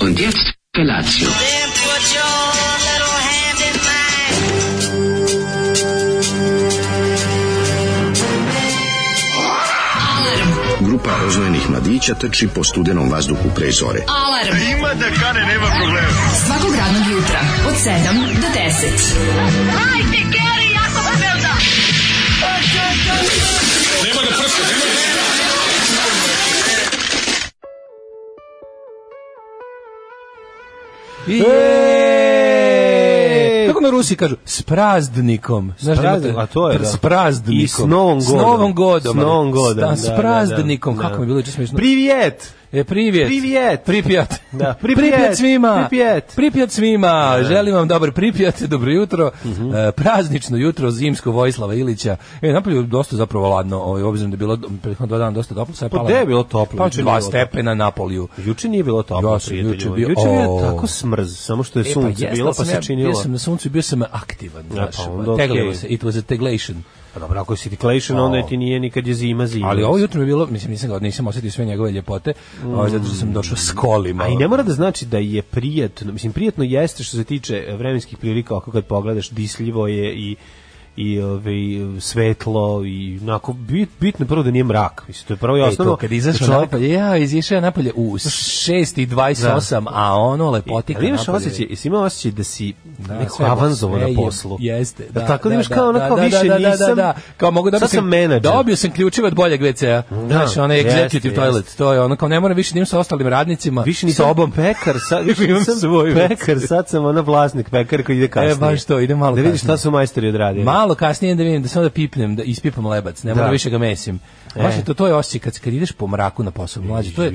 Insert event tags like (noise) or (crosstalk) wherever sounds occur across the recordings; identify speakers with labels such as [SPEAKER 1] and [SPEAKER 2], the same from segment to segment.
[SPEAKER 1] Und jetzt Felatio.
[SPEAKER 2] Then put your little hand in mine.
[SPEAKER 3] Grupa roznojenih mladića trči po studenom vazduhu pre zore.
[SPEAKER 4] Alarm. Ima da kane, nema problema. Svakog radnog jutra, od 7 do 10.
[SPEAKER 5] Eee!
[SPEAKER 6] Kako na Rusi kažu? S praznikom. S
[SPEAKER 5] Znaš,
[SPEAKER 6] praznikom.
[SPEAKER 5] a to je, da.
[SPEAKER 6] S praznikom.
[SPEAKER 5] I s novom
[SPEAKER 6] S
[SPEAKER 5] godom.
[SPEAKER 6] novom godom.
[SPEAKER 5] S novom godom,
[SPEAKER 6] Sta- S
[SPEAKER 5] da, da,
[SPEAKER 6] praznikom.
[SPEAKER 5] da.
[SPEAKER 6] Kako mi je bilo juče smiješno.
[SPEAKER 5] Privijet!
[SPEAKER 6] E, privijet.
[SPEAKER 5] Privijet.
[SPEAKER 6] Pripjat. (laughs)
[SPEAKER 5] Da, pripjat,
[SPEAKER 6] pripjat. svima.
[SPEAKER 5] pripjat.
[SPEAKER 6] Pripjat svima. Želim vam dobar pripjat, (laughs) dobro jutro.
[SPEAKER 5] Mhm.
[SPEAKER 6] E, praznično jutro zimsko Vojislava Ilića. E, napolju je dosta zapravo ladno, ovaj, obzirom da je bilo prethodno dva dana dosta toplo. Sad
[SPEAKER 5] Pa
[SPEAKER 6] pala-
[SPEAKER 5] gde je bilo toplo?
[SPEAKER 6] Pala
[SPEAKER 5] Juče nije
[SPEAKER 6] dva
[SPEAKER 5] bilo
[SPEAKER 6] stepena na polju.
[SPEAKER 5] Juče nije bilo toplo,
[SPEAKER 6] Ja sam
[SPEAKER 5] prijatelju.
[SPEAKER 6] juče bio-
[SPEAKER 5] Juče je
[SPEAKER 6] O.
[SPEAKER 5] tako smrz, samo što je
[SPEAKER 6] E,
[SPEAKER 5] sunce
[SPEAKER 6] jeste,
[SPEAKER 5] bilo,
[SPEAKER 6] ali
[SPEAKER 5] pa
[SPEAKER 6] sam ja-
[SPEAKER 5] se činilo.
[SPEAKER 6] Bio sam na suncu i bio sam aktivan.
[SPEAKER 5] Ja,
[SPEAKER 6] znaš,
[SPEAKER 5] pa onda
[SPEAKER 6] teglilo
[SPEAKER 5] okej.
[SPEAKER 6] se. It was a teglation.
[SPEAKER 5] Pa dobro, ako si deklation, onda ti nije nikad je zima zima.
[SPEAKER 6] Ali ovo jutro mi je bilo, mislim, nisam ga, nisam osetio sve njegove ljepote, ovaj, zato što sam došao s kolima.
[SPEAKER 5] Mm. A i ne mora da znači da je prijatno, mislim prijatno jeste što se tiče e, vremenskih prilika, ako kad pogledaš disljivo je i i ovaj svetlo i onako bit, bitno je prvo da nije mrak. Mislim to je prvo i
[SPEAKER 6] Ej, E, to
[SPEAKER 5] osnovno.
[SPEAKER 6] ono, kad izašao
[SPEAKER 5] Čovjek-
[SPEAKER 6] napolje, ja, izišao ja napolje u 6.28, a ono lepotika
[SPEAKER 5] E, Ali imaš
[SPEAKER 6] napolje.
[SPEAKER 5] osjećaj, jesi imao osjećaj da si da, neko
[SPEAKER 6] sve-
[SPEAKER 5] avanzovo na
[SPEAKER 6] sve je-
[SPEAKER 5] poslu.
[SPEAKER 6] Jeste, da.
[SPEAKER 5] da. Tako da
[SPEAKER 6] da,
[SPEAKER 5] imaš
[SPEAKER 6] da,
[SPEAKER 5] kao
[SPEAKER 6] da,
[SPEAKER 5] onako
[SPEAKER 6] da,
[SPEAKER 5] više
[SPEAKER 6] da, da,
[SPEAKER 5] nisam.
[SPEAKER 6] Da, da, kao mogu da
[SPEAKER 5] sad sam menadžer.
[SPEAKER 6] Dobio sam ključeve od boljeg WC-a. Znaš, onaj
[SPEAKER 5] jeste,
[SPEAKER 6] executive
[SPEAKER 5] jeste.
[SPEAKER 6] toilet. To je ono kao ne moram više da idem sa ostalim radnicima.
[SPEAKER 5] Više nisam
[SPEAKER 6] Sobom.
[SPEAKER 5] pekar,
[SPEAKER 6] (laughs)
[SPEAKER 5] sad više
[SPEAKER 6] Imam
[SPEAKER 5] nisam
[SPEAKER 6] svoju
[SPEAKER 5] pekar, sad sam ona vlasnik pekar koji ide kasnije.
[SPEAKER 6] E, baš to, ide malo
[SPEAKER 5] Da vidiš
[SPEAKER 6] kasnije.
[SPEAKER 5] šta su majstori odradili.
[SPEAKER 6] Malo kasnije da vidim da se onda pipnem, da ispipam lebac, ne moram
[SPEAKER 5] Da. E.
[SPEAKER 6] više ga mesim. Baš je to, to je osjećaj kad, kad ideš po mraku na posao, mlađe, to je,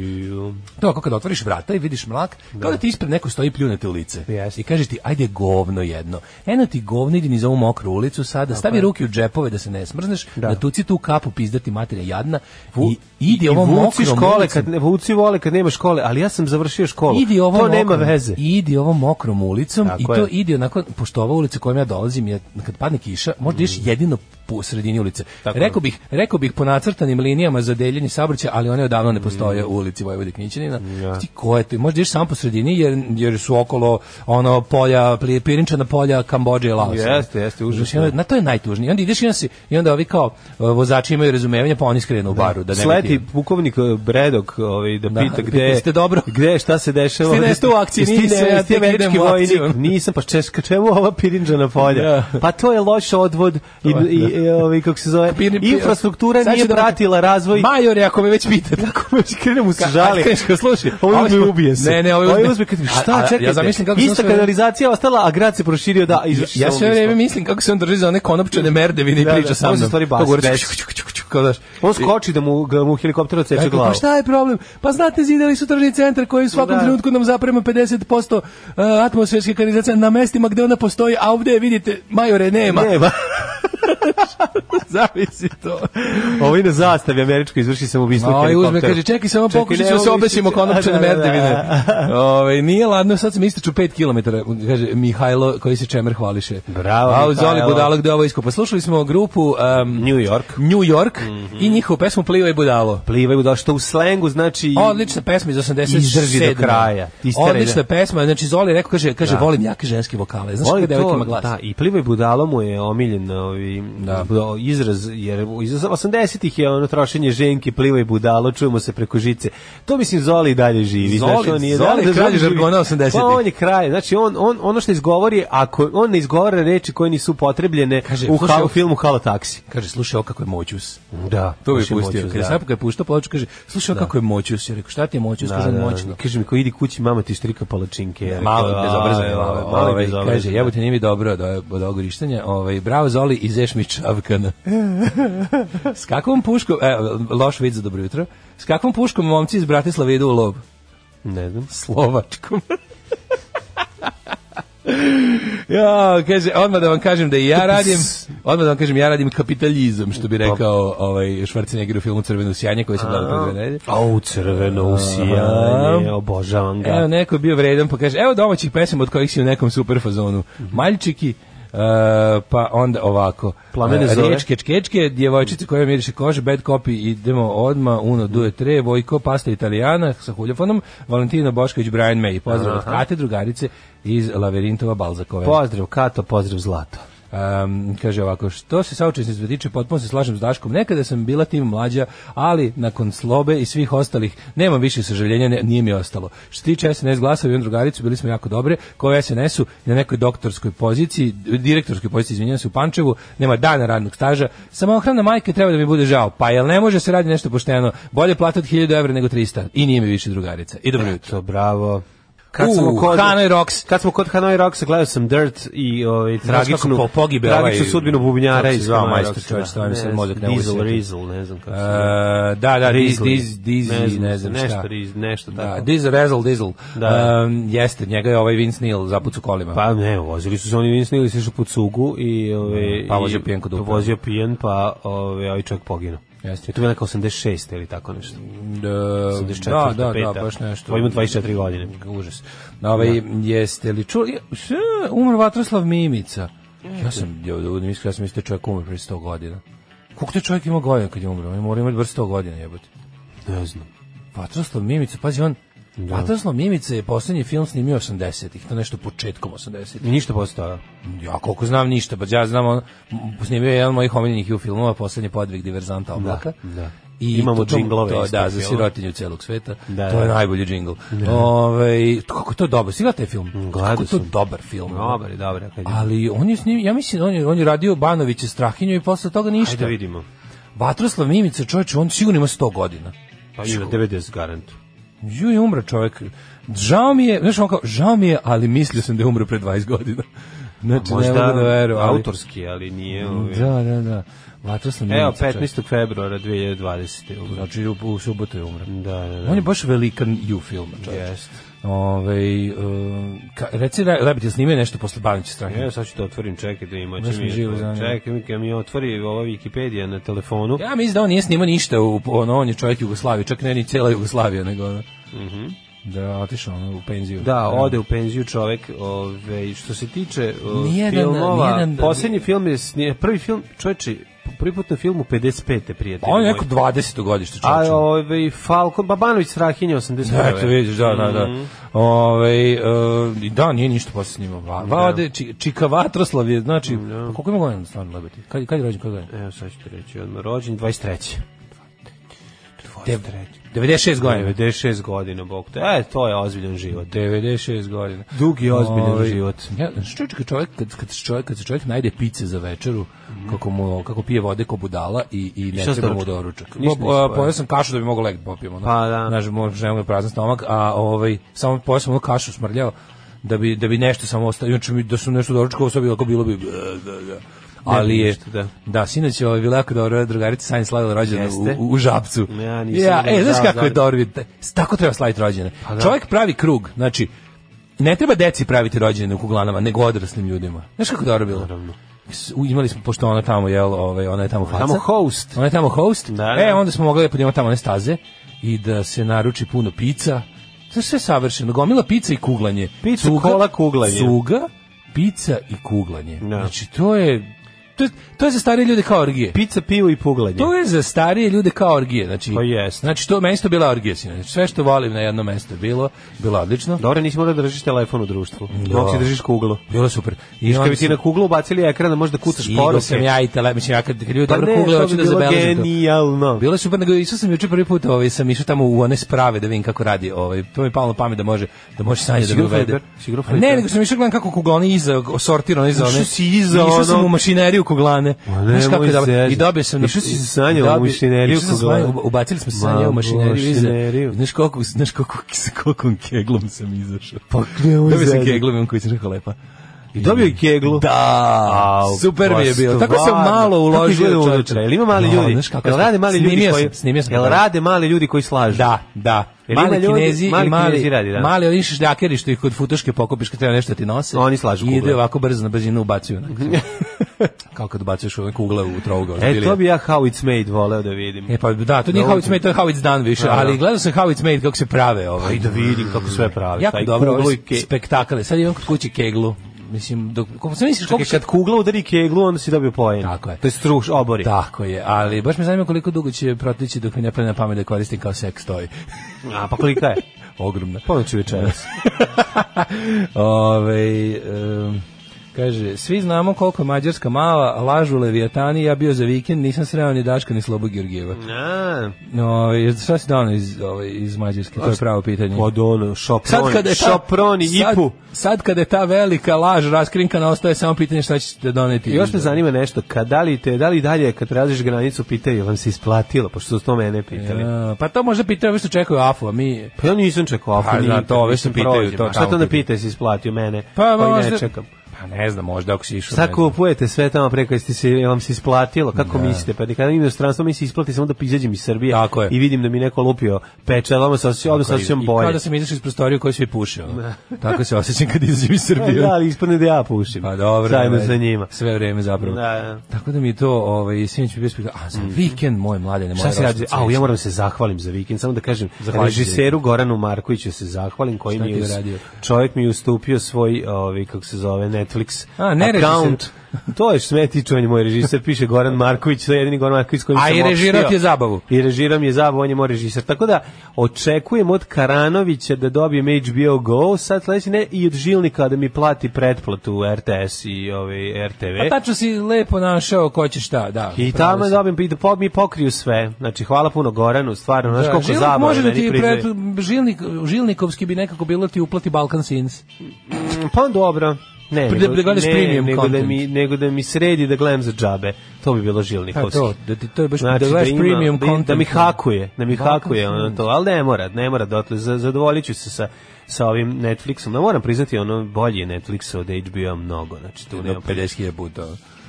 [SPEAKER 6] to je ako kad otvoriš vrata i vidiš mrak, kao da ti ispred neko stoji i pljune te u lice.
[SPEAKER 5] Jeste.
[SPEAKER 6] I kaže ti, ajde govno jedno. Eno ti govno, idi niz ovu mokru ulicu sada, stavi ruke u džepove da se ne smrzneš, da. tuci tu kapu pizdati materija jadna i idi
[SPEAKER 5] I
[SPEAKER 6] ovom
[SPEAKER 5] vuci
[SPEAKER 6] mokrom
[SPEAKER 5] škole
[SPEAKER 6] ulicom.
[SPEAKER 5] kad ne vuci vole kad nema škole, ali ja sam završio školu.
[SPEAKER 6] Idi ovom
[SPEAKER 5] to nema
[SPEAKER 6] mokrom-
[SPEAKER 5] veze.
[SPEAKER 6] Idi ovom mokrom ulicom
[SPEAKER 5] Tako
[SPEAKER 6] i to
[SPEAKER 5] je.
[SPEAKER 6] idi onako pošto ova ulica kojom ja dolazim je kad padne kiša, možda ideš jedino po sredini ulice.
[SPEAKER 5] Mm. Tako je.
[SPEAKER 6] rekao bih, rekao bih po nacrtanim linijama za deljenje saobraćaja, ali one odavno ne
[SPEAKER 5] Mm.
[SPEAKER 6] postoje u ulici Vojvode Knićanina. Ti ko je ti? Možda ideš samo po sredini jer jer su okolo ono polja, pli- pirinčana polja Kambodže i Laosa.
[SPEAKER 5] Jeste, jeste, užasno.
[SPEAKER 6] Znaš, i onda- Na to je najtužnije. I onda ideš i onda, si, i onda ovi kao e, vozači imaju razumevanja, pa oni skrenu u baru da ne bi ti-
[SPEAKER 5] Sleti pukovnik eh, Bredok ovaj, da
[SPEAKER 6] Da,
[SPEAKER 5] pita
[SPEAKER 6] pita,
[SPEAKER 5] gde
[SPEAKER 6] "Jeste dobro?"
[SPEAKER 5] Gde, je, šta se dešava?
[SPEAKER 6] Jeste nešto u akciji?
[SPEAKER 5] Jeste ti
[SPEAKER 6] Nisam,
[SPEAKER 5] ne-
[SPEAKER 6] ja
[SPEAKER 5] jeste
[SPEAKER 6] tek idem
[SPEAKER 5] američki
[SPEAKER 6] u akciju.
[SPEAKER 5] vojnik? (laughs) Nisam, pa češka, čemu ova pirinđana polja?
[SPEAKER 6] Da.
[SPEAKER 5] Pa to je loš odvod i, i, i ovaj, kako se zove,
[SPEAKER 6] Pir- pir-
[SPEAKER 5] infrastruktura
[SPEAKER 6] Sad ću
[SPEAKER 5] nije
[SPEAKER 6] da-
[SPEAKER 5] pratila razvoj.
[SPEAKER 6] Majore, ako me već pitate,
[SPEAKER 5] Tako već krenemo se
[SPEAKER 6] Ka- (laughs)
[SPEAKER 5] žali.
[SPEAKER 6] a kažeš kao, slušaj,
[SPEAKER 5] ovo
[SPEAKER 6] ovaj
[SPEAKER 5] uzme i
[SPEAKER 6] smo-
[SPEAKER 5] ubije se.
[SPEAKER 6] Ne, ne, ovaj
[SPEAKER 5] Ovaj
[SPEAKER 6] uzme-
[SPEAKER 5] uzme kad-
[SPEAKER 6] A-
[SPEAKER 5] šta,
[SPEAKER 6] a- ja
[SPEAKER 5] čekajte.
[SPEAKER 6] zamišljam kako se
[SPEAKER 5] Ista
[SPEAKER 6] on sve-
[SPEAKER 5] kanalizacija ostala, a grad se proširio, da,
[SPEAKER 6] Ja,
[SPEAKER 5] izvrši
[SPEAKER 6] ja
[SPEAKER 5] se
[SPEAKER 6] sve
[SPEAKER 5] ubistvo.
[SPEAKER 6] vreme mislim kako se on drži za one konopčane merdevine i
[SPEAKER 5] Da, da,
[SPEAKER 6] priča sa
[SPEAKER 5] on se
[SPEAKER 6] mnom.
[SPEAKER 5] stvari
[SPEAKER 6] Kako
[SPEAKER 5] basi,
[SPEAKER 6] govori,
[SPEAKER 5] basi.
[SPEAKER 6] čuk, čuk, čuk, čuk, kao daš.
[SPEAKER 5] On skoči da mu, da mu helikopter odseče
[SPEAKER 6] Rekao,
[SPEAKER 5] glavu.
[SPEAKER 6] pa šta je problem? Pa znate, zidali su tržni centar koji u svakom
[SPEAKER 5] Da.
[SPEAKER 6] trenutku nam zaprema 50% e, atmosferske kanalizacije na mestima gde ona postoji, a ovde je, vidite, majore nema. (laughs)
[SPEAKER 5] Nema. (laughs)
[SPEAKER 6] Zavisi to.
[SPEAKER 5] Ovo je na zastavi američko izvrši samoubistvo.
[SPEAKER 6] A i
[SPEAKER 5] helikoptera.
[SPEAKER 6] uzme, ovaj kaže, čekaj, samo
[SPEAKER 5] Čekaj,
[SPEAKER 6] pokušat ćemo
[SPEAKER 5] nemamo
[SPEAKER 6] se obesimo
[SPEAKER 5] više-
[SPEAKER 6] konopčane
[SPEAKER 5] A, (laughs) da, da, da.
[SPEAKER 6] merdevine. Ove, Ovaj, nije ladno, sad sam ističu 5 km, kaže Mihajlo, koji se čemer hvališe.
[SPEAKER 5] Bravo,
[SPEAKER 6] A u zoli
[SPEAKER 5] Mihajlo.
[SPEAKER 6] budalo gde ovo iskopa. Slušali smo grupu em,
[SPEAKER 5] New York.
[SPEAKER 6] New York
[SPEAKER 5] Mhm.
[SPEAKER 6] i njihovu pesmu Pliva i budalo.
[SPEAKER 5] Plivaju, da što u slengu znači...
[SPEAKER 6] Odlična pesma iz 87.
[SPEAKER 5] Izdrži do kraja. Isteraj,
[SPEAKER 6] Odlična
[SPEAKER 5] da.
[SPEAKER 6] pesma, znači Zoli rekao, kaže, kaže
[SPEAKER 5] Da.
[SPEAKER 6] volim jake ženske vokale. Znaš
[SPEAKER 5] Voli
[SPEAKER 6] kada devojka
[SPEAKER 5] to,
[SPEAKER 6] ima glas.
[SPEAKER 5] Da, i plivaj budalo mu je omiljen ovi,
[SPEAKER 6] Da.
[SPEAKER 5] budo- izraz, jer iz 80-ih je ono trošenje ženke, plivaj budalo, čujemo se preko žice. To mislim Zoli i dalje
[SPEAKER 6] Zoli-
[SPEAKER 5] živi. znaš, on je,
[SPEAKER 6] Zoli je kralj
[SPEAKER 5] živi.
[SPEAKER 6] žargona 80-ih.
[SPEAKER 5] Pa on je kralj, znači on, on, ono što izgovori, ako on ne izgovara reči koje nisu potrebljene
[SPEAKER 6] Kaže,
[SPEAKER 5] u,
[SPEAKER 6] slušaj,
[SPEAKER 5] ha, u filmu Halo taksi.
[SPEAKER 6] Kaže, slušaj, ovo kako je moćus.
[SPEAKER 5] Da,
[SPEAKER 6] To bi
[SPEAKER 5] baš je
[SPEAKER 6] pustio.
[SPEAKER 5] moćus,
[SPEAKER 6] Kada
[SPEAKER 5] da.
[SPEAKER 6] sam ga je puštao, pa kaže, slušaj, ovo kako je moćus. Ja rekao, šta ti je moćus?
[SPEAKER 5] Da,
[SPEAKER 6] Kaže,
[SPEAKER 5] da,
[SPEAKER 6] moćno.
[SPEAKER 5] Kaže mi, ko idi kući, mama ti štrika palačinke. Ja
[SPEAKER 6] Malo
[SPEAKER 5] rekao, aj,
[SPEAKER 6] bezobrazno,
[SPEAKER 5] ovaj,
[SPEAKER 6] malo
[SPEAKER 5] je bezobrazan,
[SPEAKER 6] Kaže,
[SPEAKER 5] da.
[SPEAKER 6] jebote, nije mi dobro od, ove- od ovog rištanja. Ovaj, bravo, Zoli, izeš mi čavkana. S kakvom puškom, e, loš vid za dobro jutro, s kakvom puškom momci iz Bratislava idu u lov?
[SPEAKER 5] Ne znam.
[SPEAKER 6] Slovačkom. (laughs) ja, kaže, odmah da vam kažem da i ja radim, odmah da vam kažem, ja radim kapitalizam, što bi rekao ovaj, Schwarzenegger u filmu Crveno sjanje, koji sam gledao pre dve nedelje.
[SPEAKER 5] Au, crveno usijanje, obožavam ga.
[SPEAKER 6] E,
[SPEAKER 5] Mhm.
[SPEAKER 6] Evo, neko je bio vredan, pa kaže, evo domaćih pesama od kojih si u nekom super fazonu. Maljčiki, E, pa onda ovako.
[SPEAKER 5] Plamene
[SPEAKER 6] E,
[SPEAKER 5] zore.
[SPEAKER 6] Riječke čkečke, djevojčice koje miriše kože, bad copy, idemo odma, uno, due, tre, vojko, pasta italijana sa huljofonom, Valentina Bošković, Brian May. Pozdrav od Kate, drugarice iz Laverintova Balzakove.
[SPEAKER 5] Pozdrav Kato, pozdrav Zlato.
[SPEAKER 6] Um, kaže ovako, što se saučesnictva tiče, potpuno se slažem s Daškom, nekada sam bila tim mlađa, ali nakon slobe i svih ostalih, nemam više sažaljenja, ne- nije mi ostalo. Što se tiče SNS glasova i on drugaricu, bili smo jako dobre, kao u SNS-u, na nekoj doktorskoj poziciji, direktorskoj poziciji, izvinjam se, u Pančevu, nema dana radnog staža, samo ohrana majke treba da mi bude žao, pa jel ne može se radi nešto pošteno, bolje plata od 1000 evra nego 300, i nije mi više drugarica. I dobro jutro.
[SPEAKER 5] E, To bravo. Kad
[SPEAKER 6] U,
[SPEAKER 5] sam u kod
[SPEAKER 6] Hanoi Rocks.
[SPEAKER 5] Kad smo kod Hanoi Rocks gledao sam Dirt i ovaj tragičnu
[SPEAKER 6] kako po- pogibe
[SPEAKER 5] tragičnu
[SPEAKER 6] ovaj-
[SPEAKER 5] sudbinu bubnjara
[SPEAKER 6] kako se
[SPEAKER 5] iz
[SPEAKER 6] zvao
[SPEAKER 5] Hanoi
[SPEAKER 6] majstor
[SPEAKER 5] Rocksa,
[SPEAKER 6] čovjek, stvarno
[SPEAKER 5] ne
[SPEAKER 6] sad
[SPEAKER 5] znam,
[SPEAKER 6] mozak ne mogu
[SPEAKER 5] Diesel,
[SPEAKER 6] sjetiti.
[SPEAKER 5] Rizel, ne znam kako se zove.
[SPEAKER 6] E, da, da, Diz,
[SPEAKER 5] Risley.
[SPEAKER 6] Diz, Diz,
[SPEAKER 5] Ne znam,
[SPEAKER 6] ne znam
[SPEAKER 5] nešto
[SPEAKER 6] šta.
[SPEAKER 5] Riz- nešto
[SPEAKER 6] Da,
[SPEAKER 5] tako.
[SPEAKER 6] Dizel, Rezel, Dizel.
[SPEAKER 5] Da.
[SPEAKER 6] Um, jeste, njega je ovaj Vince Neil zapucu kolima.
[SPEAKER 5] Pa ne, vozili su se oni Vince Neil išli po cugu i ove
[SPEAKER 6] Pa
[SPEAKER 5] i-
[SPEAKER 6] vozio pijan kod uprave.
[SPEAKER 5] Vozio pijan pa ove ovaj čovjek poginuo.
[SPEAKER 6] Jeste.
[SPEAKER 5] Je to bilo neka 86 ili tako nešto.
[SPEAKER 6] da,
[SPEAKER 5] 84,
[SPEAKER 6] da, da,
[SPEAKER 5] 85,
[SPEAKER 6] da, baš nešto.
[SPEAKER 5] Ovo ima 24 godine.
[SPEAKER 6] Užas. Ovaj, jeste li čuli? je, še, Umro Vatroslav Mimica. Ja sam, ja, da budem iskren, ja sam mislio da je čovjek umro pre 100 godina. Koliko te čovjek ima godina kad je umro? On je morao imati bar 100 godina, jebote.
[SPEAKER 5] Ne znam.
[SPEAKER 6] Vatroslav Mimica, pazi on, Vatroslav Mimica je poslednji film snimio 80-ih, to nešto početkom 80-ih.
[SPEAKER 5] Ništa postojao.
[SPEAKER 6] Ja koliko znam ništa, pa ja znam, on, m, snimio je jedan od mojih omiljenih u filmova, poslednji podvig diverzanta oblaka.
[SPEAKER 5] da.
[SPEAKER 6] I to-
[SPEAKER 5] Imamo
[SPEAKER 6] to-
[SPEAKER 5] džinglove
[SPEAKER 6] to,
[SPEAKER 5] iz
[SPEAKER 6] da,
[SPEAKER 5] tog
[SPEAKER 6] za
[SPEAKER 5] filma.
[SPEAKER 6] sirotinju celog sveta.
[SPEAKER 5] Da,
[SPEAKER 6] to je
[SPEAKER 5] da. Mm,
[SPEAKER 6] najbolji džingl. Ovaj, kako je to dobar, si gledao taj film?
[SPEAKER 5] gledao
[SPEAKER 6] kako je to
[SPEAKER 5] sam.
[SPEAKER 6] dobar film.
[SPEAKER 5] Dobar, je, dobar. je, Kad je.
[SPEAKER 6] Ali on je snim, ja mislim, on je, on je radio Banoviće Strahinju i posle toga ništa.
[SPEAKER 5] Ajde da vidimo.
[SPEAKER 6] Vatroslav Mimica, čovječe, on sigurno ima 100 godina.
[SPEAKER 5] Pa ima 90 garant.
[SPEAKER 6] Ju je umro čovjek. Žao mi je, znaš on kao, žao mi je, ali mislio sam da je umro pre 20 godina. Znači,
[SPEAKER 5] Možda
[SPEAKER 6] ne mogu da verujem. ali- Mm,
[SPEAKER 5] autorski, ali nije... Ovaj.
[SPEAKER 6] Da, da, da. Vatroslav Mimica.
[SPEAKER 5] Evo,
[SPEAKER 6] čovječe.
[SPEAKER 5] 15. februara 2020. umro.
[SPEAKER 6] Znači u, u subotu je umre.
[SPEAKER 5] Da, da, da.
[SPEAKER 6] On je baš velikan ju film, čovječe.
[SPEAKER 5] Jeste.
[SPEAKER 6] Ove, um, ka, reci, Re- Lebed, jel snimio nešto posle Banića strahe?
[SPEAKER 5] Evo sad ću da otvorim, čekaj da ima.
[SPEAKER 6] Baš
[SPEAKER 5] će
[SPEAKER 6] me
[SPEAKER 5] mi-
[SPEAKER 6] živo zanima.
[SPEAKER 5] Čekaj mi, kad mi otvori ova Wikipedija na telefonu.
[SPEAKER 6] Ja mislim da on nije snimao ništa, u, ono, on je čovjek Jugoslavije, čak ne ni cijela Jugoslavija, nego ono, da je otišao ono, u penziju.
[SPEAKER 5] Mhm. Da, ode u penziju čovek. Ovaj što se tiče o,
[SPEAKER 6] Nijedan-
[SPEAKER 5] filmova,
[SPEAKER 6] nijedan-
[SPEAKER 5] poslednji film je sni- prvi film, čoveče, prvi put na filmu 55.
[SPEAKER 6] Pa
[SPEAKER 5] prijatelj.
[SPEAKER 6] on je neko 20. godište
[SPEAKER 5] A
[SPEAKER 6] čovječe.
[SPEAKER 5] ovaj Falkon Babanović Strahinja 81.
[SPEAKER 6] Eto, vidiš, da, da, da.
[SPEAKER 5] Mhm.
[SPEAKER 6] Ove, e, da, nije ništa posle snimao. Va, vade, či, Čika Vatroslav je, znači, pa koliko ima godina stvarno Lebeti? Kad, kad je rođen, kad je rođen?
[SPEAKER 5] Evo sad ću ti reći, odmah rođen 23.
[SPEAKER 6] 96 godina.
[SPEAKER 5] 96 godina, bog te. E, to je ozbiljan život.
[SPEAKER 6] 96 godina.
[SPEAKER 5] Dugi i ozbiljan
[SPEAKER 6] Ovaj,
[SPEAKER 5] život.
[SPEAKER 6] Ja, znaš, čovječe, kad čovjek, kad, kad, se čovjek, kad se čovjek najde pice za večeru, kako, mu, kako pije vode ko budala i, i ne
[SPEAKER 5] šta
[SPEAKER 6] treba
[SPEAKER 5] za
[SPEAKER 6] mu
[SPEAKER 5] doručak?
[SPEAKER 6] doručak.
[SPEAKER 5] Ništa
[SPEAKER 6] Bo-
[SPEAKER 5] nisi
[SPEAKER 6] a,
[SPEAKER 5] pojeo.
[SPEAKER 6] Pojeo sam kašu da bi mogao lekt popijem. Ono.
[SPEAKER 5] Pa, da.
[SPEAKER 6] Znaš, možda želim da prazan stomak, a ovaj, samo pojeo sam onu kašu smrljao da bi, da bi nešto samo ostavio. Znači, mi- da su nešto doručkovo, sve bilo, ako bilo bi... Da, da, da. Ali je,
[SPEAKER 5] ništa,
[SPEAKER 6] da.
[SPEAKER 5] da.
[SPEAKER 6] da, sinoć je ovaj, bila jako dobro drugarica Sanj slavila rođena
[SPEAKER 5] Jeste.
[SPEAKER 6] u, u, u Žabcu.
[SPEAKER 5] Ja nisam
[SPEAKER 6] ja, e,
[SPEAKER 5] vidio
[SPEAKER 6] znaš
[SPEAKER 5] Žabac,
[SPEAKER 6] kako je
[SPEAKER 5] da.
[SPEAKER 6] dobro, vidite, tako treba slaviti rođene.
[SPEAKER 5] Pa da.
[SPEAKER 6] Čovjek pravi krug, znači, ne treba deci praviti rođene u kuglanama, nego odraslim ljudima. Znaš kako je dobro bilo?
[SPEAKER 5] Naravno.
[SPEAKER 6] S- u- Imali smo, pošto ona tamo, jel, ovaj, ona je tamo faca.
[SPEAKER 5] Tamo host.
[SPEAKER 6] Ona je tamo host.
[SPEAKER 5] Da, da.
[SPEAKER 6] E, onda smo mogli da podijemo tamo one staze i da se naruči puno pica. To je sve savršeno. Gomila pica i kuglanje.
[SPEAKER 5] Pizza, kola, kuglanje.
[SPEAKER 6] Suga, pica i kuglanje.
[SPEAKER 5] Da.
[SPEAKER 6] Znači, to je... To, je- to je za stare ljude kao orgije.
[SPEAKER 5] Pica, pivo i puglanje.
[SPEAKER 6] To je za starije ljude kao orgije, znači.
[SPEAKER 5] Pa jest.
[SPEAKER 6] Znači to mesto je bila orgija sinoć. Sve što volim na jedno mesto je bilo, bilo odlično.
[SPEAKER 5] Dobro, nisi morao da držiš telefon u društvu. Dok si držiš kuglu.
[SPEAKER 6] Bilo je super. I
[SPEAKER 5] I što
[SPEAKER 6] onda
[SPEAKER 5] bi ti
[SPEAKER 6] sam-
[SPEAKER 5] na kuglu ubacili ekran da možeš da kucaš
[SPEAKER 6] Igao
[SPEAKER 5] poruke.
[SPEAKER 6] sam ja i tele, mislim ja kad, kad ljudi
[SPEAKER 5] Pa
[SPEAKER 6] dobro
[SPEAKER 5] ne,
[SPEAKER 6] kugle
[SPEAKER 5] to
[SPEAKER 6] hoću
[SPEAKER 5] bi
[SPEAKER 6] da
[SPEAKER 5] bilo
[SPEAKER 6] zabeležim to.
[SPEAKER 5] genijalno.
[SPEAKER 6] Bilo je super, nego išao sam juče prvi put, ovaj sam išao tamo u one sprave da vidim kako radi, ovaj to mi je palo na pamet da može da može sanje da
[SPEAKER 5] Si
[SPEAKER 6] me
[SPEAKER 5] igrao
[SPEAKER 6] uvede.
[SPEAKER 5] Flipper? Si igrao
[SPEAKER 6] A Ne,
[SPEAKER 5] Flipper?
[SPEAKER 6] nego sam išao gledam kako kuglani iza sortirano iza
[SPEAKER 5] Išao
[SPEAKER 6] one.
[SPEAKER 5] si iza,
[SPEAKER 6] Išao sam
[SPEAKER 5] ono-
[SPEAKER 6] u mašineriju kuglane.
[SPEAKER 5] Ma
[SPEAKER 6] Znaš kako je
[SPEAKER 5] nemoj
[SPEAKER 6] dobro. I
[SPEAKER 5] zezati.
[SPEAKER 6] dobio sam na
[SPEAKER 5] Išao si sanje u
[SPEAKER 6] dobio-
[SPEAKER 5] mašineriju
[SPEAKER 6] išao sam s
[SPEAKER 5] kuglane?
[SPEAKER 6] Sanjom, Ubacili smo se sanje
[SPEAKER 5] Ma,
[SPEAKER 6] u mašineriju iza.
[SPEAKER 5] mašineriju.
[SPEAKER 6] Znaš koliko, znaš koliko, s kolikom keglom sam izašao. Pa
[SPEAKER 5] nemoj
[SPEAKER 6] Dobio sam
[SPEAKER 5] zezati.
[SPEAKER 6] keglom i on koji sam rekao lepa.
[SPEAKER 5] I dobio i keglu.
[SPEAKER 6] Da,
[SPEAKER 5] Au,
[SPEAKER 6] super mi je
[SPEAKER 5] pa
[SPEAKER 6] bilo. Tako sam
[SPEAKER 5] stvarno.
[SPEAKER 6] malo uložio.
[SPEAKER 5] Kako izgleda
[SPEAKER 6] čoveče.
[SPEAKER 5] unutra? Jel ima mali
[SPEAKER 6] No,
[SPEAKER 5] ljudi?
[SPEAKER 6] znaš kako
[SPEAKER 5] Jel
[SPEAKER 6] smo-
[SPEAKER 5] rade mali ljudi
[SPEAKER 6] snimio
[SPEAKER 5] koji...
[SPEAKER 6] sam- snimio sam
[SPEAKER 5] Jel
[SPEAKER 6] kako-
[SPEAKER 5] rade mali ljudi koji slažu?
[SPEAKER 6] Da, da.
[SPEAKER 5] Jel ima
[SPEAKER 6] mali
[SPEAKER 5] ljudi-
[SPEAKER 6] kinezi i
[SPEAKER 5] mali
[SPEAKER 6] mali,
[SPEAKER 5] Kinezi radi, da.
[SPEAKER 6] mali oni šljakeri što ih kod futoške pokupiš kad treba nešto da ti nose.
[SPEAKER 5] Oni slažu
[SPEAKER 6] I ide
[SPEAKER 5] kugle.
[SPEAKER 6] ovako brzo na brzinu ubacuju. onako.
[SPEAKER 5] (laughs)
[SPEAKER 6] Kao kad ubacuješ ove kugle u trouga.
[SPEAKER 5] E, to bi ja How It's Made voleo da vidim.
[SPEAKER 6] E pa da, to nije
[SPEAKER 5] Dobro.
[SPEAKER 6] How It's Made, to je How It's Done više,
[SPEAKER 5] da.
[SPEAKER 6] ali gledao sam How It's Made kako se prave ovaj.
[SPEAKER 5] Pa i da vidim kako sve pravi.
[SPEAKER 6] Jako dobro,
[SPEAKER 5] kuglu
[SPEAKER 6] ovaj
[SPEAKER 5] i ke-
[SPEAKER 6] spektakl. je. Sad imam kod kuće keglu. mislim, dok, kako se misliš,
[SPEAKER 5] Čekaj,
[SPEAKER 6] koliko se...
[SPEAKER 5] kad kugla udari keglu, onda si dobio poen.
[SPEAKER 6] Tako je.
[SPEAKER 5] To je struš, obori.
[SPEAKER 6] (laughs) Tako je, ali baš me zanima koliko dugo će protići dok mi ne pane na pamet da koristim kao seks toy. (laughs)
[SPEAKER 5] A pa kolika je?
[SPEAKER 6] Ogromna.
[SPEAKER 5] Ponoći večeras.
[SPEAKER 6] (laughs) Ove, um, kaže, svi znamo koliko je Mađarska mala, lažu Leviatani, ja bio za vikend, nisam sreo ni Daška ni Slobu Georgijeva.
[SPEAKER 5] Na,
[SPEAKER 6] Ove, šta si dao ono iz, ove, iz Mađarske, to je pravo pitanje.
[SPEAKER 5] pod ono, šopron,
[SPEAKER 6] Sad kada je ta,
[SPEAKER 5] šopron i
[SPEAKER 6] sad,
[SPEAKER 5] ipu.
[SPEAKER 6] sad kada je ta velika laž raskrinkana, ostaje samo pitanje šta ćete doneti.
[SPEAKER 5] Još me zanima nešto, kad da li te, da li dalje kad prelaziš granicu pitaju, jel vam se isplatilo, pošto su to mene pitali.
[SPEAKER 6] Ja, pa to možda pitaju ovi što čekaju AFU, a mi...
[SPEAKER 5] Pa ja nisam čekao, ako
[SPEAKER 6] Pa,
[SPEAKER 5] nije,
[SPEAKER 6] da, to, ove
[SPEAKER 5] nisam
[SPEAKER 6] se pitaju,
[SPEAKER 5] prođem.
[SPEAKER 6] to
[SPEAKER 5] A Šta
[SPEAKER 6] tamo
[SPEAKER 5] to onda
[SPEAKER 6] pitaju.
[SPEAKER 5] pita si isplatio mene?
[SPEAKER 6] Pa,
[SPEAKER 5] koji
[SPEAKER 6] možda-
[SPEAKER 5] ne čekam.
[SPEAKER 6] Pa ne znam, možda ako si išao... ne
[SPEAKER 5] Šta
[SPEAKER 6] znam.
[SPEAKER 5] kupujete sve tamo preko, jeste se, jel vam se isplatilo? Kako mislite? Pa nikada idem u stranstvo, mi se isplati samo da izađem iz Srbije
[SPEAKER 6] Tako je.
[SPEAKER 5] i vidim da mi neko lupio peče, ali odmah se osjećam, odmah se osjećam
[SPEAKER 6] I
[SPEAKER 5] bolje.
[SPEAKER 6] kao da sam izašao iz prostorije u kojoj svi puše. ono. (laughs) Tako se osjećam kad izađem iz Srbije.
[SPEAKER 5] E, (laughs) Da, ali ispadne da ja pušim.
[SPEAKER 6] Pa dobro.
[SPEAKER 5] Zajedno
[SPEAKER 6] ovaj,
[SPEAKER 5] sa njima.
[SPEAKER 6] Sve vreme zapravo.
[SPEAKER 5] Da, da.
[SPEAKER 6] Tako da mi je to, ovaj, sinoć mi je bio spektakl. A za vikend, moj mladene, moje
[SPEAKER 5] Šta se radi?
[SPEAKER 6] rođendan
[SPEAKER 5] Au,
[SPEAKER 6] sveće.
[SPEAKER 5] ja moram se zahvalim za vikend, samo da kažem
[SPEAKER 6] Zahvali se.
[SPEAKER 5] režiseru Goranu Markoviću se zahvalim koji
[SPEAKER 6] Šta
[SPEAKER 5] mi
[SPEAKER 6] ti
[SPEAKER 5] je
[SPEAKER 6] je
[SPEAKER 5] us-
[SPEAKER 6] uradio?
[SPEAKER 5] čovjek mi je ustupio svoj ovaj kako se zove Netflix
[SPEAKER 6] A, ne režiser.
[SPEAKER 5] account. To je smetičan moj režiser piše
[SPEAKER 6] (laughs)
[SPEAKER 5] Goran Marković, to je jedini Goran Marković s kojim
[SPEAKER 6] A
[SPEAKER 5] sam
[SPEAKER 6] i režirao
[SPEAKER 5] opštio.
[SPEAKER 6] ti je zabavu.
[SPEAKER 5] I režiram je zabavu, on je moj režiser. Tako da očekujem od Karanovića da dobijem HBO Go, sad sledeći ne i od Žilnika da mi plati pretplatu RTS i ovaj RTV.
[SPEAKER 6] Pa tačno si lepo našao ko će šta, da.
[SPEAKER 5] I
[SPEAKER 6] pravo
[SPEAKER 5] tamo
[SPEAKER 6] si.
[SPEAKER 5] dobijem i da po, mi pokriju sve. Znači, hvala puno Goranu, stvarno, znaš
[SPEAKER 6] Da,
[SPEAKER 5] koliko
[SPEAKER 6] žilnik
[SPEAKER 5] zabave
[SPEAKER 6] može da
[SPEAKER 5] meni
[SPEAKER 6] ti
[SPEAKER 5] priznaje.
[SPEAKER 6] pred, žilnik, žilnikovski bi nekako bilo ti uplati Balkan Sins.
[SPEAKER 5] Pa dobro. Ne,
[SPEAKER 6] Da-
[SPEAKER 5] nego,
[SPEAKER 6] da gledaš
[SPEAKER 5] ne,
[SPEAKER 6] premium
[SPEAKER 5] nego, da
[SPEAKER 6] content.
[SPEAKER 5] mi, nego da mi sredi da gledam za džabe. To bi bilo
[SPEAKER 6] Pa
[SPEAKER 5] žilnikovski.
[SPEAKER 6] to, da ti to je baš da
[SPEAKER 5] da,
[SPEAKER 6] gledaš
[SPEAKER 5] ima-
[SPEAKER 6] premium
[SPEAKER 5] da,
[SPEAKER 6] content.
[SPEAKER 5] da mi hakuje, da mi
[SPEAKER 6] Balkan
[SPEAKER 5] hakuje ono to, ali ne mora, ne mora dotle, za- zadovoljit ću se sa, sa ovim Netflixom. No, moram priznati, ono bolji je Netflix od HBO mnogo, znači tu nema
[SPEAKER 6] 50.000 puta.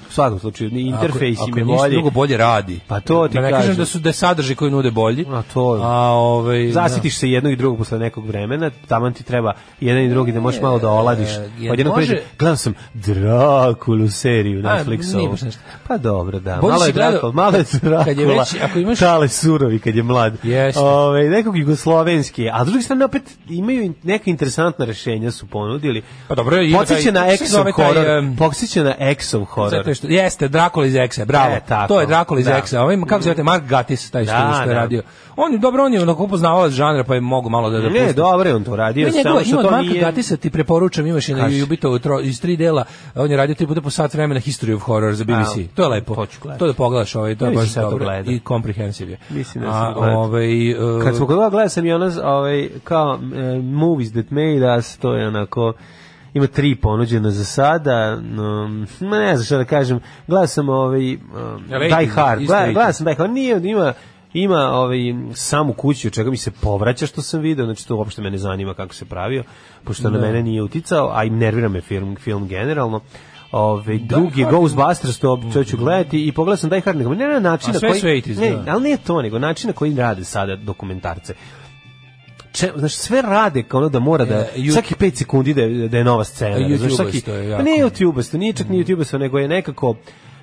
[SPEAKER 5] U svakom slučaju, ni interfejs
[SPEAKER 6] pa ako,
[SPEAKER 5] im je
[SPEAKER 6] ako ništa
[SPEAKER 5] bolji.
[SPEAKER 6] drugo bolje radi.
[SPEAKER 5] Pa to ti
[SPEAKER 6] da ne kažem
[SPEAKER 5] kažem.
[SPEAKER 6] da su da sadrži koji nude bolji.
[SPEAKER 5] A to je.
[SPEAKER 6] A ovaj
[SPEAKER 5] Zasitiš se jednog i drugog posle nekog vremena, taman ti treba jedan i drugi da možeš malo da oladiš.
[SPEAKER 6] jer
[SPEAKER 5] Odjednom
[SPEAKER 6] može-
[SPEAKER 5] može... gledam sam Drakulu seriju
[SPEAKER 6] A,
[SPEAKER 5] Netflixovu.
[SPEAKER 6] nije baš nešto.
[SPEAKER 5] Pa dobro, da.
[SPEAKER 6] Bolje
[SPEAKER 5] malo
[SPEAKER 6] si
[SPEAKER 5] je
[SPEAKER 6] gledao-
[SPEAKER 5] Drakula, malo je Drakula.
[SPEAKER 6] Kad je već- ako imaš-
[SPEAKER 5] Tale Surovi kad je mlad.
[SPEAKER 6] Jeste.
[SPEAKER 5] Ove, nekog jugoslovenski. A s druge strane opet imaju in- neka interesantna rešenja su ponudili.
[SPEAKER 6] Pa dobro, ima
[SPEAKER 5] Podsjeća
[SPEAKER 6] taj-
[SPEAKER 5] na
[SPEAKER 6] kako se
[SPEAKER 5] Exov
[SPEAKER 6] zove taj,
[SPEAKER 5] horor.
[SPEAKER 6] em,
[SPEAKER 5] Podsjeća na Exov horor.
[SPEAKER 6] Zato što jeste Dracula iz Exa, bravo.
[SPEAKER 5] E, tako.
[SPEAKER 6] to je Dracula iz
[SPEAKER 5] Da.
[SPEAKER 6] Exa. Ovaj kako se zove taj Mark Gatiss taj što,
[SPEAKER 5] Da,
[SPEAKER 6] što je
[SPEAKER 5] da.
[SPEAKER 6] radio. On je dobro, on je onako poznavao žanra, pa je mogu malo da da
[SPEAKER 5] Ne, dobro je on to radio,
[SPEAKER 6] Ima
[SPEAKER 5] samo
[SPEAKER 6] njegova,
[SPEAKER 5] što
[SPEAKER 6] ima od
[SPEAKER 5] to
[SPEAKER 6] Marka
[SPEAKER 5] nije...
[SPEAKER 6] Gatisa, ti preporučam, imaš i na
[SPEAKER 5] Kaži.
[SPEAKER 6] Jubito iz tri dela, on je radio tri puta po sat vremena History of Horror za BBC.
[SPEAKER 5] Au,
[SPEAKER 6] to je lepo.
[SPEAKER 5] to ću gledati.
[SPEAKER 6] da pogledaš, ovaj, to je
[SPEAKER 5] Ja
[SPEAKER 6] baš
[SPEAKER 5] mislim da to
[SPEAKER 6] dobro
[SPEAKER 5] gledam.
[SPEAKER 6] i comprehensive je.
[SPEAKER 5] Mislim da
[SPEAKER 6] A,
[SPEAKER 5] sam gledao.
[SPEAKER 6] ovaj, uh,
[SPEAKER 5] Kad smo kod toga gledao sam i ono, ovaj, kao e, Movies that made us, to je onako, ima tri ponuđena za sada, no, ma ne znam šta da kažem, gledao sam ovaj, um,
[SPEAKER 6] Rating,
[SPEAKER 5] Die Hard,
[SPEAKER 6] isto
[SPEAKER 5] gledao,
[SPEAKER 6] rating.
[SPEAKER 5] gledao sam Die Hard, nije, ima, ima ovaj, sam u kući, od čega mi se povraća što sam video, znači to uopšte mene zanima kako se pravio, pošto na mene nije uticao, a i nervira me film, film generalno. Ove, drugi je Ghostbusters, to, to ću gledati i pogledao sam Die Hard, nego ne na
[SPEAKER 6] Mhm.
[SPEAKER 5] način
[SPEAKER 6] A
[SPEAKER 5] na
[SPEAKER 6] sve
[SPEAKER 5] koji...
[SPEAKER 6] su 80s,
[SPEAKER 5] ne,
[SPEAKER 6] da.
[SPEAKER 5] ali nije to, nego način na koji rade sada dokumentarce. Če, znaš, sve rade kao ono da mora da,
[SPEAKER 6] E, ju-
[SPEAKER 5] svaki 5 sekundi da je, da je nova scena.
[SPEAKER 6] E,
[SPEAKER 5] razumeš, svaki,
[SPEAKER 6] YouTubesto je jako.
[SPEAKER 5] Pa ne YouTubesto, nije čak ni YouTubesto, nego je nekako,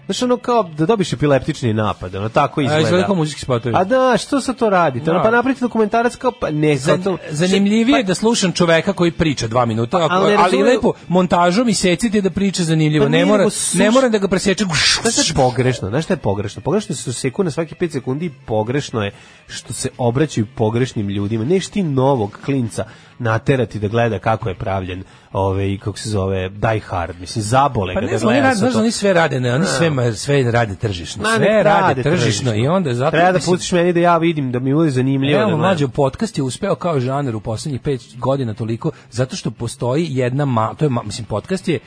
[SPEAKER 5] znaš, ono kao da dobiš epileptični napad, ono tako izgleda.
[SPEAKER 6] izgleda kao muzički spotovi.
[SPEAKER 5] A da, što se to radi?
[SPEAKER 6] Da.
[SPEAKER 5] Ono, pa napravite dokumentarac kao, pa ne,
[SPEAKER 6] Zan,
[SPEAKER 5] zato...
[SPEAKER 6] zanimljivije je da slušam čoveka koji priča dva minuta, ako,
[SPEAKER 5] ali
[SPEAKER 6] ali,
[SPEAKER 5] ne razumeju-
[SPEAKER 6] lepo montažom i secite da priča zanimljivo.
[SPEAKER 5] Pa
[SPEAKER 6] ne,
[SPEAKER 5] nije,
[SPEAKER 6] mora,
[SPEAKER 5] nego suš-
[SPEAKER 6] ne moram da ga presečem.
[SPEAKER 5] Znaš šta je pogrešno? Znaš šta je pogrešno? Pogrešno su seku na svaki 5 sekundi i pogrešno je što se obraćaju pogrešnim ljudima. Neš ti novog klinca naterati da gleda kako je pravljen ove, i kako se zove Die Hard. Mislim, zabole
[SPEAKER 6] Pa
[SPEAKER 5] ga
[SPEAKER 6] ne
[SPEAKER 5] da
[SPEAKER 6] znam, oni
[SPEAKER 5] gleda
[SPEAKER 6] rade,
[SPEAKER 5] sa
[SPEAKER 6] znaš,
[SPEAKER 5] to.
[SPEAKER 6] oni sve rade, ne, oni sve, ma- sve rade tržišno.
[SPEAKER 5] Ma,
[SPEAKER 6] sve
[SPEAKER 5] nek
[SPEAKER 6] rade tržišno i onda zato...
[SPEAKER 5] Treba da
[SPEAKER 6] mislim,
[SPEAKER 5] pustiš meni da ja vidim da mi bude zanimljivo. da
[SPEAKER 6] Realno,
[SPEAKER 5] gledam.
[SPEAKER 6] mlađo, podcast je uspeo kao žanar u poslednjih pet godina toliko, zato što postoji jedna, ma, to je, ma- mislim, podcast je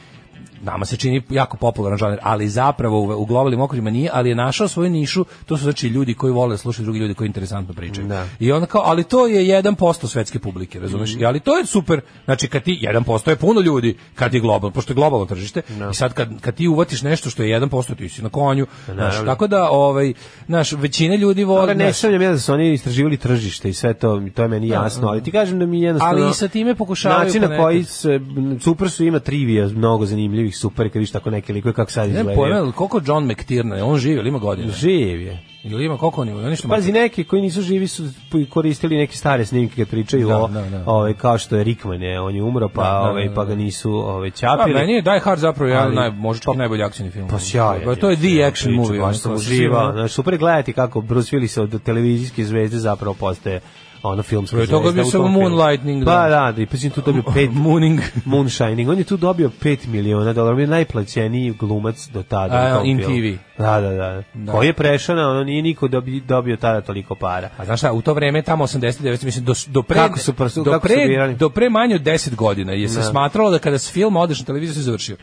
[SPEAKER 6] nama se čini jako popularan žanar, ali zapravo u, u globalnim okvirima nije, ali je našao svoju nišu, to su znači ljudi koji vole da slušaju drugi ljudi koji interesantno pričaju.
[SPEAKER 5] Da. Mhm.
[SPEAKER 6] I onda kao, ali to je 1% svetske publike, razumeš? I Ali to je super, znači kad ti, 1% je puno ljudi kad je globalno, pošto je globalno tržište, i sad kad, kad ti uvatiš nešto što je 1%, ti si na konju, znaš, tako da, ovaj, znaš, većina ljudi voli...
[SPEAKER 5] Ali Pa ne
[SPEAKER 6] znaš,
[SPEAKER 5] sumnjam ja da su oni istraživali tržište i sve to, to je meni jasno, ali ti kažem da mi jednostavno...
[SPEAKER 6] Ali i sa time pokušavaju
[SPEAKER 5] Način na
[SPEAKER 6] ponekad.
[SPEAKER 5] koji se, super su ima trivija, mnogo zanimljivih, super, kad viš tako neke likove kako sad
[SPEAKER 6] Ne
[SPEAKER 5] izgledaju.
[SPEAKER 6] pojma, koliko John McTiernan, je? on živi, ali ima godina.
[SPEAKER 5] Živ je.
[SPEAKER 6] Ili ima koliko on ima? Oni što
[SPEAKER 5] Pazi, neki koji nisu živi su koristili neke stare snimke kad pričaju
[SPEAKER 6] Da,
[SPEAKER 5] o,
[SPEAKER 6] da, da.
[SPEAKER 5] ovaj, kao što je Rickman, je, on je umro, pa,
[SPEAKER 6] da, da,
[SPEAKER 5] ovaj,
[SPEAKER 6] da.
[SPEAKER 5] pa ga nisu ovaj,
[SPEAKER 6] Pa,
[SPEAKER 5] čapili.
[SPEAKER 6] meni je Die Hard zapravo jedan
[SPEAKER 5] Ali-
[SPEAKER 6] naj, možda čak i najbolji akcijni film.
[SPEAKER 5] Pa sjajan.
[SPEAKER 6] Pa to je the
[SPEAKER 5] sjajna
[SPEAKER 6] action
[SPEAKER 5] priča,
[SPEAKER 6] movie. ono,
[SPEAKER 5] Baš sam
[SPEAKER 6] kao
[SPEAKER 5] uživao. Znaš, super je gledati kako Bruce Willis od televizijske zvezde zapravo postaje ono filmska
[SPEAKER 6] Prvo je
[SPEAKER 5] zvezda.
[SPEAKER 6] toga bio
[SPEAKER 5] u tom
[SPEAKER 6] samo
[SPEAKER 5] filmu.
[SPEAKER 6] Moonlightning, da.
[SPEAKER 5] Pa da, da i pa si tu
[SPEAKER 6] (laughs)
[SPEAKER 5] dobio pet...
[SPEAKER 6] Mooning.
[SPEAKER 5] Moonshining. On je tu dobio 5 miliona dolara. On je najplaćeniji glumac do tada.
[SPEAKER 6] A,
[SPEAKER 5] u tom
[SPEAKER 6] in
[SPEAKER 5] filmu.
[SPEAKER 6] TV.
[SPEAKER 5] Da, da, da.
[SPEAKER 6] Da.
[SPEAKER 5] Koji je prešao na ono, nije niko dobio, dobio tada toliko para.
[SPEAKER 6] A Pa znaš šta, u to vreme, tamo 89, mislim, do, do pre,
[SPEAKER 5] Kako su prs-
[SPEAKER 6] do,
[SPEAKER 5] kako su
[SPEAKER 6] pre,
[SPEAKER 5] birali?
[SPEAKER 6] do pre manje od 10 godina je se smatralo da kada s filma odeš na televiziju se završio.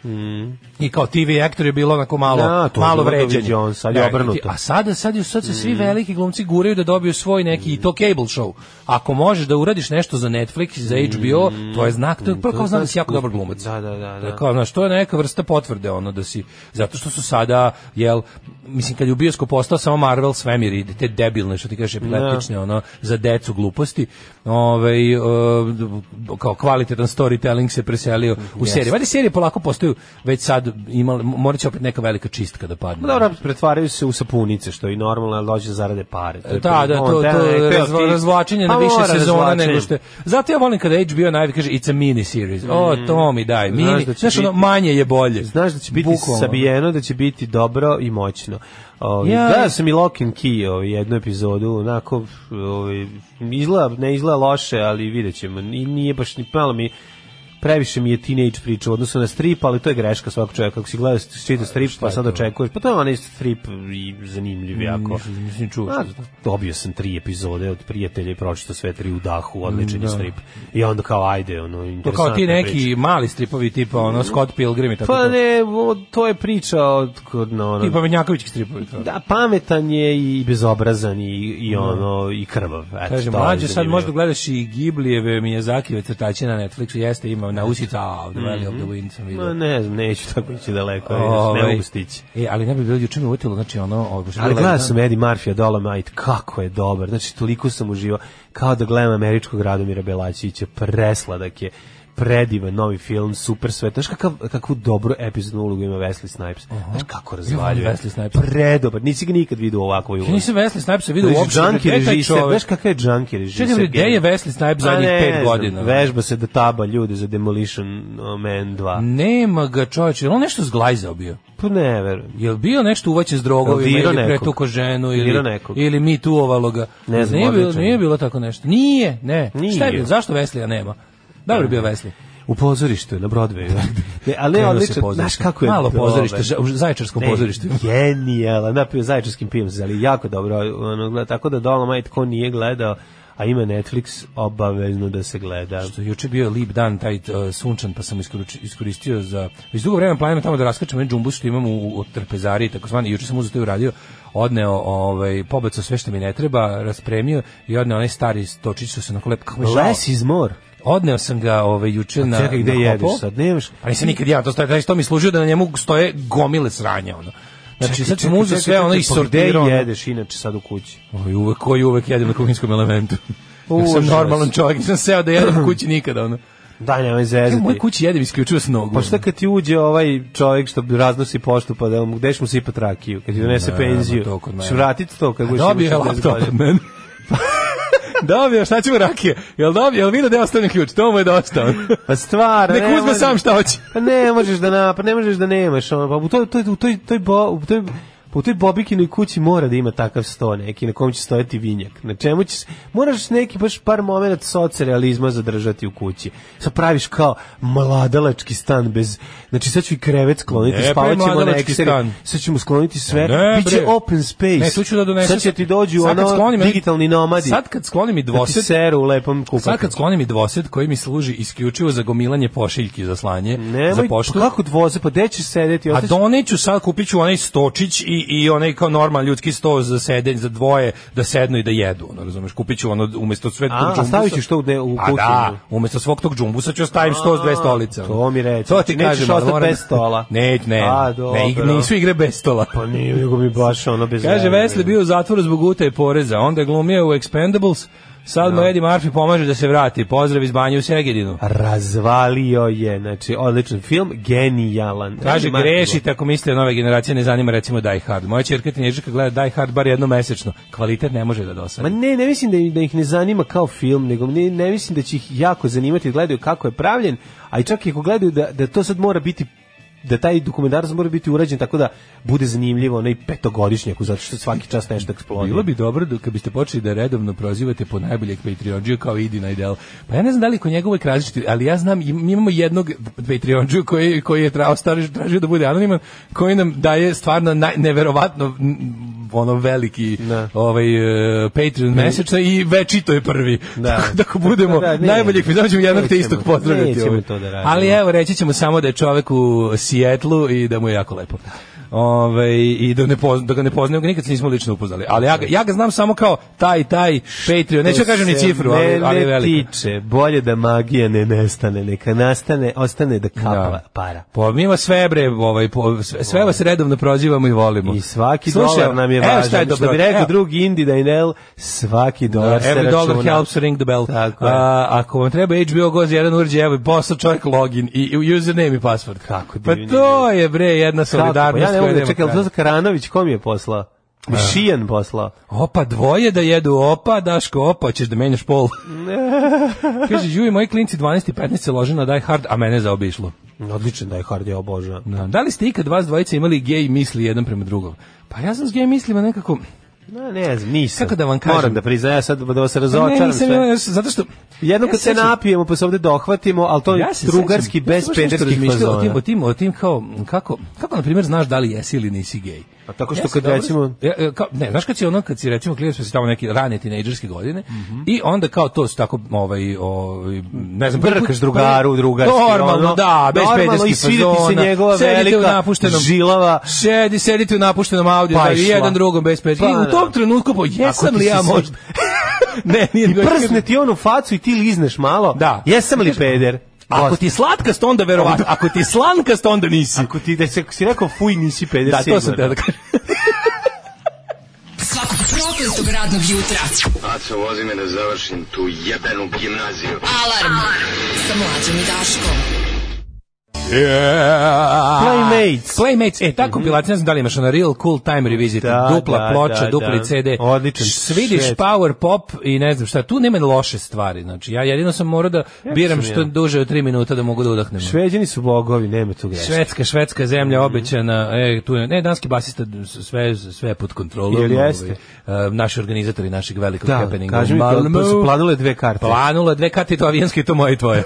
[SPEAKER 6] I kao TV aktor je bilo onako malo,
[SPEAKER 5] Mm. Da, to je
[SPEAKER 6] malo
[SPEAKER 5] bilo Dovi
[SPEAKER 6] vređenje.
[SPEAKER 5] Jones, sad je
[SPEAKER 6] Da,
[SPEAKER 5] obrnuto. Mm.
[SPEAKER 6] i ti- A sada, sad, je- sad se svi veliki glumci guraju da dobiju svoj neki, i to cable show. Ako možeš da uradiš nešto za Netflix, za
[SPEAKER 5] Mm.
[SPEAKER 6] HBO, to je znak, to je prvo kao znam da si jako dobar glumac.
[SPEAKER 5] Da, da, da,
[SPEAKER 6] Da.
[SPEAKER 5] da.
[SPEAKER 6] Kao, znaš, to je neka vrsta potvrde ono da si zato što su sada jel mislim kad je u bioskop postao samo Marvel svemir i te debilne što ti kažeš epileptične ono za decu gluposti. Ovaj e, kao kvalitetan storytelling se preselio u serije. Valjda serije polako postaju već sad imali moraće opet neka velika čistka da
[SPEAKER 5] Pa
[SPEAKER 6] padne.
[SPEAKER 5] Dobro, pretvaraju se u sapunice, što je i normalno, ali dođe da zarade pare. To je
[SPEAKER 6] E, Da, da,
[SPEAKER 5] on
[SPEAKER 6] to,
[SPEAKER 5] taj-
[SPEAKER 6] to
[SPEAKER 5] taj- taj-
[SPEAKER 6] razvo,
[SPEAKER 5] ti-
[SPEAKER 6] razvlačenje na
[SPEAKER 5] Pa
[SPEAKER 6] više
[SPEAKER 5] mora
[SPEAKER 6] sezona
[SPEAKER 5] razvlačenje.
[SPEAKER 6] nego što je. Zato ja volim kada HBO najvi kaže it's a mini series. O, to mi daj, mini. Znaš,
[SPEAKER 5] Mhm. Znaš da će
[SPEAKER 6] ono,
[SPEAKER 5] biti-
[SPEAKER 6] manje je bolje.
[SPEAKER 5] Znaš da će biti
[SPEAKER 6] Bukvalno.
[SPEAKER 5] sabijeno, da će biti dobro i moćno. Ovi,
[SPEAKER 6] Ja-
[SPEAKER 5] Gledao sam i Lock and Key ovaj, jednu epizodu, onako, ovi, izgleda, ne izgleda loše, ali vidjet ćemo. I nije baš ni malo mi previše mi je teenage priča u odnosu na strip, ali to je greška svakog čovjeka. Ako si gledao čita strip, pa sad očekuješ, pa to je onaj strip i zanimljiv jako.
[SPEAKER 6] Nisam- nisam čuo
[SPEAKER 5] A,
[SPEAKER 6] što znam.
[SPEAKER 5] dobio sam tri epizode od prijatelja i pročitao sve tri u dahu, odličan je strip. I onda kao, ajde, ono,
[SPEAKER 6] To kao ti
[SPEAKER 5] interesantna
[SPEAKER 6] neki
[SPEAKER 5] priča. Mm.
[SPEAKER 6] mali stripovi tipa ono Scott Pilgrim i tako
[SPEAKER 5] Pa
[SPEAKER 6] to.
[SPEAKER 5] ne, o, to je priča od kod na ono.
[SPEAKER 6] Tipa Menjakovićki stripovi. To.
[SPEAKER 5] Da, pametan je i bezobrazan i, i ono i krvav. Eto,
[SPEAKER 6] Kaže,
[SPEAKER 5] to je
[SPEAKER 6] mlađe, sad
[SPEAKER 5] zanimljivo.
[SPEAKER 6] možda gledaš i Giblijeve Miyazakijeve crtače na Netflixu, jeste, ima na usica, a, The Valley of the Wind sam
[SPEAKER 5] Mhm. Ma
[SPEAKER 6] vidio.
[SPEAKER 5] ne znam, neću tako ići daleko, vidiš, ne
[SPEAKER 6] Ovaj,
[SPEAKER 5] mogu stići.
[SPEAKER 6] E, ali ne bi bilo juče me utilo, znači ono... Ovo, baš
[SPEAKER 5] Ali
[SPEAKER 6] bilo
[SPEAKER 5] gledao
[SPEAKER 6] lepo.
[SPEAKER 5] sam Eddie Murphy-a Dolomite, kako je dobar, znači toliko sam uživao, kao da gledam američkog Radomira Belačića, presladak je, predivan novi film, super sve, znaš kakav, kakvu dobru epizodnu ulogu ima Wesley Snipes, znaš kako razvaljuje,
[SPEAKER 6] Wesley Snipes.
[SPEAKER 5] predobar, nisi ga nikad vidio u ovakvoj
[SPEAKER 6] Ja
[SPEAKER 5] ulozi.
[SPEAKER 6] nisam Wesley Snipesa vidio
[SPEAKER 5] Vidiš,
[SPEAKER 6] uopšte.
[SPEAKER 5] džanki
[SPEAKER 6] gde je taj
[SPEAKER 5] režiser,
[SPEAKER 6] čovek?
[SPEAKER 5] znaš kakav je džanki režiser?
[SPEAKER 6] Čekaj, bre, gde je
[SPEAKER 5] genijalno.
[SPEAKER 6] Wesley Snipes
[SPEAKER 5] Pa
[SPEAKER 6] zadnjih
[SPEAKER 5] ne
[SPEAKER 6] pet
[SPEAKER 5] znam,
[SPEAKER 6] godina?
[SPEAKER 5] Vežba se da taba ljude za Demolition uh, Man 2.
[SPEAKER 6] Nema ga čoveče, je li on nešto zglajzao bio?
[SPEAKER 5] Pa ne, verujem.
[SPEAKER 6] Je li bio nešto uvaćen s drogovima
[SPEAKER 5] Jel dirao
[SPEAKER 6] ili
[SPEAKER 5] nekog?
[SPEAKER 6] pretuko ženu
[SPEAKER 5] Dirao
[SPEAKER 6] ili,
[SPEAKER 5] nekog?
[SPEAKER 6] ili mi tu ga?
[SPEAKER 5] Ne znam,
[SPEAKER 6] nije, bilo,
[SPEAKER 5] odličan
[SPEAKER 6] nije
[SPEAKER 5] je.
[SPEAKER 6] bilo tako nešto. Nije, ne.
[SPEAKER 5] Nije.
[SPEAKER 6] Šta je bilo? Zašto Veslija nema? Dobro je bio Veslija.
[SPEAKER 5] U pozorištu je, na Broadwayu. (laughs) ne, ali je
[SPEAKER 6] Krenulo se
[SPEAKER 5] odličan,
[SPEAKER 6] pozorište.
[SPEAKER 5] znaš kako je...
[SPEAKER 6] Malo pozorište,
[SPEAKER 5] dobar.
[SPEAKER 6] ža- u zaječarsko
[SPEAKER 5] Ne,
[SPEAKER 6] pozorište.
[SPEAKER 5] Genijala, napio zajedničkim pivom, ali jako dobro. Ono, gleda, tako da Dolomite, ko nije gledao, a ima Netflix, obavezno da se gleda.
[SPEAKER 6] Što je juče bio lip dan, taj uh, sunčan, pa sam iskoruči- iskoristio za... Već dugo vremena planiram tamo da raskačem jedan džumbus što imam u, u trpezariji, tako zvani, juče sam uzeo to i uradio, odneo, ovaj, pobacao sve što mi ne treba, raspremio i odneo onaj stari stočić što se onako lepo... Kako mi je žao.
[SPEAKER 5] Less is more.
[SPEAKER 6] Odneo sam ga ovaj, juče na...
[SPEAKER 5] Pa Čekaj, gde
[SPEAKER 6] na
[SPEAKER 5] jedeš
[SPEAKER 6] hopo.
[SPEAKER 5] sad? Nemaš?
[SPEAKER 6] Pa nisam nikad ja, to, stoje, to mi služio da na njemu stoje gomile sranja, ono. Znači, sad sam
[SPEAKER 5] Čekaj,
[SPEAKER 6] uzeo
[SPEAKER 5] čekaj,
[SPEAKER 6] sve ono
[SPEAKER 5] čekaj,
[SPEAKER 6] i
[SPEAKER 5] pa gde
[SPEAKER 6] sortirao. ono.
[SPEAKER 5] jedeš inače sad u kući?
[SPEAKER 6] Oj, uvek, koji uvek jedem na kuhinskom elementu. (laughs) Ja sam
[SPEAKER 5] Užas.
[SPEAKER 6] normalan čovjek, nisam seo da jedem u kući nikada, ono.
[SPEAKER 5] Daj, nemoj
[SPEAKER 6] Ja
[SPEAKER 5] ovaj zezati.
[SPEAKER 6] u mojoj kući jedem isključivo s nogom.
[SPEAKER 5] Pa šta kad ti uđe ovaj čovjek što raznosi poštu pa da mu gde ćeš mu sipati rakiju kad ti donese
[SPEAKER 6] Ne,
[SPEAKER 5] penziju.
[SPEAKER 6] to kod mene.
[SPEAKER 5] Ćeš vratiti to kad budeš imao
[SPEAKER 6] Dobio je
[SPEAKER 5] 60
[SPEAKER 6] laptop od
[SPEAKER 5] godina?
[SPEAKER 6] mene. (laughs) dobio, šta ćemo rakije? Jel dobio, jel vidio da je ostavljen ključ? To mu je dosta. ono.
[SPEAKER 5] Pa stvarno.
[SPEAKER 6] Nek
[SPEAKER 5] (laughs) ne
[SPEAKER 6] uzme
[SPEAKER 5] možeš-
[SPEAKER 6] sam šta hoće.
[SPEAKER 5] Pa ne možeš da na, pa ne možeš da nemaš ono, pa u toj toj u toj toj bo, u toj pa u toj Bobikinoj kući mora da ima takav sto neki na kom će stojati vinjak. Na čemu ćeš, moraš neki baš par momenata socrealizma zadržati u kući. Sad praviš kao mladalački stan bez, znači sad ću i krevet skloniti,
[SPEAKER 6] Ne, pa i
[SPEAKER 5] spavaćemo na
[SPEAKER 6] mladalački
[SPEAKER 5] ekseri,
[SPEAKER 6] stan.
[SPEAKER 5] sad ćemo skloniti sve,
[SPEAKER 6] Ne,
[SPEAKER 5] biće
[SPEAKER 6] bre.
[SPEAKER 5] open space.
[SPEAKER 6] Ne, tu ću da donesem.
[SPEAKER 5] Sad će ti dođu
[SPEAKER 6] Sad kad
[SPEAKER 5] ono
[SPEAKER 6] sklonim-
[SPEAKER 5] digitalni nomadi.
[SPEAKER 6] Sad kad sklonim i
[SPEAKER 5] da ti
[SPEAKER 6] dvosed,
[SPEAKER 5] seru u lepom kupaku.
[SPEAKER 6] Sad kad sklonim i dvosed koji mi služi isključivo za gomilanje pošiljki za slanje, za
[SPEAKER 5] Nemoj,
[SPEAKER 6] poštu,
[SPEAKER 5] pa kako dvoze, pa gde ćeš sedeti?
[SPEAKER 6] A
[SPEAKER 5] Ostaćeš-
[SPEAKER 6] doneću sad, kupit ću onaj stočić i, i onaj kao normal ljudski sto za sedenj, za dvoje, da sednu i da jedu, ono, razumeš, kupit ću ono, umesto sve
[SPEAKER 5] A,
[SPEAKER 6] tog
[SPEAKER 5] a
[SPEAKER 6] džumbusa.
[SPEAKER 5] stavit ćeš to u ne- u
[SPEAKER 6] Pa
[SPEAKER 5] kuhinju?
[SPEAKER 6] da, umesto svog tog džumbusa ću stavim sto s dve stolice. ono.
[SPEAKER 5] to mi reci. Znači,
[SPEAKER 6] To ti
[SPEAKER 5] Nećeš
[SPEAKER 6] kažem, ali
[SPEAKER 5] ostati
[SPEAKER 6] moram-
[SPEAKER 5] bez
[SPEAKER 6] (laughs)
[SPEAKER 5] stola.
[SPEAKER 6] Ne, ne,
[SPEAKER 5] A,
[SPEAKER 6] ne, ig-
[SPEAKER 5] dobro.
[SPEAKER 6] nisu igre bez stola.
[SPEAKER 5] Pa nije, nego mi baš ono bez...
[SPEAKER 6] Kaže,
[SPEAKER 5] veze.
[SPEAKER 6] Vesli bio u zatvoru zbog utaje poreza, onda je glumio u Expendables, Sad mu Eddie Murphy pomaže da se vrati. Pozdrav iz banje u Segedinu.
[SPEAKER 5] Razvalio je, znači odličan film, genijalan.
[SPEAKER 6] Kaže,
[SPEAKER 5] Eddie Murphy.
[SPEAKER 6] grešite ako mislite da nove generacije ne zanima recimo Die Hard. Moja čerka tinježika gleda Die Hard bar jednom mesečno. Kvalitet ne može da
[SPEAKER 5] Ma
[SPEAKER 6] dosadi.
[SPEAKER 5] ne, ne mislim da, im- da ih ne zanima kao film, nego ne, ne mislim da će ih jako zanimati da gledaju kako je pravljen, a i čak i ako gledaju da, da to sad mora biti da taj dokumentarac mora biti urađen tako da bude zanimljivo onaj petogodišnjaku zato što svaki čas nešto eksplodira.
[SPEAKER 6] Bilo bi dobro da kad biste počeli da redovno prozivate po najboljeg Patreonđiju kao Idina i Del. Pa ja ne znam da li kod njega uvek različiti, ali ja znam, im- mi imamo jednog Patreonđiju koji, koji je trao, tražio, tražio da bude anoniman, koji nam daje stvarno naj, neverovatno m, ono veliki
[SPEAKER 5] Da.
[SPEAKER 6] ovaj e, Patreon mesečno i večito je prvi. (laughs)
[SPEAKER 5] Da.
[SPEAKER 6] Tako da ako budemo
[SPEAKER 5] Da, da, ne.
[SPEAKER 6] najboljih Patreonđiju ćemo jednog te
[SPEAKER 5] Nećemo
[SPEAKER 6] istog
[SPEAKER 5] to-
[SPEAKER 6] pozdraviti.
[SPEAKER 5] nećemo
[SPEAKER 6] ovaj.
[SPEAKER 5] to da radimo.
[SPEAKER 6] ali evo reći ćemo samo da je čovek u Sijetlu i da mu je jako lepo. Ove, i da, ne poz, da ga ne poznaju, nikad se nismo lično upoznali. Ali ja, ga- ja ga znam samo kao taj, taj, Patreon, neću da kažem ni
[SPEAKER 5] se
[SPEAKER 6] cifru, ali, ali je
[SPEAKER 5] mene
[SPEAKER 6] velika.
[SPEAKER 5] tiče, bolje da magija ne nestane, neka nastane, ostane da kapa
[SPEAKER 6] Da.
[SPEAKER 5] para.
[SPEAKER 6] Po, Pa, mi vas sve bre, ovaj, po, sve, sve vas redovno prozivamo i volimo.
[SPEAKER 5] I svaki
[SPEAKER 6] Slušaj,
[SPEAKER 5] dolar nam je
[SPEAKER 6] evo
[SPEAKER 5] važan.
[SPEAKER 6] šta je
[SPEAKER 5] Što
[SPEAKER 6] dobro,
[SPEAKER 5] bi rekao
[SPEAKER 6] evo.
[SPEAKER 5] drugi Indi Dajnel, svaki dolar se
[SPEAKER 6] Every
[SPEAKER 5] računa.
[SPEAKER 6] dollar helps ring the bell.
[SPEAKER 5] Tako je.
[SPEAKER 6] A, ako vam treba HBO Goz jedan uređaj, evo posla čovjek login i, i username i password.
[SPEAKER 5] Kako
[SPEAKER 6] pa
[SPEAKER 5] divni
[SPEAKER 6] to je bre jedna
[SPEAKER 5] Kako? Pa
[SPEAKER 6] solidarnost.
[SPEAKER 5] Ja ne
[SPEAKER 6] koja
[SPEAKER 5] mogu da
[SPEAKER 6] nema
[SPEAKER 5] čekam,
[SPEAKER 6] kraja.
[SPEAKER 5] to za Karanović kom je poslao? Šijan poslao.
[SPEAKER 6] Opa, dvoje da jedu opa, Daško, opa, ćeš da menjaš pol. Kaže, Juj, moji klinci 12 i 15 se lože na Die Hard, a mene zaobišlo.
[SPEAKER 5] Odličan Die Hard, ja obožavam.
[SPEAKER 6] Da. da li ste ikad vas dvojica imali gej misli jedan prema drugom? Pa ja sam s gej mislima nekako...
[SPEAKER 5] No, ne znam, nisam.
[SPEAKER 6] Kako da vam kažem?
[SPEAKER 5] Moram da priznam, ja sad da vas
[SPEAKER 6] Pa ne,
[SPEAKER 5] razočaram
[SPEAKER 6] nisam imao
[SPEAKER 5] sve.
[SPEAKER 6] još, zato što...
[SPEAKER 5] Jednom
[SPEAKER 6] Ja
[SPEAKER 5] kad se
[SPEAKER 6] sećam-
[SPEAKER 5] napijemo, pa se ovde dohvatimo, ali to je
[SPEAKER 6] Ja se
[SPEAKER 5] drugarski,
[SPEAKER 6] sećam, ja
[SPEAKER 5] bez
[SPEAKER 6] sam baš nešto
[SPEAKER 5] pederskih
[SPEAKER 6] razmišljao O
[SPEAKER 5] fazona.
[SPEAKER 6] tim, o tim, o tim kao, kako, kako na primjer znaš da li jesi ili nisi gej?
[SPEAKER 5] A tako što
[SPEAKER 6] Ja se
[SPEAKER 5] kad
[SPEAKER 6] dobro-
[SPEAKER 5] recimo-
[SPEAKER 6] Ja, ja, kao, ne, znaš kad si ono, kad si recimo klinac, pa si tamo neke rane tinejdžerske godine
[SPEAKER 5] Mhm.
[SPEAKER 6] i onda kao to su tako, ovaj, ovaj, ne znam, prvi put-
[SPEAKER 5] Brkaš drugaru,
[SPEAKER 6] prvi-
[SPEAKER 5] drugarski,
[SPEAKER 6] Normalno,
[SPEAKER 5] ono,
[SPEAKER 6] da, bez
[SPEAKER 5] normalno, i
[SPEAKER 6] pederskih
[SPEAKER 5] svidi ti se
[SPEAKER 6] fazona.
[SPEAKER 5] njegova
[SPEAKER 6] sedite u
[SPEAKER 5] velika
[SPEAKER 6] napuštenom-
[SPEAKER 5] žilava.
[SPEAKER 6] Sedi, sedite u napuštenom audiju,
[SPEAKER 5] Pa
[SPEAKER 6] da,
[SPEAKER 5] je šla.
[SPEAKER 6] jedan drugom bez pederskih. I
[SPEAKER 5] Pa
[SPEAKER 6] u
[SPEAKER 5] da.
[SPEAKER 6] tom trenutku, po, jesam
[SPEAKER 5] ti
[SPEAKER 6] li
[SPEAKER 5] si
[SPEAKER 6] ja
[SPEAKER 5] se-
[SPEAKER 6] možda? ne, nije
[SPEAKER 5] (laughs) I
[SPEAKER 6] nego-
[SPEAKER 5] prsne ti on u facu i ti lizneš malo.
[SPEAKER 6] Da.
[SPEAKER 5] Jesam li peder?
[SPEAKER 6] Ako
[SPEAKER 5] Gost.
[SPEAKER 6] ti je slatkast, onda verovatno. Ako ti je slankast, onda nisi.
[SPEAKER 5] Ako ti da se, ako si rekao fuj nisi peder
[SPEAKER 6] Da, to sam te
[SPEAKER 5] sigurno.
[SPEAKER 6] da kažem.
[SPEAKER 4] Svakog prokletog radnog jutra.
[SPEAKER 1] Aco, vozi me da završim tu jebenu gimnaziju.
[SPEAKER 4] Alarm. Sa mlađom i Daškom.
[SPEAKER 6] Yeah.
[SPEAKER 5] (laughs) Playmates.
[SPEAKER 6] Playmates, e, ta kompilacija, ne znam da li imaš, ona Real Cool Time Revisit,
[SPEAKER 5] Mhm. Da,
[SPEAKER 6] dupla
[SPEAKER 5] da,
[SPEAKER 6] ploča,
[SPEAKER 5] da,
[SPEAKER 6] dupli
[SPEAKER 5] da.
[SPEAKER 6] CD,
[SPEAKER 5] Odličan
[SPEAKER 6] svidiš
[SPEAKER 5] šet.
[SPEAKER 6] power pop i ne znam šta, tu nema loše stvari, znači, ja jedino sam morao da biram
[SPEAKER 5] sam
[SPEAKER 6] što
[SPEAKER 5] ja.
[SPEAKER 6] duže od 3 minuta da mogu da udahnem.
[SPEAKER 5] Šveđani su bogovi, nema tu greške.
[SPEAKER 6] Švedska, švedska zemlja
[SPEAKER 5] Mhm.
[SPEAKER 6] obećana, e, tu je, ne, danski basista, sve, sve je pod kontrolom.
[SPEAKER 5] Jel jeste?
[SPEAKER 6] ovaj, e, naši organizatori našeg velikog
[SPEAKER 5] Da,
[SPEAKER 6] happeninga.
[SPEAKER 5] kaži
[SPEAKER 6] u
[SPEAKER 5] mi, pa su
[SPEAKER 6] Malmöu.
[SPEAKER 5] planule dve karte. (laughs)
[SPEAKER 6] Planula dve karte, to avijanske, to moje i tvoje.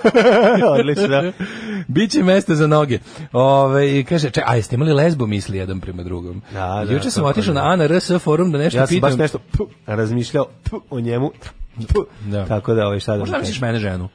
[SPEAKER 5] Odlično.
[SPEAKER 6] Biće mesta za noge. Ove, i kaže, če, a jeste imali lesbo misli jedan prema drugom?
[SPEAKER 5] Da, da,
[SPEAKER 6] Juče sam
[SPEAKER 5] to
[SPEAKER 6] otišao
[SPEAKER 5] je.
[SPEAKER 6] na ANRS forum da nešto
[SPEAKER 5] (laughs) Ja sam
[SPEAKER 6] pitam.
[SPEAKER 5] baš nešto puh, razmišljao puh, o njemu. puh.
[SPEAKER 6] Da.
[SPEAKER 5] Tako da, ovaj, šta da vam
[SPEAKER 6] Možda
[SPEAKER 5] kažem?
[SPEAKER 6] misliš mene ženu?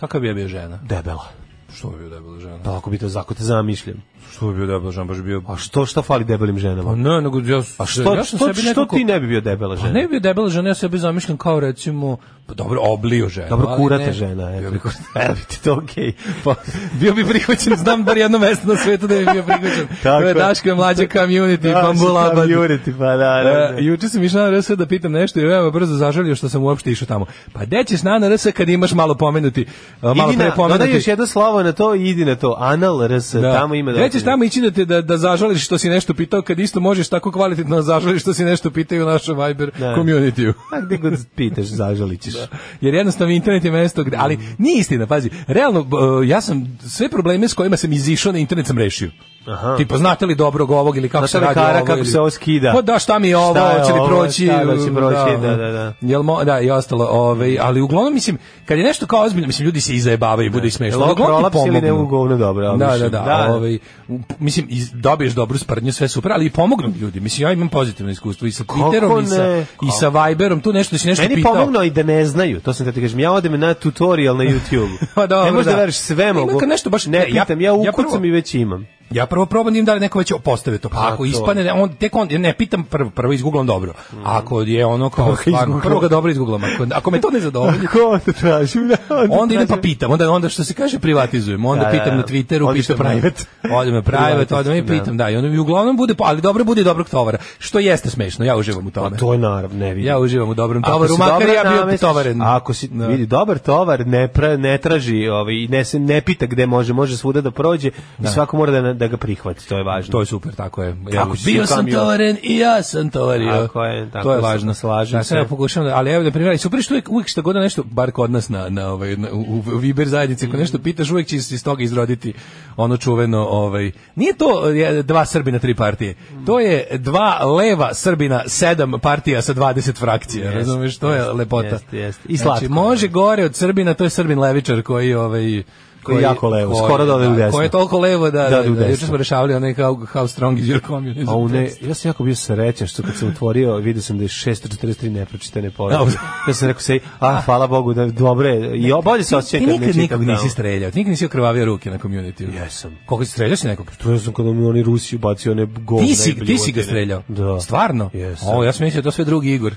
[SPEAKER 6] Kakav bi ja bio žena?
[SPEAKER 5] Debela.
[SPEAKER 6] Što bi bio debela žena?
[SPEAKER 5] Pa ako bi to zakot zamišljam.
[SPEAKER 6] Što bi bio debela žena? Baš bio...
[SPEAKER 5] A što šta fali debelim ženama?
[SPEAKER 6] Pa ne, nego ja, a
[SPEAKER 5] Što, što, što ti Pa ne bi bio debela žena?
[SPEAKER 6] Pa Ne bi bio debela žena, ja sebi zamišljam kao recimo, pa dobro, oblio žena.
[SPEAKER 5] Dobro,
[SPEAKER 6] ali
[SPEAKER 5] kurata
[SPEAKER 6] ne-
[SPEAKER 5] žena. Eto.
[SPEAKER 6] Bio
[SPEAKER 5] (laughs)
[SPEAKER 6] bi kurata.
[SPEAKER 5] Evo bi ti to okej. Pa,
[SPEAKER 6] (laughs)
[SPEAKER 5] (laughs)
[SPEAKER 6] bio bi prihvaćen, znam bar jedno mesto na svetu da bi bio prihvaćen.
[SPEAKER 5] (laughs) Tako
[SPEAKER 6] to je
[SPEAKER 5] je.
[SPEAKER 6] Daško je
[SPEAKER 5] (laughs)
[SPEAKER 6] mlađa community,
[SPEAKER 5] Da,
[SPEAKER 6] Pambulabad.
[SPEAKER 5] sam Juriti, pa da, da,
[SPEAKER 6] E, juče sam išao na RS da pitam nešto i veoma brzo zažalio što sam uopšte išao tamo. Pa gde ćeš na RS kad imaš malo pomenuti, a, malo
[SPEAKER 5] Idi
[SPEAKER 6] pre
[SPEAKER 5] na, dodaj još
[SPEAKER 6] pomenuti?
[SPEAKER 5] jedno slovo na to i idi na to. Anal RS, tamo ima da...
[SPEAKER 6] Gde ćeš tamo ići da, te, da, da zažališ što si nešto pitao kad isto možeš tako kvalitetno da zažališ što si nešto pitao i u našem Viber
[SPEAKER 5] Da.
[SPEAKER 6] community-u.
[SPEAKER 5] A gde god pitaš, (laughs) zažalit ćeš.
[SPEAKER 6] Jer jednostavno internet je mesto gde, ali nije istina, pazi, realno, b- e, ja sam sve probleme s kojima sam izišao na internet sam rešio. Aha. Tipo, znate li dobrog ovog ili kako
[SPEAKER 5] Znate li
[SPEAKER 6] se radi
[SPEAKER 5] kara,
[SPEAKER 6] ovo?
[SPEAKER 5] kako
[SPEAKER 6] ili-
[SPEAKER 5] se ovo skida?
[SPEAKER 6] Pa da, šta mi je ovo,
[SPEAKER 5] Šta je
[SPEAKER 6] hoće li
[SPEAKER 5] ovo,
[SPEAKER 6] proći?
[SPEAKER 5] šta da će proći, da, da, da.
[SPEAKER 6] Jel mo, da, i ostalo, ovaj, ali uglavnom, mislim, kad je nešto kao ozbiljno, mislim, ljudi se izajebavaju i bude i smešno.
[SPEAKER 5] Jel ovo
[SPEAKER 6] ali uglavnom ti
[SPEAKER 5] prolaps ili
[SPEAKER 6] pomognu.
[SPEAKER 5] ne u govno dobro, ali
[SPEAKER 6] Da, da,
[SPEAKER 5] mislim,
[SPEAKER 6] da,
[SPEAKER 5] da.
[SPEAKER 6] Ovaj, u- mislim, iz, dobiješ dobru sprdnju, sve super, ali i pomognu ljudi. Mislim, ja imam pozitivno iskustvo i sa
[SPEAKER 5] Kako
[SPEAKER 6] Twitterom i sa,
[SPEAKER 5] ne?
[SPEAKER 6] i sa Viberom, tu nešto da si nešto
[SPEAKER 5] Meni
[SPEAKER 6] pitao.
[SPEAKER 5] pomogno i da ne znaju, to sam da ti kažem. Ja odem na tutorial na YouTube. (laughs)
[SPEAKER 6] Pa dobro,
[SPEAKER 5] ne možeš da,
[SPEAKER 6] da.
[SPEAKER 5] veriš sve
[SPEAKER 6] Ima
[SPEAKER 5] mogu.
[SPEAKER 6] kad nešto baš-
[SPEAKER 5] ne,
[SPEAKER 6] ne, ja-
[SPEAKER 5] pitam, ja,
[SPEAKER 6] ja
[SPEAKER 5] ukucam
[SPEAKER 6] prvo-
[SPEAKER 5] i već imam.
[SPEAKER 6] Ja prvo probam da im da li neko već postave to. Pa
[SPEAKER 5] Pa
[SPEAKER 6] ako
[SPEAKER 5] to. Mhm.
[SPEAKER 6] ispane, ne, on, tek on, ne, pitam prvo, prvo izguglam dobro. Ako je ono kao, stvarno, prvo ga dobro izguglam. Ako, ako me to ne
[SPEAKER 5] (laughs)
[SPEAKER 6] zadovolji,
[SPEAKER 5] Ko onda (laughs) tražim?
[SPEAKER 6] onda idem pa pitam, onda onda što se kaže privatizujem, onda
[SPEAKER 5] Da, da,
[SPEAKER 6] pitam
[SPEAKER 5] da.
[SPEAKER 6] na Twitteru,
[SPEAKER 5] Odiš na
[SPEAKER 6] pitam
[SPEAKER 5] private.
[SPEAKER 6] (laughs) Odem na private,
[SPEAKER 5] Private,
[SPEAKER 6] odem i
[SPEAKER 5] da.
[SPEAKER 6] pitam, da, i onda mi uglavnom bude, pa- ali dobro bude i dobrog tovara, što jeste smešno, ja uživam u tome.
[SPEAKER 5] Pa to je naravno, ne vidim.
[SPEAKER 6] Ja uživam u dobrom
[SPEAKER 5] Ako
[SPEAKER 6] tovaru,
[SPEAKER 5] si
[SPEAKER 6] makar
[SPEAKER 5] dobro
[SPEAKER 6] ja bio
[SPEAKER 5] namestiš-
[SPEAKER 6] tovaren.
[SPEAKER 5] Ako si,
[SPEAKER 6] Da.
[SPEAKER 5] vidi, dobar tovar ne, pra, ne traži, ovaj, ne, se, ne pita gde može, može svuda da prođe i svako mora da, da ga prihvati, to je važno.
[SPEAKER 6] To je super, tako je. Ja,
[SPEAKER 5] Tako si
[SPEAKER 6] bio
[SPEAKER 5] u
[SPEAKER 6] sam
[SPEAKER 5] kamionu.
[SPEAKER 6] tovaren i ja sam tovario.
[SPEAKER 5] Tako je, tako
[SPEAKER 6] to je
[SPEAKER 5] sam,
[SPEAKER 6] važno.
[SPEAKER 5] slažem
[SPEAKER 6] Tako
[SPEAKER 5] se.
[SPEAKER 6] Ja pokušavam, da- ali evo da primjer, i super što uvijek, uvijek šta god da nešto, bar kod nas na, na, ovaj, na- u, u Viber zajednici,
[SPEAKER 5] Mm.
[SPEAKER 6] ako nešto pitaš, uvijek će se iz toga izroditi ono čuveno, ovaj, nije to eh, dva Srbina, tri partije. To je dva leva Srbina, sedam partija sa 20 frakcija. razumeš, to je lepota.
[SPEAKER 5] jeste, jeste. I
[SPEAKER 6] Znači,
[SPEAKER 5] slatko.
[SPEAKER 6] može gore od Srbina, to je Srbin levičar koji, ovaj,
[SPEAKER 5] Koji je jako levo,
[SPEAKER 6] koji-
[SPEAKER 5] skoro da ode u desno.
[SPEAKER 6] Koji je toliko levo da,
[SPEAKER 5] Da,
[SPEAKER 6] da,
[SPEAKER 5] ode u
[SPEAKER 6] da, juče
[SPEAKER 5] desno.
[SPEAKER 6] smo rešavali onaj how, how strong is your communism.
[SPEAKER 5] A u ne, ja sam jako bio srećan što kad sam otvorio, vidio sam da je 643 nepročitane poruke. (laughs)
[SPEAKER 6] Dobro.
[SPEAKER 5] Ja sam rekao sej, a hvala Bogu da dobre, i o- bolje se
[SPEAKER 6] Ti
[SPEAKER 5] osjećam kad ne
[SPEAKER 6] nikad
[SPEAKER 5] čitam.
[SPEAKER 6] nikog
[SPEAKER 5] tamo.
[SPEAKER 6] nisi streljao, ti nikad nisi okravavio ruke na community.
[SPEAKER 5] Jesam.
[SPEAKER 6] Koliko si streljao si nekog?
[SPEAKER 5] To ja sam kada mi oni Rusi ubacio one govne.
[SPEAKER 6] Ti
[SPEAKER 5] i
[SPEAKER 6] si, ti si ga
[SPEAKER 5] bljuvotine.
[SPEAKER 6] streljao?
[SPEAKER 5] Da.
[SPEAKER 6] Stvarno?
[SPEAKER 5] Jesam.
[SPEAKER 6] O, ja sam mislio da je to sve drugi Igor.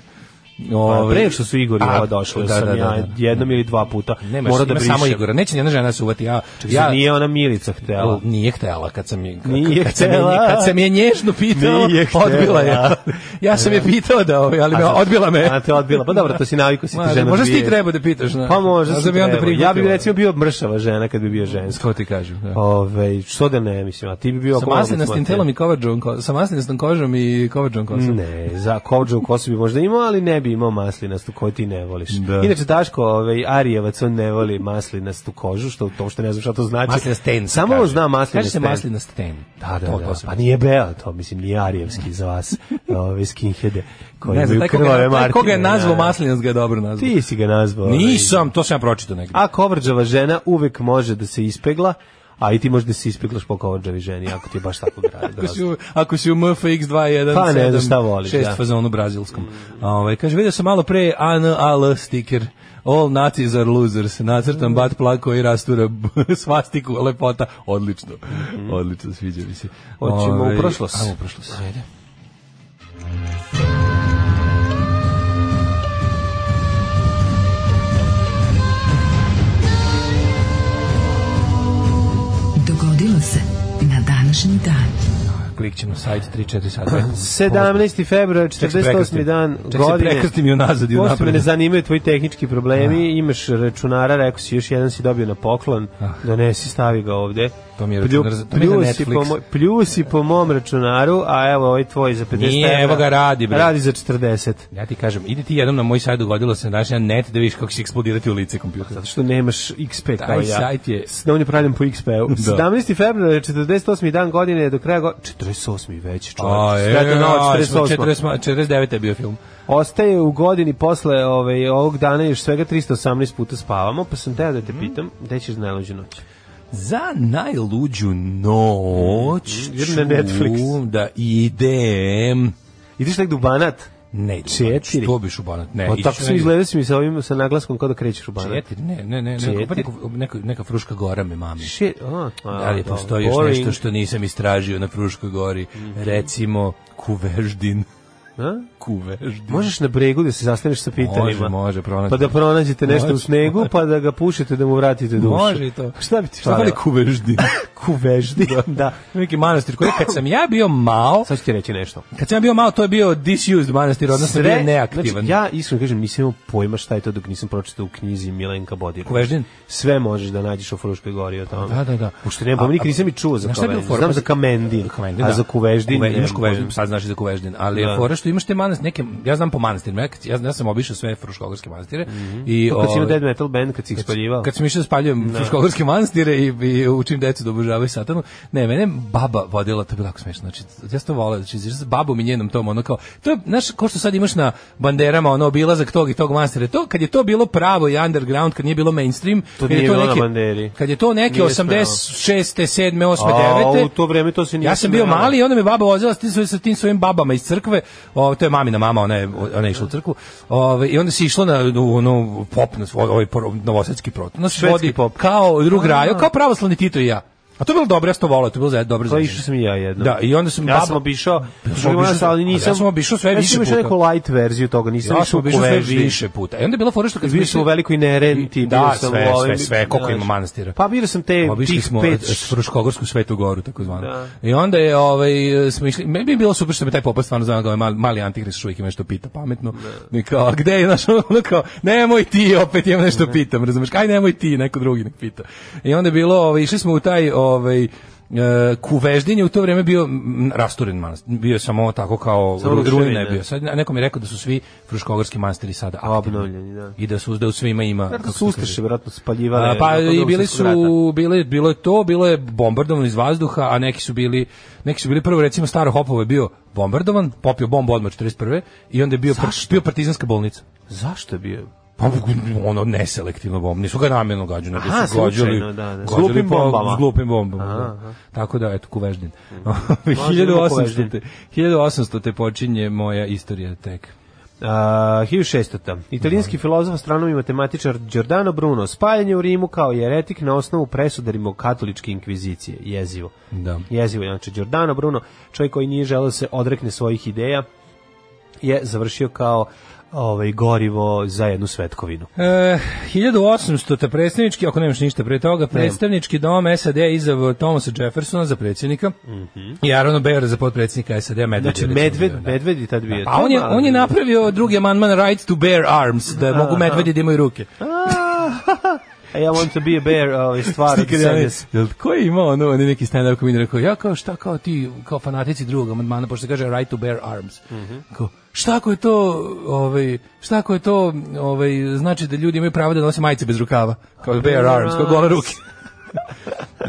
[SPEAKER 6] Ovaj,
[SPEAKER 5] Pa
[SPEAKER 6] Ove-
[SPEAKER 5] pre što su Igor i
[SPEAKER 6] A,
[SPEAKER 5] ova došla,
[SPEAKER 6] da,
[SPEAKER 5] sam
[SPEAKER 6] da, da,
[SPEAKER 5] ja
[SPEAKER 6] da.
[SPEAKER 5] jednom ili dva puta
[SPEAKER 6] Nemaš,
[SPEAKER 5] mora da
[SPEAKER 6] ima
[SPEAKER 5] brišem.
[SPEAKER 6] samo Igora. Neće nijedna žena se uvati. Ja,
[SPEAKER 5] Ja,
[SPEAKER 6] ja,
[SPEAKER 5] nije ona Milica htela.
[SPEAKER 6] Nije htela kad sam je
[SPEAKER 5] Nije
[SPEAKER 6] kad sam je-
[SPEAKER 5] htela.
[SPEAKER 6] kad sam je nježno pitao,
[SPEAKER 5] Nije htela.
[SPEAKER 6] odbila je. Ja sam je pitao da, ovaj, ali me, odbila me.
[SPEAKER 5] A te odbila. Pa dobro, to si naviku si
[SPEAKER 6] Ma,
[SPEAKER 5] ti žena.
[SPEAKER 6] možda si ti
[SPEAKER 5] dvije.
[SPEAKER 6] trebao da pitaš, ne?
[SPEAKER 5] Pa možda
[SPEAKER 6] Možda
[SPEAKER 5] si
[SPEAKER 6] bi onda
[SPEAKER 5] trebao. Ja bi
[SPEAKER 6] prihvatila.
[SPEAKER 5] recimo bio mršava žena kad bi bio ženska.
[SPEAKER 6] Kako ti kažem?
[SPEAKER 5] Pa,
[SPEAKER 6] Da.
[SPEAKER 5] Ove, što da ne, mislim, a ti bi bio...
[SPEAKER 6] Sa
[SPEAKER 5] golub,
[SPEAKER 6] maslinastim
[SPEAKER 5] smrte.
[SPEAKER 6] telom i kovađom, ko- sa maslinastom kožom i kovađom kosom.
[SPEAKER 5] Ne, za kođa u kosu bi možda imao, ali ne bi imao maslinastu koju ti ne voliš.
[SPEAKER 6] Da.
[SPEAKER 5] Inače, Daško, ovaj, Arijevac, on ne voli maslinastu kožu, što to što ne znam šta to znači.
[SPEAKER 6] Maslinasten se
[SPEAKER 5] Samo on
[SPEAKER 6] kaže.
[SPEAKER 5] zna maslinast
[SPEAKER 6] Kaže se
[SPEAKER 5] ten.
[SPEAKER 6] maslinast ten.
[SPEAKER 5] Da, da,
[SPEAKER 6] To-
[SPEAKER 5] da.
[SPEAKER 6] to se-
[SPEAKER 5] pa nije beo to, mislim, nije arijevski za
[SPEAKER 6] (laughs)
[SPEAKER 5] vas, ove skinhede, koji
[SPEAKER 6] Ne znam,
[SPEAKER 5] imaju
[SPEAKER 6] taj koga,
[SPEAKER 5] krvave
[SPEAKER 6] taj
[SPEAKER 5] martine.
[SPEAKER 6] koga je nazvao
[SPEAKER 5] da, da.
[SPEAKER 6] maslinast ga je dobro nazvao.
[SPEAKER 5] Ti si ga nazvao. ovaj.
[SPEAKER 6] Nisam, to sam ja pročitao negdje.
[SPEAKER 5] A kovrđava žena uvek može da se ispegla, a i ti možeš da se ispeglaš po kovrđavi ženi, ako ti je baš tako drago.
[SPEAKER 6] Ako si, u, ako si u MFX 217,
[SPEAKER 5] Pa ne znam šta voliš,
[SPEAKER 6] šest
[SPEAKER 5] da.
[SPEAKER 6] fazonu brazilskom. Ovaj, kaže, vidio sam malo pre ANAL stiker. All Nazis are losers. Nacrtan bat plak koji rastura b- (laughs) svastiku, lepota. Odlično. Odlično, sviđa mi se.
[SPEAKER 5] Hoćemo
[SPEAKER 6] Ovaj,
[SPEAKER 5] u prošlost.
[SPEAKER 6] Ajmo Mhm. u prošlost. Ajde.
[SPEAKER 4] Dogodilo se na današnji dan.
[SPEAKER 6] Klikćemo na sajt 3-4 (clears throat) sata.
[SPEAKER 5] 17. februar,
[SPEAKER 6] Ček se
[SPEAKER 5] 48.
[SPEAKER 6] prekrstim.
[SPEAKER 5] dan
[SPEAKER 6] Ček se
[SPEAKER 5] godine.
[SPEAKER 6] prekrstim i unazad i
[SPEAKER 5] Pošto me ne
[SPEAKER 6] unapred.
[SPEAKER 5] zanimaju tvoji tehnički problemi, imaš računara, rekao si još jedan si dobio na poklon, donesi, stavi ga ovde.
[SPEAKER 6] Ah. To mi je računar za- to mi je za
[SPEAKER 5] pljusi, po
[SPEAKER 6] Netflix.
[SPEAKER 5] moj, pljusi po mom računaru, a evo ovaj tvoj za 50
[SPEAKER 6] Nije,
[SPEAKER 5] evra.
[SPEAKER 6] evo ga, radi, bre.
[SPEAKER 5] Radi za 40.
[SPEAKER 6] Ja ti kažem, idi ti jednom na moj sajt, dogodilo se na današnji net da vidiš kako će eksplodirati u lice kompjuter.
[SPEAKER 5] Zato što nemaš XP kao
[SPEAKER 6] Taj
[SPEAKER 5] ja.
[SPEAKER 6] sajt je-
[SPEAKER 5] S- On je pravljen po XP-u. 17. februar, 48. dan godine, do kraja godine... 48. već,
[SPEAKER 6] A,
[SPEAKER 5] čovječ.
[SPEAKER 6] e,
[SPEAKER 5] Sretna noć,
[SPEAKER 6] a,
[SPEAKER 5] 48.
[SPEAKER 6] 48, 49. je bio film.
[SPEAKER 5] Ostaje u godini posle ovaj, ovog dana još svega 318 puta spavamo, pa sam teo da
[SPEAKER 6] Mhm.
[SPEAKER 5] te pitam, gde ćeš najluđu noć?
[SPEAKER 6] Za najluđu noć
[SPEAKER 5] Idem Mm, na Netflix.
[SPEAKER 6] ću da idem...
[SPEAKER 5] Ideš negdje u Banat?
[SPEAKER 6] Ne, idu u
[SPEAKER 5] Četiri.
[SPEAKER 6] Banat, što biš u Banat? Ne,
[SPEAKER 5] Pa
[SPEAKER 6] E, ići
[SPEAKER 5] tako
[SPEAKER 6] ću
[SPEAKER 5] sam
[SPEAKER 6] negdje-
[SPEAKER 5] izgledao si mi sa ovim sa naglaskom kao da krećeš u Banat.
[SPEAKER 6] Četiri, ne, ne, ne,
[SPEAKER 5] Četiri.
[SPEAKER 6] neko, pa neko, neko, neka Fruška gora me mami.
[SPEAKER 5] Shit, a, a,
[SPEAKER 6] Da li
[SPEAKER 5] dobro,
[SPEAKER 6] postoji još
[SPEAKER 5] boring. Mhm.
[SPEAKER 6] nešto što nisam istražio na Fruškoj gori? Recimo, Kuveždin.
[SPEAKER 5] A?
[SPEAKER 6] Kuveždin.
[SPEAKER 5] Možeš na bregu da se zastaneš sa
[SPEAKER 6] Može,
[SPEAKER 5] pitanjima.
[SPEAKER 6] može, pronaći.
[SPEAKER 5] Pa da pronađete nešto u
[SPEAKER 6] Može.
[SPEAKER 5] snegu, pa da ga pušite da mu vratite dušu.
[SPEAKER 6] Može i to.
[SPEAKER 5] Šta bi ti
[SPEAKER 6] Šta fali
[SPEAKER 5] falilo?
[SPEAKER 6] Kuveždin?
[SPEAKER 5] (laughs) Kuveždi. da.
[SPEAKER 6] (laughs) Neki manastir koji kad sam ja bio mal,
[SPEAKER 5] Sad ću ti reći nešto.
[SPEAKER 6] kad sam ja bio mal, to je bio disused manastir, odnosno bio je neaktivan.
[SPEAKER 5] Znači, ja iskreno kažem, nisam imao pojma šta je to dok nisam pročitao u knjizi Milenka Bodira.
[SPEAKER 6] Kuveždin?
[SPEAKER 5] Sve možeš da nađeš u Fruškoj gori o tome.
[SPEAKER 6] Da, da, da.
[SPEAKER 5] Ušte nema, nikad nisam i čuo za
[SPEAKER 6] Znaš šta je bio
[SPEAKER 5] Kuveždin.
[SPEAKER 6] fora?
[SPEAKER 5] Znam za Kamendin,
[SPEAKER 6] Kuveždin,
[SPEAKER 5] a
[SPEAKER 6] da.
[SPEAKER 5] za Kuveždin...
[SPEAKER 6] Kuve-
[SPEAKER 5] nemam
[SPEAKER 6] imaš Kuveždin,
[SPEAKER 5] pojma.
[SPEAKER 6] sad znaš i za Kuveždin, ali
[SPEAKER 5] Da.
[SPEAKER 6] je fora što imaš te manastir, neke, ja znam po manastirima, ja, kad- ja, ja sam obišao sve fruškogorske manastire. i,
[SPEAKER 5] Mhm. Pa Kad si imao
[SPEAKER 6] ovaj,
[SPEAKER 5] dead metal band, kad si ih spaljivao.
[SPEAKER 6] Kad sam išao da spaljujem fruškogorske manastire i, i učim decu da obožavaju satanu, ne, mene baba vodila, to je bilo tako smešno, znači, ja sam to volao, znači, s babom i njenom tom, ono kao, to je, znaš, ko što sad imaš na banderama, ono, obilazak tog i tog manastira, to, kad je to bilo pravo i underground, kad nije bilo mainstream, kad je
[SPEAKER 5] nije
[SPEAKER 6] to
[SPEAKER 5] bilo na
[SPEAKER 6] neke,
[SPEAKER 5] banderi.
[SPEAKER 6] kad je to neke
[SPEAKER 5] Nije
[SPEAKER 6] 86. 7. 8.
[SPEAKER 5] A,
[SPEAKER 6] 9.
[SPEAKER 5] u to vreme to se nije
[SPEAKER 6] Ja sam bio
[SPEAKER 5] smelo.
[SPEAKER 6] mali i onda me baba vozila sa tim, svoj- sa tim svojim babama iz crkve. O, to je mamina mama, ona je, ona je išla u crkvu. Ove, I onda se išlo na u onu pop, na svoj, ovaj pro- novosadski prot. Nas
[SPEAKER 5] Švedski
[SPEAKER 6] vodi
[SPEAKER 5] pop.
[SPEAKER 6] kao drug rajo, kao pravoslavni Tito i ja. A to je bilo dobro, ja sam to volao, to je bilo za, dobro
[SPEAKER 5] Pa
[SPEAKER 6] za
[SPEAKER 5] išao sam i ja jedno.
[SPEAKER 6] Da, i onda sam
[SPEAKER 5] ja
[SPEAKER 6] baba-
[SPEAKER 5] sam obišao,
[SPEAKER 6] Ja sam
[SPEAKER 5] drugi
[SPEAKER 6] obišao-
[SPEAKER 5] nas, ali
[SPEAKER 6] ali
[SPEAKER 5] nisam.
[SPEAKER 6] ja sam obišao sve više
[SPEAKER 5] Ja sam
[SPEAKER 6] puta.
[SPEAKER 5] obišao neku light verziju toga, nisam
[SPEAKER 6] Ja sam
[SPEAKER 5] išao u
[SPEAKER 6] obišao sve
[SPEAKER 5] Kuvevi.
[SPEAKER 6] više puta. I onda je bila fora što kad
[SPEAKER 5] Bio sam u velikoj nerenti,
[SPEAKER 6] Da,
[SPEAKER 5] bio sam
[SPEAKER 6] sve,
[SPEAKER 5] u ovim,
[SPEAKER 6] sve, sve, koliko
[SPEAKER 5] znaš.
[SPEAKER 6] ima manastira.
[SPEAKER 5] Pa bio sam te
[SPEAKER 6] Obišli
[SPEAKER 5] tih
[SPEAKER 6] smo
[SPEAKER 5] pet,
[SPEAKER 6] pet... Fruškogorsku svetu goru, tako zvano.
[SPEAKER 5] Da.
[SPEAKER 6] I onda je, ovaj, smo išli, meni bi bilo super što me taj popa stvarno znao da ovaj mali, mali antihrist uvijek ima nešto pita pametno. I kao, a gde je, znaš, ono kao, nemoj ti, opet imam nešto pitam, razumeš, kaj nemoj ti, neko drugi nek pita. I onda je bilo, ovaj, išli smo u taj, ovaj, E, kuveždin je u to vrijeme bio m, rasturen manastir, bio je samo tako kao
[SPEAKER 5] Samo
[SPEAKER 6] ru- ruina
[SPEAKER 5] ruševine.
[SPEAKER 6] je bio. Sad neko mi je rekao da su svi fruškogorski manastiri sada
[SPEAKER 5] a
[SPEAKER 6] aktivni.
[SPEAKER 5] obnovljeni, da.
[SPEAKER 6] i da su da u svima ima
[SPEAKER 5] Kako
[SPEAKER 6] kako se
[SPEAKER 5] su
[SPEAKER 6] kaže,
[SPEAKER 5] ustaše verovatno spaljivale.
[SPEAKER 6] a, pa
[SPEAKER 5] nakon
[SPEAKER 6] i
[SPEAKER 5] Drugog
[SPEAKER 6] bili
[SPEAKER 5] svjetskog rata.
[SPEAKER 6] su bile bilo je to, bilo je bombardovano iz vazduha, a neki su bili neki su bili prvo recimo Staro Hopovo je bio bombardovan, popio bombu odmah 41. i onda je bio par, bio partizanska bolnica.
[SPEAKER 5] Zašto je bio?
[SPEAKER 6] Pa ono neselektivno bomb, nisu ga namjerno gađali, nego
[SPEAKER 5] Aha,
[SPEAKER 6] su gađali,
[SPEAKER 5] slučajno, da, da. S
[SPEAKER 6] gađali
[SPEAKER 5] glupim
[SPEAKER 6] po-
[SPEAKER 5] bombama.
[SPEAKER 6] S glupim bombama.
[SPEAKER 5] Aha,
[SPEAKER 6] da.
[SPEAKER 5] aha.
[SPEAKER 6] Tako da eto kuveždin. (laughs)
[SPEAKER 5] Kuveždin.
[SPEAKER 6] 1800 te, 1800 te počinje moja istorija tek.
[SPEAKER 5] Uh, 1600. Italijanski filozof, astronom i matematičar Giordano Bruno spaljen je u Rimu kao jeretik na osnovu presuda rimokatoličke inkvizicije. Jezivo.
[SPEAKER 6] Da.
[SPEAKER 5] Jezivo, je. znači Giordano Bruno, čovjek koji nije želeo da se odrekne svojih ideja, je završio kao ovaj gorivo za jednu svetkovinu.
[SPEAKER 6] E, 1800. te predstavnički, ako nemaš ništa pre toga, predstavnički dom SAD izabao Thomasa Jeffersona za predsjednika i Arona Bejora za potpredsjednika SAD. Medved je
[SPEAKER 5] Mhm. Znači
[SPEAKER 6] recimo
[SPEAKER 5] medved,
[SPEAKER 6] bio, da.
[SPEAKER 5] medved je tad bio.
[SPEAKER 6] A on je, on je napravio drugi amandman Right to bear arms, da mogu medvedi da imaju ruke.
[SPEAKER 5] A E, ja want to be a bear, ovaj, stvar.
[SPEAKER 6] Stiker, ja ne- Jel ko je imao ono, on je neki stand-up komedij rekao, ja kao šta kao ti, kao fanatici drugog amandmana, pošto se kaže right to bear arms. Kao, šta ako je to, ovaj, šta ako je to, ovaj, znači da ljudi imaju pravo da nose majice bez rukava, kao Pa bear arms, kao gole (laughs) ruke.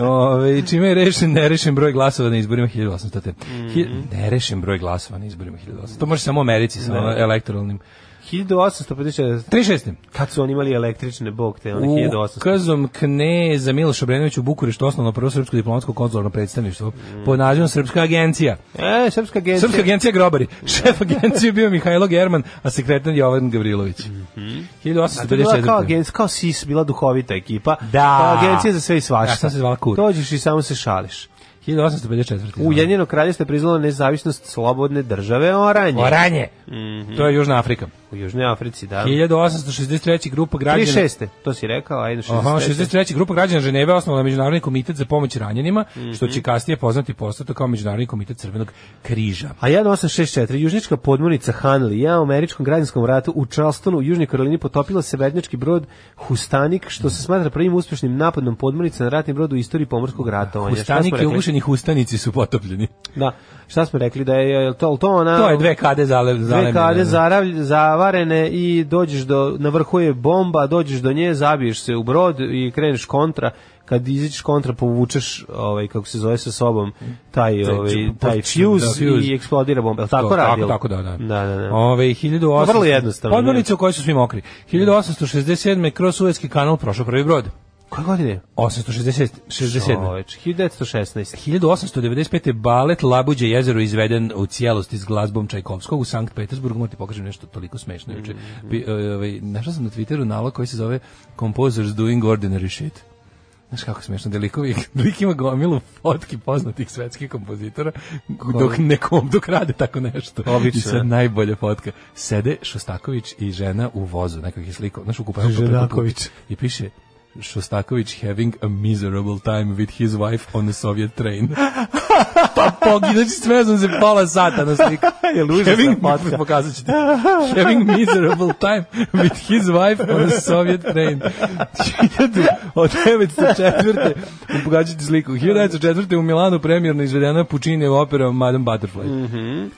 [SPEAKER 6] Ove, čime je rešen nerešen broj glasova na izborima 1800. te Hi- Nerešen broj glasova na izborima 1800. To može samo u Americi sa ono, elektoralnim.
[SPEAKER 5] 1850.
[SPEAKER 6] 36.
[SPEAKER 5] Kad su oni imali električne bog te, one 1800.
[SPEAKER 6] Ukazom kneza Miloša Obrenovića u Bukureštu osnovno prvo srpsko diplomatsko konzularno predstavništvo pod nazivom Srpska agencija.
[SPEAKER 5] E, srpska agencija.
[SPEAKER 6] Srpska agencija grobari. (laughs) Šef agencije je bio Mihajlo German, a sekretar Jovan Gavrilović.
[SPEAKER 5] Mhm. A to je bila kao
[SPEAKER 6] 1854.
[SPEAKER 5] agencija, kao SIS, bila duhovita ekipa.
[SPEAKER 6] Da.
[SPEAKER 5] Kao agencija za sve i svašta.
[SPEAKER 6] Ja sam se zvala Kur.
[SPEAKER 5] Dođeš i samo se šališ.
[SPEAKER 6] 1854.
[SPEAKER 5] Ujedinjeno kraljestvo je priznalo nezavisnost slobodne države Oranje.
[SPEAKER 6] Oranje.
[SPEAKER 5] Mhm.
[SPEAKER 6] To je Južna Afrika.
[SPEAKER 5] U Južnoj Africi, da.
[SPEAKER 6] 1863. grupa građana
[SPEAKER 5] 36. To si rekao, ajde 63.
[SPEAKER 6] Aha, 63. grupa građana Ženeve osnovala Međunarodni komitet za pomoć ranjenima, što
[SPEAKER 5] Mhm.
[SPEAKER 6] će kasnije poznati postato kao Međunarodni komitet Crvenog križa.
[SPEAKER 5] A 1864. Južnička podmornica Hanley ja u američkom građanskom ratu u Charlestonu u Južnoj Karolini potopila severnjački brod Hustanik, što se smatra prvim uspješnim napadnom podmornice na ratni brod u istoriji pomorskog rata.
[SPEAKER 6] Hustanik i ugušeni hustanici su potopljeni.
[SPEAKER 5] Da, šta smo rekli, da je je li to, je li to ona...
[SPEAKER 6] To je dve kade zale,
[SPEAKER 5] Dve
[SPEAKER 6] zalemljene, da.
[SPEAKER 5] kade zaravlj- zavarene i dođeš do, na vrhu je bomba, dođeš do nje, zabiješ se u brod i kreneš kontra. Kad iziđeš kontra, povučeš, ovaj, kako se zove sa sobom, taj,
[SPEAKER 6] Taj
[SPEAKER 5] ovaj,
[SPEAKER 6] čup-
[SPEAKER 5] taj
[SPEAKER 6] da,
[SPEAKER 5] fuse,
[SPEAKER 6] fuse.
[SPEAKER 5] i eksplodira bomba. Jel Tako
[SPEAKER 6] To,
[SPEAKER 5] radilo?
[SPEAKER 6] Tako, tako, da, da.
[SPEAKER 5] Da, da, da.
[SPEAKER 6] Ove, 1800...
[SPEAKER 5] Vrlo jednostavno,
[SPEAKER 6] Podmornice u kojoj su svi mokri. 1867. kroz Suezki kanal prošao prvi brod.
[SPEAKER 5] Koje godine?
[SPEAKER 6] 860, 67.
[SPEAKER 5] Čoveč, 1916.
[SPEAKER 6] 1895. balet Labuđe jezero izveden u cijelosti s glazbom Čajkovskog u Sankt Petersburgu. Moram ti pokažem nešto toliko smešno. juče. Bi- e, ovaj, Našao sam na Twitteru nalog koji se zove Composers Doing Ordinary Shit. Znaš kako smešno, da likovi, (laughs) lik ima gomilu fotki poznatih svetskih kompozitora dok nekom dok rade tako nešto.
[SPEAKER 5] Obično,
[SPEAKER 6] I sad
[SPEAKER 5] da.
[SPEAKER 6] najbolja fotka. Sede Šostaković i žena u vozu, nekakvih je slikao, znaš, u kuparu pa preko puta.
[SPEAKER 5] Ženaković.
[SPEAKER 6] I piše Šostaković having a miserable time with his wife on a Soviet train. (laughs) pa pogi, znači smeo sam se pola sata na (laughs) sliku.
[SPEAKER 5] Je li užasna
[SPEAKER 6] having,
[SPEAKER 5] fotka?
[SPEAKER 6] (laughs) Pokazat ću ti. having miserable time with his wife on a Soviet train. Hiljadu- Od 1904. Pogađat ću sliku. 1904. u Milanu premjerno izvedena Pučinjeva opera Madame Butterfly.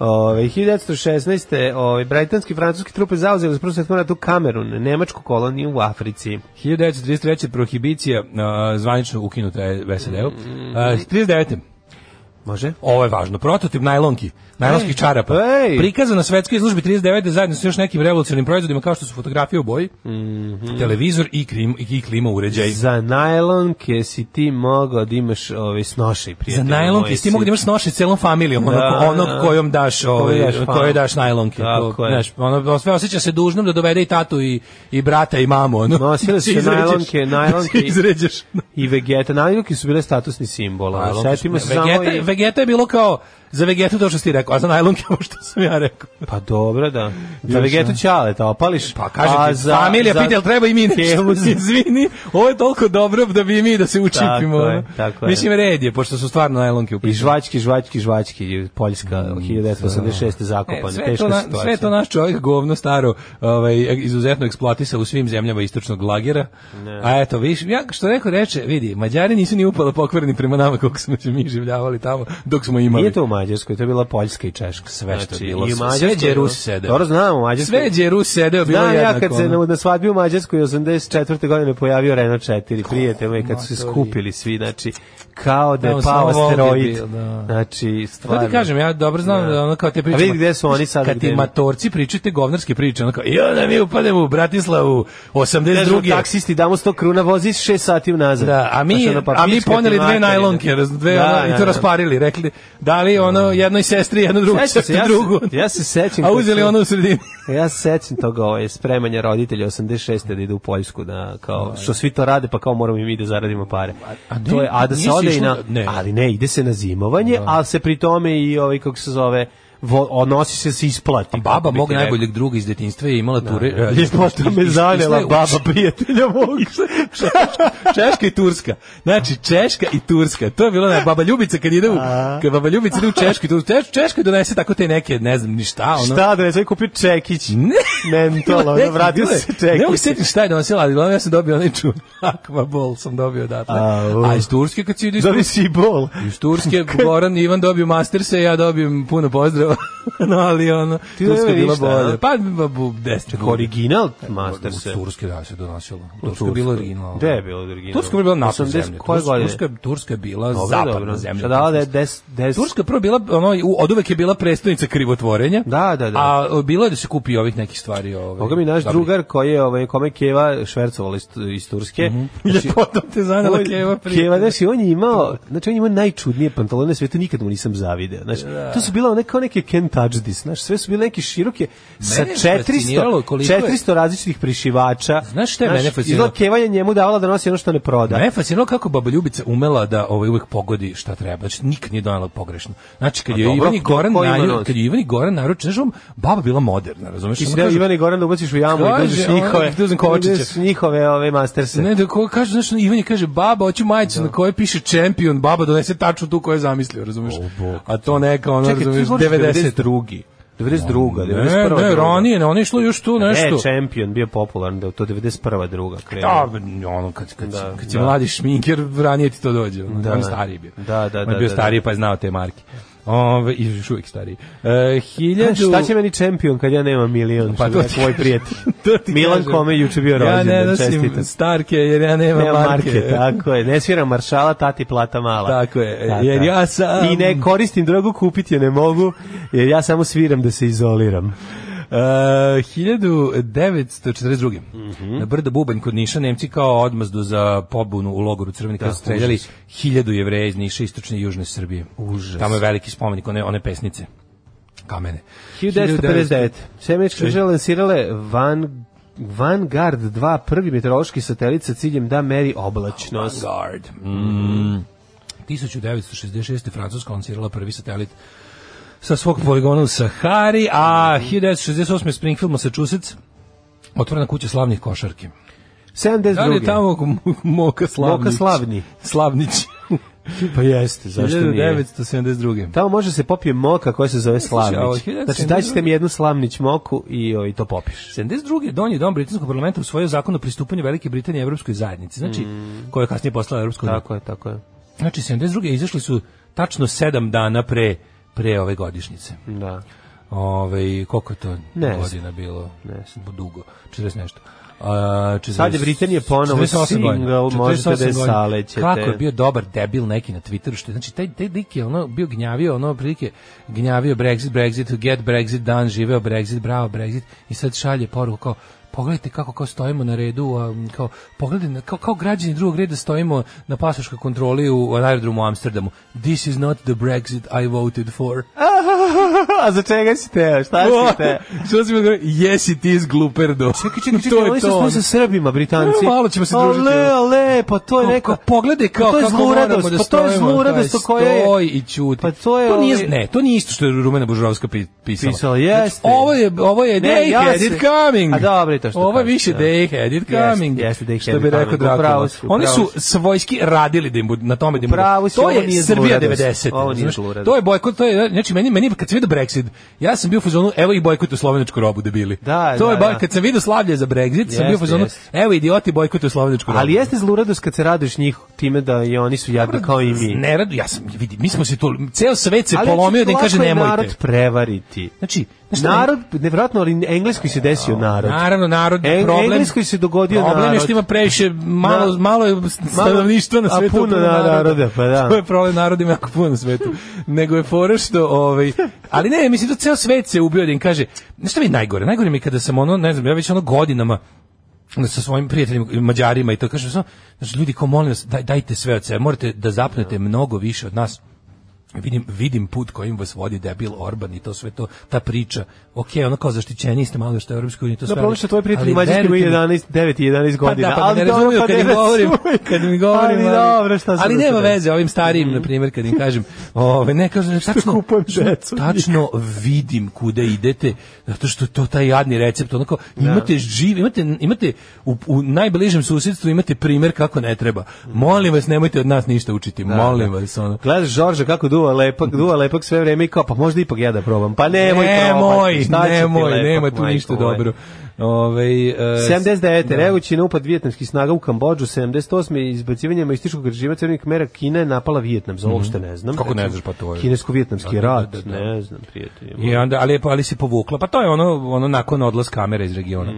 [SPEAKER 5] Ove, 1916. Ove, britanski i francuski trupe zauzeli za prvo svjetsko ratu Kamerun, nemačku koloniju u Africi.
[SPEAKER 6] Mm. 1933. prohibicija a, zvanično ukinuta je u SAD-u. A, 39.
[SPEAKER 5] Može.
[SPEAKER 6] Ovo je važno. Prototip najlonki, najlonskih
[SPEAKER 5] Ej,
[SPEAKER 6] čarapa.
[SPEAKER 5] ej.
[SPEAKER 6] Prikazan na svetskoj izložbi 39. zajedno sa još nekim revolucionarnim proizvodima kao što su fotografije u boji,
[SPEAKER 5] Mhm.
[SPEAKER 6] televizor i, klim, i klima uređaj.
[SPEAKER 5] Za najlonke si ti mogao da imaš ovaj, snošaj,
[SPEAKER 6] Za
[SPEAKER 5] prijatelj.
[SPEAKER 6] najlonke, ti mogu da imaš noše celom familijom, da,
[SPEAKER 5] Da,
[SPEAKER 6] onog, onog
[SPEAKER 5] da.
[SPEAKER 6] kojom daš,
[SPEAKER 5] Koju
[SPEAKER 6] ovaj,
[SPEAKER 5] daš fam.
[SPEAKER 6] kojoj daš najlonke.
[SPEAKER 5] Tako
[SPEAKER 6] To,
[SPEAKER 5] je.
[SPEAKER 6] znaš, ono, sve osjeća se dužnom da dovede i tatu i, i brata i mamu. Ono. (laughs)
[SPEAKER 5] Nosile su se
[SPEAKER 6] Izređeš-
[SPEAKER 5] najlonke, najlonke i-
[SPEAKER 6] Izređeš.
[SPEAKER 5] I vegeta. Najlonke su bile statusni simbol. ali Pa, Setimo se samo
[SPEAKER 6] Vegeta,
[SPEAKER 5] i...
[SPEAKER 6] vegeta je bilo kao, za vegetu to što si ti rekao, a za najlonke ovo što sam ja rekao.
[SPEAKER 5] Pa dobro, da. Za
[SPEAKER 6] Još,
[SPEAKER 5] vegetu
[SPEAKER 6] a?
[SPEAKER 5] ćale, ta opališ.
[SPEAKER 6] Pa kažem ti, familija pita, jel treba i
[SPEAKER 5] (laughs)
[SPEAKER 6] mi
[SPEAKER 5] Kemu
[SPEAKER 6] nešto?
[SPEAKER 5] za-
[SPEAKER 6] Izvini, ovo je toliko dobro da bi i mi da se učipimo.
[SPEAKER 5] Tako je,
[SPEAKER 6] ono.
[SPEAKER 5] tako je.
[SPEAKER 6] Mislim, red je, pošto su stvarno najlonke u
[SPEAKER 5] I
[SPEAKER 6] pitanju.
[SPEAKER 5] žvački, žvački, žvački, Poljska, 1986.
[SPEAKER 6] Mm, E,
[SPEAKER 5] zakopane,
[SPEAKER 6] sve,
[SPEAKER 5] teška
[SPEAKER 6] to na,
[SPEAKER 5] situacija.
[SPEAKER 6] sve to naš čovjek govno staro ovaj, izuzetno eksploatisao u svim zemljama istočnog lagera. A eto, viš, ja, što neko reče, vidi, Mađari nisu ni upala pokvarni prema nama koliko smo se mi življavali tamo dok smo imali.
[SPEAKER 5] Nije to u Mađarskoj, to je bila Poljska i Češka.
[SPEAKER 6] Sve što je
[SPEAKER 5] Znači,
[SPEAKER 6] bilo,
[SPEAKER 5] i u
[SPEAKER 6] sve
[SPEAKER 5] Mađarskoj,
[SPEAKER 6] je Rus
[SPEAKER 5] da.
[SPEAKER 6] sedeo.
[SPEAKER 5] Dobro znam, u
[SPEAKER 6] Sve
[SPEAKER 5] Mađarskoj.
[SPEAKER 6] je Đerus sedeo, bilo
[SPEAKER 5] Znam ja
[SPEAKER 6] jednako.
[SPEAKER 5] kad se
[SPEAKER 6] ono.
[SPEAKER 5] na, na svadbi u Mađarskoj 84. godine pojavio Renault 4, prijatelj moj, kad su se skupili svi, znači, kao da je
[SPEAKER 6] Da,
[SPEAKER 5] pao
[SPEAKER 6] samo Volga je
[SPEAKER 5] asteroid.
[SPEAKER 6] bio, da.
[SPEAKER 5] Znači,
[SPEAKER 6] Pa
[SPEAKER 5] stvarno.
[SPEAKER 6] ti kažem, ja dobro znam
[SPEAKER 5] Da.
[SPEAKER 6] da ono kao te priče.
[SPEAKER 5] A vidi gde su oni sad,
[SPEAKER 6] Kad ti
[SPEAKER 5] gde-
[SPEAKER 6] matorci pričate govnarske priče, ono kao, i onda mi upademo u Bratislavu
[SPEAKER 5] Kažu
[SPEAKER 6] 82.
[SPEAKER 5] taksisti, damo 100 kruna, vozi 6 sati unazad.
[SPEAKER 6] Da, a mi,
[SPEAKER 5] Znaš, ono, pa
[SPEAKER 6] a mi
[SPEAKER 5] pička ti
[SPEAKER 6] poneli dve
[SPEAKER 5] materina.
[SPEAKER 6] najlonke, raz- dve,
[SPEAKER 5] Da,
[SPEAKER 6] ono, i
[SPEAKER 5] da,
[SPEAKER 6] to
[SPEAKER 5] da.
[SPEAKER 6] rasparili, rekli, dali ono jednoj sestri, jedno drugo,
[SPEAKER 5] Sećam se, ja se-
[SPEAKER 6] drugu.
[SPEAKER 5] ja se sećam
[SPEAKER 6] A
[SPEAKER 5] kad
[SPEAKER 6] uzeli
[SPEAKER 5] su-
[SPEAKER 6] ono u sredini.
[SPEAKER 5] Ja se sećam toga, ovaj, spremanja roditelja 86. da idu u Poljsku, da, kao, što svi to rade, pa kao moramo i mi da zaradimo pare.
[SPEAKER 6] Ovaj. a ne,
[SPEAKER 5] to je, a da se
[SPEAKER 6] nisi
[SPEAKER 5] ode i
[SPEAKER 6] išla-
[SPEAKER 5] na,
[SPEAKER 6] ne.
[SPEAKER 5] ali ne, ide se na zimovanje, ali se pri tome i, ovaj, kako se zove, vo, odnosi se da se isplati.
[SPEAKER 6] Baba
[SPEAKER 5] kako bi
[SPEAKER 6] mog
[SPEAKER 5] ti rekao.
[SPEAKER 6] najboljeg druga iz detinjstva je imala ture... e,
[SPEAKER 5] (laughs) Ljepota me
[SPEAKER 6] iz-
[SPEAKER 5] zanela,
[SPEAKER 6] išla je u-
[SPEAKER 5] baba prijatelja mog. (laughs)
[SPEAKER 6] Češka, (laughs) Češka i Turska. Znači, Češka i Turska. To je bilo na Baba Ljubica kad ide u, kad Baba Ljubica ide u Češku i Tursku. Češ- Češka donese tako te neke, ne znam, ni šta, ono.
[SPEAKER 5] Šta da ne, sve kupio čekić.
[SPEAKER 6] Ne.
[SPEAKER 5] Mentol, ono,
[SPEAKER 6] Neki
[SPEAKER 5] vratio
[SPEAKER 6] bile-
[SPEAKER 5] se
[SPEAKER 6] Ne mogu
[SPEAKER 5] čekić.
[SPEAKER 6] se sjetiti šta je donosila, ali uglavnom ja sam dobio onaj (laughs) čuvan Akma Bol sam dobio odatle.
[SPEAKER 5] Au.
[SPEAKER 6] A iz Turske kad si ide iz
[SPEAKER 5] Zove si i bol.
[SPEAKER 6] iz Turske, Goran i Ivan dobiju masterse, ja dobijem puno pozdrava, (laughs) no ali ono,
[SPEAKER 5] Ti
[SPEAKER 6] Turska je bila
[SPEAKER 5] dobiješ šta,
[SPEAKER 6] bolje.
[SPEAKER 5] a?
[SPEAKER 6] Pa, pa, bu, deset.
[SPEAKER 5] Original
[SPEAKER 6] Master se.
[SPEAKER 5] Masterse.
[SPEAKER 6] Turske da se donosilo. Turska je bila originalna.
[SPEAKER 5] Gde je bilo original?
[SPEAKER 6] Turska je bila napad
[SPEAKER 5] 80
[SPEAKER 6] zemlja.
[SPEAKER 5] Koje
[SPEAKER 6] Turska,
[SPEAKER 5] godine?
[SPEAKER 6] Turska, Turska je bila
[SPEAKER 5] Dobro,
[SPEAKER 6] zapadna
[SPEAKER 5] dobro.
[SPEAKER 6] zemlja.
[SPEAKER 5] Šta da, da, je des, des,
[SPEAKER 6] Turska je prvo bila, ono, u- oduvek je bila predstavnica krivotvorenja.
[SPEAKER 5] Da, da, da.
[SPEAKER 6] A o, bilo je da se kupi ovih nekih stvari. Ovaj,
[SPEAKER 5] Pa Boga mi naš
[SPEAKER 6] dobrih.
[SPEAKER 5] drugar koji je ovaj kome Keva švercovala iz, iz Turske. (laughs) Mm
[SPEAKER 6] Ljepotom Mhm. te zanela Keva prije.
[SPEAKER 5] Keva, znaš, i on je imao, znači on je imao najčudnije pantalone na svetu, nikad mu nisam zavideo. Znaš, to su bila one kao neke Ken Touch This, znaš, sve su bile neke široke, sa
[SPEAKER 6] je fasciniralo
[SPEAKER 5] 400,
[SPEAKER 6] koliko je-
[SPEAKER 5] 400 različitih prišivača.
[SPEAKER 6] Znaš šta je mene fasciniralo?
[SPEAKER 5] izgleda Keva je njemu davala da nosi ono što ne proda.
[SPEAKER 6] Da. Me je fasciniralo kako Baba Ljubica umela da ovaj uvek pogodi šta treba. Znači nikad nije donela pogrešno. Znači kad
[SPEAKER 5] A
[SPEAKER 6] je
[SPEAKER 5] dobro,
[SPEAKER 6] Ivan i
[SPEAKER 5] ko-
[SPEAKER 6] Goran
[SPEAKER 5] ko ima
[SPEAKER 6] naru,
[SPEAKER 5] noć?
[SPEAKER 6] kad je Ivan i Goran naručio, znaš, on- baba bila moderna, razumeš?
[SPEAKER 5] Ti si
[SPEAKER 6] Ono
[SPEAKER 5] deo
[SPEAKER 6] kaže-
[SPEAKER 5] Ivan i Goran da ubaciš u jamu i
[SPEAKER 6] Kaže,
[SPEAKER 5] dođeš
[SPEAKER 6] ono,
[SPEAKER 5] njihove,
[SPEAKER 6] da uzem Kovačića.
[SPEAKER 5] dođeš njihove ove masterse.
[SPEAKER 6] Ne, da ko kaže, znaš, Ivan je kaže, baba, hoću majicu na kojoj piše champion, baba donese tačnu tu koju je zamislio, razumeš? A to neka, ono,
[SPEAKER 5] Čekaj, ti
[SPEAKER 6] razumeš,
[SPEAKER 5] govoriš
[SPEAKER 6] 90.
[SPEAKER 5] 92. 92.
[SPEAKER 6] Ne,
[SPEAKER 5] 91.
[SPEAKER 6] ne,
[SPEAKER 5] druga.
[SPEAKER 6] ranije, ne, ono je išlo još tu nešto.
[SPEAKER 5] Ne, Champion bio popularan, da to 91. druga krenuo.
[SPEAKER 6] Da, ono, kad, kad,
[SPEAKER 5] Da,
[SPEAKER 6] kad si
[SPEAKER 5] da.
[SPEAKER 6] mladi šminker, ranije ti to dođe. Ono,
[SPEAKER 5] Da.
[SPEAKER 6] on je stariji bio.
[SPEAKER 5] Da, da,
[SPEAKER 6] on
[SPEAKER 5] da,
[SPEAKER 6] je bio
[SPEAKER 5] da,
[SPEAKER 6] stariji pa je znao te marke. Ove, I još uvijek stariji. E, hiljadu...
[SPEAKER 5] Znaš, Šta će meni čempion kad ja nemam milion,
[SPEAKER 6] Pa
[SPEAKER 5] pa
[SPEAKER 6] to
[SPEAKER 5] to
[SPEAKER 6] ti
[SPEAKER 5] tvoj prijatelj.
[SPEAKER 6] (laughs) To ti
[SPEAKER 5] Milan
[SPEAKER 6] kažem.
[SPEAKER 5] kome je juče bio rođen,
[SPEAKER 6] Ja ne
[SPEAKER 5] čestitam.
[SPEAKER 6] nosim starke jer ja nemam
[SPEAKER 5] Nema
[SPEAKER 6] marke.
[SPEAKER 5] marke, tako je. Ne sviram maršala, tati plata mala.
[SPEAKER 6] Tako je, jer ja sam-
[SPEAKER 5] I ne koristim drogu, kupiti je ne mogu, jer ja samo sviram da se izoliram.
[SPEAKER 6] Uh, 1942. Na Brda Bubanj kod Niša Nemci kao odmazdu za pobunu u logoru Crveni kada su streljali hiljadu jevreja iz Niša, istočne i južne Srbije.
[SPEAKER 5] Užas.
[SPEAKER 6] Tamo je veliki spomenik, one, one pesnice. Kamene.
[SPEAKER 5] 1959. Semeničke države lansirale Van Vanguard 2, prvi meteorološki satelit sa ciljem da meri oblačnost.
[SPEAKER 6] Vanguard. Mm. 1966. Francuska lancirala prvi satelit sa svog poligona u Sahari, a 1968. Springfield, Massachusetts, otvorena kuća slavnih košarki. Da li
[SPEAKER 5] 72.
[SPEAKER 6] je tamo mo- Moka Slavnić?
[SPEAKER 5] Moka Slavni.
[SPEAKER 6] Slavnić.
[SPEAKER 5] Pa jeste, zašto nije?
[SPEAKER 6] 1972.
[SPEAKER 5] Tamo može se popije moka koja se zove
[SPEAKER 6] E, ovo,
[SPEAKER 5] Slavnić.
[SPEAKER 6] 1972.
[SPEAKER 5] Znači, daj ćete mi jednu Slavnić moku i, o, i to popiš.
[SPEAKER 6] 72. Donji dom Britanskog parlamenta usvojio zakon o pristupanju Velike Britanije Evropskoj zajednici, znači, koja je kasnije postala Evropska unija.
[SPEAKER 5] Mm. Tako je, tako je.
[SPEAKER 6] Znači, 72. izašli su tačno sedam dana pre, pre ove godišnjice.
[SPEAKER 5] Da.
[SPEAKER 6] (laughs) Ove, koliko je to
[SPEAKER 5] Ne znam.
[SPEAKER 6] godina bilo?
[SPEAKER 5] Ne znam.
[SPEAKER 6] Dugo, 40 nešto. Uh, 40,
[SPEAKER 5] Sad je Britanija ponovo
[SPEAKER 6] 48 godina.
[SPEAKER 5] single, možete
[SPEAKER 6] 48
[SPEAKER 5] da je
[SPEAKER 6] godina.
[SPEAKER 5] salećete.
[SPEAKER 6] Kako je bio dobar debil neki na Twitteru, što je- znači taj, taj lik je ono bio gnjavio, ono prilike gnjavio Brexit, Brexit, get Brexit dan, živeo Brexit, bravo Brexit i sad šalje poruku kao pogledajte kako kao stojimo na redu, a, m, kao pogledajte na- kao, kao građani drugog reda stojimo na pasoškoj kontroli u na aerodromu u Amsterdamu. This is not the Brexit I voted for.
[SPEAKER 5] A za čega si teo? Šta si teo?
[SPEAKER 6] Što si mi odgovorio? Yes it is gluperdo. Čekaj, čekaj,
[SPEAKER 5] To je to. Oni su sa Srbima, Britanci.
[SPEAKER 6] ono. E, malo ćemo se družiti.
[SPEAKER 5] Ale, ale, pa to je
[SPEAKER 6] Kao-
[SPEAKER 5] neka...
[SPEAKER 6] kao pogledaj kao
[SPEAKER 5] pa to je
[SPEAKER 6] kako
[SPEAKER 5] zluradost,
[SPEAKER 6] moramo da
[SPEAKER 5] pa to je
[SPEAKER 6] stojimo,
[SPEAKER 5] zluradost
[SPEAKER 6] kao
[SPEAKER 5] to koja je...
[SPEAKER 6] stoj i ćuti.
[SPEAKER 5] Pa to je
[SPEAKER 6] To nije,
[SPEAKER 5] ovaj-
[SPEAKER 6] ne, to nije isto što je Rumena Bužurovska pi- pisala.
[SPEAKER 5] Pisala, jeste.
[SPEAKER 6] Znači, Ovo je, ovo je
[SPEAKER 5] Ne,
[SPEAKER 6] they
[SPEAKER 5] ja
[SPEAKER 6] had
[SPEAKER 5] se-
[SPEAKER 6] it coming.
[SPEAKER 5] A dobro je to što
[SPEAKER 6] Ovo je
[SPEAKER 5] kažeš,
[SPEAKER 6] više
[SPEAKER 5] da.
[SPEAKER 6] they had it
[SPEAKER 5] Jeste,
[SPEAKER 6] coming.
[SPEAKER 5] jeste, they had
[SPEAKER 6] što
[SPEAKER 5] it
[SPEAKER 6] bi rekao
[SPEAKER 5] coming, upravo
[SPEAKER 6] Drakula.
[SPEAKER 5] si,
[SPEAKER 6] Oni
[SPEAKER 5] upravo
[SPEAKER 6] su svojski radili da im budu na tome da im budu.
[SPEAKER 5] Upravo si,
[SPEAKER 6] To
[SPEAKER 5] ovo
[SPEAKER 6] je
[SPEAKER 5] nije
[SPEAKER 6] Srbija
[SPEAKER 5] zluradost.
[SPEAKER 6] 90.
[SPEAKER 5] Ovo nije
[SPEAKER 6] znaš.
[SPEAKER 5] zluradost.
[SPEAKER 6] To je bojkot, to je, znači meni, meni kad sam vidio Brexit, ja sam bio u fazonu, evo i bojkot u slovenačku robu debili.
[SPEAKER 5] Da,
[SPEAKER 6] to
[SPEAKER 5] da,
[SPEAKER 6] je, boj-
[SPEAKER 5] da.
[SPEAKER 6] kad sam vidio slavlje za Brexit, sam
[SPEAKER 5] Jeste,
[SPEAKER 6] bio u fazonu,
[SPEAKER 5] jeste.
[SPEAKER 6] evo idioti bojkot u slovenačku robu.
[SPEAKER 5] Ali jeste zluradost kad se raduješ njih time da i oni su jadni kao i mi.
[SPEAKER 6] Ne radu, ja sam, vidi, mi smo se to, ceo svet se
[SPEAKER 5] Ali znači,
[SPEAKER 6] polomio da im
[SPEAKER 5] lako
[SPEAKER 6] kaže
[SPEAKER 5] je
[SPEAKER 6] nemojte.
[SPEAKER 5] narod prevariti.
[SPEAKER 6] Znači, znaš šta,
[SPEAKER 5] Narod, nevjerojatno, ali engleskoj se desio narod.
[SPEAKER 6] Naravno, narod,
[SPEAKER 5] Eng-
[SPEAKER 6] problem...
[SPEAKER 5] Engleskoj se dogodio
[SPEAKER 6] problem je
[SPEAKER 5] narod.
[SPEAKER 6] što ima previše, malo,
[SPEAKER 5] Na-
[SPEAKER 6] malo je stanovništva na
[SPEAKER 5] a
[SPEAKER 6] svetu.
[SPEAKER 5] puno na- naroda, pa da.
[SPEAKER 6] (laughs) To je problem, narod ima jako puno na svetu. Nego je fora što, ovaj, ali ne, mislim, to ceo svet se ubio da im kaže, znaš šta mi je najgore? Najgore mi je kada sam ono, ne znam, ja već ono godinama, onda sa svojim prijateljima Mađarima i to kažem samo, znači ljudi kao molim vas, daj, dajte sve od sebe, morate da zapnete mnogo više od nas. Vidim, vidim put kojim vas vodi debil Orban i to sve to, ta priča. Ok, ono kao zaštićeni ste malo što je Europska unija, to sve.
[SPEAKER 5] Da, problem ono što
[SPEAKER 6] ali-
[SPEAKER 5] tvoji prijatelji
[SPEAKER 6] ali
[SPEAKER 5] Mađarski imaju
[SPEAKER 6] verujte mi-
[SPEAKER 5] 11, 9 i 11 godina.
[SPEAKER 6] Pa da, pa
[SPEAKER 5] ali
[SPEAKER 6] ne
[SPEAKER 5] dobro,
[SPEAKER 6] razumiju
[SPEAKER 5] pa
[SPEAKER 6] kad
[SPEAKER 5] ne
[SPEAKER 6] im govorim,
[SPEAKER 5] razumiju.
[SPEAKER 6] kad im govorim.
[SPEAKER 5] Ali dobro, šta sad
[SPEAKER 6] Ali
[SPEAKER 5] da se
[SPEAKER 6] nema
[SPEAKER 5] radi?
[SPEAKER 6] veze, ovim starijim, na primjer, kad im kažem, ove, ne kažem, tačno,
[SPEAKER 5] kupujem decu.
[SPEAKER 6] tačno vidim kuda idete, zato što je to taj jadni recept, onako, imate živ, imate, imate u, u najbližem susjedstvu imate primjer kako ne treba. Molim vas, nemojte od nas ništa učiti, molim vas, ono.
[SPEAKER 5] Gledaš Žorža kako duva lepak, duva lepak sve vreme i kao, pa možda ipak ja da probam. Pa nemoj, probati,
[SPEAKER 6] nemoj,
[SPEAKER 5] šta će ti
[SPEAKER 6] nemoj,
[SPEAKER 5] lepak,
[SPEAKER 6] nema tu
[SPEAKER 5] majko
[SPEAKER 6] ništa
[SPEAKER 5] moja.
[SPEAKER 6] dobro. Ove, e,
[SPEAKER 5] 79. Revućina upad vijetnamskih snaga u Kambodžu, 78. izbacivanje maističkog režima crvenih mera Kina je napala Vijetnam, za ovo što ne znam.
[SPEAKER 6] Mhm. Kako ne
[SPEAKER 5] Znači,
[SPEAKER 6] znaš, pa to je-
[SPEAKER 5] Kinesko-vijetnamski
[SPEAKER 6] Da, da,
[SPEAKER 5] rat,
[SPEAKER 6] da, da, da.
[SPEAKER 5] ne znam, prijatelji.
[SPEAKER 6] I onda, ali, ali se povukla. Pa to je ono, ono nakon odlaz kamera iz regiona.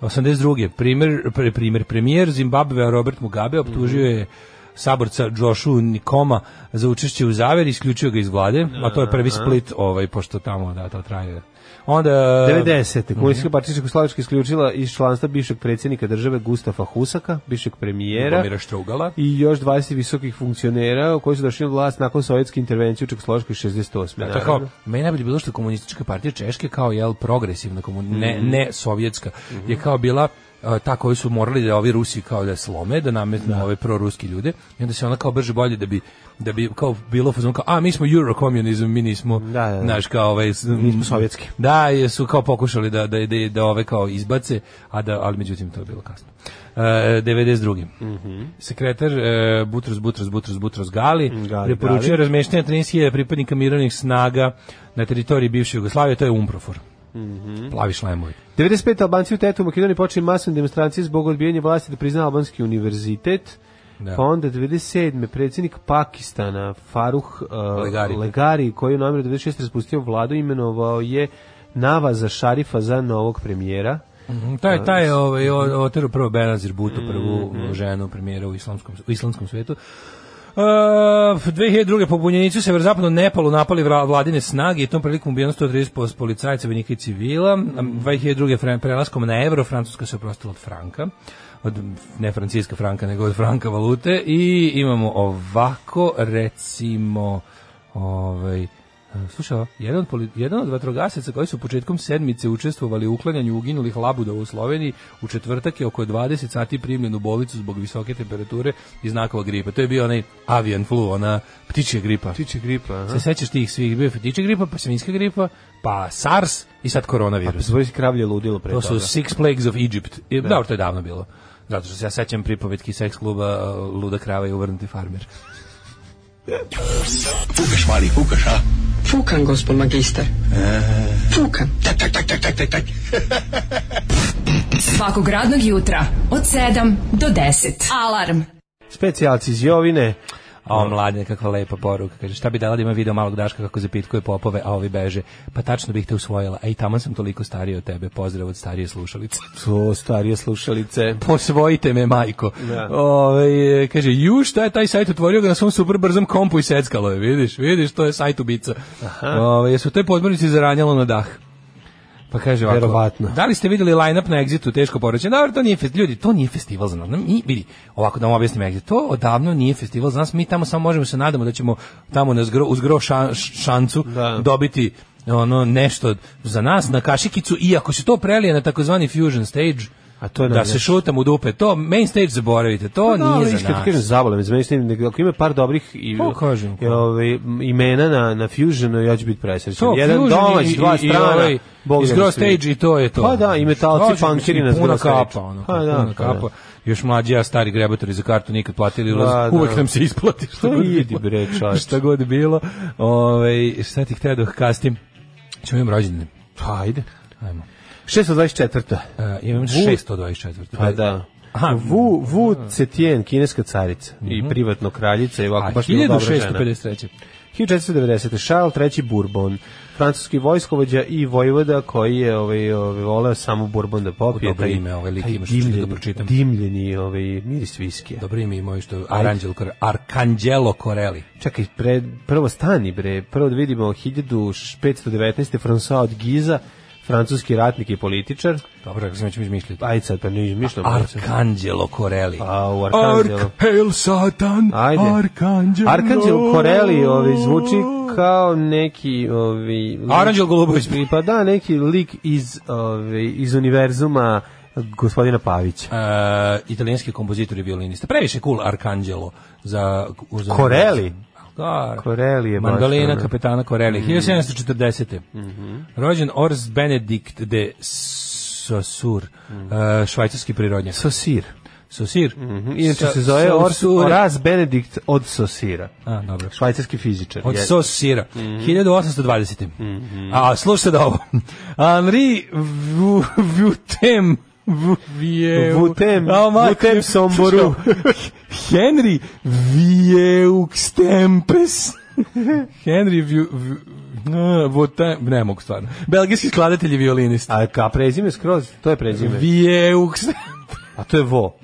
[SPEAKER 6] 82. Primer, pre, primer, premijer Zimbabvea Robert Mugabe optužio je saborca Joshu Nikoma za učešće u zaveri, isključio ga iz vlade, a to je prvi split, ovaj, pošto tamo da, to traje. Onda... Mhm.
[SPEAKER 5] 90. Komunistska partija Čekoslovačka isključila iz članstva bivšeg predsjednika države Gustafa Husaka, bivšeg premijera
[SPEAKER 6] Ljubomira Štrugala.
[SPEAKER 5] i još 20 visokih funkcionera koji su došli na vlast nakon sovjetske intervencije u Čekoslovačkoj 68.
[SPEAKER 6] Da, to je kao, meni najbolje bilo što je komunistička partija Češke kao jel progresivna komun, ne, ne sovjetska je kao bila e, ta koju su morali da ovi Rusi kao da slome, da nametnu ove proruski ljude i onda se ona kao brže bolje da bi da bi kao bilo fuzon kao a mi smo eurokomunizam, mi nismo
[SPEAKER 5] Da, da, da.
[SPEAKER 6] naš kao ovaj mi
[SPEAKER 5] smo sovjetski.
[SPEAKER 6] Da, je- su kao pokušali da da da, da ove kao izbace, a da ali međutim to je bilo kasno. E, 92. Sekretar e, Butros Butros Butros Butros Gali,
[SPEAKER 5] Gali,
[SPEAKER 6] preporučio
[SPEAKER 5] Gali.
[SPEAKER 6] razmeštanje 13.000 pripadnika mirovnih snaga na teritoriji bivše Jugoslavije, to je Umprofor. Plavi šlemovi.
[SPEAKER 5] 95. Albanci u Tetu u Makedoniji počeli masovne demonstracije zbog odbijanja vlasti da prizna Albanski univerzitet.
[SPEAKER 6] Da.
[SPEAKER 5] Pa onda 97. predsjednik Pakistana Faruh uh,
[SPEAKER 6] Legari.
[SPEAKER 5] Legari, koji je u novembru 96. raspustio vladu, imenovao je Navaza Šarifa za novog premijera.
[SPEAKER 6] Mhm, Taj, taj je ovaj, o- otero prvo Benazir Butu, prvu ono, ženu premijera u islamskom, u islamskom svetu. Uh, 2002. po bunjenicu u severozapadnom Nepalu napali vra- vladine snage i tom prilikom ubijeno 130 pos- policajca, vojnika i civila. A 2002. fre- prelaskom na evro Francuska se oprostila od franka od ne francijska franka, nego od franka valute i imamo ovako recimo ovaj E, Slušaj, ovo, jedan od, poli- jedan od vatrogasaca koji su početkom sedmice učestvovali u uklanjanju uginulih labuda u Sloveniji, u četvrtak je oko 20 sati primljen u bolnicu zbog visoke temperature i znakova gripa. To je bio onaj avian flu, ona ptičja gripa.
[SPEAKER 5] Tiče gripa, aha.
[SPEAKER 6] Se sećaš tih svih, bio je ptičja gripa, pa svinjska gripa, pa SARS i sad koronavirus.
[SPEAKER 5] Zvoji se kravlje ludilo pre
[SPEAKER 6] To
[SPEAKER 5] toga.
[SPEAKER 6] su Six Plagues of Egypt. I, da. Dobro, to je davno bilo. Zato što se ja sećam pripovetki seks kluba uh, Luda krava i uvrnuti farmer.
[SPEAKER 7] Fukan, gospod magister. Fukan.
[SPEAKER 4] Svakog radnog jutra od 7 do 10. Alarm.
[SPEAKER 5] Specijalci iz Jovine.
[SPEAKER 6] A on mladine, kakva lepa poruka. Kaže, šta bi dala da ima video malog Daška kako zapitkuje popove, a ovi beže. Pa tačno bih te usvojila. Ej, taman sam toliko stariji od tebe. Pozdrav od starije slušalice.
[SPEAKER 5] (laughs) To, starije slušalice.
[SPEAKER 6] Posvojite me, majko.
[SPEAKER 5] Da.
[SPEAKER 6] Ovaj, kaže, ju, šta je taj sajt otvorio ga na svom super brzom kompu i seckalo je, vidiš, vidiš, to je sajt ubica. Ove, jesu te podmornice zaranjalo na dah? Pa kaže ovako,
[SPEAKER 5] Verovatno.
[SPEAKER 6] da li ste vidjeli line-up na Exitu, teško poreći, da, to nije fest, ljudi, to nije festival za nas, mi, vidi, ovako da vam objasnim Exit, to odavno nije festival za nas, mi tamo samo možemo se nadamo da ćemo tamo na zgro, uz gro šan- š- šancu
[SPEAKER 5] Da.
[SPEAKER 6] dobiti ono nešto za nas na kašikicu i ako se to prelije na takozvani fusion stage,
[SPEAKER 5] A to je
[SPEAKER 6] da
[SPEAKER 5] najlepše.
[SPEAKER 6] se šutam u dupe, to main stage zaboravite, to
[SPEAKER 5] Pa Da, ali
[SPEAKER 6] nije
[SPEAKER 5] viš,
[SPEAKER 6] za
[SPEAKER 5] kad
[SPEAKER 6] nas.
[SPEAKER 5] Kažem, zabole me, zmeni s tim, nego ako ima par dobrih i,
[SPEAKER 6] Pa, kažem,
[SPEAKER 5] i ove, m, imena na, na Fusionu, ja ću biti presrećen.
[SPEAKER 6] To,
[SPEAKER 5] Jedan
[SPEAKER 6] Fusion
[SPEAKER 5] domać,
[SPEAKER 6] i-
[SPEAKER 5] dva
[SPEAKER 6] i- i
[SPEAKER 5] strana,
[SPEAKER 6] ovaj
[SPEAKER 5] Bog
[SPEAKER 6] iz
[SPEAKER 5] da
[SPEAKER 6] Gro
[SPEAKER 5] nas vidi.
[SPEAKER 6] Stage i to je to.
[SPEAKER 5] Pa da, i metalci,
[SPEAKER 6] Dođeš
[SPEAKER 5] punkiri
[SPEAKER 6] i
[SPEAKER 5] na
[SPEAKER 6] puna
[SPEAKER 5] Gro Stage.
[SPEAKER 6] kapa, ono,
[SPEAKER 5] Pa da,
[SPEAKER 6] puna
[SPEAKER 5] pa da.
[SPEAKER 6] kapa. Još mlađi ja, stari grebatori za kartu nikad platili ulaz,
[SPEAKER 5] Pa da.
[SPEAKER 6] uvek nam se isplati. Šta
[SPEAKER 5] Pa
[SPEAKER 6] god
[SPEAKER 5] idi
[SPEAKER 6] bilo.
[SPEAKER 5] bre, čoveče.
[SPEAKER 6] Šta god bilo. Ovaj šta ti hteo da kastim? Ćemo imam rođendan.
[SPEAKER 5] Pa, ajde.
[SPEAKER 6] Ajmo.
[SPEAKER 5] 624.
[SPEAKER 6] E, imam 624.
[SPEAKER 5] Pa da.
[SPEAKER 6] Aha. Mhm.
[SPEAKER 5] Wu, Wu Cetien, kineska carica i privatno kraljica i
[SPEAKER 6] A,
[SPEAKER 5] ovako baš bila dobra žena.
[SPEAKER 6] 1653.
[SPEAKER 5] 1490. Charles III Bourbon, francuski vojskovođa i vojvoda koji je ovaj, ovaj voleo samo Bourbon da popije.
[SPEAKER 6] Dobro
[SPEAKER 5] taj-
[SPEAKER 6] ime, ovaj lik
[SPEAKER 5] taj
[SPEAKER 6] ima što ću da
[SPEAKER 5] dimljeni-
[SPEAKER 6] pročitam.
[SPEAKER 5] Dimljeni ovaj, miris viskija.
[SPEAKER 6] Dobro ime imao što Aranđel Kor- Arkanđelo Koreli.
[SPEAKER 5] Čekaj, pre, prvo stani bre, prvo da vidimo 1519. François od Giza, francuski ratnik i političar.
[SPEAKER 6] Dobro, kako sam već izmišljati. Pa,
[SPEAKER 5] Ajde sad, pa ne izmišljam.
[SPEAKER 6] Arkanđelo Koreli.
[SPEAKER 5] A, u Arkanđelu.
[SPEAKER 6] hail Satan,
[SPEAKER 5] Ajde.
[SPEAKER 6] Arkanđelo.
[SPEAKER 5] Arkanđel Koreli ovi, zvuči kao neki... Ovi, lik-
[SPEAKER 6] Aranđel Golubović.
[SPEAKER 5] Pa da, neki lik iz, ovi, iz univerzuma gospodina Pavića.
[SPEAKER 6] Uh, italijanski kompozitor i violinista. Previše cool Arkanđelo za... za
[SPEAKER 5] Koreli?
[SPEAKER 6] Da.
[SPEAKER 5] Koreli je baš,
[SPEAKER 6] Mandolina
[SPEAKER 5] ono.
[SPEAKER 6] kapetana Koreli. 1740.
[SPEAKER 5] Mhm.
[SPEAKER 6] Rođen Ors Benedikt de Saussure,
[SPEAKER 5] Mm.
[SPEAKER 6] uh, švajcarski prirodnjak.
[SPEAKER 5] Sosir.
[SPEAKER 6] Saussure.
[SPEAKER 5] Mhm. Inače
[SPEAKER 6] Sa-
[SPEAKER 5] se zove Ors,
[SPEAKER 6] Saussure.
[SPEAKER 5] Horace Benedikt od Sosira.
[SPEAKER 6] A, dobro.
[SPEAKER 5] Švajcarski fizičar.
[SPEAKER 6] Od
[SPEAKER 5] je.
[SPEAKER 6] Saussure.
[SPEAKER 5] Mhm.
[SPEAKER 6] 1820. A, slušaj da ovo. Henri Vu- Vutem Vu- Vijeu-
[SPEAKER 5] Vutem,
[SPEAKER 6] A, majko, (laughs)
[SPEAKER 5] Vutem Somboru.
[SPEAKER 6] Henry Vieux Tempes. Henry Vieux... Vutem, ne mogu stvarno. Belgijski skladatelj i violinista.
[SPEAKER 5] A ka prezime skroz, to je prezime.
[SPEAKER 6] Vieux...
[SPEAKER 5] A to je Vo.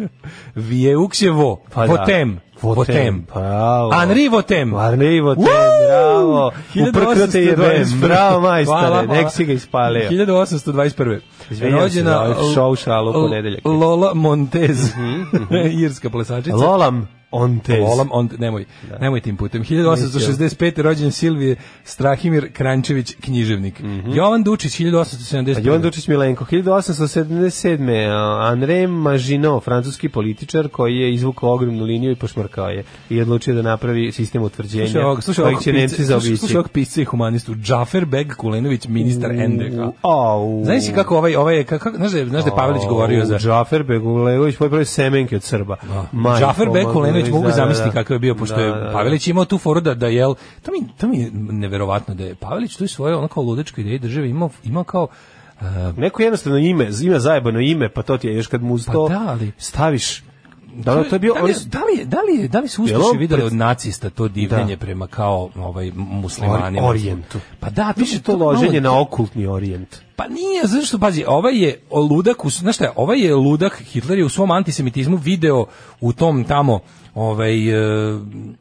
[SPEAKER 6] Vieux je vo.
[SPEAKER 5] Pa da.
[SPEAKER 6] Votem.
[SPEAKER 5] Votem, pa bravo.
[SPEAKER 6] Henri Votem.
[SPEAKER 5] Henri Votem,
[SPEAKER 6] Woo!
[SPEAKER 5] bravo.
[SPEAKER 6] 1821.
[SPEAKER 5] Uprknuo te jebem. Bravo, majstore,
[SPEAKER 6] Hvala, hvala.
[SPEAKER 5] nek si ga ispalio.
[SPEAKER 6] 1821.
[SPEAKER 5] Izvinjam se za ovaj šou šalu u
[SPEAKER 6] L-
[SPEAKER 5] ponedeljak. Mhm,
[SPEAKER 6] Lola Montez, (laughs) irska plesačica.
[SPEAKER 5] Lolam Ontes.
[SPEAKER 6] Volam, on, nemoj, nemoj tim putem. 1865. rođen Silvije Strahimir Krančević, književnik. Jovan Dučić, 1870.
[SPEAKER 5] Mhm. Jovan Dučić Milenko, 1877. a, André Maginot, francuski političar koji je izvukao ogromnu liniju i pošmrkao je i odlučio da napravi sistem utvrđenja
[SPEAKER 6] Slušaj ovog, slušaj
[SPEAKER 5] kojeg
[SPEAKER 6] ovog
[SPEAKER 5] će
[SPEAKER 6] pisca,
[SPEAKER 5] Nemci
[SPEAKER 6] slušaj,
[SPEAKER 5] zaobići.
[SPEAKER 6] slušaj ovog pisca i humanistu, Džafer Beg Kulenović, ministar NDH.
[SPEAKER 5] Au.
[SPEAKER 6] Znaš si kako ovaj, ovaj, kako, znaš da je, znaš da je Pavelić govorio za...
[SPEAKER 5] Džafer Begulević, moj pravi semenke od Srba. Majko
[SPEAKER 6] Pa, Džafer Bekulenović
[SPEAKER 5] Mogulević,
[SPEAKER 6] mogu
[SPEAKER 5] da, da,
[SPEAKER 6] zamisliti
[SPEAKER 5] da.
[SPEAKER 6] kakav je bio pošto je
[SPEAKER 5] Da, da, da.
[SPEAKER 6] Pavelić imao tu foru da da jel to mi to mi je neverovatno da je Pavelić tu i svoje ono kao ludačku ideju države imao imao kao
[SPEAKER 5] Neko jednostavno ime, ima zajebano ime, pa to ti je još kad mu to
[SPEAKER 6] da, ali-
[SPEAKER 5] staviš. Da, da, to je bio...
[SPEAKER 6] da li, da li, da li, je- da li su
[SPEAKER 5] Jel on
[SPEAKER 6] ustaše videli
[SPEAKER 5] pred-
[SPEAKER 6] od nacista to divljenje prema kao ovaj muslimanima
[SPEAKER 5] Ori- orijentu.
[SPEAKER 6] pa da to
[SPEAKER 5] Više to
[SPEAKER 6] malo-
[SPEAKER 5] loženje na okultni orijent.
[SPEAKER 6] Pa nije, zašto, pazi, ovaj je ludak, u, znaš šta je, ovaj je ludak, Hitler je u svom antisemitizmu video u tom tamo, ovaj, e,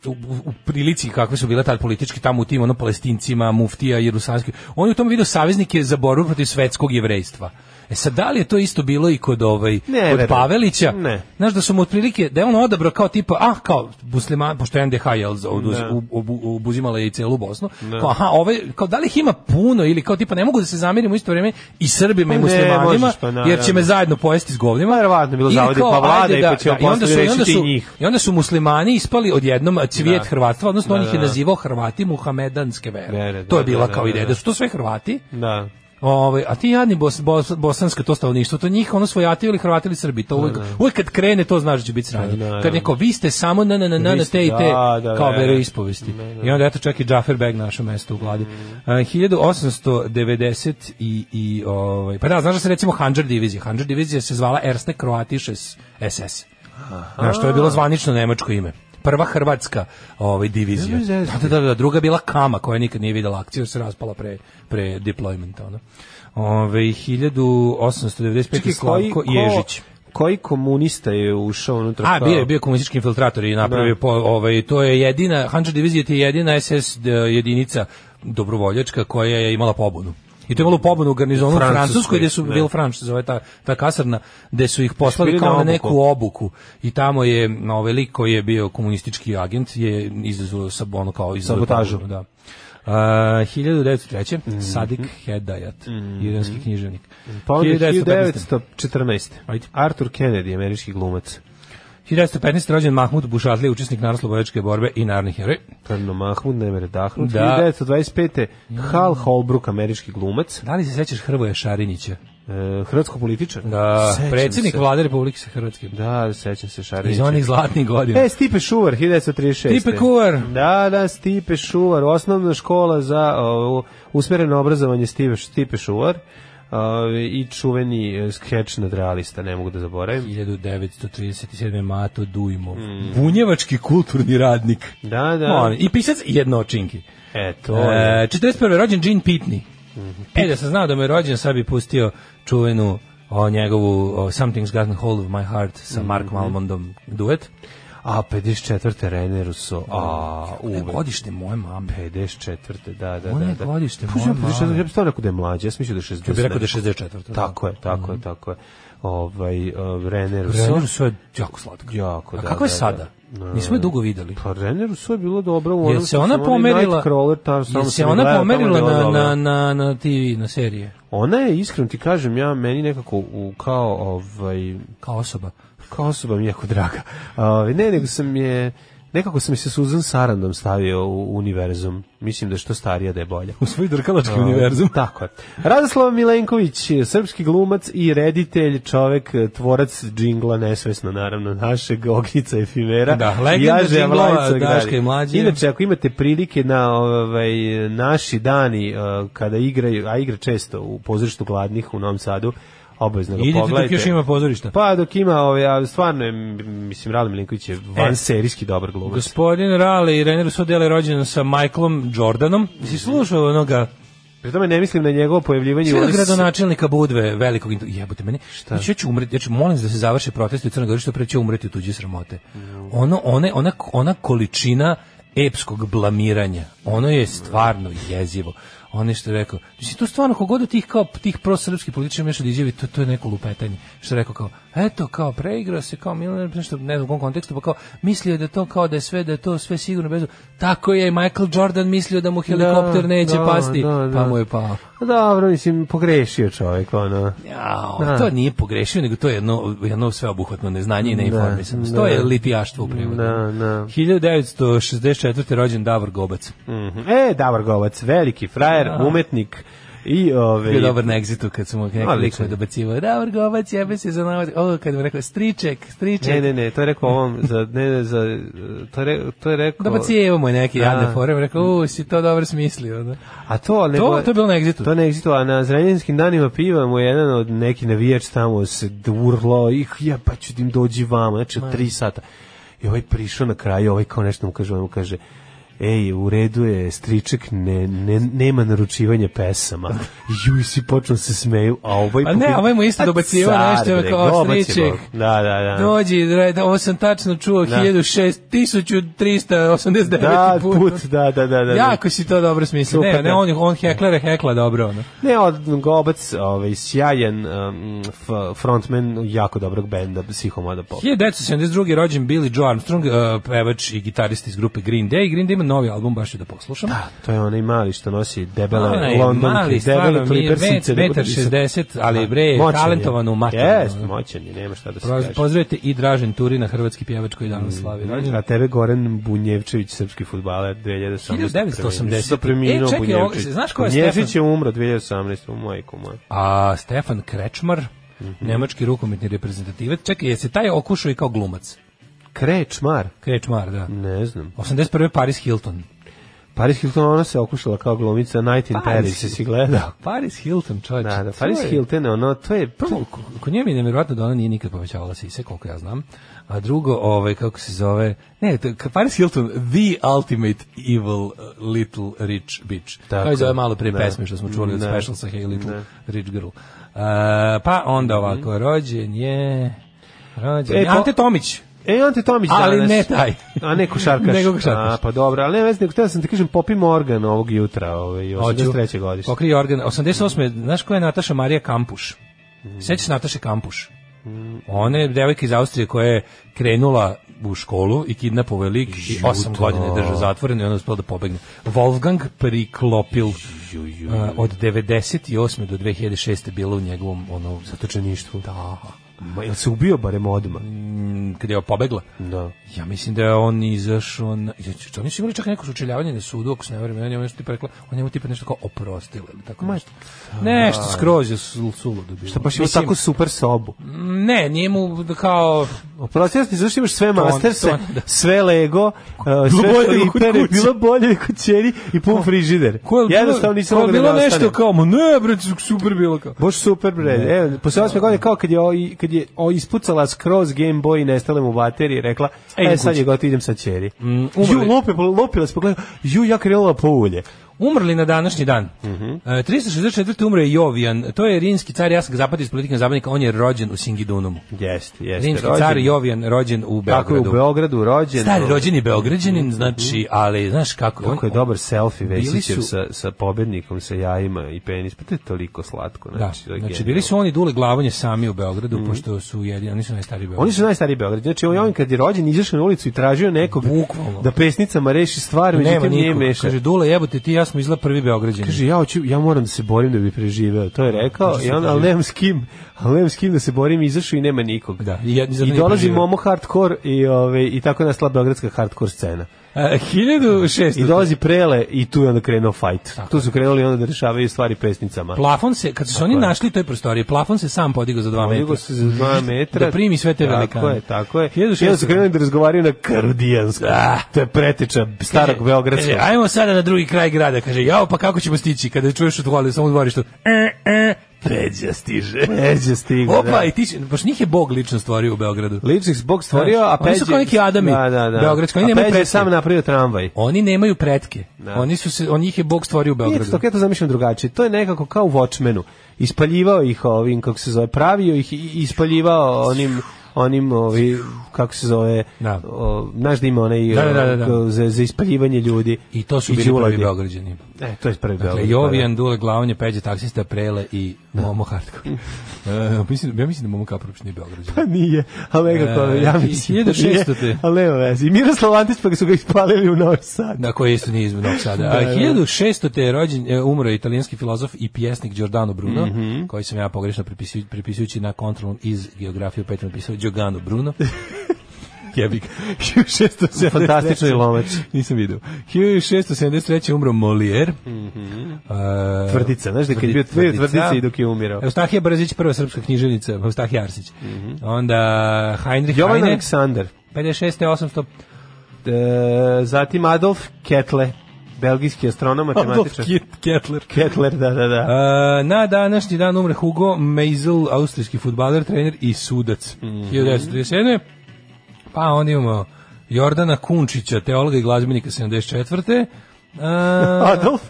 [SPEAKER 6] u, u prilici kakve su bile tad politički tamo u tim ono palestincima, muftija, jerusalimski, on je u tom video saveznike za borbu protiv svetskog jevrejstva. E sad, da li je to isto bilo i kod, ovaj, kod
[SPEAKER 5] Ne, verujem.
[SPEAKER 6] Pavelića?
[SPEAKER 5] Ne.
[SPEAKER 6] Znaš da su mu otprilike, da je on odabrao kao tipa, ah, kao musliman, pošto je NDH jel, za- oduz,
[SPEAKER 5] Da.
[SPEAKER 6] u, obu- obuzimala je i celu Bosnu, kao, aha, ove, kao da li ih ima puno ili kao tipa ne mogu da se zamirimo u isto vrijeme i Srbima i
[SPEAKER 5] Pa ne,
[SPEAKER 6] muslimanima,
[SPEAKER 5] možeš, pa naravno.
[SPEAKER 6] jer će me zajedno pojesti s govnima.
[SPEAKER 5] Pa verovatno, bilo
[SPEAKER 6] I
[SPEAKER 5] zavodi
[SPEAKER 6] kao,
[SPEAKER 5] pa vlada
[SPEAKER 6] ajde,
[SPEAKER 5] i pa ćemo
[SPEAKER 6] i onda su,
[SPEAKER 5] poslije
[SPEAKER 6] i onda
[SPEAKER 5] rešiti
[SPEAKER 6] su,
[SPEAKER 5] i njih.
[SPEAKER 6] I onda su muslimani ispali odjednom cvijet
[SPEAKER 5] Da.
[SPEAKER 6] Hrvatstva, odnosno
[SPEAKER 5] Da,
[SPEAKER 6] on ih je
[SPEAKER 5] da.
[SPEAKER 6] nazivao Hrvati muhamedanske vere.
[SPEAKER 5] Vere, da,
[SPEAKER 6] to je bila
[SPEAKER 5] da,
[SPEAKER 6] kao
[SPEAKER 5] da,
[SPEAKER 6] ideja,
[SPEAKER 5] da.
[SPEAKER 6] da su to sve Hrvati,
[SPEAKER 5] Da.
[SPEAKER 6] Ovaj, a ti jadni bos, bos, bosansko to stanovništvo, to njih ono svojati ili Hrvati ili Srbi, to uvek, uvek kad krene to znaš da će biti sranje.
[SPEAKER 5] Da, da,
[SPEAKER 6] Kad
[SPEAKER 5] da.
[SPEAKER 6] neko, vi ste samo na na na na
[SPEAKER 5] Vi
[SPEAKER 6] na
[SPEAKER 5] ste,
[SPEAKER 6] te i te,
[SPEAKER 5] da, da,
[SPEAKER 6] kao
[SPEAKER 5] da, Mm.
[SPEAKER 6] veroispovesti. I onda eto čak i Džafer Beg našo mesto u vladi. A, 1890 i, i ovaj, pa da, znaš da se recimo Hanđar divizija, Hanđar divizija se zvala Erste Kroatisches SS. Znaš, to je bilo zvanično nemačko ime. prva hrvatska ovaj divizija.
[SPEAKER 5] Nemoj zezati.
[SPEAKER 6] Da, da, da, da, druga je bila Kama koja nikad nije videla akciju, jer se raspala pre pre deploymenta, ona. Ove 1895
[SPEAKER 5] Čekaj, koji-
[SPEAKER 6] Slavko
[SPEAKER 5] ko-
[SPEAKER 6] Ježić.
[SPEAKER 5] Koji komunista je ušao unutra?
[SPEAKER 6] A,
[SPEAKER 5] kao-
[SPEAKER 6] bio je bio komunistički infiltrator i napravio
[SPEAKER 5] Da.
[SPEAKER 6] po, ovaj to je jedina Hanđa divizija ti je jedina SS d- jedinica dobrovoljačka koja je imala pobunu. I to je imalo pobunu u garnizonu u
[SPEAKER 5] Francuskoj,
[SPEAKER 6] Francuskoj gdje su
[SPEAKER 5] ne.
[SPEAKER 6] bili Franč, se zove ta, ta kasarna, gde su ih poslali
[SPEAKER 5] Bili
[SPEAKER 6] kao
[SPEAKER 5] na
[SPEAKER 6] na
[SPEAKER 5] obuku.
[SPEAKER 6] neku obuku. I tamo je na ovaj lik koji je bio komunistički agent je izazvao sa ono kao izazvao
[SPEAKER 5] Sabotažu. Mhm.
[SPEAKER 6] pobunu, Da. Uh, 1903. Sadik Hedayat, iranski književnik.
[SPEAKER 5] Pa onda
[SPEAKER 6] 1915.
[SPEAKER 5] 1914.
[SPEAKER 6] Ajde.
[SPEAKER 5] Arthur Kennedy, američki glumac.
[SPEAKER 6] 1915. rođen Mahmud Bušatli, učesnik narodno-slobodačke borbe i narodni heroj.
[SPEAKER 5] Prno Mahmud, ne mere dahnut.
[SPEAKER 6] Da. Mm.
[SPEAKER 5] 1925. Hal Holbrook, američki glumac.
[SPEAKER 6] Da li se sećaš Hrvoje Šarinića?
[SPEAKER 5] E, hrvatsko političar.
[SPEAKER 6] Da,
[SPEAKER 5] Sećam
[SPEAKER 6] predsjednik
[SPEAKER 5] se.
[SPEAKER 6] vlade Republike Hrvatske.
[SPEAKER 5] Da, sećam se
[SPEAKER 6] Iz
[SPEAKER 5] Šarinića.
[SPEAKER 6] onih zlatnih godina.
[SPEAKER 5] E, Stipe Šuvar, 1936.
[SPEAKER 6] Stipe Kuvar.
[SPEAKER 5] Da, da, Stipe Šuvar, osnovna škola za o, usmereno obrazovanje Stipe, Stipe Šuvar o, i čuveni e, skeč nadrealista, ne mogu da zaboravim.
[SPEAKER 6] 1937. Mato Dujmov. Bunjevački kulturni radnik.
[SPEAKER 5] Mm. Da, da.
[SPEAKER 6] On, I pisac jednočinki.
[SPEAKER 5] E,
[SPEAKER 6] E,
[SPEAKER 5] to je. Mhm.
[SPEAKER 6] 41. rođen Gene Pitney. E, da sam znao da mu je rođen, sad bi pustio čuvenu o njegovu o, Something's Gotten Hold of My Heart sa
[SPEAKER 5] Mhm.
[SPEAKER 6] Mark Malmondom duet.
[SPEAKER 5] A, 54. Reneru su. A,
[SPEAKER 6] Ovo je
[SPEAKER 5] uvek.
[SPEAKER 6] E, godište moje mame.
[SPEAKER 5] 54. Da, da,
[SPEAKER 6] Ona je
[SPEAKER 5] da. da.
[SPEAKER 6] godište,
[SPEAKER 5] Pusti,
[SPEAKER 6] moja
[SPEAKER 5] ja 54,
[SPEAKER 6] mama.
[SPEAKER 5] Ja bih stvarno rekao da je mlađa, ja sam mislio da je 60.
[SPEAKER 6] Ja bih rekao da je 64.
[SPEAKER 5] Tako je, tako je, tako je. Ovaj, uh, Reneru su.
[SPEAKER 6] Renner Rousseau je jako slatka.
[SPEAKER 5] Jako,
[SPEAKER 6] A
[SPEAKER 5] da,
[SPEAKER 6] kako je
[SPEAKER 5] da,
[SPEAKER 6] sada?
[SPEAKER 5] da.
[SPEAKER 6] Nismo je dugo vidjeli.
[SPEAKER 5] Pa Reneru su je bilo dobro u onom...
[SPEAKER 6] Jel se
[SPEAKER 5] što
[SPEAKER 6] ona
[SPEAKER 5] sam onaj
[SPEAKER 6] pomerila?
[SPEAKER 5] Nightcrawler, ta, samo
[SPEAKER 6] Jel
[SPEAKER 5] sam
[SPEAKER 6] se
[SPEAKER 5] je
[SPEAKER 6] ona
[SPEAKER 5] gledao, tamo je
[SPEAKER 6] pomerila
[SPEAKER 5] bilo
[SPEAKER 6] na, na,
[SPEAKER 5] dobro.
[SPEAKER 6] na, na TV, na serije,
[SPEAKER 5] Ona je, iskreno ti kažem, ja meni nekako u, kao, ovaj,
[SPEAKER 6] kao osoba?
[SPEAKER 5] kao osoba mi je jako draga. Ovaj, ne, nego sam je... Nekako sam se Susan Sarandon stavio u univerzum. Mislim da je što starija da je bolja.
[SPEAKER 6] U svoj drkalački
[SPEAKER 5] (laughs) Tako je. Radoslav Milenković, srpski glumac i reditelj, čovek, tvorac džingla, nesvesno naravno, našeg Ognjica Efimera.
[SPEAKER 6] Da, legenda
[SPEAKER 5] Jaže
[SPEAKER 6] džinglova
[SPEAKER 5] Avlajca Gradi.
[SPEAKER 6] Daška i Mlađe.
[SPEAKER 5] Inače, ako imate prilike na ovaj, naši dani, eh, kada igraju, a igra često u pozorištu gladnih u Novom Sadu, obavezno ga
[SPEAKER 6] Idite
[SPEAKER 5] pogledajte.
[SPEAKER 6] dok još ima pozorišta.
[SPEAKER 5] Pa dok ima, ovaj, a stvarno je, m, mislim, Rado Milenković je
[SPEAKER 6] E.
[SPEAKER 5] vanserijski dobar glumac.
[SPEAKER 6] Gospodin Rale i Renner Rousseau dele rođen sa Michaelom Jordanom. Si slušao onoga
[SPEAKER 5] Pri tome ne mislim na njegovo pojavljivanje u
[SPEAKER 6] Sve
[SPEAKER 5] onoj s-
[SPEAKER 6] gradonačelnika Budve, velikog intu... jebote mene. Znači, ja ću umreti, ja ću molim da se završe protesti u Crnoj Gori što pre ću umreti u tuđe sramote. Ono, one, ona, ona količina epskog blamiranja, ono je stvarno jezivo. Ono je što je rekao, znači to stvarno kogod od tih kao tih prosrpskih političara meša da izjavi, to, to je neko lupetanje. Što je rekao kao, eto kao preigrao se kao Milan nešto ne znam u kom kontekstu, pa kao mislio je da to kao da je sve da je to sve sigurno bez. Tako je i Michael Jordan mislio da mu helikopter neće
[SPEAKER 5] da,
[SPEAKER 6] pasti,
[SPEAKER 5] da, da.
[SPEAKER 6] pa mu je pao.
[SPEAKER 5] Dobro, mislim, pogrešio čovjek, ono.
[SPEAKER 6] Jao, to nije pogrešio, nego to je jedno, jedno sveobuhvatno neznanje i neinformisanost. To je litijaštvo u prijevodu.
[SPEAKER 5] Da, da.
[SPEAKER 6] 1964. rođen Davor Gobac.
[SPEAKER 5] Mhm. E, Davor Govac, veliki frajer, umetnik i ovaj, ove...
[SPEAKER 6] Bio dobar na egzitu kad su mu neki lik
[SPEAKER 5] Odlično.
[SPEAKER 6] me dobacivao. Davor Gobac, jebe se za novac. O, kad mu je rekao, striček, striček.
[SPEAKER 5] Ne, ne, ne, to je rekao ovom, za, ne, ne, za, to je, re- to je rekao...
[SPEAKER 6] Dobacivao mu je neki
[SPEAKER 5] Da.
[SPEAKER 6] jadne fore. Rekao, u, si to dobro smislio. Da.
[SPEAKER 5] A to, ne,
[SPEAKER 6] To, to je bilo na egzitu.
[SPEAKER 5] To ne egzitu, a na zrenjenskim danima piva mu je jedan od neki navijač tamo se urlo, ih ja pa ću im dođi vamo, znači od tri sata. I ovaj prišao na kraju, ovaj kao nešto mu kaže, ovaj mu kaže, ej, u redu je, striček, ne, ne, nema naručivanja pesama. (laughs) Juj, svi počnu se smeju, a ovaj...
[SPEAKER 6] Pa ne,
[SPEAKER 5] pobe-
[SPEAKER 6] ovaj mu isto
[SPEAKER 5] A
[SPEAKER 6] dobacivao
[SPEAKER 5] car,
[SPEAKER 6] nešto,
[SPEAKER 5] bre,
[SPEAKER 6] kao,
[SPEAKER 5] dobaci
[SPEAKER 6] striček.
[SPEAKER 5] mu. Da, da, da.
[SPEAKER 6] Dođi, dre, da, ovo sam tačno čuo,
[SPEAKER 5] Da.
[SPEAKER 6] 1006, 1389.
[SPEAKER 5] da,
[SPEAKER 6] put.
[SPEAKER 5] put, da, da, da, da.
[SPEAKER 6] Jako si to dobro smislio. Ne,
[SPEAKER 5] Super,
[SPEAKER 6] ne,
[SPEAKER 5] da.
[SPEAKER 6] on, je- on heklere hekla dobro. Ono.
[SPEAKER 5] Ne, od Gobac, ovaj, sjajan um, f- frontman jako dobrog benda, Psihomoda Pop.
[SPEAKER 6] 1972. rođen Billy Joe Armstrong, uh, pevač i gitarist iz grupe Green Day. Green Day ima novi album, baš ću da poslušam. Da,
[SPEAKER 5] To je onaj mali što nosi debele London, debele klipersice.
[SPEAKER 6] metar 60, ali bre, je talentovan u materiju.
[SPEAKER 5] Jest,
[SPEAKER 6] ono.
[SPEAKER 5] moćan je, nema šta da se
[SPEAKER 6] Proz-
[SPEAKER 5] kaže. Mm,
[SPEAKER 6] Pozdravite i Dražen Turina, hrvatski pjevač koji danas slavi. rođendan.
[SPEAKER 5] A tebe Goran Bunjevčević, srpski futbaler, 2018.
[SPEAKER 6] 1980.
[SPEAKER 5] Sa preminuo
[SPEAKER 6] E, čekaj, ovo-
[SPEAKER 5] Bunjevčević.
[SPEAKER 6] znaš ko je
[SPEAKER 5] Bunjevčić
[SPEAKER 6] Stefan?
[SPEAKER 5] je umro 2018. u majku moja.
[SPEAKER 6] A Stefan Krečmar,
[SPEAKER 5] Mhm.
[SPEAKER 6] nemački rukometni reprezentativac. Čekaj, je se taj okušao i kao glumac?
[SPEAKER 5] Krečmar? Mm.
[SPEAKER 6] Krečmar, da.
[SPEAKER 5] Ne znam.
[SPEAKER 6] 81. Paris Hilton.
[SPEAKER 5] Paris Hilton, ona se okušala kao glumica Night in
[SPEAKER 6] Paris
[SPEAKER 5] Paris, jesi gledao?
[SPEAKER 6] Paris Hilton, čovječe.
[SPEAKER 5] Da, da,
[SPEAKER 6] to
[SPEAKER 5] Paris
[SPEAKER 6] je-
[SPEAKER 5] Hilton, ono, to je
[SPEAKER 6] Prvo,
[SPEAKER 5] prvo...
[SPEAKER 6] ko- kod nje mi je nevjerojatno da ona nije nikad povećavala sise, koliko ja znam. A drugo, ovaj, kako se zove... Ne, to je Ka- Paris Hilton, the ultimate evil uh, little rich bitch.
[SPEAKER 5] Tako
[SPEAKER 6] Tako je zove malo prije
[SPEAKER 5] je, da.
[SPEAKER 6] pesme što smo čuli od
[SPEAKER 5] Da.
[SPEAKER 6] special sa Hey Little
[SPEAKER 5] Da. Mhm.
[SPEAKER 6] Rich Girl. Uh, pa onda ovako, rođen je... Rođen
[SPEAKER 5] E,
[SPEAKER 6] je...
[SPEAKER 5] ko-
[SPEAKER 6] Ante Tomić.
[SPEAKER 5] E, Ante Tomić
[SPEAKER 6] Ali
[SPEAKER 5] danas.
[SPEAKER 6] ne taj.
[SPEAKER 5] A ne košarkaš.
[SPEAKER 6] (laughs) Nego košarkaš.
[SPEAKER 5] A, pa dobro, ali ne vezi, nego htio sam ti kažem, Popi Morgan ovog jutra, ovaj,
[SPEAKER 6] Pa Hoću.
[SPEAKER 5] 83. godište.
[SPEAKER 6] Pokrij organ. 88. Znaš ko je Nataša Marija Kampuš? Sećaš se Nataše Kampuš? Ona je devojka iz Austrije koja je krenula u školu i kidnapovo je lik i osam godina je držao zatvoreno i ona je uspela da pobegne. Wolfgang priklopil a, od 98. do 2006. bilo u njegovom ono,
[SPEAKER 5] Zatočeništvu.
[SPEAKER 6] da,
[SPEAKER 5] Ma, jel se ubio barem odmah?
[SPEAKER 6] mm, kada je pobegla.
[SPEAKER 5] Da.
[SPEAKER 6] Ja mislim da je on izašao na... Ja, ču- Oni su imali čak neko sučeljavanje na sudu, ako se ne verim, on je nešto tipa rekla, on je mu tipa nešto kao oprostila ili tako nešto. Nešto skroz je su- suludo bilo.
[SPEAKER 5] Šta baš ima tako super sobu?
[SPEAKER 6] Ne, nije mu da kao...
[SPEAKER 5] Oprosti, jasni, zašto imaš sve masterse,
[SPEAKER 6] to- da.
[SPEAKER 5] sve Lego, uh, sve
[SPEAKER 6] bolje nego kod
[SPEAKER 5] šlipere,
[SPEAKER 6] kuće.
[SPEAKER 5] bilo bolje nego kod čeri i pun frižider.
[SPEAKER 6] Ko je,
[SPEAKER 5] Jednostavno nisam
[SPEAKER 6] ko je
[SPEAKER 5] mogao da
[SPEAKER 6] bilo
[SPEAKER 5] ne
[SPEAKER 6] nešto
[SPEAKER 5] ostanem.
[SPEAKER 6] kao, ma ne, bre, super bilo kao.
[SPEAKER 5] Boš super bre. Evo, posle osme godine kao kad je o, i- kad je o, ispucala skroz Game Boy i nestala mu baterije, rekla:
[SPEAKER 6] idem
[SPEAKER 5] "E sad
[SPEAKER 6] kući." Mm,
[SPEAKER 5] je gotovo, idem sa ćeri."
[SPEAKER 6] umrli.
[SPEAKER 5] ju lope, lopila se pogledala, ju ja krenula po ulje.
[SPEAKER 6] Umrli na današnji dan.
[SPEAKER 5] Mhm.
[SPEAKER 6] E, 364. umre je Jovijan, to je rinski car Jasak zapad iz politike zapadnika, on je rođen u Singidunumu.
[SPEAKER 5] Jeste, jeste.
[SPEAKER 6] Rimski
[SPEAKER 5] rođen.
[SPEAKER 6] car Jovijan rođen u
[SPEAKER 5] Tako je u
[SPEAKER 6] Beogradu.
[SPEAKER 5] Beogradu rođen.
[SPEAKER 6] Stari rođeni Beograđanin, znači, ali znaš kako, on-
[SPEAKER 5] Kako je dobar selfie
[SPEAKER 6] Bili
[SPEAKER 5] Vesićev
[SPEAKER 6] su-
[SPEAKER 5] sa, sa pobednikom, sa jajima i penis. Pa to je toliko slatko.
[SPEAKER 6] Da,
[SPEAKER 5] Znači, to
[SPEAKER 6] znači
[SPEAKER 5] je genijalno. Mhm.
[SPEAKER 6] bili su oni Dule Glavonje sami u Beogradu, pošto su jedini, oni su najstariji u Beogradu.
[SPEAKER 5] Oni su najstariji Beograd. Znači, on kad je rođen, izašao na ulicu i tražio nekog
[SPEAKER 6] Bukvalno.
[SPEAKER 5] da pesnicama reši stvar,
[SPEAKER 6] Nema
[SPEAKER 5] međutim nije
[SPEAKER 6] nikog.
[SPEAKER 5] meša.
[SPEAKER 6] Kaže, Dule, jebote, ti i ja smo izla prvi Beograđani.
[SPEAKER 5] Kaže, ja, hoću, ja moram da se borim da bi preživeo. To je rekao, i on, ali nemam s kim, ali nemam s kim da se borim, izašao i nema nikog.
[SPEAKER 6] Da, i ja- za
[SPEAKER 5] I
[SPEAKER 6] mene
[SPEAKER 5] dolazi
[SPEAKER 6] preživeo.
[SPEAKER 5] Momo Hardcore i, ove, i tako je nasla beogradska hardcore scena.
[SPEAKER 6] E, 1600.
[SPEAKER 5] I dolazi Prele i tu je onda krenuo fight.
[SPEAKER 6] Tako
[SPEAKER 5] tu su krenuli onda da rešavaju stvari pesnicama.
[SPEAKER 6] Plafon se, kad su se oni
[SPEAKER 5] je.
[SPEAKER 6] našli u toj prostoriji, plafon se sam podigao za dva metra.
[SPEAKER 5] Podigo se za dva metra.
[SPEAKER 6] Da primi sve te
[SPEAKER 5] Tako
[SPEAKER 6] velikane.
[SPEAKER 5] je, tako je.
[SPEAKER 6] 1600.
[SPEAKER 5] I onda su krenuli da razgovaraju na Karudijansku. To je preteča starog
[SPEAKER 6] Kaže,
[SPEAKER 5] Beogradskog.
[SPEAKER 6] E, ajmo sada na drugi kraj grada. Kaže, jao, pa kako ćemo stići? Kada čuješ od gole, samo u dvorištu, e, e, tređa
[SPEAKER 5] (laughs)
[SPEAKER 6] stiže.
[SPEAKER 5] Peđe stigne.
[SPEAKER 6] Opa,
[SPEAKER 5] E, da.
[SPEAKER 6] i ti će, baš njih je Bog lično stvorio u Beogradu.
[SPEAKER 5] Lipsix Bog stvorio, a Peđe...
[SPEAKER 6] Oni su kao neki Adami,
[SPEAKER 5] Da, da, da.
[SPEAKER 6] beogradski, oni
[SPEAKER 5] A
[SPEAKER 6] nemaju
[SPEAKER 5] Peđe je
[SPEAKER 6] pretke.
[SPEAKER 5] sam napravio tramvaj.
[SPEAKER 6] Oni nemaju pretke.
[SPEAKER 5] Da.
[SPEAKER 6] Oni su se, on njih je Bog stvorio u
[SPEAKER 5] Nije
[SPEAKER 6] Beogradu.
[SPEAKER 5] to tako, ja to zamišljam drugačije. To je nekako kao u Watchmenu. Ispaljivao ih ovim, kako se zove, pravio ih i ispaljivao onim onim ovi kako se zove
[SPEAKER 6] Da.
[SPEAKER 5] o, znaš da ima onaj
[SPEAKER 6] Da, da, da, da.
[SPEAKER 5] za za ispaljivanje ljudi
[SPEAKER 6] I to su bili
[SPEAKER 5] đuladi.
[SPEAKER 6] prvi Beograđani.
[SPEAKER 5] e to je prvi
[SPEAKER 6] Dakle,
[SPEAKER 5] Beograd
[SPEAKER 6] Jovijan, Dule, Glavonje, Peđe, taksista, Prele i Momo Hardcore.
[SPEAKER 5] (laughs)
[SPEAKER 6] E, mislim, ja mislim da Momo Kaprović nije Beograđan.
[SPEAKER 5] Pa nije, ali nekako,
[SPEAKER 6] E,
[SPEAKER 5] ja mislim. da
[SPEAKER 6] 1600
[SPEAKER 5] nije,
[SPEAKER 6] te.
[SPEAKER 5] Ali nema veze. I Miroslav Antić pa ga su ga ispalili u Novi Sad. (laughs)
[SPEAKER 6] Na koji isto nije iz Novog Sada. A 1600. te je rođen, e, umro je italijanski filozof i pjesnik Giordano Bruno,
[SPEAKER 5] Mhm.
[SPEAKER 6] koji sam ja pogrešno pripisujući, pripisujući na kontrolom iz geografije u petom napisao Giordano
[SPEAKER 5] (laughs)
[SPEAKER 6] Bruno. Jebik. (laughs) 1673.
[SPEAKER 5] Fantastični lomač.
[SPEAKER 6] Nisam vidio. 1673. umro Molière. E,
[SPEAKER 5] Mhm. Tvrdica, znaš da kad je bio tvrdica, tvrdica i dok je umirao. Mhm.
[SPEAKER 6] Eustahija Brzić, prva srpska književnica, Eustahija Arsić. Onda Heinrich
[SPEAKER 5] Jovan
[SPEAKER 6] Heine,
[SPEAKER 5] Aleksandar.
[SPEAKER 6] 56. 800.
[SPEAKER 5] E, zatim Adolf Ketle, belgijski astronom,
[SPEAKER 6] Adolf
[SPEAKER 5] matematičar.
[SPEAKER 6] Kit- Kettler.
[SPEAKER 5] Kettler, da, da, da.
[SPEAKER 6] E, na današnji dan umre Hugo Meisel, austrijski futbaler, trener i sudac.
[SPEAKER 5] Mhm.
[SPEAKER 6] 1937. Pa onda imamo Jordana Kunčića, teologa i glazbenika Uh, 74. A,
[SPEAKER 5] Adolf,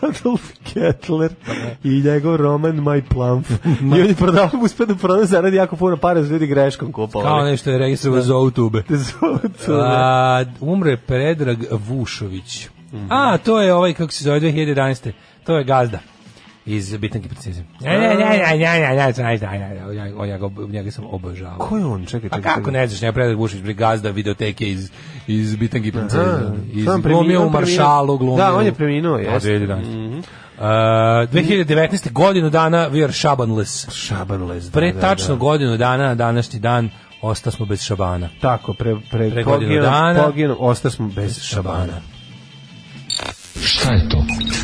[SPEAKER 5] Adolf Kettler i njegov roman My
[SPEAKER 6] (laughs)
[SPEAKER 5] Plump. I on je prodao, uspio da prodaje zaradi jako puno pare za ljudi greškom
[SPEAKER 6] kao
[SPEAKER 5] kupovali.
[SPEAKER 6] nešto je registrovao za YouTube.
[SPEAKER 5] Zotu, da.
[SPEAKER 6] A, umre Predrag Vušović. A, to je ovaj, kako se zove, 2011. To je gazda iz Bitanke princeze. Ja, ja, ja, ja, ja, ja, ja, ja, ja, ja, ja, ja, ja, ga ob- njega sam obožavao.
[SPEAKER 5] Ko je on? Čekaj,
[SPEAKER 6] A
[SPEAKER 5] čekaj.
[SPEAKER 6] kako ne znaš, ne Predrag Vušić, bre gazda videoteke iz, iz Bitangi princeza.
[SPEAKER 5] Aha,
[SPEAKER 6] Iz
[SPEAKER 5] sam preminuo,
[SPEAKER 6] glumio u
[SPEAKER 5] preminuo.
[SPEAKER 6] Maršalu, glumio.
[SPEAKER 5] Da, on je
[SPEAKER 6] u-
[SPEAKER 5] preminuo, jeste.
[SPEAKER 6] Da, 2011. Uh, 2019. godinu dana we are Shabanless.
[SPEAKER 5] Šaban les. da,
[SPEAKER 6] Pre
[SPEAKER 5] da,
[SPEAKER 6] tačno
[SPEAKER 5] da.
[SPEAKER 6] godinu dana, na današnji dan, osta smo bez Šabana.
[SPEAKER 5] Tako, pre, pre,
[SPEAKER 6] Pre
[SPEAKER 5] pre
[SPEAKER 6] godinu
[SPEAKER 5] poginu,
[SPEAKER 6] dana.
[SPEAKER 5] dana. Poginu, ostali smo bez
[SPEAKER 6] Pa,
[SPEAKER 5] šabana.
[SPEAKER 8] Šta je to?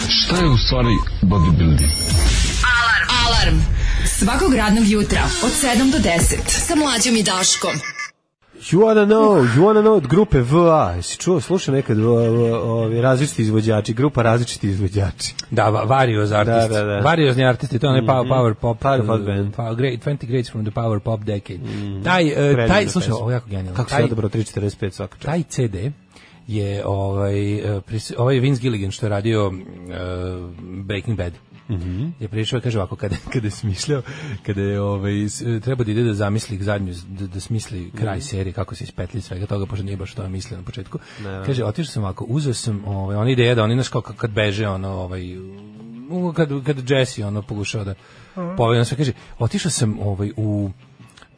[SPEAKER 8] Šta je u stvari bodybuilding?
[SPEAKER 4] Alarm. Alarm. Svakog radnog jutra od 7 do 10 sa mlađom i Daškom.
[SPEAKER 5] You wanna know, you wanna know od grupe VA. Jesi čuo, slušaj nekad o, o, o, različiti izvođači, grupa različiti izvođači.
[SPEAKER 6] Da, va- Varios artisti.
[SPEAKER 5] da, da.
[SPEAKER 6] Variozni artisti, to je onaj pow- power pop.
[SPEAKER 5] Power pop
[SPEAKER 6] uh,
[SPEAKER 5] band.
[SPEAKER 6] pa- great, 20 greats from the power pop decade.
[SPEAKER 5] Mhm.
[SPEAKER 6] Taj, uh,
[SPEAKER 5] Predivna
[SPEAKER 6] taj, slušaj,
[SPEAKER 5] pesma.
[SPEAKER 6] ovo je jako genijalno.
[SPEAKER 5] Kako se
[SPEAKER 6] Taj-
[SPEAKER 5] odabro 345 svaka čast.
[SPEAKER 6] taj CD je ovaj e, pris- ovaj Vince Gilligan što je radio e, Breaking Bad. Mhm. Je prišao i kaže ovako kada (laughs) kada je smišljao, kada je ovaj s- treba da ide da zamisli zadnju da, da smisli kraj serije kako se ispetlji svega toga pošto nije baš to mislio na početku. Kaže otišao sam ovako, uzeo sam ovaj ona ideja da oni znaš kao kad- kad beže ono ovaj u- kad kad Jesse ono pokušao da pobegne sve kaže otišao sam ovaj u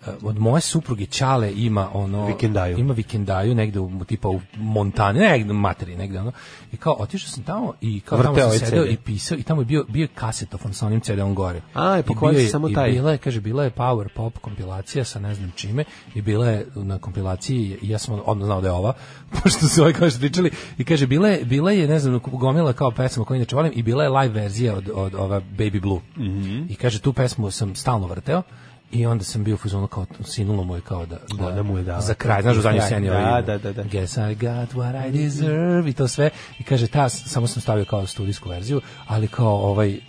[SPEAKER 6] e, od moje supruge Ćale ima ono
[SPEAKER 5] Vikendaju.
[SPEAKER 6] ima vikendaju negde u tipa u Montani negde u materi negde ono i kao otišao sam tamo i kao
[SPEAKER 5] Vrteo
[SPEAKER 6] tamo
[SPEAKER 5] je
[SPEAKER 6] sam sedeo
[SPEAKER 5] CD.
[SPEAKER 6] i pisao i tamo je bio bio je kasetofon sa onim CD-om gore
[SPEAKER 5] A, i pokvario
[SPEAKER 6] bio
[SPEAKER 5] si
[SPEAKER 6] je-
[SPEAKER 5] samo
[SPEAKER 6] i
[SPEAKER 5] taj.
[SPEAKER 6] bila je kaže bila je power pop kompilacija sa ne znam čime i bila je na kompilaciji i ja sam odmah znao da je ova (laughs) pošto su ovaj kao što pričali i kaže bila je bila je ne znam gomila kao pesma koju inače volim i bila je live verzija od od ova Baby Blue.
[SPEAKER 5] Mhm.
[SPEAKER 6] I kaže tu pesmu sam stalno vrteo i onda sam bio u fazonu kao sinulo mu je kao da, da
[SPEAKER 5] Ona mu je dala.
[SPEAKER 6] za kraj znaš u zadnjoj
[SPEAKER 5] Za kraj,
[SPEAKER 6] sceni
[SPEAKER 5] da,
[SPEAKER 6] ovaj,
[SPEAKER 5] da, da, da.
[SPEAKER 6] Guess I got what I deserve i to sve. I kaže, ta, samo sam stavio kao studijsku verziju, ali kao ovaj,